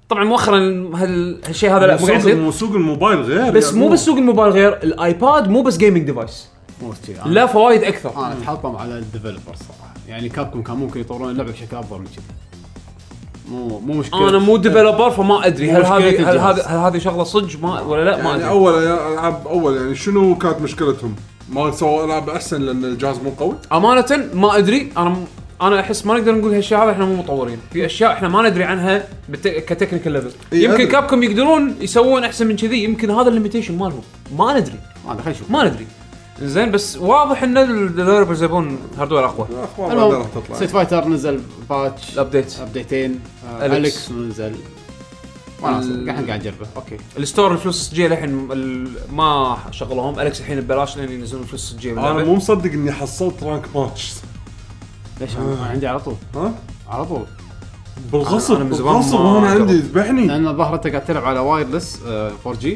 Speaker 2: طبعا مؤخرا هال- هالشيء هذا لا مو قاعد يصير
Speaker 3: سوق الموبايل غير
Speaker 2: بس
Speaker 3: يعني
Speaker 2: مو بس سوق الموبايل غير الايباد مو بس جيمنج ديفايس
Speaker 1: مو شي. يعني. أنا-
Speaker 2: لا فوائد اكثر
Speaker 1: انا اتحطم على الديفلوبر صراحه يعني كابكم كان ممكن يطورون اللعبه بشكل افضل من كذي مو مو
Speaker 3: آه،
Speaker 1: مشكله
Speaker 2: انا مو ديفلوبر فما ادري هل
Speaker 1: مشكلة
Speaker 2: هذه هل
Speaker 1: الجهاز.
Speaker 2: هذه هل هذه شغله صدق ما ولا لا ما
Speaker 3: يعني
Speaker 2: ادري
Speaker 3: اول يا العاب اول يعني شنو كانت مشكلتهم؟ ما سووا العاب احسن لان الجهاز مو قوي؟
Speaker 2: امانه ما ادري انا م- انا احس ما نقدر نقول هالشيء هذا احنا مو مطورين في اشياء احنا ما ندري عنها بت... كتكنيكال ليفل
Speaker 3: إي،
Speaker 2: يمكن
Speaker 3: أدري.
Speaker 2: كابكم يقدرون يسوون احسن من كذي يمكن هذا الليميتيشن مالهم ما ندري
Speaker 1: ما ادري خلينا نشوف
Speaker 2: ما ندري زين بس واضح ان الديفلوبرز يبون هاردوير اقوى
Speaker 3: اخبار ما
Speaker 1: المهم
Speaker 3: راح تطلع
Speaker 1: سيت فايتر نزل باتش
Speaker 2: الابديت
Speaker 1: ابديتين آه،
Speaker 2: أليكس.
Speaker 1: اليكس نزل وانا أصلاً قاعد قاعد اجربه اوكي
Speaker 2: الستور الفلوس الجيه للحين ال- ما شغلوهم الكس الحين ببلاش لان ينزلون الفلوس الجيه
Speaker 3: انا
Speaker 2: باللعبة.
Speaker 3: مو مصدق اني حصلت رانك ماتش
Speaker 1: ليش انا
Speaker 3: آه.
Speaker 1: عندي على طول
Speaker 3: ها؟
Speaker 1: على طول
Speaker 3: بالغصب
Speaker 2: أنا من زمان
Speaker 3: بالغصب
Speaker 2: ما
Speaker 3: انا عندي
Speaker 2: جربت.
Speaker 3: يذبحني
Speaker 1: لان الظاهر انت قاعد تلعب على وايرلس آه، 4G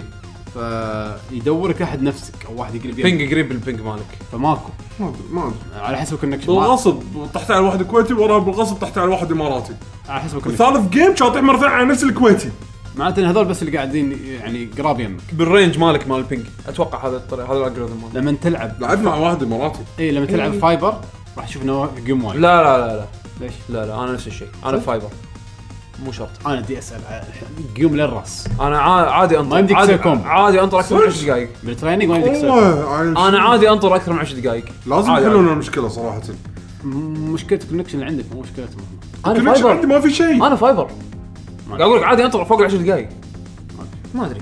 Speaker 1: فيدورك احد نفسك او واحد يقرب يمك
Speaker 2: بينج قريب بالبينج مالك
Speaker 1: فماكو
Speaker 3: ما أدري- ما أدري.
Speaker 1: على حسب الكونكشن ما-
Speaker 3: بالغصب طحت على واحد كويتي وراه بالغصب طحت على واحد اماراتي
Speaker 1: على حسب الكونكشن
Speaker 3: ثالث جيم شاطح مره ثانيه على نفس الكويتي
Speaker 1: معناته ان هذول بس اللي قاعدين يعني قراب يمك
Speaker 2: بالرينج مالك مال البينج اتوقع هذا الطريق هذا الالجوريثم ماله
Speaker 1: لما تلعب
Speaker 3: لعبت مع واحد اماراتي
Speaker 1: اي لما تلعب فايبر راح تشوف انه جيم وايد
Speaker 2: إيه. لا لا لا لا
Speaker 1: ليش؟
Speaker 2: لا لا انا نفس الشيء انا فايبر مو شرط
Speaker 1: انا دي اسال الحين، جيم للراس
Speaker 2: انا عا- عادي انطر
Speaker 1: ما يمديك
Speaker 2: عادي,
Speaker 1: تسوي كومبو.
Speaker 2: عادي انطر اكثر من 10 دقائق
Speaker 1: بالتريننج ما يمديك تسوي.
Speaker 3: والله عايش.
Speaker 2: انا عادي انطر اكثر من 10 دقائق
Speaker 3: لازم
Speaker 2: عادي،
Speaker 3: يحلون المشكله صراحه
Speaker 1: م- مشكله الكونكشن اللي عندك مو مشكلتهم هم.
Speaker 2: انا
Speaker 3: الكونكشن عندي
Speaker 2: فايبر
Speaker 3: ما في شيء
Speaker 2: انا فايبر قاعد اقول لك عادي انطر فوق ال 10 دقائق ما ادري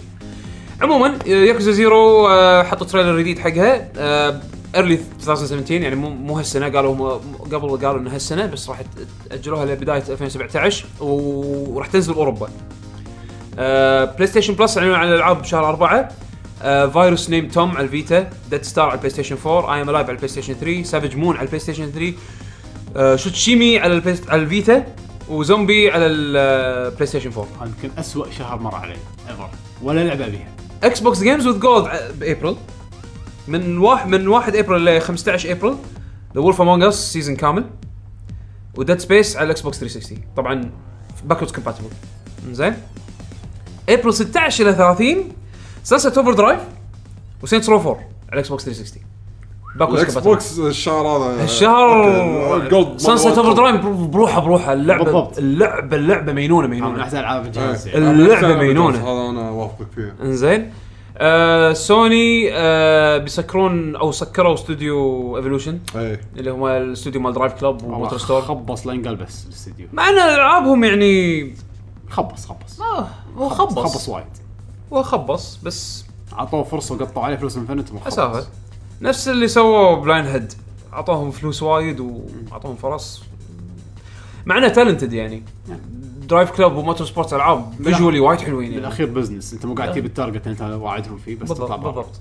Speaker 2: عموما ياكوزا زيرو آه، حطوا تريلر جديد حقها آه، ايرلي 2017 يعني مو مو هالسنه قالوا هم- قبل قالوا انها هالسنه بس راح يت- اجلوها لبدايه 2017 وراح تنزل اوروبا آه، بلاي ستيشن بلس اعلنوا عن الالعاب بشهر أربعة آه، فايروس نيم توم على الفيتا ديد ستار على البلاي ستيشن 4 اي ام الايف على البلاي ستيشن 3 سافج مون على البلاي ستيشن 3 آه، شوتشيمي على البلاي على الفيتا وزومبي على آه، البلاي ستيشن 4
Speaker 1: هذا يمكن اسوء شهر مر علي ايفر ولا لعبه بيها
Speaker 2: اكس بوكس جيمز وذ جولد بابريل uh, من واحد من 1 ابريل ل 15 ابريل ذا وولف امونج اس سيزون كامل وديد سبيس على الاكس بوكس 360 طبعا باكورد كومباتبل زين ابريل 16 الى 30 سلسله اوفر درايف وسينتس رو 4 على الاكس بوكس 360 باكورد
Speaker 3: الاكس
Speaker 2: كومباتبل
Speaker 3: بوكس الشهر هذا Oh
Speaker 2: الشهر سانست اوفر درايف بروحه بروحه اللعبه
Speaker 1: بالضبط.
Speaker 2: اللعبه اللعبه مينونه
Speaker 1: من
Speaker 2: مينونه
Speaker 1: احسن العاب الجهاز يعني.
Speaker 2: اللعبة مجنونة.
Speaker 3: هذا انا اوافقك فيها
Speaker 2: انزين آه سوني آه بيسكرون او سكروا استوديو ايفولوشن
Speaker 3: اي
Speaker 2: اللي هو الاستوديو مال درايف كلوب
Speaker 1: والله
Speaker 2: وموتور ستور
Speaker 1: خبص لين قلبس الاستديو
Speaker 2: مع ان العابهم يعني
Speaker 1: خبص خبص
Speaker 2: آه هو خبص
Speaker 1: خبص وايد
Speaker 2: هو خبص بس
Speaker 1: عطوه فرصه وقطعوا عليه فلوس انفنتهم وخبص يعني
Speaker 2: اسافه نفس اللي سووه بلاين هيد اعطوهم فلوس وايد واعطوهم فرص مع انه تالنتد يعني درايف كلوب وموتور سبورت العاب
Speaker 1: نعم. بالأخ-
Speaker 2: فيجولي وايد حلوين يعني
Speaker 1: بالاخير بزنس انت مو قاعد تجيب التارجت اللي انت واعدهم فيه بس
Speaker 2: بالضبط
Speaker 1: تطلع برا
Speaker 2: بالضبط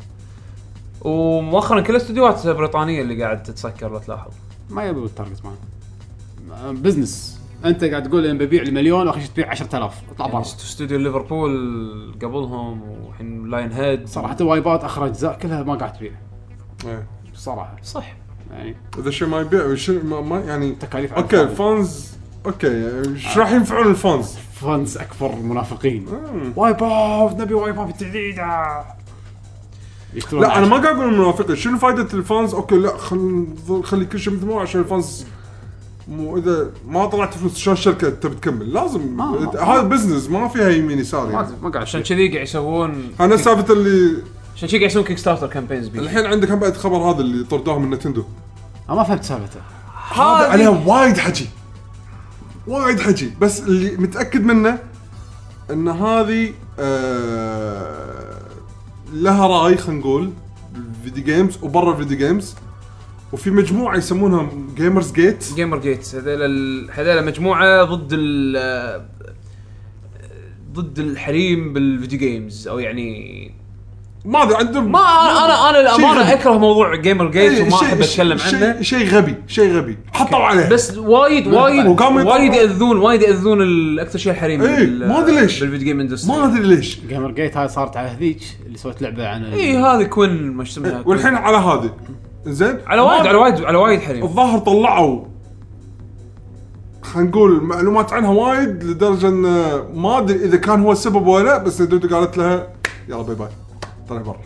Speaker 2: ومؤخرا كل الاستديوهات بريطانيه اللي قاعد تتسكر لو تلاحظ
Speaker 1: ما يبوا التارجت مالهم بزنس انت قاعد تقول ان ببيع المليون واخر شيء تبيع 10000 اطلع برا
Speaker 2: يعني است- استوديو ليفربول قبلهم والحين لاين هيد
Speaker 1: صراحه وايبات اخر اجزاء كلها ما قاعد تبيع
Speaker 3: إي.
Speaker 1: بصراحه
Speaker 2: صح
Speaker 1: يعني
Speaker 3: اذا شيء ما يبيع شيء ما- ما يعني
Speaker 1: تكاليف على
Speaker 3: اوكي
Speaker 1: الفاضي.
Speaker 3: فانز اوكي يعني
Speaker 1: آه.
Speaker 3: ايش راح ينفعون الفانز؟
Speaker 1: فانز اكبر منافقين وايب اوف نبي وايب اوف جديده يشترون
Speaker 3: لا انا
Speaker 1: عشرة.
Speaker 3: ما قاعد اقول منافقين شنو فائده الفانز؟ اوكي لا خل ظل- خلي كل شيء مثل ما هو عشان الفانز مو اذا ما طلعت فلوس شلون الشركه تبي تكمل لازم
Speaker 1: ما- ما-
Speaker 3: هذا بزنس ما فيها يمين يسار يعني
Speaker 1: ما- ما قاعد
Speaker 2: عشان
Speaker 1: عشان
Speaker 2: كذي قاعد يسوون
Speaker 3: انا
Speaker 1: إيه.
Speaker 3: سالفه اللي
Speaker 2: عشان كذي قاعد يسوون كيك ستارتر كامبينز بي
Speaker 3: الحين عندك هم بعد خبر هذا اللي طردوه من نتندو
Speaker 1: ما فهمت سالفته
Speaker 3: هذا عليه وايد حكي وايد حكي بس اللي متاكد منه ان هذه آه لها راي خلينا نقول فيديو جيمز وبرا الفيديو جيمز وفي مجموعه يسمونها جيمرز جيت
Speaker 2: جيمر جيت هذول ال- هذول مجموعه ضد ال آه، ضد الحريم بالفيديو جيمز او يعني
Speaker 3: ما ادري عندهم
Speaker 2: ما انا انا انا الامانه
Speaker 3: شيء-
Speaker 2: اكره موضوع جيمر جيت
Speaker 3: إيه،
Speaker 2: وما
Speaker 3: شيء-
Speaker 2: احب اتكلم
Speaker 3: شيء-
Speaker 2: عنه
Speaker 3: شيء غبي شيء غبي حطوا عليه
Speaker 2: بس وايد وايد
Speaker 3: وقاموا يطلعوا-
Speaker 2: وايد ياذون وايد ياذون ال- اكثر شيء الحريم
Speaker 3: إيه،
Speaker 2: بال-
Speaker 3: ما أدري ليش.
Speaker 2: بالفيديو جيم اندستري
Speaker 3: ما ادري ليش
Speaker 1: جيمر جيت هاي صارت على هذيك اللي سوت لعبه عن ال-
Speaker 2: اي إيه، هذه كوين ما اسمها
Speaker 3: والحين على هذه زين
Speaker 2: على وايد على وايد على وايد حريم
Speaker 3: الظاهر طلعوا خلينا نقول معلومات عنها وايد لدرجه ان ما ادري اذا كان هو السبب ولا لا بس نينتندو قالت لها يلا باي باي طلع برا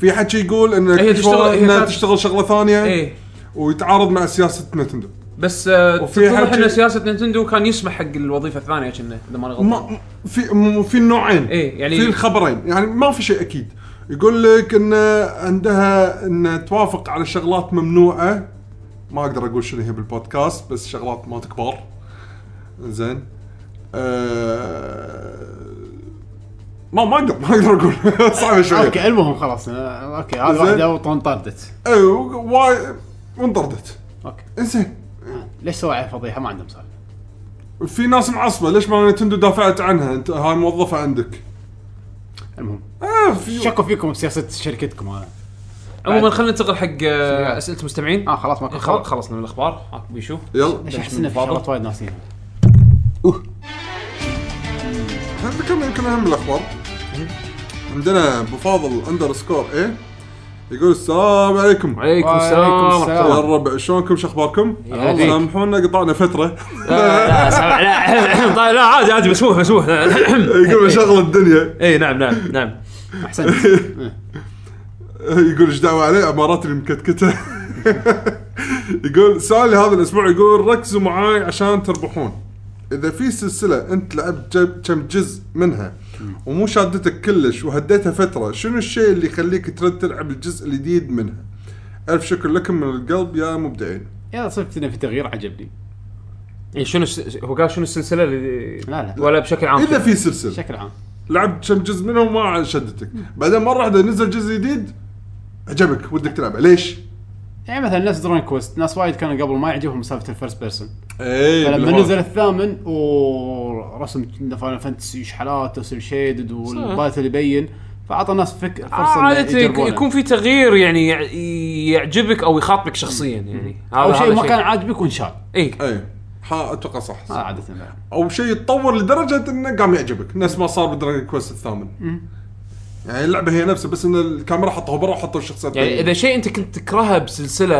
Speaker 3: في حكي يقول ان
Speaker 2: هي تشتغل-
Speaker 3: تشتغل
Speaker 2: هي
Speaker 3: انها
Speaker 2: كانت-
Speaker 3: تشتغل شغله ثانيه
Speaker 2: ايه
Speaker 3: ويتعارض مع سياسه نينتندو
Speaker 2: بس آه،
Speaker 3: وفي
Speaker 2: تتضح
Speaker 3: حكي-
Speaker 2: ان سياسه نينتندو كان يسمح حق الوظيفه الثانيه كنا اذا ماني غلطان
Speaker 3: ما في م- في النوعين
Speaker 2: إيه، يعني-
Speaker 3: في الخبرين يعني ما في شيء اكيد يقول لك ان عندها ان توافق على شغلات ممنوعه ما اقدر اقول شنو هي بالبودكاست بس شغلات ما تكبر زين آه... ما ما اقدر ما اقدر اقول صعب شويه
Speaker 1: اوكي المهم خلاص آه، اوكي هذه
Speaker 3: زين.
Speaker 1: واحده وطن طردت
Speaker 3: اي إيه، واي وانطردت
Speaker 1: اوكي
Speaker 3: انزين
Speaker 1: ليش سوى عليها فضيحه ما عندهم سالفه
Speaker 3: في ناس معصبه ليش ما نتندو دافعت عنها انت هاي موظفه عندك
Speaker 1: المهم
Speaker 3: آه في
Speaker 1: شكوا فيكم بسياسه شركتكم آه، هذا
Speaker 2: عموما خلينا ننتقل حق آه، اسئله المستمعين
Speaker 1: اه خلاص ماكو
Speaker 2: خلاص
Speaker 1: خلاص
Speaker 2: خلصنا من الاخبار هاك بيشو
Speaker 3: يلا
Speaker 1: ليش احس انه في
Speaker 2: تفضل.
Speaker 1: شغلات وايد ناسيها
Speaker 3: احنا ذكرنا يمكن اهم الاخبار عندنا ابو فاضل اندر سكور ايه يقول السلام عليكم
Speaker 2: عليكم
Speaker 1: وعليكم
Speaker 2: السلام
Speaker 1: السلام.
Speaker 3: يا الربع شلونكم شو اخباركم؟
Speaker 1: بيك.
Speaker 3: سامحونا قطعنا فتره
Speaker 2: لا سامع، لا طيب، لا عادي عادي مسموح مسموح
Speaker 3: يقول شغل الدنيا
Speaker 2: اي إيه. نعم نعم نعم
Speaker 1: احسنت
Speaker 3: إيه، يقول ايش دعوه علي اماراتي المكتكته يقول سؤالي هذا الاسبوع يقول ركزوا معاي عشان تربحون اذا في سلسله انت لعبت جب- كم جزء منها ومو شادتك كلش وهديتها فتره شنو الشيء اللي يخليك ترد تلعب الجزء الجديد منها؟ الف شكر لكم من القلب يا مبدعين
Speaker 1: يا صدق انه في تغيير عجبني
Speaker 2: إيه، شنو الس- هو قال شنو السلسله اللي
Speaker 1: لا لا
Speaker 2: ولا بشكل عام
Speaker 3: اذا في سلسله
Speaker 1: بشكل عام
Speaker 3: لعبت كم جزء منها وما شدتك بعدين مره واحده نزل جزء جديد عجبك ودك تلعبه ليش؟
Speaker 1: يعني مثلا نفس درون كويست ناس وايد كانوا قبل ما يعجبهم سالفه الفيرست بيرسون
Speaker 3: اي
Speaker 1: فلما نزل الثامن ورسم فاينل فانتسي شحالات وسل شيدد والباتل يبين فاعطى الناس فك فرصه إنه
Speaker 2: عادة
Speaker 1: يجربونه.
Speaker 2: يكون في تغيير يعني يع- يعجبك او يخاطبك شخصيا يعني هذا
Speaker 1: او شيء
Speaker 2: هذا إيه.
Speaker 1: ما كان عاجبك وانشال آه،
Speaker 2: اي
Speaker 3: اي ح- اتوقع إيه، صح,
Speaker 1: هذا
Speaker 3: صح.
Speaker 1: عاده بعد.
Speaker 3: او شيء يتطور لدرجه انه قام يعجبك نفس ما صار بدراجون كويست الثامن يعني اللعبه هي نفسها بس ان الكاميرا حطوها برا وحطوا الشخصيات
Speaker 2: يعني اذا شيء انت كنت تكرهه بسلسله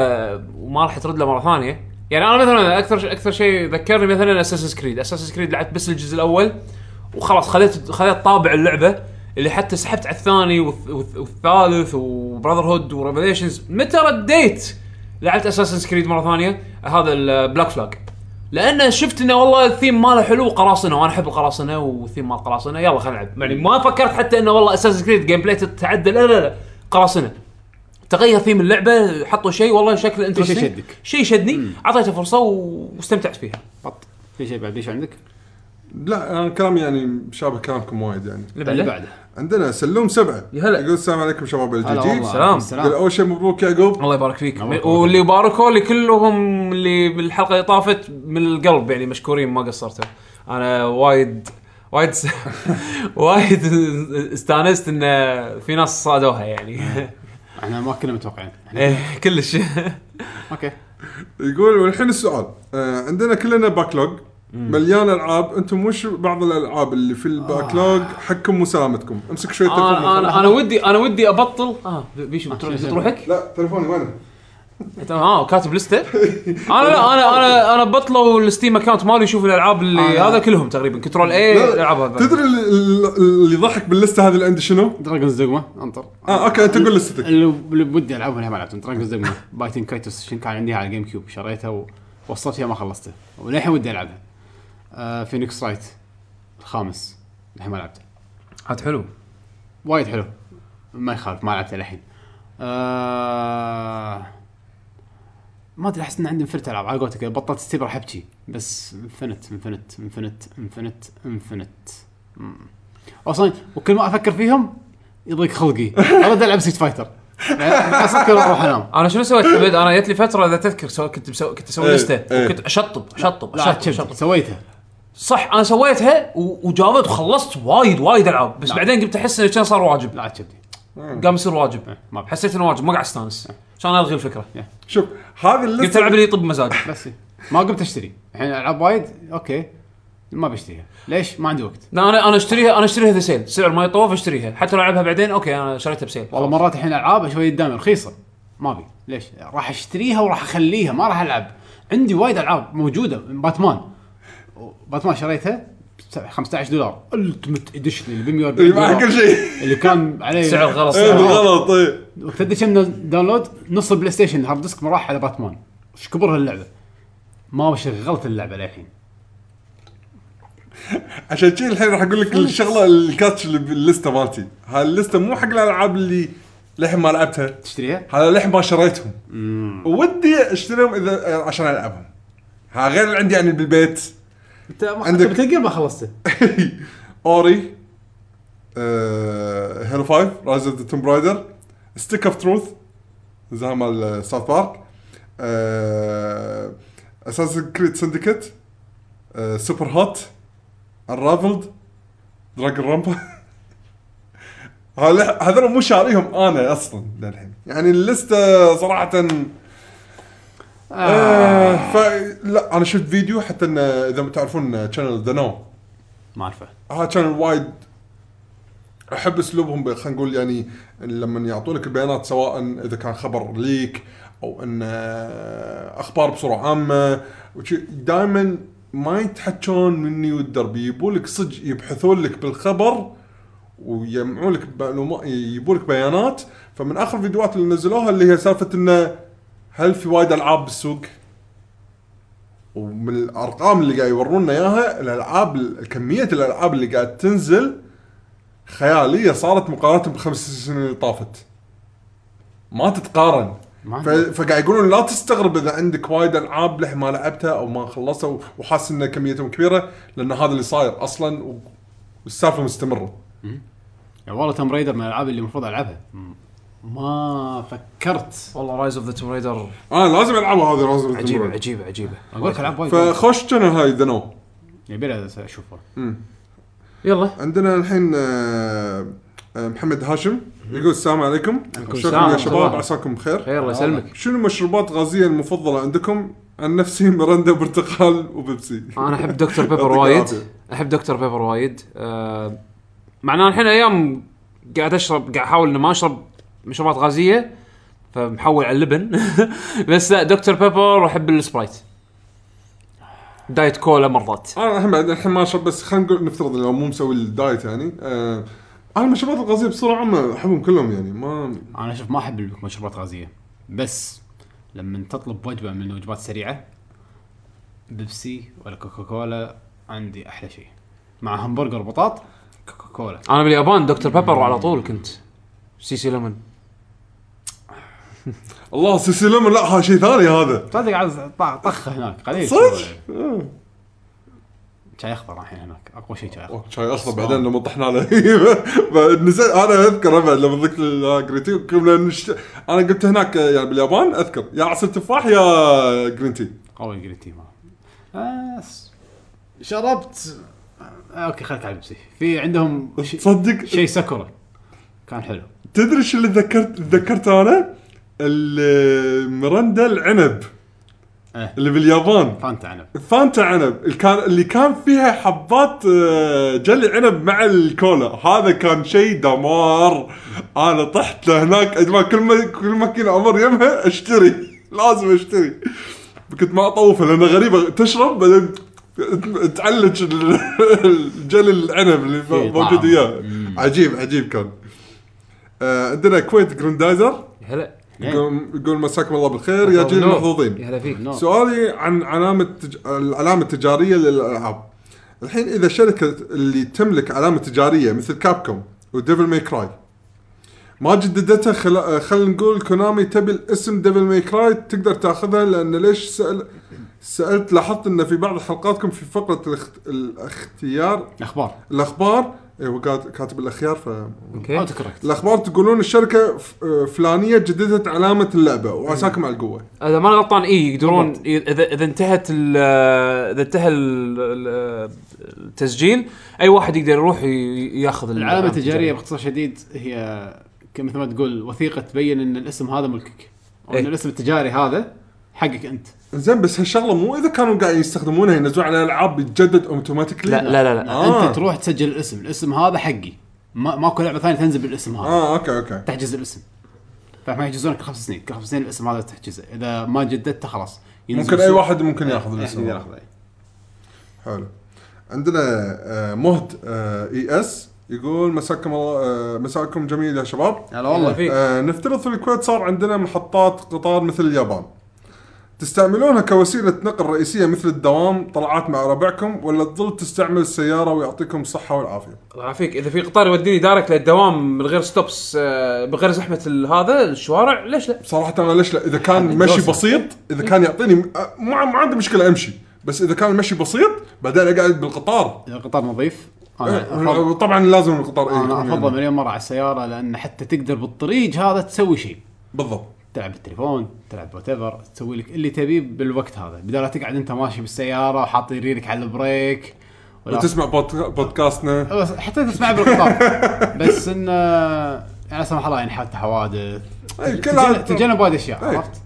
Speaker 2: وما راح ترد له مره ثانيه يعني انا مثلا اكثر اكثر شيء ذكرني مثلا اساس كريد اساس كريد لعبت بس الجزء الاول وخلاص خذيت خذيت طابع اللعبه اللي حتى سحبت على الثاني والث- والث- والثالث وبراذر هود وريفليشنز متى رديت لعبت اساس كريد مره ثانيه هذا البلاك فلاج لان شفت انه والله الثيم ماله حلو وقراصنه وانا احب القراصنه والثيم مال قراصنه يلا خلينا نلعب يعني ما فكرت حتى انه والله اساس كريد جيم بلاي تتعدى لا لا لا قراصنه تغير ثيم اللعبه حطوا شيء والله شكله انت
Speaker 1: شدك.
Speaker 2: شيء شدني اعطيته فرصه و- واستمتعت فيها
Speaker 1: بط في شيء بعد ليش عندك؟
Speaker 3: لا انا كلامي يعني شابه كلامكم وايد يعني
Speaker 1: اللي بعده
Speaker 3: عندنا سلوم سبعه
Speaker 2: يا هلا.
Speaker 3: يقول السلام عليكم شباب الجي
Speaker 1: هلا
Speaker 3: جي
Speaker 1: والله.
Speaker 2: سلام.
Speaker 3: يقول اول شيء مبروك يعقوب
Speaker 2: الله يبارك فيك
Speaker 1: الله يبارك
Speaker 2: واللي باركوا لي كلهم اللي بالحلقه اللي طافت من القلب يعني مشكورين ما قصرتوا انا وايد وايد س... وايد استانست ان في ناس صادوها يعني
Speaker 1: احنا ما كنا متوقعين إحنا-
Speaker 2: إيه، كلش
Speaker 1: اوكي
Speaker 3: يقول والحين السؤال آه عندنا كلنا باكلوج مليان العاب انتم وش بعض الالعاب اللي في الباكلوج
Speaker 2: آه.
Speaker 3: حكم وسلامتكم امسك شويه تلفون
Speaker 2: انا انا انا ودي انا ودي ابطل اه بيشو بتروح
Speaker 1: شو- شو-
Speaker 2: بتروحك
Speaker 3: لا تلفوني وينه؟
Speaker 2: تمام، اه كاتب لسته انا لا انا انا انا بطلوا الستيم اكونت مالي يشوف الالعاب اللي
Speaker 1: أنا-
Speaker 2: هذا كلهم تقريبا كنترول اي العاب إيه، هذا
Speaker 3: تدري ال- ال- اللي ضحك باللسته هذه اللي عندي شنو؟
Speaker 1: دراجونز دوغما انطر
Speaker 3: اه اوكي انت قول لستك
Speaker 1: اللي اللي بدي العبها لها ما لعبتهم دراجونز دوغما بايتن كايتوس شن كان عندي على الجيم كيوب شريتها ووصلت فيها ما خلصته وللحين ودي العبها آه فينيكس رايت الخامس للحين ما لعبته
Speaker 2: عاد حلو
Speaker 1: وايد حلو ما يخالف ما لعبته للحين آه ما ادري احس ان عندي انفنت العاب على قولتك إذا بطلت ستيب راح ابكي بس انفنت انفنت انفنت انفنت انفنت مم. اصلا وكل ما افكر فيهم يضيق خلقي ارد العب سيت فايتر يعني اسكر واروح انام
Speaker 2: انا شنو سويت عبيد انا جت لي فتره اذا تذكر سو... كنت مسو... كنت اسوي
Speaker 3: إيه،
Speaker 2: لسته
Speaker 3: إيه.
Speaker 2: وكنت اشطب اشطب
Speaker 1: لا
Speaker 2: اشطب
Speaker 1: شفت
Speaker 2: اشطب
Speaker 1: سويتها
Speaker 2: صح انا سويتها و... وجابت وخلصت وايد وايد العاب بس
Speaker 1: لا.
Speaker 2: بعدين قمت احس انه كان صار واجب
Speaker 1: لا عاد شفتي
Speaker 2: قام يصير واجب
Speaker 1: ما بحس
Speaker 2: حسيت انه واجب ما قاعد استانس عشان الغي الفكره
Speaker 3: شوف هذه
Speaker 2: قلت
Speaker 3: اللسته
Speaker 2: العب اللي يطب مزاجي
Speaker 1: بس ما قمت اشتري الحين العاب وايد اوكي ما بشتريها ليش ما عندي وقت
Speaker 2: لا انا انا اشتريها انا اشتريها ذا سيل سعر ما يطوف اشتريها حتى لو العبها بعدين اوكي انا شريتها بسيل
Speaker 1: والله مرات الحين العاب شوي قدامي رخيصه ما ابي ليش راح اشتريها وراح اخليها ما راح العب عندي وايد العاب موجوده باتمان باتمان شريتها ب 15 دولار التمت اديشن اللي ب 140
Speaker 3: اي مع
Speaker 1: دولار
Speaker 3: كل شيء
Speaker 1: اللي كان عليه
Speaker 4: سعر غلط
Speaker 3: اي
Speaker 4: سعر غلط.
Speaker 3: بالغلط إيه. اي
Speaker 1: وقت تدري كم داونلود نص البلاي ستيشن الهارد ديسك ما راح على باتمان ايش كبر هاللعبه ما شغلت اللعبه للحين
Speaker 3: عشان كذي الحين راح اقول لك الشغله الكاتش اللي باللسته مالتي هاي اللسته مو حق الالعاب اللي للحين ما لعبتها
Speaker 1: تشتريها
Speaker 3: هذا للحين ما شريتهم ودي اشتريهم اذا عشان العبهم ها غير اللي عندي يعني بالبيت
Speaker 1: انت ما
Speaker 3: عندك-
Speaker 1: عندك بتلقى ما خلصته
Speaker 3: اوري آه، هيلو فايف رايز اوف ذا توم برايدر ستيك اوف تروث زي مال ساوث بارك uh, اساسن كريد سندكت سوبر هوت انرافلد دراجون رامبا هذول- هذول مو شاريهم انا اصلا للحين يعني اللسته صراحه آه فلا انا شفت فيديو حتى ان اذا ما تعرفون شانل ذا نو
Speaker 1: ما اعرفه
Speaker 3: ها كان وايد احب اسلوبهم ب- خلينا نقول يعني لما يعطونك البيانات سواء اذا كان خبر ليك او ان آه، اخبار بصوره عامه دائما ما يتحكون مني والدرب يجيبون لك صدق يبحثون لك بالخبر ويجمعون لك معلومات يجيبون لك بيانات فمن اخر الفيديوهات اللي نزلوها اللي هي سالفه انه هل في وايد العاب بالسوق؟ ومن الارقام اللي قاعد يورونا اياها الالعاب كميه الالعاب اللي قاعد تنزل خياليه صارت مقارنه بخمس سنين اللي طافت. ما تتقارن.
Speaker 1: ما
Speaker 3: ف- فقاعد يقولون لا تستغرب اذا عندك وايد العاب لح ما لعبتها او ما خلصتها وحاسس ان كميتهم كبيره لان هذا اللي صاير اصلا و- والسالفه مستمره.
Speaker 1: يعني والله توم رايدر من الالعاب اللي المفروض العبها ما فكرت
Speaker 5: والله رايز اوف ذا توم رايدر
Speaker 3: اه لازم العبها هذه لازم
Speaker 5: عجيبه عجيبه عجيبه
Speaker 1: اقول لك العاب وايد يعني
Speaker 3: فخش شنو هاي ذا نو
Speaker 1: يبي لها اشوفها
Speaker 5: يلا
Speaker 3: عندنا الحين آه، آه، محمد هاشم يقول السلام عليكم شكرا يا
Speaker 5: السلام.
Speaker 3: شباب عساكم بخير
Speaker 5: خير الله يسلمك
Speaker 3: شنو المشروبات الغازيه المفضله عندكم؟ عن نفسي مرندا برتقال وبيبسي
Speaker 5: انا احب دكتور بيبر
Speaker 3: يعطيك
Speaker 5: وايد
Speaker 3: العافية.
Speaker 5: احب دكتور بيبر وايد آه، معناه الحين ايام قاعد اشرب قاعد احاول اني ما اشرب مشروبات غازيه فمحول على اللبن بس لا دكتور بيبر واحب السبرايت دايت كولا مرات
Speaker 3: انا آه، الحين بعد الحين ما اشرب بس خلينا نقول نفترض لو مو مسوي الدايت يعني آه، انا المشروبات الغازيه بصوره عامه احبهم كلهم يعني ما
Speaker 1: انا شوف ما احب المشروبات الغازيه بس لما تطلب وجبه من الوجبات السريعه بيبسي ولا كوكاكولا عندي احلى شيء مع همبرجر بطاط كوكاكولا
Speaker 5: انا باليابان دكتور بيبر على طول كنت سي سي ليمون
Speaker 3: الله سيسي ليمون لا هذا شيء ثاني هذا
Speaker 1: تصدق عاد ط- طيب، طخ هناك قليل
Speaker 3: صدق؟
Speaker 1: شاي اخضر الحين هناك اقوى شيء شاي اخضر
Speaker 3: أوه، شاي اخضر بعدين لما طحنا على بعد نسيت انا اذكر بعد لما ذكرت الجرين تي كنا نشت... انا قلت هناك آه، يعني باليابان اذكر يا عصير تفاح يا جرين تي
Speaker 1: قوي جرين تي مال بس شربت آه، اوكي خليك على البيبسي في عندهم ش-
Speaker 3: تصدق
Speaker 1: شيء سكره كان حلو
Speaker 3: تدري شو اللي تذكرت تذكرته انا؟ المرندا العنب
Speaker 1: إيه.
Speaker 3: اللي باليابان
Speaker 1: فانتا عنب
Speaker 3: فانتا عنب اللي كان اللي كان فيها حبات آه، جلي عنب مع الكولا هذا كان شيء دمار انا طحت لهناك اجمع كل ما كل ما كنا امر يمها اشتري لازم اشتري كنت ما اطوفه لانه غريبه تشرب بعدين تعلج ال- الجلي العنب اللي
Speaker 1: إيه، طعم.
Speaker 3: موجود وياه عجيب عجيب كان آه، عندنا كويت جراندايزر
Speaker 5: يا هلا
Speaker 3: يقول يقول مساكم الله بالخير يا جيل
Speaker 5: نور.
Speaker 3: المحظوظين
Speaker 5: يا هلا فيك
Speaker 1: نو.
Speaker 3: سؤالي عن علامة تج... العلامة التجارية للألعاب الحين إذا شركة اللي تملك علامة تجارية مثل كابكوم وديفل ماي كراي ما جددتها خل... خلينا نقول كونامي تبي الاسم ديفل ماي كراي تقدر تاخذها لأن ليش سأل... سألت لاحظت أن في بعض حلقاتكم في فقرة الاخت... الاختيار
Speaker 1: اخبار
Speaker 3: الأخبار إيه، هو قاعد- كاتب الأخيار ف
Speaker 1: اوتو
Speaker 5: اوكي
Speaker 1: كوركت
Speaker 3: الاخبار تقولون الشركه ف- فلانيه جددت علامه اللعبه وعساكم على القوه
Speaker 5: اذا ما أنا غلطان اي
Speaker 2: إيه،
Speaker 5: يقدرون اذا اذا انتهت ال- اذا انتهى ال- ال- التسجيل اي واحد يقدر يروح ي- ياخذ
Speaker 1: العلامة التجارية باختصار شديد هي ك- مثل ما تقول وثيقة تبين ان الاسم هذا ملكك او ان
Speaker 5: إيه.
Speaker 1: الاسم التجاري هذا حقك انت
Speaker 3: زين بس هالشغله مو اذا كانوا قاعد يستخدمونها ينزلون على الالعاب يتجدد اوتوماتيكلي
Speaker 5: لا لا لا, لا.
Speaker 1: آه.
Speaker 3: آه.
Speaker 1: انت تروح تسجل الاسم الاسم هذا حقي ما ماكو لعبة ثانية تنزل بالاسم هذا
Speaker 3: اه اوكي اوكي
Speaker 1: تحجز الاسم فما يحجزونك خمس سنين كل خمس سنين الاسم هذا تحجزه اذا ما جددته خلاص ينزل
Speaker 3: ممكن اي
Speaker 1: بالسوق.
Speaker 3: واحد ممكن ياخذ
Speaker 1: إيه،
Speaker 3: الاسم.
Speaker 1: يقدر ياخذه
Speaker 3: حلو عندنا آه، مهد آه، اي اس يقول مساكم الله آه، مساكم جميل يا شباب
Speaker 1: هلا والله
Speaker 2: فيك.
Speaker 3: آه، نفترض في الكويت صار عندنا محطات قطار مثل اليابان تستعملونها كوسيلة نقل رئيسية مثل الدوام طلعات مع ربعكم ولا تظل تستعمل السيارة ويعطيكم الصحة والعافية
Speaker 2: الله يعافيك اذا في قطار يوديني دايركت للدوام من غير ستوبس آه، بغير زحمه ال- هذا الشوارع ليش لا؟
Speaker 3: بصراحة أنا ليش لا إذا كان مشي بسيط إذا كان يعطيني آه، ما ما عندي مشكلة أمشي بس إذا كان المشي بسيط بعدين أقعد بالقطار
Speaker 1: إذا القطار نظيف انا
Speaker 3: آه،
Speaker 1: افضل
Speaker 3: طبعا لازم القطار إيه،
Speaker 1: انا
Speaker 3: يكون
Speaker 1: افضل
Speaker 3: يعني.
Speaker 1: مليون مره على السياره لان حتى تقدر بالطريق هذا تسوي شيء
Speaker 3: بالضبط
Speaker 1: تلعب بالتليفون تلعب وات ايفر تسوي لك اللي تبيه بالوقت هذا بدل لا تقعد انت ماشي بالسياره وحاط ريلك على البريك ولا
Speaker 3: وتسمع بود- بودكاستنا
Speaker 1: بس حتى تسمع بالقطار بس انه يعني لا سمح الله يعني حتى حوادث
Speaker 3: أي، كلها-
Speaker 1: تتجنب- تتجنب وايد اشياء
Speaker 3: أي.
Speaker 1: عرفت؟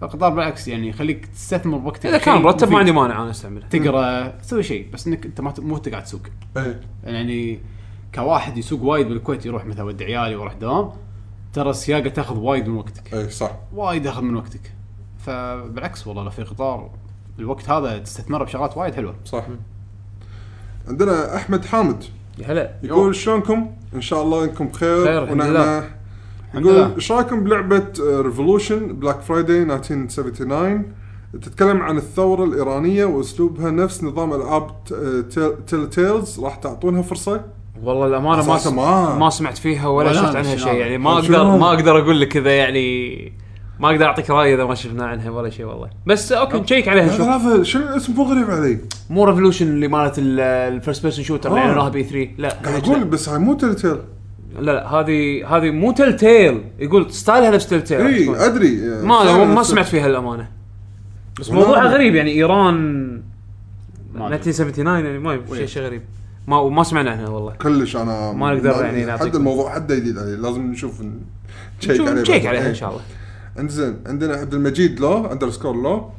Speaker 1: فالقطار بالعكس يعني يخليك تستثمر وقتك
Speaker 2: اذا كان
Speaker 1: بشيء
Speaker 2: مرتب
Speaker 1: مفيد.
Speaker 2: ما عندي مانع انا استعمله
Speaker 1: تقرا تسوي شيء بس انك انت ما ت- مو تقعد تسوق
Speaker 3: إيه.
Speaker 1: يعني كواحد يسوق وايد بالكويت يروح مثلا ودي عيالي واروح دوام ترى السياقه تاخذ وايد من وقتك
Speaker 3: اي إيه، صح
Speaker 1: وايد اخذ من وقتك فبالعكس والله لو في قطار الوقت هذا تستثمره بشغلات وايد حلوه
Speaker 3: صح عندنا احمد حامد
Speaker 2: يا هلا
Speaker 3: يقول شلونكم؟ ان شاء الله انكم بخير
Speaker 2: خير، الحمد
Speaker 3: ونعمه يقول آه،
Speaker 1: لله.
Speaker 3: ايش رايكم بلعبه ريفولوشن بلاك فرايداي 1979 تتكلم عن الثوره الايرانيه واسلوبها نفس نظام العاب تيل تيلز راح تعطونها فرصه؟
Speaker 2: والله الامانه ما
Speaker 3: أساساً ما-
Speaker 2: سمعت ما سمعت فيها ولا
Speaker 1: ولا
Speaker 2: شفت
Speaker 1: أنا شنو
Speaker 2: عنها شيء
Speaker 1: هذا؟
Speaker 2: يعني ما
Speaker 3: شنو
Speaker 2: اقدر
Speaker 3: هذا؟
Speaker 2: ما اقدر اقول لك اذا يعني ما اقدر اعطيك راي اذا ما شفنا عنها ولا شيء والله بس اوكي نشيك عليها شوف
Speaker 3: هذا شنو الاسم مو غريب علي
Speaker 2: مو ريفولوشن اللي مالت الفيرست بيرسون شوتر اللي
Speaker 3: آه.
Speaker 2: عملوها بي 3 لا
Speaker 3: قاعد اقول بس هاي مو تيل تيل
Speaker 2: لا لا هذه هذه مو تل تيل يقول ستايلها نفس تل تيل
Speaker 3: اي ادري
Speaker 2: ما ما سمعت فيها الامانه بس موضوعها
Speaker 3: والله.
Speaker 2: غريب يعني ايران
Speaker 1: ما أدري.
Speaker 2: 1979 يعني ما شيء شيء غريب ما وما سمعنا عنها والله
Speaker 3: كلش انا
Speaker 2: ما نقدر يعني
Speaker 3: حد
Speaker 2: نعطيك-
Speaker 3: الموضوع حد جديد عليه لازم نشوف نشيك عليه
Speaker 2: نشيك
Speaker 3: بعد.
Speaker 2: عليها
Speaker 3: إيه.
Speaker 2: ان شاء الله
Speaker 3: انزين عندنا عبد المجيد لو اندرسكور لو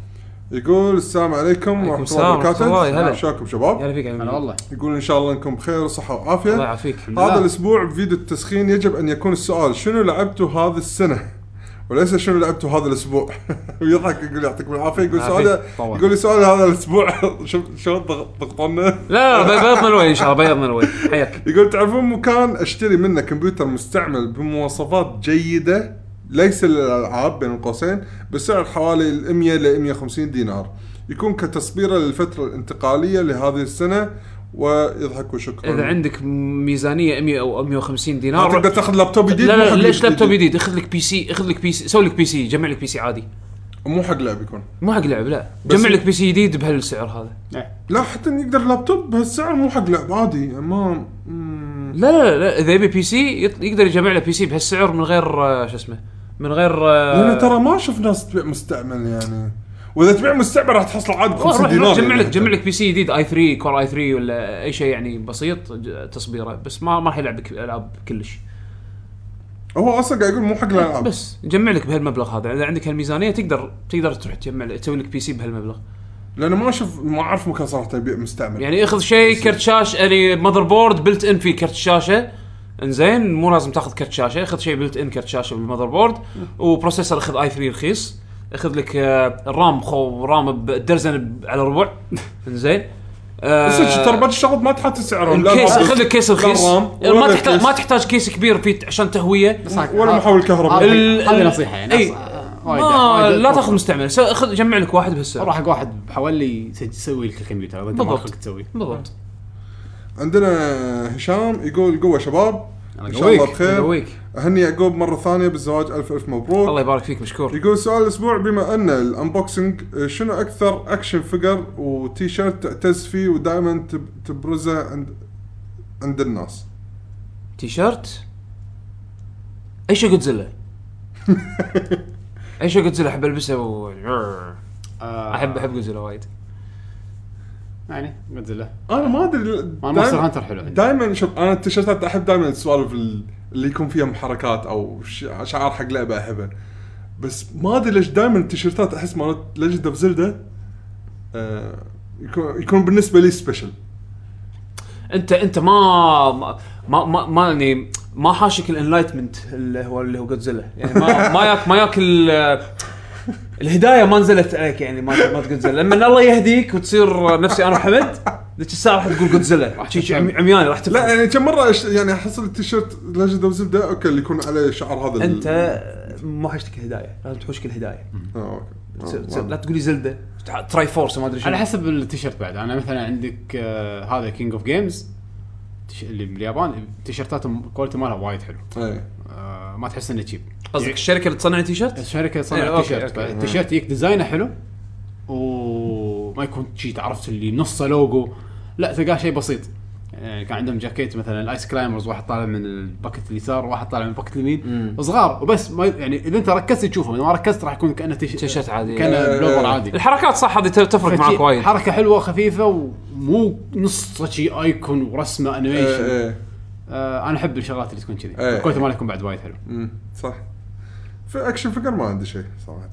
Speaker 3: يقول السلام عليكم ورحمه الله
Speaker 2: السلام ورحمة الله،
Speaker 3: وبركاته
Speaker 2: هلا.
Speaker 3: شلونكم شباب
Speaker 2: يلا فيك على
Speaker 1: انا والله
Speaker 3: يقول ان شاء الله انكم بخير وصحه
Speaker 2: الله
Speaker 3: وعافيه
Speaker 2: يعافيك
Speaker 1: لله.
Speaker 3: هذا الاسبوع فيديو التسخين يجب ان يكون السؤال شنو لعبتوا هذه السنه وليس شنو لعبتوا هذا الاسبوع ويضحك يقول يعطيكم العافيه يقول
Speaker 2: العافية.
Speaker 3: سؤال
Speaker 1: طبعاً.
Speaker 3: يقول لي سؤال هذا الاسبوع شوف شلون ضغط- ضغطنا
Speaker 2: لا لا بيضنا الوجه ان شاء الله بيضنا الوجه حياك
Speaker 3: يقول تعرفون مكان اشتري منه كمبيوتر مستعمل بمواصفات جيده ليس للالعاب بين قوسين بسعر حوالي ال 100 ل 150 دينار يكون كتصبيره للفتره الانتقاليه لهذه السنه ويضحك وشكرا
Speaker 2: اذا عندك ميزانيه 100 او 150
Speaker 3: ما
Speaker 2: دينار
Speaker 3: تقدر
Speaker 2: روح-
Speaker 3: تاخذ لابتوب جديد
Speaker 2: لا
Speaker 3: مو
Speaker 2: لا
Speaker 3: حق
Speaker 2: ليش
Speaker 3: لعب
Speaker 2: لابتوب جديد اخذ لك بي سي اخذ لك بي سي سوي لك بي سي جمع لك بي سي عادي
Speaker 3: مو حق لعب يكون
Speaker 2: مو حق لعب لا
Speaker 3: بس-
Speaker 2: جمع لك بي سي جديد بهالسعر هذا
Speaker 1: إيه.
Speaker 3: لا حتى يقدر لابتوب بهالسعر مو حق لعب عادي يعني ما مم.
Speaker 2: لا لا لا اذا يبي بي سي يط- يقدر يجمع له بي سي بهالسعر من غير آه، شو اسمه من غير آه،
Speaker 3: لان ترى ما اشوف ناس تبيع مستعمل يعني واذا تبيع مستعمل راح تحصل عاد ب
Speaker 2: روح
Speaker 3: 50
Speaker 2: روح
Speaker 3: دينار
Speaker 2: روح جمع
Speaker 3: يعني
Speaker 2: لك جمع لك بي سي جديد اي 3 كور اي 3 ولا اي شيء يعني بسيط ج- تصبيره بس ما ما راح يلعبك العاب كلش
Speaker 3: هو اصلا قاعد يقول مو حق الالعاب
Speaker 2: بس جمع لك بهالمبلغ هذا اذا عندك هالميزانيه تقدر تقدر تروح تجمع لك- تسوي لك بي سي بهالمبلغ
Speaker 3: لان ما اشوف ما اعرف مكان صراحه يبيع مستعمل
Speaker 2: يعني اخذ شيء كرت شاشه يعني ماذر بورد بلت ان فيه كرت شاشه انزين مو لازم تاخذ كرت شاشه اخذ شيء بلت ان كرت شاشه بالماذر بورد وبروسيسور اخذ اي 3 رخيص اخذ لك آه، رام خو رام بدرزن على ربع انزين آه،
Speaker 3: بس إيش، ترى بعض الشغلات ما تحط سعرهم لا
Speaker 2: الكيس
Speaker 3: الرام.
Speaker 2: خذ لك كيس
Speaker 3: لا
Speaker 2: رخيص
Speaker 3: الرام،
Speaker 2: يعني ما
Speaker 3: ولا
Speaker 2: تحتاج
Speaker 3: الكيس.
Speaker 2: ما تحتاج كيس كبير فيه عشان تهويه
Speaker 1: بس هاك-
Speaker 3: ولا محاول كهرباء.
Speaker 1: هذه-
Speaker 2: آه، ال-
Speaker 1: هذه
Speaker 2: ال-
Speaker 1: نصيحه يعني
Speaker 2: أي.
Speaker 1: أص- وايد-
Speaker 2: ما
Speaker 1: وايد-
Speaker 2: لا تاخذ مستعمل سو- خذ جمع لك واحد بهالسعر
Speaker 1: روح حق واحد بحوالي يسج- يسوي لك الكمبيوتر اذا انت ما
Speaker 2: بالضبط.
Speaker 1: خلقك تسوي
Speaker 2: بالضبط
Speaker 3: عندنا هشام يقول قوه شباب
Speaker 1: أنا
Speaker 3: ان شاء الله
Speaker 1: قويك،
Speaker 3: بخير
Speaker 2: قويك
Speaker 3: اهني يعقوب مره ثانيه بالزواج الف الف
Speaker 2: الله
Speaker 3: مبروك
Speaker 2: يبارك فيك مشكور
Speaker 3: يقول سؤال الاسبوع بما ان الانبوكسنج آه، شنو اكثر اكشن فيجر وتي شيرت تعتز فيه ودائما تب- تبرزه عند عند الناس
Speaker 2: تي شيرت اي شيء جودزيلا اي شيء جودزيلا احب البسه و...
Speaker 1: آه،
Speaker 2: احب احب جودزيلا وايد
Speaker 1: يعني جودزيلا
Speaker 3: انا ما ادري
Speaker 1: ما مونستر
Speaker 3: دايماً-
Speaker 1: هانتر حلو عندي
Speaker 3: دائما شوف انا التيشيرتات احب دائما السوالف ال- اللي يكون فيها محركات او ش- شعار حق لعبه احبه بس ما ادري ليش دائما التيشيرتات احس مالت ليجند اوف زلده آه يكون يكون بالنسبه لي سبيشل
Speaker 2: انت انت ما ما ما ما, ما يعني ما حاشك الانلايتمنت اللي هو اللي هو جودزيلا يعني ما ما ياك ما ياك ال-
Speaker 6: الهدايه ما نزلت عليك يعني ما ما جودزيلا لما إن الله يهديك وتصير نفسي انا وحمد ذيك الساعه راح تقول جودزيلا راح تشي عمي- عمياني راح
Speaker 3: لا
Speaker 6: تفهم
Speaker 3: يعني كم مره أش- يعني احصل التيشيرت ليجند اوف زلدا اوكي اللي يكون عليه شعر هذا ال-
Speaker 6: انت ما حشتك هدايه لازم تحوشك الهدايه
Speaker 3: آه، أوكي. آه،
Speaker 6: تصير- تصير- لا
Speaker 3: والله.
Speaker 6: تقولي زلده تراي فورس ما ادري شنو
Speaker 1: على حسب التيشيرت بعد انا مثلا عندك آه هذا كينج اوف جيمز اللي باليابان تيشيرتات الكواليتي مالها وايد حلو
Speaker 3: إيه.
Speaker 1: آه ما تحس انه تشيب
Speaker 6: قصدك الشركه اللي تصنع تيشرت
Speaker 1: الشركه
Speaker 6: إيه،
Speaker 1: تصنع
Speaker 6: أوكي،
Speaker 1: التيشيرت
Speaker 6: أوكي.
Speaker 1: التيشيرت يجيك ديزاينه حلو وما يكون شيء عرفت اللي نصه لوجو لا تلقاه شيء بسيط يعني كان عندهم جاكيت مثلا الايس كلايمرز واحد طالع من الباكت اليسار وواحد طالع من الباكت اليمين صغار وبس ما يعني اذا انت ركزت تشوفهم اذا ما ركزت راح يكون كانه تيش-
Speaker 2: تيشيرت عادي.
Speaker 1: كانه
Speaker 3: آه.
Speaker 1: بلوفر عادي
Speaker 2: الحركات صح هذه ت- تفرق معك
Speaker 1: فشي-
Speaker 2: وايد
Speaker 1: حركه حلوه خفيفه ومو نص شيء ايكون ورسمه
Speaker 3: إيه،
Speaker 1: انيميشن
Speaker 3: إيه.
Speaker 1: آه انا احب الشغلات اللي تكون كذي
Speaker 3: إيه.
Speaker 1: الكويت مالكم بعد وايد حلو
Speaker 3: أمم، صح في اكشن فيجر ما عندي شيء صراحه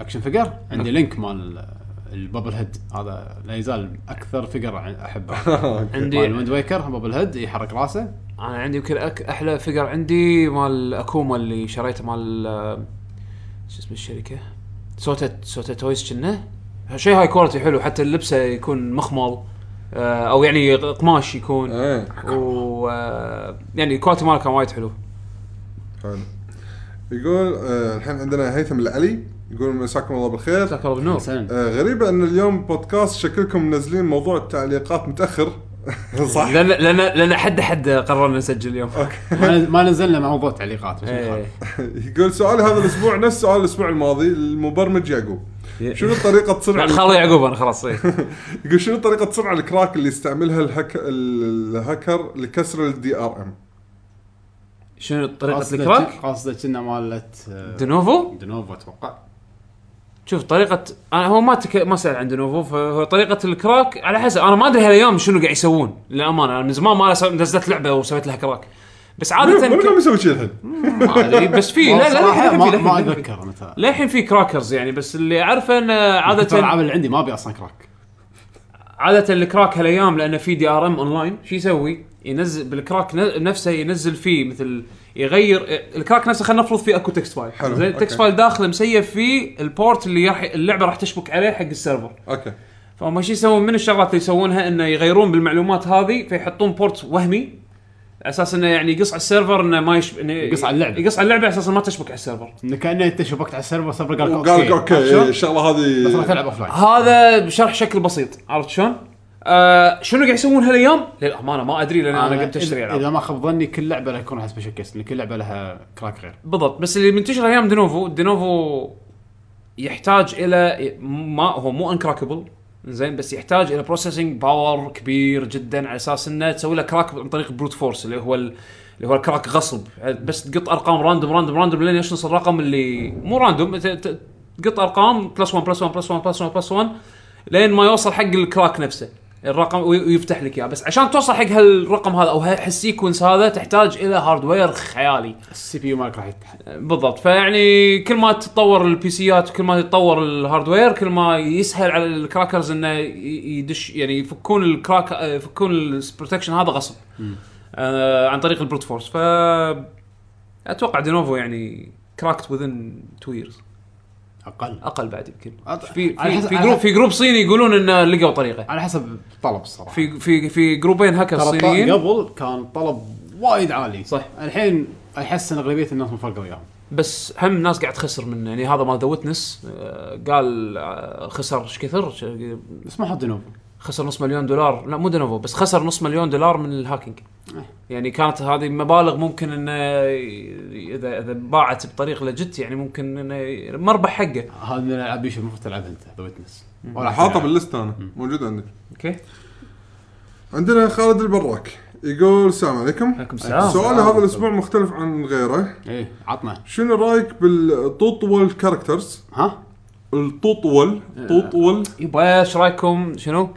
Speaker 1: اكشن فيجر عندي لينك مال البابل هيد هذا لا يزال اكثر فيجر ع- احبه
Speaker 3: أوكي.
Speaker 1: عندي مال ويند ويكر بابل هيد يحرك راسه
Speaker 2: انا عندي يمكن أك... احلى فيجر عندي مال اكوما اللي شريته مال آه، شو اسم الشركه سوتا سوتا تويز كنا شيء هاي كواليتي حلو حتى اللبسه يكون مخمل آه، او يعني قماش يكون
Speaker 3: إيه.
Speaker 2: و آه، يعني الكواليتي ماله كان وايد حلو
Speaker 3: حلو يقول آه، الحين عندنا هيثم العلي يقول مساكم الله بالخير
Speaker 2: جزاك الله بالنور
Speaker 1: مثلا
Speaker 3: آه، غريبة ان اليوم بودكاست شكلكم منزلين موضوع التعليقات متاخر صح؟
Speaker 2: لان لان لان حد حد قررنا نسجل اليوم
Speaker 1: ما نز- ما نزلنا موضوع تعليقات بس ما
Speaker 2: إيه.
Speaker 1: يخالف.
Speaker 3: يقول سؤال هذا الاسبوع نفس سؤال الاسبوع الماضي المبرمج يعقوب شنو طريقة صنع
Speaker 2: لا، خلوا يعقوب انا خلاص إيه.
Speaker 3: يقول شنو طريقة صنع الكراك اللي يستعملها الهك... الهاكر لكسر الدي ار ام؟
Speaker 2: شنو طريقه
Speaker 1: قصده
Speaker 2: الكراك؟
Speaker 1: قصده كنا مالت آه،
Speaker 2: دينوفو
Speaker 1: دنوفو اتوقع
Speaker 2: شوف طريقه انا هو ما تك... ما سال عن دينوفو فهو طريقه الكراك على حسب انا ما ادري هالايام شنو قاعد يسوون للامانه انا من زمان ما لس- نزلت لعبه وسويت لها كراك بس عاده
Speaker 3: من قام
Speaker 2: ك...
Speaker 3: يسوي شيء الحين؟
Speaker 2: ما ادري بس في لا لا
Speaker 1: صراحة
Speaker 2: للحين
Speaker 1: ما
Speaker 2: في
Speaker 1: ما
Speaker 2: للحين في
Speaker 1: اتذكر متى
Speaker 2: للحين في كراكرز يعني بس اللي اعرفه انه
Speaker 1: عادة
Speaker 2: عاده
Speaker 1: الالعاب اللي عندي ما ابي اصلا كراك
Speaker 2: عاده الكراك هالايام لانه في دي ار ام اونلاين شو يسوي؟ ينزل بالكراك ن- نفسه ينزل فيه مثل يغير الكراك نفسه خلينا نفرض فيه اكو تكست فايل
Speaker 3: حلو،
Speaker 2: زين التكست
Speaker 3: أوكي.
Speaker 2: فايل داخله مسيف فيه البورت اللي راح اللعبه راح تشبك عليه حق السيرفر
Speaker 3: اوكي
Speaker 2: فهم شو يسوون من الشغلات اللي يسوونها انه يغيرون بالمعلومات هذه فيحطون بورت وهمي على اساس انه يعني يقص على السيرفر انه ما يشب... انه
Speaker 1: يقص على اللعبة.
Speaker 2: يقص على اللعبه على اساس إنه ما تشبك على السيرفر
Speaker 1: انه كانه انت شبكت على السيرفر سيرفر قال لك
Speaker 3: وقال لك اوكي
Speaker 1: عرفت شلون؟
Speaker 3: الشغلة
Speaker 1: بس راح
Speaker 3: هذه
Speaker 1: تلعب اوف لاين
Speaker 2: آه، هذا بشرح شكل بسيط عرفت شلون؟ آه شنو قاعد يسوون هالايام؟ للامانه ما ادري لان
Speaker 1: آه،
Speaker 2: انا قمت اشتري
Speaker 1: اذا
Speaker 2: العاب
Speaker 1: ما خاب ظني كل لعبه راح يكون لها سبيشل كيس لان كل لعبه لها كراك غير
Speaker 2: بالضبط بس اللي منتشر ايام دينوفو دينوفو يحتاج الى ما هو مو انكراكبل زين بس يحتاج الى بروسيسنج باور كبير جدا على اساس انه تسوي له كراك عن طريق بروت فورس اللي هو ال- اللي هو الكراك غصب بس تقط ارقام راندوم راندوم راندوم لين يشنص الرقم اللي مو راندوم ت- ت- تقط ارقام بلس 1 بلس 1 بلس 1 بلس 1 بلس 1 لين ما يوصل حق الكراك نفسه الرقم وي- ويفتح لك اياه بس عشان توصل حق هالرقم هذا او هالسيكونس هذا تحتاج الى هاردوير خيالي
Speaker 1: السي بي يو مالك راح يتحسن
Speaker 2: بالضبط فيعني كل ما تتطور البيسيات وكل ما يتطور الهاردوير كل ما يسهل على الكراكرز انه ي- يدش يعني يفكون الكراك آه، يفكون البروتكشن هذا غصب آه عن طريق البروت فورس ف اتوقع دينوفو يعني كراكت وذن تو ييرز
Speaker 1: اقل
Speaker 2: اقل بعد يمكن
Speaker 1: أط-
Speaker 2: في
Speaker 1: طيب، على
Speaker 2: في,
Speaker 1: حسب-
Speaker 2: في
Speaker 1: على
Speaker 2: جروب
Speaker 1: حسب-
Speaker 2: في جروب صيني يقولون انه لقوا طريقه
Speaker 1: على حسب الطلب الصراحه
Speaker 2: في في في جروبين هاكر
Speaker 1: ترى الط-
Speaker 2: صينيين
Speaker 1: قبل كان طلب وايد عالي
Speaker 2: صح.
Speaker 1: الحين احس ان اغلبيه الناس مفرقه وياهم
Speaker 2: بس هم الناس قاعد تخسر من يعني هذا مال ذا ويتنس قال آه، خسر ايش كثر ش-
Speaker 1: بس ما حط دنوب
Speaker 2: خسر نص مليون دولار لا مو دنوفو بس خسر نص مليون دولار من الهاكينج يعني كانت هذه مبالغ ممكن انه ي- اذا اذا باعت بطريق لجت يعني ممكن انه ي- مربح حقه
Speaker 1: هذا من الالعاب بيشو المفروض تلعبها انت ذا ويتنس ولا
Speaker 3: حاطه بالليست انا موجود عندي
Speaker 2: اوكي
Speaker 3: عندنا خالد البراك يقول السلام عليكم
Speaker 2: عليكم السلام
Speaker 3: سؤال هذا الاسبوع مختلف عن غيره
Speaker 2: إيه.
Speaker 1: ايه عطنا
Speaker 3: شنو رايك بالطوطول كاركترز
Speaker 1: ها
Speaker 3: الطوطول طوطول
Speaker 2: يبا ايش رايكم شنو؟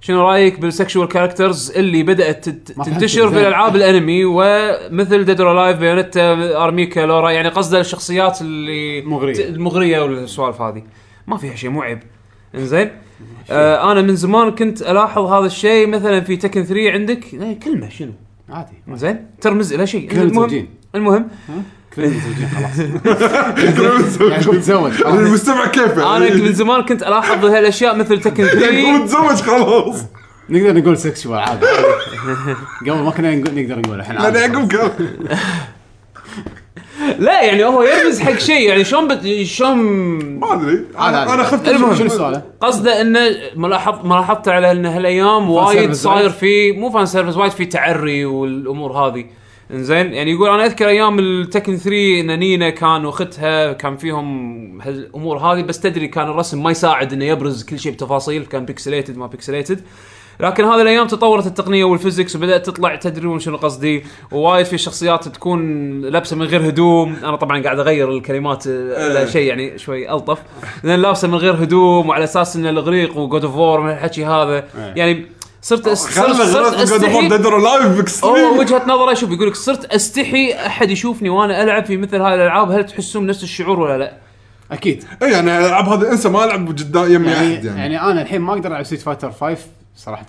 Speaker 2: شنو رايك بالسكشوال كاركترز اللي بدات تت-
Speaker 1: ما فهمت
Speaker 2: تنتشر في
Speaker 1: إزاي.
Speaker 2: الالعاب الانمي ومثل ديد اور لايف بيونتا ارميكا لورا يعني قصده الشخصيات اللي
Speaker 1: مغرية.
Speaker 2: ت- المغريه والسوالف هذه ما فيها شيء مو عيب انزين آه انا من زمان كنت الاحظ هذا الشيء مثلا في تكن 3 عندك آه، كلمه شنو
Speaker 1: عادي
Speaker 2: زين ترمز الى شيء
Speaker 1: كلمة زوجين.
Speaker 2: المهم
Speaker 1: كلنا متزوجين خلاص يعني متزوج خلاص.
Speaker 3: المستمع كيف يعني؟
Speaker 2: انا من زمان كنت الاحظ هالاشياء مثل تكن 3
Speaker 3: متزوج خلاص
Speaker 1: آه. نقدر نقول سكشوال عادي قبل ما كنا نقول نقدر نقول الحين
Speaker 3: لان
Speaker 1: عادي.
Speaker 3: يعقوب قال
Speaker 2: لا يعني هو يرمز حق شيء يعني شلون بت... شلون
Speaker 3: ما ادري
Speaker 1: عادي عادي.
Speaker 3: انا انا خفت
Speaker 1: المهم شنو السؤال؟
Speaker 2: قصده انه ملاحظ ملاحظته على ان هالايام وايد
Speaker 1: سيرفيس
Speaker 2: صاير
Speaker 1: وايد.
Speaker 2: في مو فان سيرفيس وايد في تعري والامور هذه انزين يعني يقول انا اذكر ايام التكن 3 ان نينا كان واختها كان فيهم هالامور هذه بس تدري كان الرسم ما يساعد انه يبرز كل شيء بتفاصيل كان بيكسليتد ما بيكسليتد لكن هذه الايام تطورت التقنيه والفيزكس وبدات تطلع تدرون شنو قصدي ووايد في شخصيات تكون لابسه من غير هدوم انا طبعا قاعد اغير الكلمات آه، شيء يعني شوي الطف لان لابسه من غير هدوم وعلى اساس ان الاغريق وجود اوف وور الحكي هذا
Speaker 1: إيه.
Speaker 2: يعني صرت أس- صرت
Speaker 3: خلنا
Speaker 2: صرت
Speaker 3: غلط قد
Speaker 2: استحي
Speaker 3: ما ددروا لايف
Speaker 2: هو
Speaker 3: اكستريم
Speaker 2: وجهه نظره شوف يقول لك صرت استحي احد يشوفني وانا العب في مثل هاي الالعاب هل تحسون نفس الشعور ولا لا؟
Speaker 1: اكيد
Speaker 3: اي انا العب إيه، يعني هذا انسى ما العب قدام يمي احد
Speaker 1: يعني,
Speaker 3: يعني
Speaker 1: يعني انا الحين ما اقدر العب ستريت فايتر 5 صراحه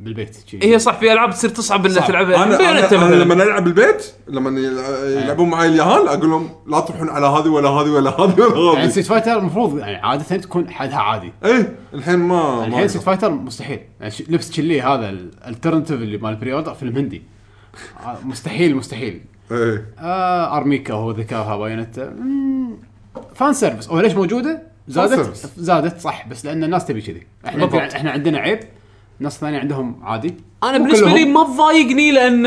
Speaker 1: بالبيت شي.
Speaker 2: هي إيه صح في العاب تصير تصعب انك
Speaker 1: صعب.
Speaker 2: تلعبها
Speaker 3: انا
Speaker 2: فيونتا
Speaker 3: أنا- انا
Speaker 2: مثلاً.
Speaker 3: لما العب البيت لما
Speaker 1: إيه.
Speaker 3: يلع- يلعبون معي اليهال اقول لهم لا تروحون على هذه ولا هذه ولا هذه ولا
Speaker 1: يعني
Speaker 3: هذه
Speaker 1: ستريت فايتر المفروض يعني عاده تكون حدها عادي يعني
Speaker 3: اي إيه، الحين ما ما
Speaker 1: الحين
Speaker 3: أقدر.
Speaker 1: ستريت فايتر مستحيل يعني ش- لبس تشيلي هذا الالترنتيف اللي مال بري اوردر فيلم هندي آه، مستحيل مستحيل
Speaker 3: اي
Speaker 1: آه ارميكا هو ذكاها بايونتا مم، فان سيرفيس هو ليش موجوده؟ زادت
Speaker 3: سيرفيس.
Speaker 1: زادت صح بس لان الناس تبي كذي احنا
Speaker 2: بالضبط.
Speaker 1: احنا عندنا عيب ناس ثانيه عندهم عادي
Speaker 2: انا
Speaker 1: مو
Speaker 2: بالنسبه لي
Speaker 1: كلهم.
Speaker 2: ما تضايقني لان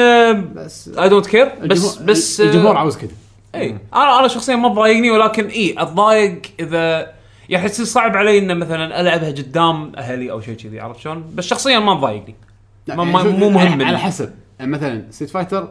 Speaker 1: بس
Speaker 2: اي دونت كير بس
Speaker 1: الجمهور-
Speaker 2: بس آه، إيه.
Speaker 1: الجمهور عاوز كذي
Speaker 2: اي انا انا شخصيا ما تضايقني ولكن اي اتضايق اذا يعني يصير صعب علي انه مثلا العبها قدام اهلي او شيء كذي عرفت شلون؟ بس شخصيا ما تضايقني
Speaker 1: لا، يعني
Speaker 2: ما- ما-
Speaker 1: شوف،
Speaker 2: مو مهم
Speaker 1: على,
Speaker 2: بالنسبة.
Speaker 1: على حسب يعني مثلا ستيت فايتر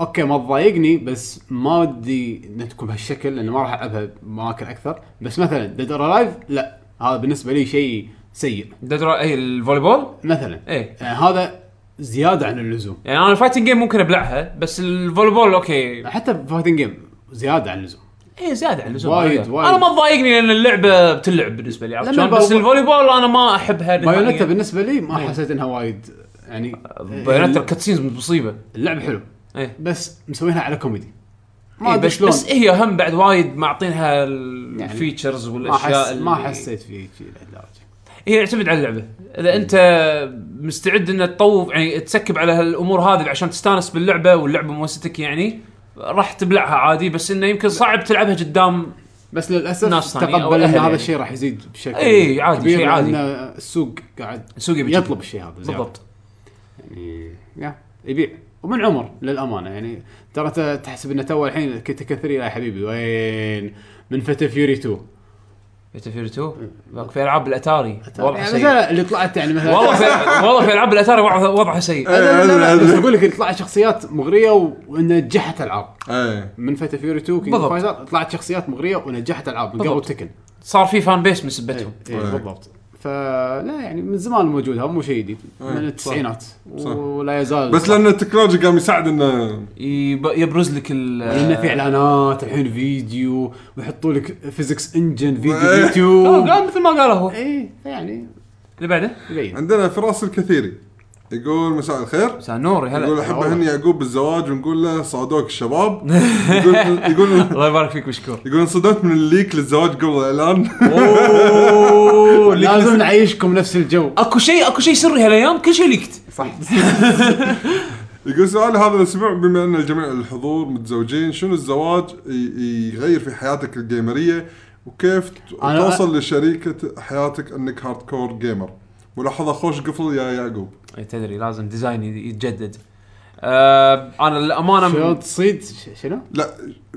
Speaker 1: اوكي ما تضايقني بس ما ودي انها تكون بهالشكل لان ما راح العبها باماكن اكثر بس مثلا ديد اور لايف لا هذا بالنسبه لي شيء سيء
Speaker 2: تدري اي الفوليبول
Speaker 1: مثلا
Speaker 2: ايه
Speaker 1: يعني هذا زياده عن اللزوم
Speaker 2: يعني انا الفايتنج جيم ممكن ابلعها بس الفوليبول اوكي
Speaker 1: حتى بفايتنج جيم زياده عن اللزوم
Speaker 2: اي زياده عن اللزوم
Speaker 1: وايد-
Speaker 2: أنا-
Speaker 1: وايد.
Speaker 2: انا ما تضايقني لان اللعبه بتلعب بالنسبه لي عرفت
Speaker 1: لما
Speaker 2: شلون؟ بس
Speaker 1: الباو-
Speaker 2: الفوليبول انا ما احبها
Speaker 1: بايونيتا بالنسبه لي
Speaker 2: إيه.
Speaker 1: ما حسيت انها وايد يعني
Speaker 2: بايونيتا الكاتسينز مصيبه
Speaker 1: اللعبه حلو
Speaker 2: إيه.
Speaker 1: بس مسوينها على كوميدي ما
Speaker 2: إيه
Speaker 1: ادري
Speaker 2: بس
Speaker 1: شلون
Speaker 2: بس هي هم بعد وايد معطينها
Speaker 1: يعني
Speaker 2: الفيتشرز
Speaker 1: ما حس
Speaker 2: والاشياء
Speaker 1: ما
Speaker 2: اللي-
Speaker 1: حسيت فيه في لهالدرجه
Speaker 2: هي يعتمد على اللعبه اذا انت مستعد ان تطوف يعني تسكب على هالامور هذه عشان تستانس باللعبه واللعبه موستك يعني راح تبلعها عادي بس انه يمكن صعب تلعبها قدام
Speaker 1: بس للاسف
Speaker 2: ناس ثانية أو
Speaker 1: تقبل ان
Speaker 2: أهل
Speaker 1: هذا
Speaker 2: يعني.
Speaker 1: الشيء راح يزيد بشكل
Speaker 2: إي، عادي،
Speaker 1: كبير
Speaker 2: شيء عادي.
Speaker 1: لأن السوق قاعد
Speaker 2: سوق يبي
Speaker 1: يطلب الشيء هذا زيادة.
Speaker 2: بالضبط
Speaker 1: يعني يا يبيع ومن عمر للامانه يعني ترى ت- تحسب انه تو الحين كنت كثري يا حبيبي وين من فتى فيوري 2
Speaker 2: بيتافير 2 ذاك في العاب الاتاري وضعها
Speaker 1: يعني
Speaker 2: سيء
Speaker 1: مثلا اللي طلعت يعني مثلا
Speaker 2: والله في والله في العاب الاتاري وضعها وضعها سيء
Speaker 1: لا، لا، لا، لا،
Speaker 3: أدري،
Speaker 1: بس
Speaker 3: أدري.
Speaker 1: اقول لك اللي طلعت شخصيات مغريه و- ونجحت العاب
Speaker 3: اي
Speaker 1: من فتى فيوري 2 كينج
Speaker 2: بالضبط.
Speaker 1: فايتر طلعت شخصيات مغريه ونجحت العاب من قبل
Speaker 2: بالضبط.
Speaker 1: تكن
Speaker 2: صار في فان بيس من
Speaker 1: اي
Speaker 2: سبتهم
Speaker 1: إي،
Speaker 3: إيه.
Speaker 1: أيوة. بالضبط فلا يعني من زمان موجود هذا مو شيء جديد
Speaker 3: إيه.
Speaker 1: من التسعينات
Speaker 3: صح.
Speaker 1: ولا يزال
Speaker 3: بس لان التكنولوجيا قام يساعد انه
Speaker 2: يب- يبرز لك ال
Speaker 1: لانه في اعلانات الحين فيديو ويحطوا لك فيزكس انجن
Speaker 3: إيه.
Speaker 1: فيديو
Speaker 2: هو
Speaker 1: يوتيوب
Speaker 2: قال مثل ما قال هو
Speaker 1: اي يعني
Speaker 2: اللي بعده
Speaker 1: يبين
Speaker 3: عندنا فراس الكثيري يقول مساء الخير
Speaker 2: مساء النور يا
Speaker 3: يقول
Speaker 2: هلا
Speaker 3: احب
Speaker 1: والله.
Speaker 3: اهني يعقوب بالزواج ونقول له صادوك الشباب يقول يقول
Speaker 2: الله يبارك فيك مشكور
Speaker 3: يقول انصدمت من الليك للزواج قبل الاعلان
Speaker 2: اوه
Speaker 1: لازم نعيشكم نفس الجو
Speaker 2: اكو شيء اكو شيء سري هالايام كل شيء ليكت
Speaker 1: صح
Speaker 3: يقول سؤالي هذا الاسبوع بما ان الجميع الحضور متزوجين شنو الزواج ي- يغير في حياتك الجيمريه وكيف ت-
Speaker 1: أنا-
Speaker 3: توصل لشريكه حياتك انك هارد كور جيمر ملاحظه خوش قفل يا يعقوب
Speaker 2: اي إيه، تدري لازم ديزاين يت- يتجدد آه انا
Speaker 1: شلون
Speaker 2: للامانه
Speaker 1: تصيد ش- شنو؟
Speaker 3: لا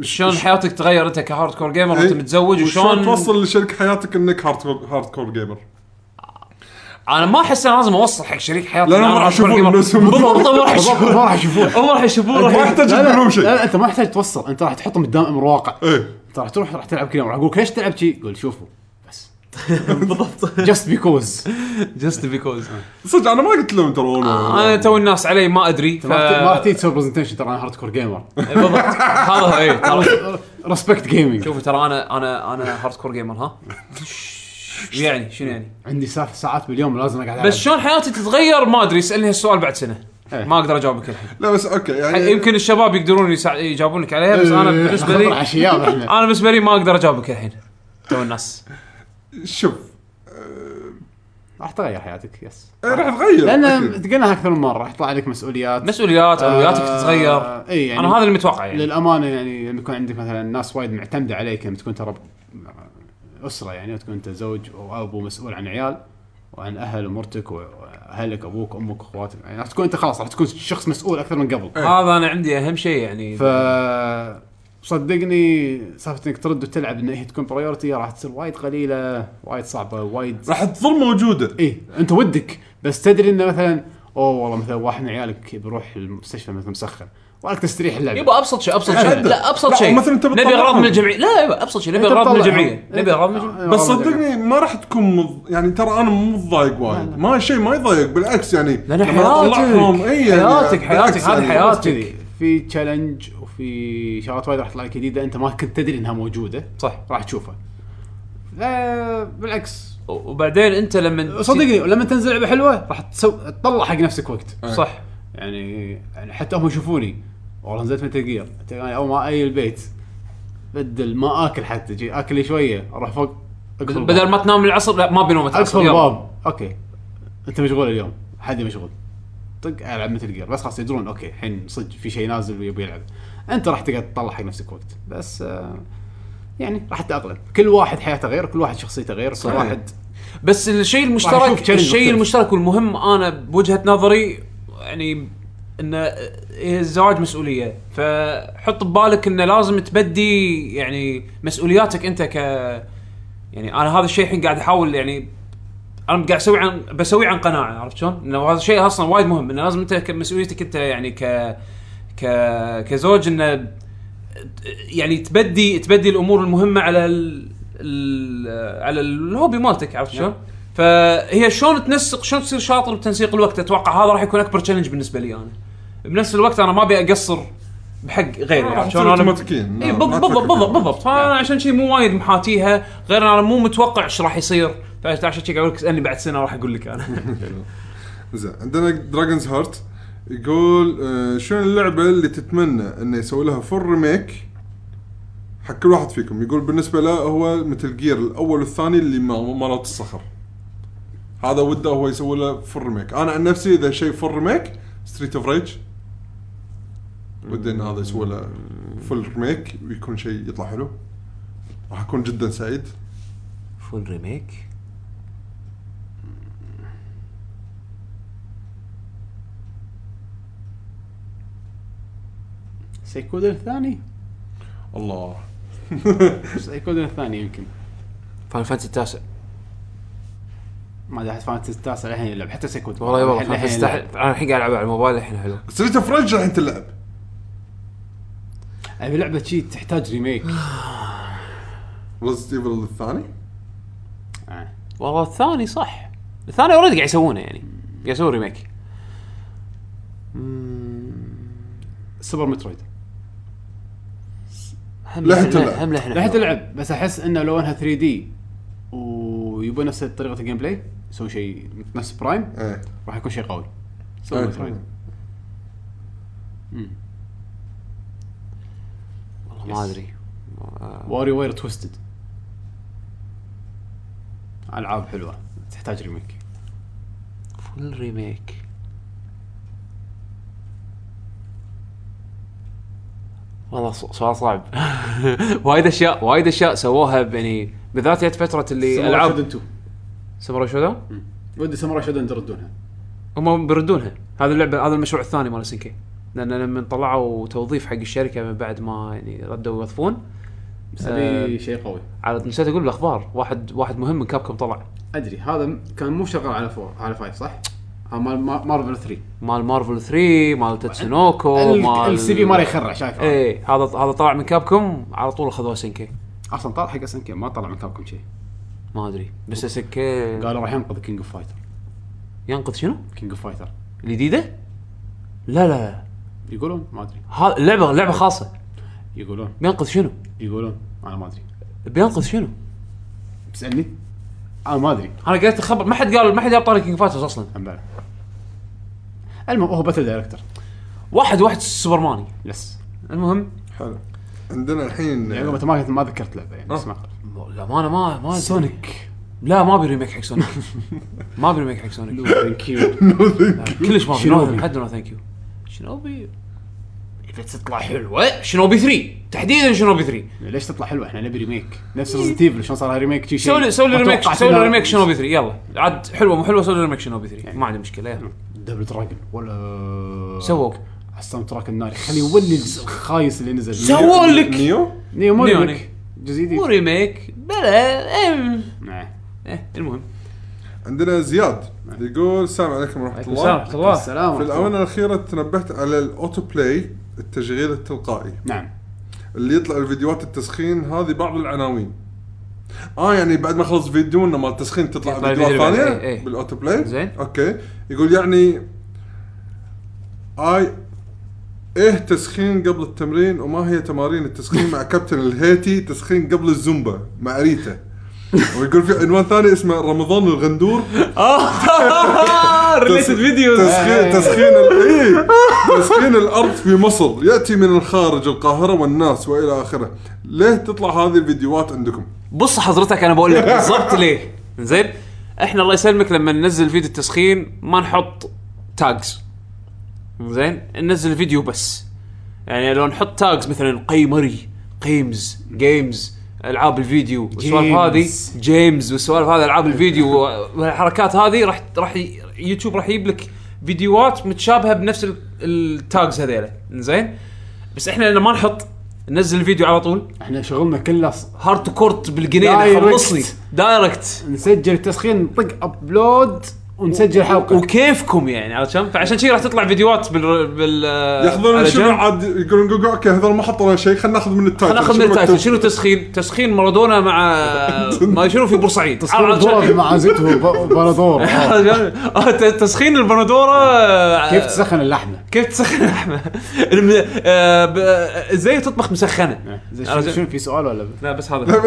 Speaker 2: شلون حياتك تغير انت كهارد كور جيمر
Speaker 3: إيه.
Speaker 2: وانت متزوج وشلون
Speaker 3: توصل لشريك حياتك انك هارد كور هارد كور جيمر
Speaker 2: انا ما احس انا لازم اوصل حق شريك حياتي
Speaker 3: لأنهم
Speaker 2: إن أنا
Speaker 3: راح
Speaker 2: hardcore
Speaker 3: يشوفون
Speaker 2: gamer.
Speaker 3: نفسهم.
Speaker 2: بالضبط هم راح
Speaker 1: بالضبط،
Speaker 2: يشوفون
Speaker 1: ما راح يشوفون
Speaker 2: هم راح يشوفون
Speaker 3: ما
Speaker 2: راح
Speaker 3: يحتاج
Speaker 1: لا لا,
Speaker 3: تقول شيء
Speaker 1: لا لا انت ما يحتاج توصل انت راح تحطهم قدام امر واقع
Speaker 3: ايه
Speaker 1: انت راح تروح راح تلعب كل يوم راح اقول لك ليش تلعب شي؟ قول شوفوا بس بالضبط جاست بيكوز
Speaker 2: جست بيكوز
Speaker 3: صدق انا ما قلت لهم ترى والله.
Speaker 2: انا تو الناس علي ما ادري ف...
Speaker 1: ما راح تيجي تسوي برزنتيشن ترى انا هارد كور جيمر
Speaker 2: بالضبط هذا هو اي ترى
Speaker 1: ريسبكت جيمنج
Speaker 2: شوفوا ترى انا انا انا هارد كور جيمر ها شو يعني شنو يعني
Speaker 1: عندي ساعات ساعات باليوم لازم اقعد ألعب.
Speaker 2: بس شلون حياتي تتغير ما ادري اسالني هالسؤال بعد سنه
Speaker 1: إيه.
Speaker 2: ما اقدر اجاوبك الحين
Speaker 3: لا بس اوكي يعني
Speaker 2: يمكن الشباب يقدرون يسع- يجاوبونك عليها بس انا
Speaker 1: إيه،
Speaker 2: بالنسبه لي
Speaker 1: عشياب احنا
Speaker 2: انا بالنسبه لي ما اقدر اجاوبك الحين تو الناس
Speaker 3: شوف
Speaker 1: راح تغير حياتك يس
Speaker 3: إيه، راح تغير
Speaker 1: لان
Speaker 3: أكيد.
Speaker 1: تقلنا اكثر من مره راح يطلع عليك مسؤوليات
Speaker 2: مسؤوليات اولوياتك تتغير
Speaker 1: آه، اي يعني
Speaker 2: انا هذا اللي متوقع يعني
Speaker 1: للامانه يعني لما يكون عندك مثلا ناس وايد معتمده عليك لما تكون ترى ب- اسره يعني وتكون انت زوج واب ومسؤول عن عيال وعن اهل ومرتك واهلك ابوك امك اخواتك يعني راح تكون انت خلاص راح تكون شخص مسؤول اكثر من قبل
Speaker 2: هذا انا عندي اهم شيء يعني
Speaker 1: إيه. ف صدقني سالفه انك ترد وتلعب ان هي تكون برايورتي راح تصير وايد قليله وايد صعبه وايد
Speaker 3: راح تظل
Speaker 2: إيه،
Speaker 3: موجوده
Speaker 1: اي انت ودك بس تدري انه مثلا اوه والله مثلا واحد من عيالك بيروح المستشفى مثلا مسخن وراك تستريح اللعبه
Speaker 2: يبا ابسط شيء ابسط شيء
Speaker 3: عدل.
Speaker 2: لا ابسط
Speaker 3: لا،
Speaker 2: شيء
Speaker 3: مثلاً أنت
Speaker 2: نبي
Speaker 3: بتطلعهم.
Speaker 2: اغراض من الجمعيه لا يبا ابسط شيء نبي
Speaker 1: أنت
Speaker 2: اغراض من
Speaker 1: تطلعهم.
Speaker 2: الجمعيه نبي اغراض من الجمعيه
Speaker 3: بس صدقني ما راح تكون مض... يعني ترى انا مو متضايق وايد ما شيء ما يضايق بالعكس يعني
Speaker 2: لأن
Speaker 3: لما
Speaker 2: حياتك-
Speaker 3: أطلعهم، إي يعني
Speaker 2: حياتك-
Speaker 3: بالعكس
Speaker 2: حياتك، هذه
Speaker 3: يعني.
Speaker 2: حياتك.
Speaker 1: بس كذي في تشالنج وفي شغلات وايد راح تطلع لك جديده انت ما كنت تدري انها موجوده
Speaker 2: صح
Speaker 1: راح تشوفها لا بالعكس
Speaker 2: وبعدين انت لما
Speaker 1: صدقني ولما تنزل لعبه حلوه راح تسو... تطلع حق نفسك وقت
Speaker 2: صح
Speaker 3: أيوة.
Speaker 1: يعني يعني حتى هم يشوفوني والله نزلت متل جير يعني اول ما اي البيت بدل ما اكل حتى جي اكل لي شويه اروح فوق اقفل الباب.
Speaker 2: بدل ما تنام العصر لا ما بينوم
Speaker 1: اقفل
Speaker 2: العصر يلا.
Speaker 1: الباب اوكي انت مشغول اليوم حد مشغول طق العب مثل جير بس خلاص يدرون اوكي الحين صدق في شيء نازل ويبي يلعب انت راح تقعد تطلع حق نفسك وقت بس آه، يعني راح تتاقلم كل واحد حياته غير كل واحد شخصيته غير كل واحد
Speaker 2: بس الشيء
Speaker 1: راح أشوف
Speaker 2: المشترك
Speaker 1: challenge
Speaker 2: الشيء
Speaker 1: مختلف.
Speaker 2: المشترك والمهم انا بوجهه نظري يعني ان الزواج مسؤوليه فحط ببالك انه لازم تبدي يعني مسؤولياتك انت ك يعني انا هذا الشيء الحين قاعد احاول يعني انا قاعد اسوي عن بسوي عن قناعه عرفت شلون؟ انه هذا الشيء اصلا وايد مهم انه لازم انت ك- مسؤوليتك انت يعني ك ك كزوج انه يعني تبدي تبدي الامور المهمه على ال ال على الهوبي مالتك عرفت
Speaker 3: نعم.
Speaker 2: شلون؟ فهي شلون تنسق شلون تصير شاطر بتنسيق الوقت اتوقع هذا راح يكون اكبر تشالنج بالنسبه لي انا. بنفس الوقت انا ما ابي اقصر بحق غيري
Speaker 3: راح
Speaker 2: عرفت
Speaker 3: تصير
Speaker 2: شلون؟ انا
Speaker 3: اوتوماتيكيا
Speaker 2: اي
Speaker 3: ما-
Speaker 2: بالضبط
Speaker 3: آه، ما
Speaker 2: بالضبط
Speaker 3: تفكر
Speaker 2: بالضبط
Speaker 3: نعم. فيها.
Speaker 2: بالضبط فانا عشان شي مو وايد محاتيها غير انا مو متوقع ايش راح يصير فعشان شي قاعد اقول لك اسالني بعد سنه راح اقول لك انا
Speaker 3: زين عندنا دراجونز هارت يقول آه، شنو اللعبه اللي تتمنى انه يسوي لها فور ريميك حق كل واحد فيكم يقول بالنسبه له هو مثل جير الاول والثاني اللي ما- مالت الصخر هذا وده هو يسوي له فور ريميك انا عن نفسي اذا شيء فور ريميك ستريت اوف ريج ودي ان هذا يسوي له فول ريميك ويكون شيء يطلع حلو راح اكون جدا سعيد
Speaker 2: فول ريميك
Speaker 1: سيكودر الثاني
Speaker 3: الله
Speaker 1: سيكودر الثاني يمكن
Speaker 2: فاينل فانتسي التاسع
Speaker 1: ما ادري احد فانتسي التاسع الحين يلعب حتى سيكودر
Speaker 2: والله يبا
Speaker 1: الحين-
Speaker 2: فاينل فانتسي
Speaker 1: الحين
Speaker 2: التاسع-
Speaker 1: يلعب.
Speaker 2: انا الحين قاعد العب على الموبايل الحين حلو
Speaker 3: ستريت اوف ريج راح تلعب
Speaker 1: ابي لعبه شي تحتاج ريميك
Speaker 3: ريزد ايفل الثاني
Speaker 1: آه.
Speaker 2: والله الثاني صح الثاني اوريدي قاعد يسوونه يعني قاعد يسوون ريميك
Speaker 1: سوبر مترويد
Speaker 2: هم
Speaker 3: لا
Speaker 2: لحن-
Speaker 3: حتى لا.
Speaker 2: هم لحن
Speaker 1: راح
Speaker 2: حلو.
Speaker 1: تلعب بس احس انه لو انها 3 دي ويبون نفس طريقه الجيم بلاي يسوي شيء نفس برايم
Speaker 3: ايه
Speaker 1: راح يكون شيء قوي سوبر مترويد
Speaker 3: ايه
Speaker 2: والله ما
Speaker 1: Yes.
Speaker 2: ادري
Speaker 1: واري وير تويستد العاب حلوه تحتاج ريميك
Speaker 2: فول ريميك والله ص- سؤال صعب وايد اشياء وايد اشياء سووها يعني بالذات هي فتره اللي العاب
Speaker 1: شودن 2
Speaker 2: ساموراي شودو
Speaker 1: ودي ساموراي شودن تردونها
Speaker 2: هم بيردونها هذا اللعبه هذا المشروع الثاني مال سنكي لان لما طلعوا توظيف حق الشركه من بعد ما يعني ردوا يوظفون
Speaker 1: بس
Speaker 2: آه.
Speaker 1: ابي شيء قوي
Speaker 2: على نسيت اقول بالاخبار واحد واحد مهم من كابكم طلع
Speaker 1: ادري هذا م- كان مو شغال على فور على فايف صح؟ ها مال ما- مارفل 3
Speaker 2: مال مارفل 3 مال تاتسونوكو مال
Speaker 1: السي في ماله يخرع شايف
Speaker 2: ايه هذا هذا طلع من كابكم على طول خذوه سنكي
Speaker 1: اصلا طلع حق اس ان كي ما طلع من كابكم شيء
Speaker 2: ما ادري بس سنكي
Speaker 1: قالوا راح ينقذ كينج اوف فايتر
Speaker 2: ينقذ شنو؟
Speaker 1: كينج اوف فايتر
Speaker 2: الجديده؟ لا لا
Speaker 1: يقولون ما ادري
Speaker 2: هذا اللعبه لعبه خاصه
Speaker 1: يقولون
Speaker 2: بينقذ شنو؟
Speaker 1: يقولون انا ما ادري
Speaker 2: بينقذ شنو؟
Speaker 1: تسالني انا ما ادري
Speaker 2: انا قريت الخبر ما حد قال ما حد جاب طاري كينج فايترز اصلا
Speaker 1: عن بالي. المهم هو باتل دايركتر
Speaker 2: واحد واحد سوبرماني
Speaker 1: يس
Speaker 2: المهم
Speaker 3: حلو عندنا الحين
Speaker 1: يعني ما ما ما ذكرت لعبه يعني بس ما
Speaker 2: لا ما انا ما ما
Speaker 1: سونيك
Speaker 2: لا ما ابي ريميك حق سونيك ما ابي ريميك حق سونيك
Speaker 1: ثانك يو
Speaker 2: كلش ما ابي
Speaker 1: شينوبي.
Speaker 2: نو- حد نو ثانك يو شنوبي اذا تطلع حلوه شنوبي 3 تحديدا شنوبي 3
Speaker 1: ليش تطلع حلوه احنا نبي ريميك نفس ريزنت ايفل شلون صار لها ريميك شي شيء
Speaker 2: سوي لي سوي لي ريميك
Speaker 1: أتوقع
Speaker 2: سوي لي
Speaker 1: كلها-
Speaker 2: ريميك شنوبي 3 يلا عاد حلوه مو حلوه سوي لي ريميك شنوبي 3 ما عندي مشكله يلا
Speaker 1: دبل دراجون ولا
Speaker 2: سووا
Speaker 1: على الساوند تراك الناري خلي يولي الخايس اللي نزل
Speaker 2: سووا لك
Speaker 3: نيو
Speaker 1: نيو مو
Speaker 2: نيو
Speaker 1: ريميك جزء جديد
Speaker 2: مو ريميك بلا ام
Speaker 1: نعم.
Speaker 2: ايه المهم
Speaker 3: عندنا زياد يقول السلام عليكم ورحمه الله
Speaker 2: سلام الله
Speaker 1: السلام
Speaker 3: في
Speaker 1: ورحمة
Speaker 3: الاونه الاخيره تنبهت على الاوتو بلاي التشغيل التلقائي
Speaker 1: الله. نعم
Speaker 3: اللي يطلع الفيديوهات التسخين هذه بعض العناوين اه يعني بعد ما خلص فيديو انه مال التسخين تطلع
Speaker 2: يطلع
Speaker 3: فيديوهات
Speaker 2: الفيديو بعد،
Speaker 3: ثانيه
Speaker 2: إيه، إيه.
Speaker 3: بالاوتو بلاي
Speaker 2: زين.
Speaker 3: اوكي يقول يعني اي ايه تسخين قبل التمرين وما هي تمارين التسخين مع كابتن الهيتي تسخين قبل الزومبا مع ريتا ويقول في عنوان ثاني اسمه رمضان الغندور
Speaker 2: ريليتد فيديوز
Speaker 3: تسخين تسخين ال- إيه. تسخين الارض في مصر ياتي من الخارج القاهره والناس والى اخره ليه تطلع هذه الفيديوهات عندكم
Speaker 2: بص حضرتك انا بقول لك بالضبط ليه زين احنا الله يسلمك لما ننزل فيديو التسخين ما نحط تاجز زين ننزل فيديو بس يعني لو نحط تاجز مثلا قيمري قيمز جيمز العاب الفيديو والسوالف هذه
Speaker 1: جيمز.
Speaker 2: جيمز والسوالف هذه العاب الفيديو والحركات هذه راح راح ي- يوتيوب راح يجيب لك فيديوهات متشابهه بنفس ال- التاجز هذيلا زين بس احنا لما ما نحط ننزل الفيديو على طول
Speaker 1: احنا شغلنا كله ص-
Speaker 2: هارد تو كورت بالجنيه
Speaker 1: دايركت.
Speaker 2: خلصني دايركت
Speaker 1: نسجل التسخين نطق ابلود ونسجل حلقه
Speaker 2: وكيفكم يعني عرفت شلون؟ فعشان شي راح تطلع فيديوهات بال بال
Speaker 3: ياخذون
Speaker 2: آه، على
Speaker 3: شنو
Speaker 2: جنب.
Speaker 3: عاد يقولون جوجو اوكي هذول ما حطوا لنا شيء خلينا ناخذ من التايتل
Speaker 2: خلينا ناخذ من
Speaker 3: شنو
Speaker 2: التايتل
Speaker 3: مكتوب؟
Speaker 2: شنو تسخين؟ تسخين مارادونا مع ما شنو في بورسعيد
Speaker 1: تسخين
Speaker 2: عرفت
Speaker 1: ضرب
Speaker 2: شلون؟
Speaker 1: مع زيته ب- بلدور آه.
Speaker 2: آه، ت- تسخين البندوره
Speaker 1: كيف تسخن اللحمه؟
Speaker 2: كيف تسخن اللحمه؟ الم- آه، ب- آه، ازاي تطبخ مسخنه؟
Speaker 1: زين
Speaker 2: آه،
Speaker 1: شنو-
Speaker 2: زين.
Speaker 1: شنو في سؤال ولا
Speaker 2: لا بس هذا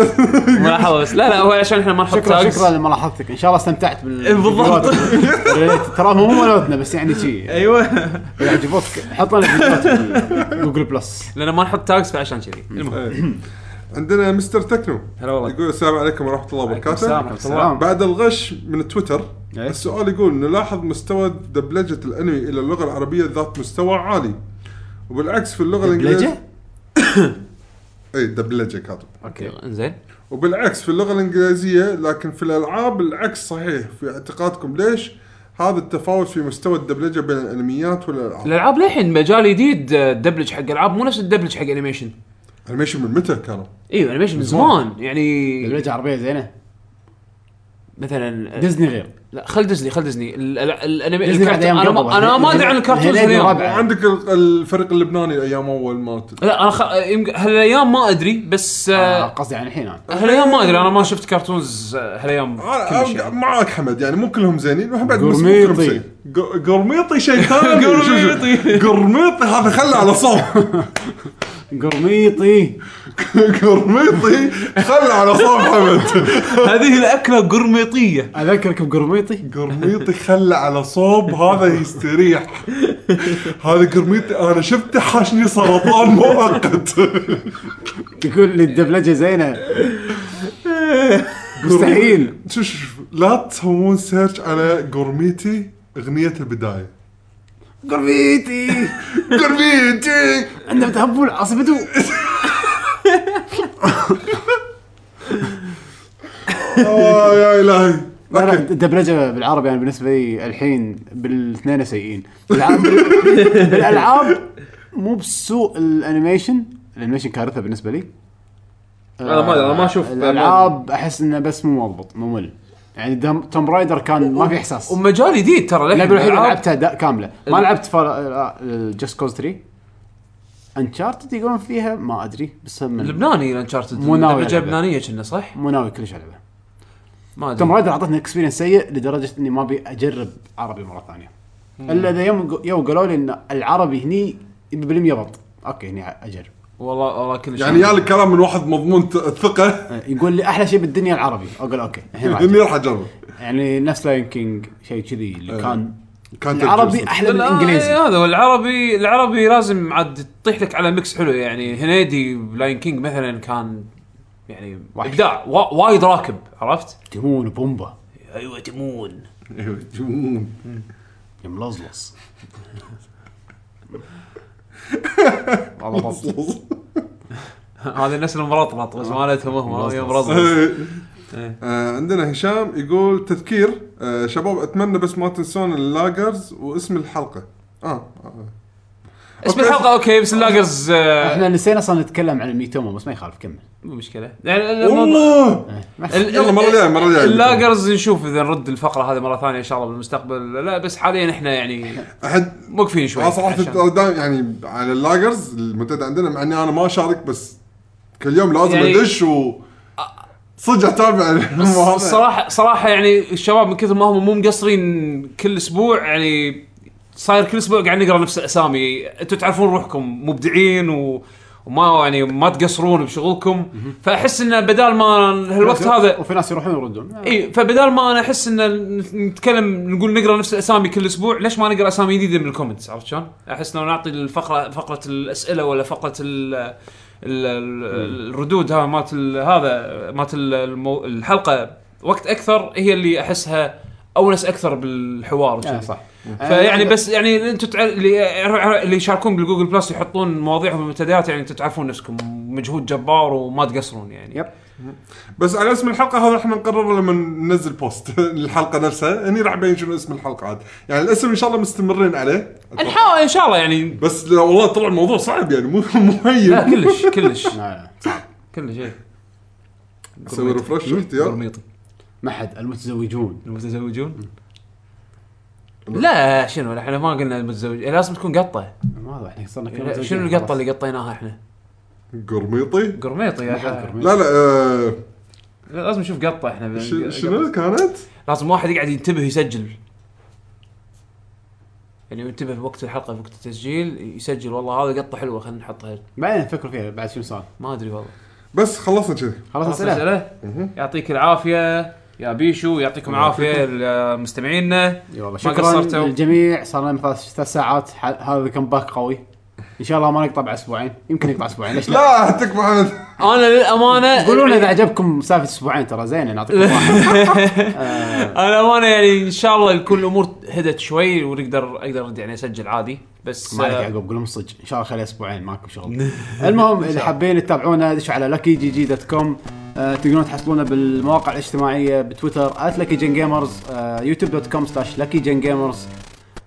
Speaker 2: ملاحظه بس لا لا هو عشان احنا ما نحط
Speaker 1: شكرا
Speaker 2: tags.
Speaker 1: شكرا لملاحظتك ان شاء الله استمتعت بال
Speaker 2: إيه، بالضبط.
Speaker 1: بالفيديوهات. ترى مو مالتنا بس يعني شي
Speaker 2: ايوه
Speaker 1: اذا عجبوك حط لنا فيديوهات جوجل بلس
Speaker 2: لان ما نحط تاجز فعشان كذي المهم
Speaker 3: إيه. عندنا مستر تكنو
Speaker 2: هلا والله
Speaker 3: يقول السلام عليكم ورحمه الله وبركاته
Speaker 1: السلام
Speaker 3: بعد الغش من تويتر
Speaker 1: إيه.
Speaker 3: السؤال يقول نلاحظ مستوى دبلجه الانمي الى اللغه العربيه ذات مستوى عالي وبالعكس في اللغه الانجليزيه
Speaker 1: دبلجه؟
Speaker 3: اي دبلجه كاتب
Speaker 1: اوكي
Speaker 2: انزين
Speaker 3: وبالعكس في اللغة الإنجليزية لكن في الألعاب العكس صحيح في اعتقادكم ليش هذا التفاوت في مستوى الدبلجة بين الأنميات والألعاب
Speaker 2: الالعاب للحين مجال جديد آه، الدبلج حق العاب مو نفس الدبلج حق انيميشن
Speaker 3: الأنيميشن من متى كانوا؟
Speaker 2: ايوه انيميشن من زمان يعني
Speaker 1: دبلجه عربيه زينه
Speaker 2: مثلا آه،
Speaker 1: ديزني غير
Speaker 2: لا خل ديزني خل ديزني ال- ال- الانمي
Speaker 1: ديزني بعد
Speaker 2: الكرتون-
Speaker 1: أيام
Speaker 2: انا
Speaker 1: قبل.
Speaker 2: ما انا ما ادري عن الكرتونز
Speaker 1: هنيدي
Speaker 2: هالأيام.
Speaker 1: وربعه.
Speaker 3: عندك ال- الفريق اللبناني أيام أول ما ت-
Speaker 2: لا انا خ... يمكن- هالايام ما ادري بس آه،
Speaker 1: آه، قصدي عن الحين انا
Speaker 2: هالايام ما ادري انا ما شفت كرتونز آه، هالايام كلش
Speaker 3: آه، آه،
Speaker 2: يعني.
Speaker 3: معك حمد يعني مو كلهم زينين واحنا بعد بس مو
Speaker 1: قرميطي.
Speaker 3: كلهم زين. ق- قرميطي شيء ثاني شوف شوف.
Speaker 2: قرميطي.
Speaker 3: قرميطي هذا خله على صوب
Speaker 1: قرميطي
Speaker 3: قرميطي خله على صوب حمد
Speaker 2: هذه الاكله قرميطيه
Speaker 1: اذكرك بقرميطي
Speaker 3: قرميطي خلى على صوب هذا يستريح هذا قرميطي انا شفته حاشني سرطان مؤقت
Speaker 1: يقول لي الدبلجه زينه مستحيل
Speaker 3: شو- شو- شو- لا تسوون سيرش على قرميتي اغنيه البدايه
Speaker 1: قرميطي
Speaker 3: قرميتي
Speaker 1: عندما تهبل عصبته
Speaker 3: آه يا الهي
Speaker 1: لا لا الدبلجه بالعربي انا بالنسبه لي الحين بالاثنين سيئين بالع- بالالعاب مو بسوء الانيميشن الانيميشن كارثه بالنسبه لي آه،
Speaker 2: أنا ما أدري، أنا ما أشوف-
Speaker 1: الالعاب احس انه بس مو مضبط ممل يعني دم... توم رايدر كان ما في احساس
Speaker 2: ومجال جديد ترى للحين
Speaker 1: اللعبه الوحيده اللي
Speaker 2: الألعاب-
Speaker 1: لعبتها دا- كامله ما لعبت آه، جاست كوز 3 انشارتد يقولون فيها ما ادري بس هم من-
Speaker 2: لبناني الانشارتد
Speaker 1: مو ناوي
Speaker 2: دبلجه
Speaker 1: ألعبها.
Speaker 2: لبنانيه كنا صح؟
Speaker 1: مو ناوي كلش العبها
Speaker 2: ما ادري
Speaker 1: توم رايدر اعطتني اكسبيرينس سيء لدرجه اني ما ابي اجرب عربي مره ثانيه الا اذا يوم يوم قالوا لي ان العربي هني 100% بط اوكي هني اجرب
Speaker 2: والله والله كلش
Speaker 3: يعني يا الكلام من واحد مضمون ت- الثقه
Speaker 1: يقول لي احلى شيء بالدنيا العربي اقول اوكي الحين راح
Speaker 3: اني
Speaker 1: أجرب.
Speaker 3: راح اجرب
Speaker 1: يعني نفس لاين كينج شيء كذي اللي كان
Speaker 3: كانت
Speaker 1: العربي احلى من
Speaker 2: إيه،
Speaker 1: الانجليزي
Speaker 2: هذا هو العربي العربي لازم عاد تطيح لك على ميكس حلو يعني هنيدي بلاين كينج مثلا كان يعني
Speaker 1: وحش.
Speaker 2: ابداع وا- وايد راكب عرفت؟
Speaker 1: تمون وبومبا
Speaker 2: ايوه تمون
Speaker 3: إيه،
Speaker 1: يملصلص والله بط.
Speaker 2: هذا الناس المرطرط بس
Speaker 3: آه.
Speaker 2: مالتهم هم يوم رطرط
Speaker 3: إيه. آه، عندنا هشام يقول تذكير آه، شباب اتمنى بس ما تنسون اللاجرز واسم الحلقه اه, آه.
Speaker 2: اسم الحلقه اوكي بس اللاجرز آه،
Speaker 1: احنا نسينا اصلا نتكلم عن الميتوما بس ما يخالف كمل
Speaker 2: مو مشكله يعني الموضوع-
Speaker 3: والله
Speaker 2: إيه. ال-
Speaker 3: يلا، مرة
Speaker 2: ال-
Speaker 3: جاية، مرة جاية.
Speaker 2: اللاجرز نشوف اذا نرد الفقره هذه مره ثانيه ان شاء الله بالمستقبل لا بس حاليا احنا يعني
Speaker 3: احد
Speaker 2: موقفين شوي
Speaker 3: أنا صراحه
Speaker 2: عشان-
Speaker 3: ترى دايم يعني على اللاجرز المنتدى عندنا مع اني انا ما اشارك بس كل يوم لازم
Speaker 2: يعني-
Speaker 3: ادش و صدق اتابع الموضوع.
Speaker 2: صراحه صراحه يعني الشباب من كثر ما هم مو مقصرين كل اسبوع يعني صاير كل اسبوع قاعد نقرا نفس الاسامي انتم تعرفون روحكم مبدعين و وما يعني ما تقصرون بشغلكم فاحس انه بدال ما هالوقت هذا إيه،
Speaker 1: وفي ناس يروحون يردون آه.
Speaker 2: اي فبدال ما انا احس ان نتكلم نقول نقرا نفس الاسامي كل اسبوع ليش ما نقرا اسامي جديده من الكومنتس عرفت شلون؟ احس لو نعطي الفقره فقره الاسئله ولا فقره ال ال ال- الردود ها مالت ال- هذا مالت ال- المو- الحلقه وقت اكثر هي اللي احسها اونس اكثر بالحوار
Speaker 1: آه،
Speaker 2: وكذي.
Speaker 1: صح
Speaker 2: فيعني بس يعني انتم تع- اللي اللي يشاركون بالجوجل بلس يحطون مواضيعهم بالمنتديات يعني انتم تعرفون نفسكم مجهود جبار وما تقصرون يعني
Speaker 1: يب.
Speaker 3: بس على اسم الحلقه هذا احنا نقرر لما ننزل بوست الحلقه نفسها هني راح يبين شنو اسم الحلقه عاد يعني الاسم ان شاء الله مستمرين عليه
Speaker 2: نحاول ان شاء الله يعني
Speaker 3: بس لا والله طلع الموضوع صعب يعني مو مو هين
Speaker 2: لا كلش كلش
Speaker 1: لا، لا.
Speaker 2: كلش اي
Speaker 3: اسوي ريفرش احتياط
Speaker 4: قرميطي
Speaker 1: ما حد المتزوجون
Speaker 2: المتزوجون لا شنو احنا ما قلنا المتزوج إيه، لازم تكون قطه
Speaker 1: ما هذا احنا صرنا كلنا
Speaker 2: لا،
Speaker 1: متزوجين.
Speaker 2: إيه، شنو القطه اللي قطيناها احنا؟
Speaker 3: قرميطي
Speaker 2: قرميطي يا
Speaker 1: ما حد
Speaker 2: حبيبي.
Speaker 1: قرميط.
Speaker 3: لا لا آه،
Speaker 2: لا، لازم نشوف قطه احنا بال-
Speaker 3: ش- شنو كانت؟
Speaker 2: لازم واحد يقعد ينتبه يسجل يعني ينتبه بوقت الحلقه بوقت التسجيل يسجل والله هذا قطه حلوه خلينا نحطها
Speaker 1: بعدين نفكر فيها بعد شنو صار
Speaker 2: ما ادري والله
Speaker 3: بس خلصنا كذي
Speaker 1: خلاص اسئله
Speaker 2: أسئلة؟ يعطيك العافيه يا بيشو يعطيكم العافيه مستمعينا
Speaker 1: اي والله
Speaker 2: ما
Speaker 1: شكرا
Speaker 2: قصرتوا.
Speaker 1: للجميع صار لنا ثلاث ثلاث ساعات ح- هذا كمباك قوي ان شاء الله ما نقطع بعد اسبوعين يمكن نقطع اسبوعين ليش لا
Speaker 3: لا تكفى حمد
Speaker 2: انا للامانه
Speaker 1: قولوا لنا اذا عجبكم سالفه اسبوعين ترى زين نعطيكم واحد آه،
Speaker 2: انا وانا يعني ان شاء الله تكون الامور هدت شوي ونقدر اقدر يعني اسجل عادي بس
Speaker 1: ما عليك يعني.
Speaker 2: آه،
Speaker 1: يعقوب قول لهم صدق ان شاء الله خلال اسبوعين ماكو شغل المهم اذا حابين تتابعونا دشوا على لكي جي جي دوت كوم آه، تقدرون تحصلونا بالمواقع الاجتماعيه بتويتر لكي جن جيمرز يوتيوب دوت كوم سلاش لكي جن جيمرز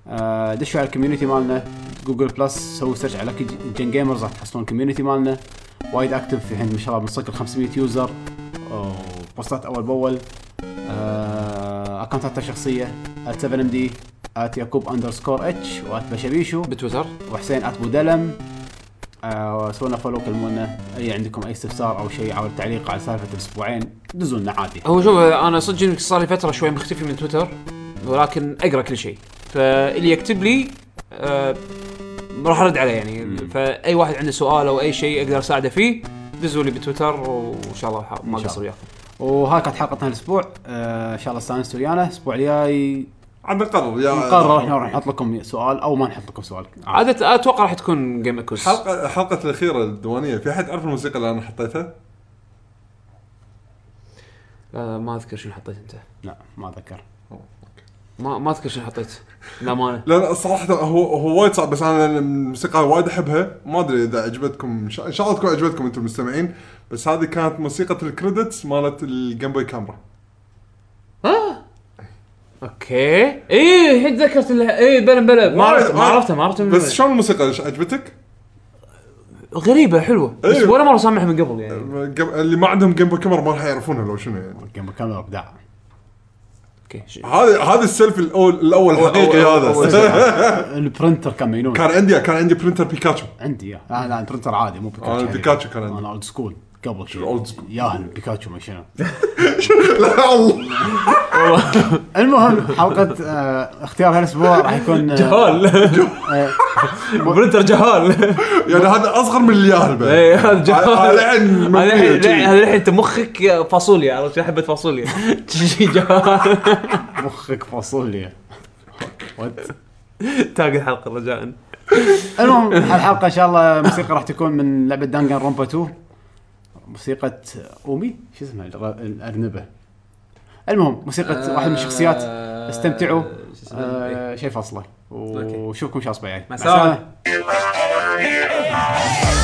Speaker 1: آه، دشوا على الكوميونتي مالنا جوجل بلس سووا سيرش على لكي جن جيمرز راح تحصلون الكوميونتي مالنا وايد اكتف في الحين ما شاء الله بنصك ال 500 يوزر وبوستات اول باول آه، اكونتات شخصيه 7 md يعقوب اندرسكور اتش بشبيشو
Speaker 2: بتويتر
Speaker 1: وحسين ات بودلم آه وسوينا فولو كلمونا اي عندكم اي استفسار او شيء او تعليق على سالفه الاسبوعين دزوا لنا عادي
Speaker 2: هو شوف انا صدق صار لي فتره شوي مختفي من تويتر ولكن اقرا كل شيء فاللي يكتب لي آه، راح ارد عليه يعني فاي واحد عنده سؤال او اي شيء اقدر اساعده فيه دزوا لي بتويتر وان شاء الله ما يعني.
Speaker 1: إن شاء
Speaker 2: اقصر
Speaker 1: الله.
Speaker 2: وياكم
Speaker 1: وها كانت حلقتنا الاسبوع آه ان شاء الله استانستوا ويانا الاسبوع الجاي
Speaker 3: عاد نقرر يا
Speaker 1: نقرر احنا راح نحط لكم سؤال او ما نحط لكم سؤال عادي
Speaker 2: عاده اتوقع راح تكون جيم اكوس
Speaker 3: الحلقه الحلقه الاخيره الديوانيه في احد عرف الموسيقى اللي انا حطيتها؟
Speaker 2: لا، آه، ما اذكر شنو حطيت انت
Speaker 1: لا ما اتذكر
Speaker 2: ما ما اذكر شنو حطيت للامانه
Speaker 3: لا لا صراحه هو هو وايد صعب بس انا الموسيقى وايد احبها ما ادري اذا عجبتكم ان شاء إن شاء الله تكون عجبتكم انتم المستمعين بس هذه كانت موسيقى الكريدتس مالت الجيم بوي كاميرا
Speaker 2: اوكي ايه الحين تذكرت اللي... ايه بلا بلا ما عرفت ما
Speaker 3: وايد-
Speaker 2: عرفته ما عرفته من
Speaker 3: بس شلون الموسيقى إيش عجبتك؟
Speaker 2: غريبه حلوه بس
Speaker 3: إيه.
Speaker 2: ولا مره سامعها من قبل يعني
Speaker 3: جم- اللي ما عندهم جيم بوي كاميرا ما راح يعرفونها لو شنو يعني
Speaker 1: جيم كاميرا ابداع
Speaker 2: اوكي ش-
Speaker 3: هذا هذا السيلفي الاول الاول حقيقي
Speaker 2: أول-
Speaker 3: هذا
Speaker 1: البرنتر كان مجنون
Speaker 3: كان عندي كان عندي برينتر بيكاتشو
Speaker 1: عندي اياه لا لا برنتر عادي مو بيكاتشو يعني.
Speaker 3: آه،
Speaker 1: هذي.
Speaker 3: بيكاتشو كان عندي.
Speaker 1: انا اولد سكول قبل شو
Speaker 3: أولد سكول؟
Speaker 1: ياهل بيكاتشو ما شنو
Speaker 3: لا الله
Speaker 1: المهم حلقه آه اختيار هالاسبوع راح يكون آه،
Speaker 2: إيه. برنتر جهال
Speaker 3: يعني هذا اصغر من اللي ياهل بعد.
Speaker 2: ايه هذا
Speaker 3: هذا
Speaker 2: جهال
Speaker 3: لعن
Speaker 2: هذا الحين-
Speaker 3: مبنية
Speaker 2: لا،
Speaker 3: شي.
Speaker 2: هذا الحين انت مخك فاصوليا عرفت شو حبه فاصوليا جهال
Speaker 1: مخك فاصوليا
Speaker 5: تاج الحلقه رجاء
Speaker 1: المهم الحلقه ان شاء الله موسيقى راح تكون من لعبه دانجان رومبا 2 موسيقى اومي شو اسمها الر- الارنبه المهم موسيقى واحد من الشخصيات استمتعوا.
Speaker 4: آه،
Speaker 1: آه شيء فاصله وشوفكم شهر الاسبوع الجاي مع
Speaker 5: السلامة.
Speaker 1: السلامة.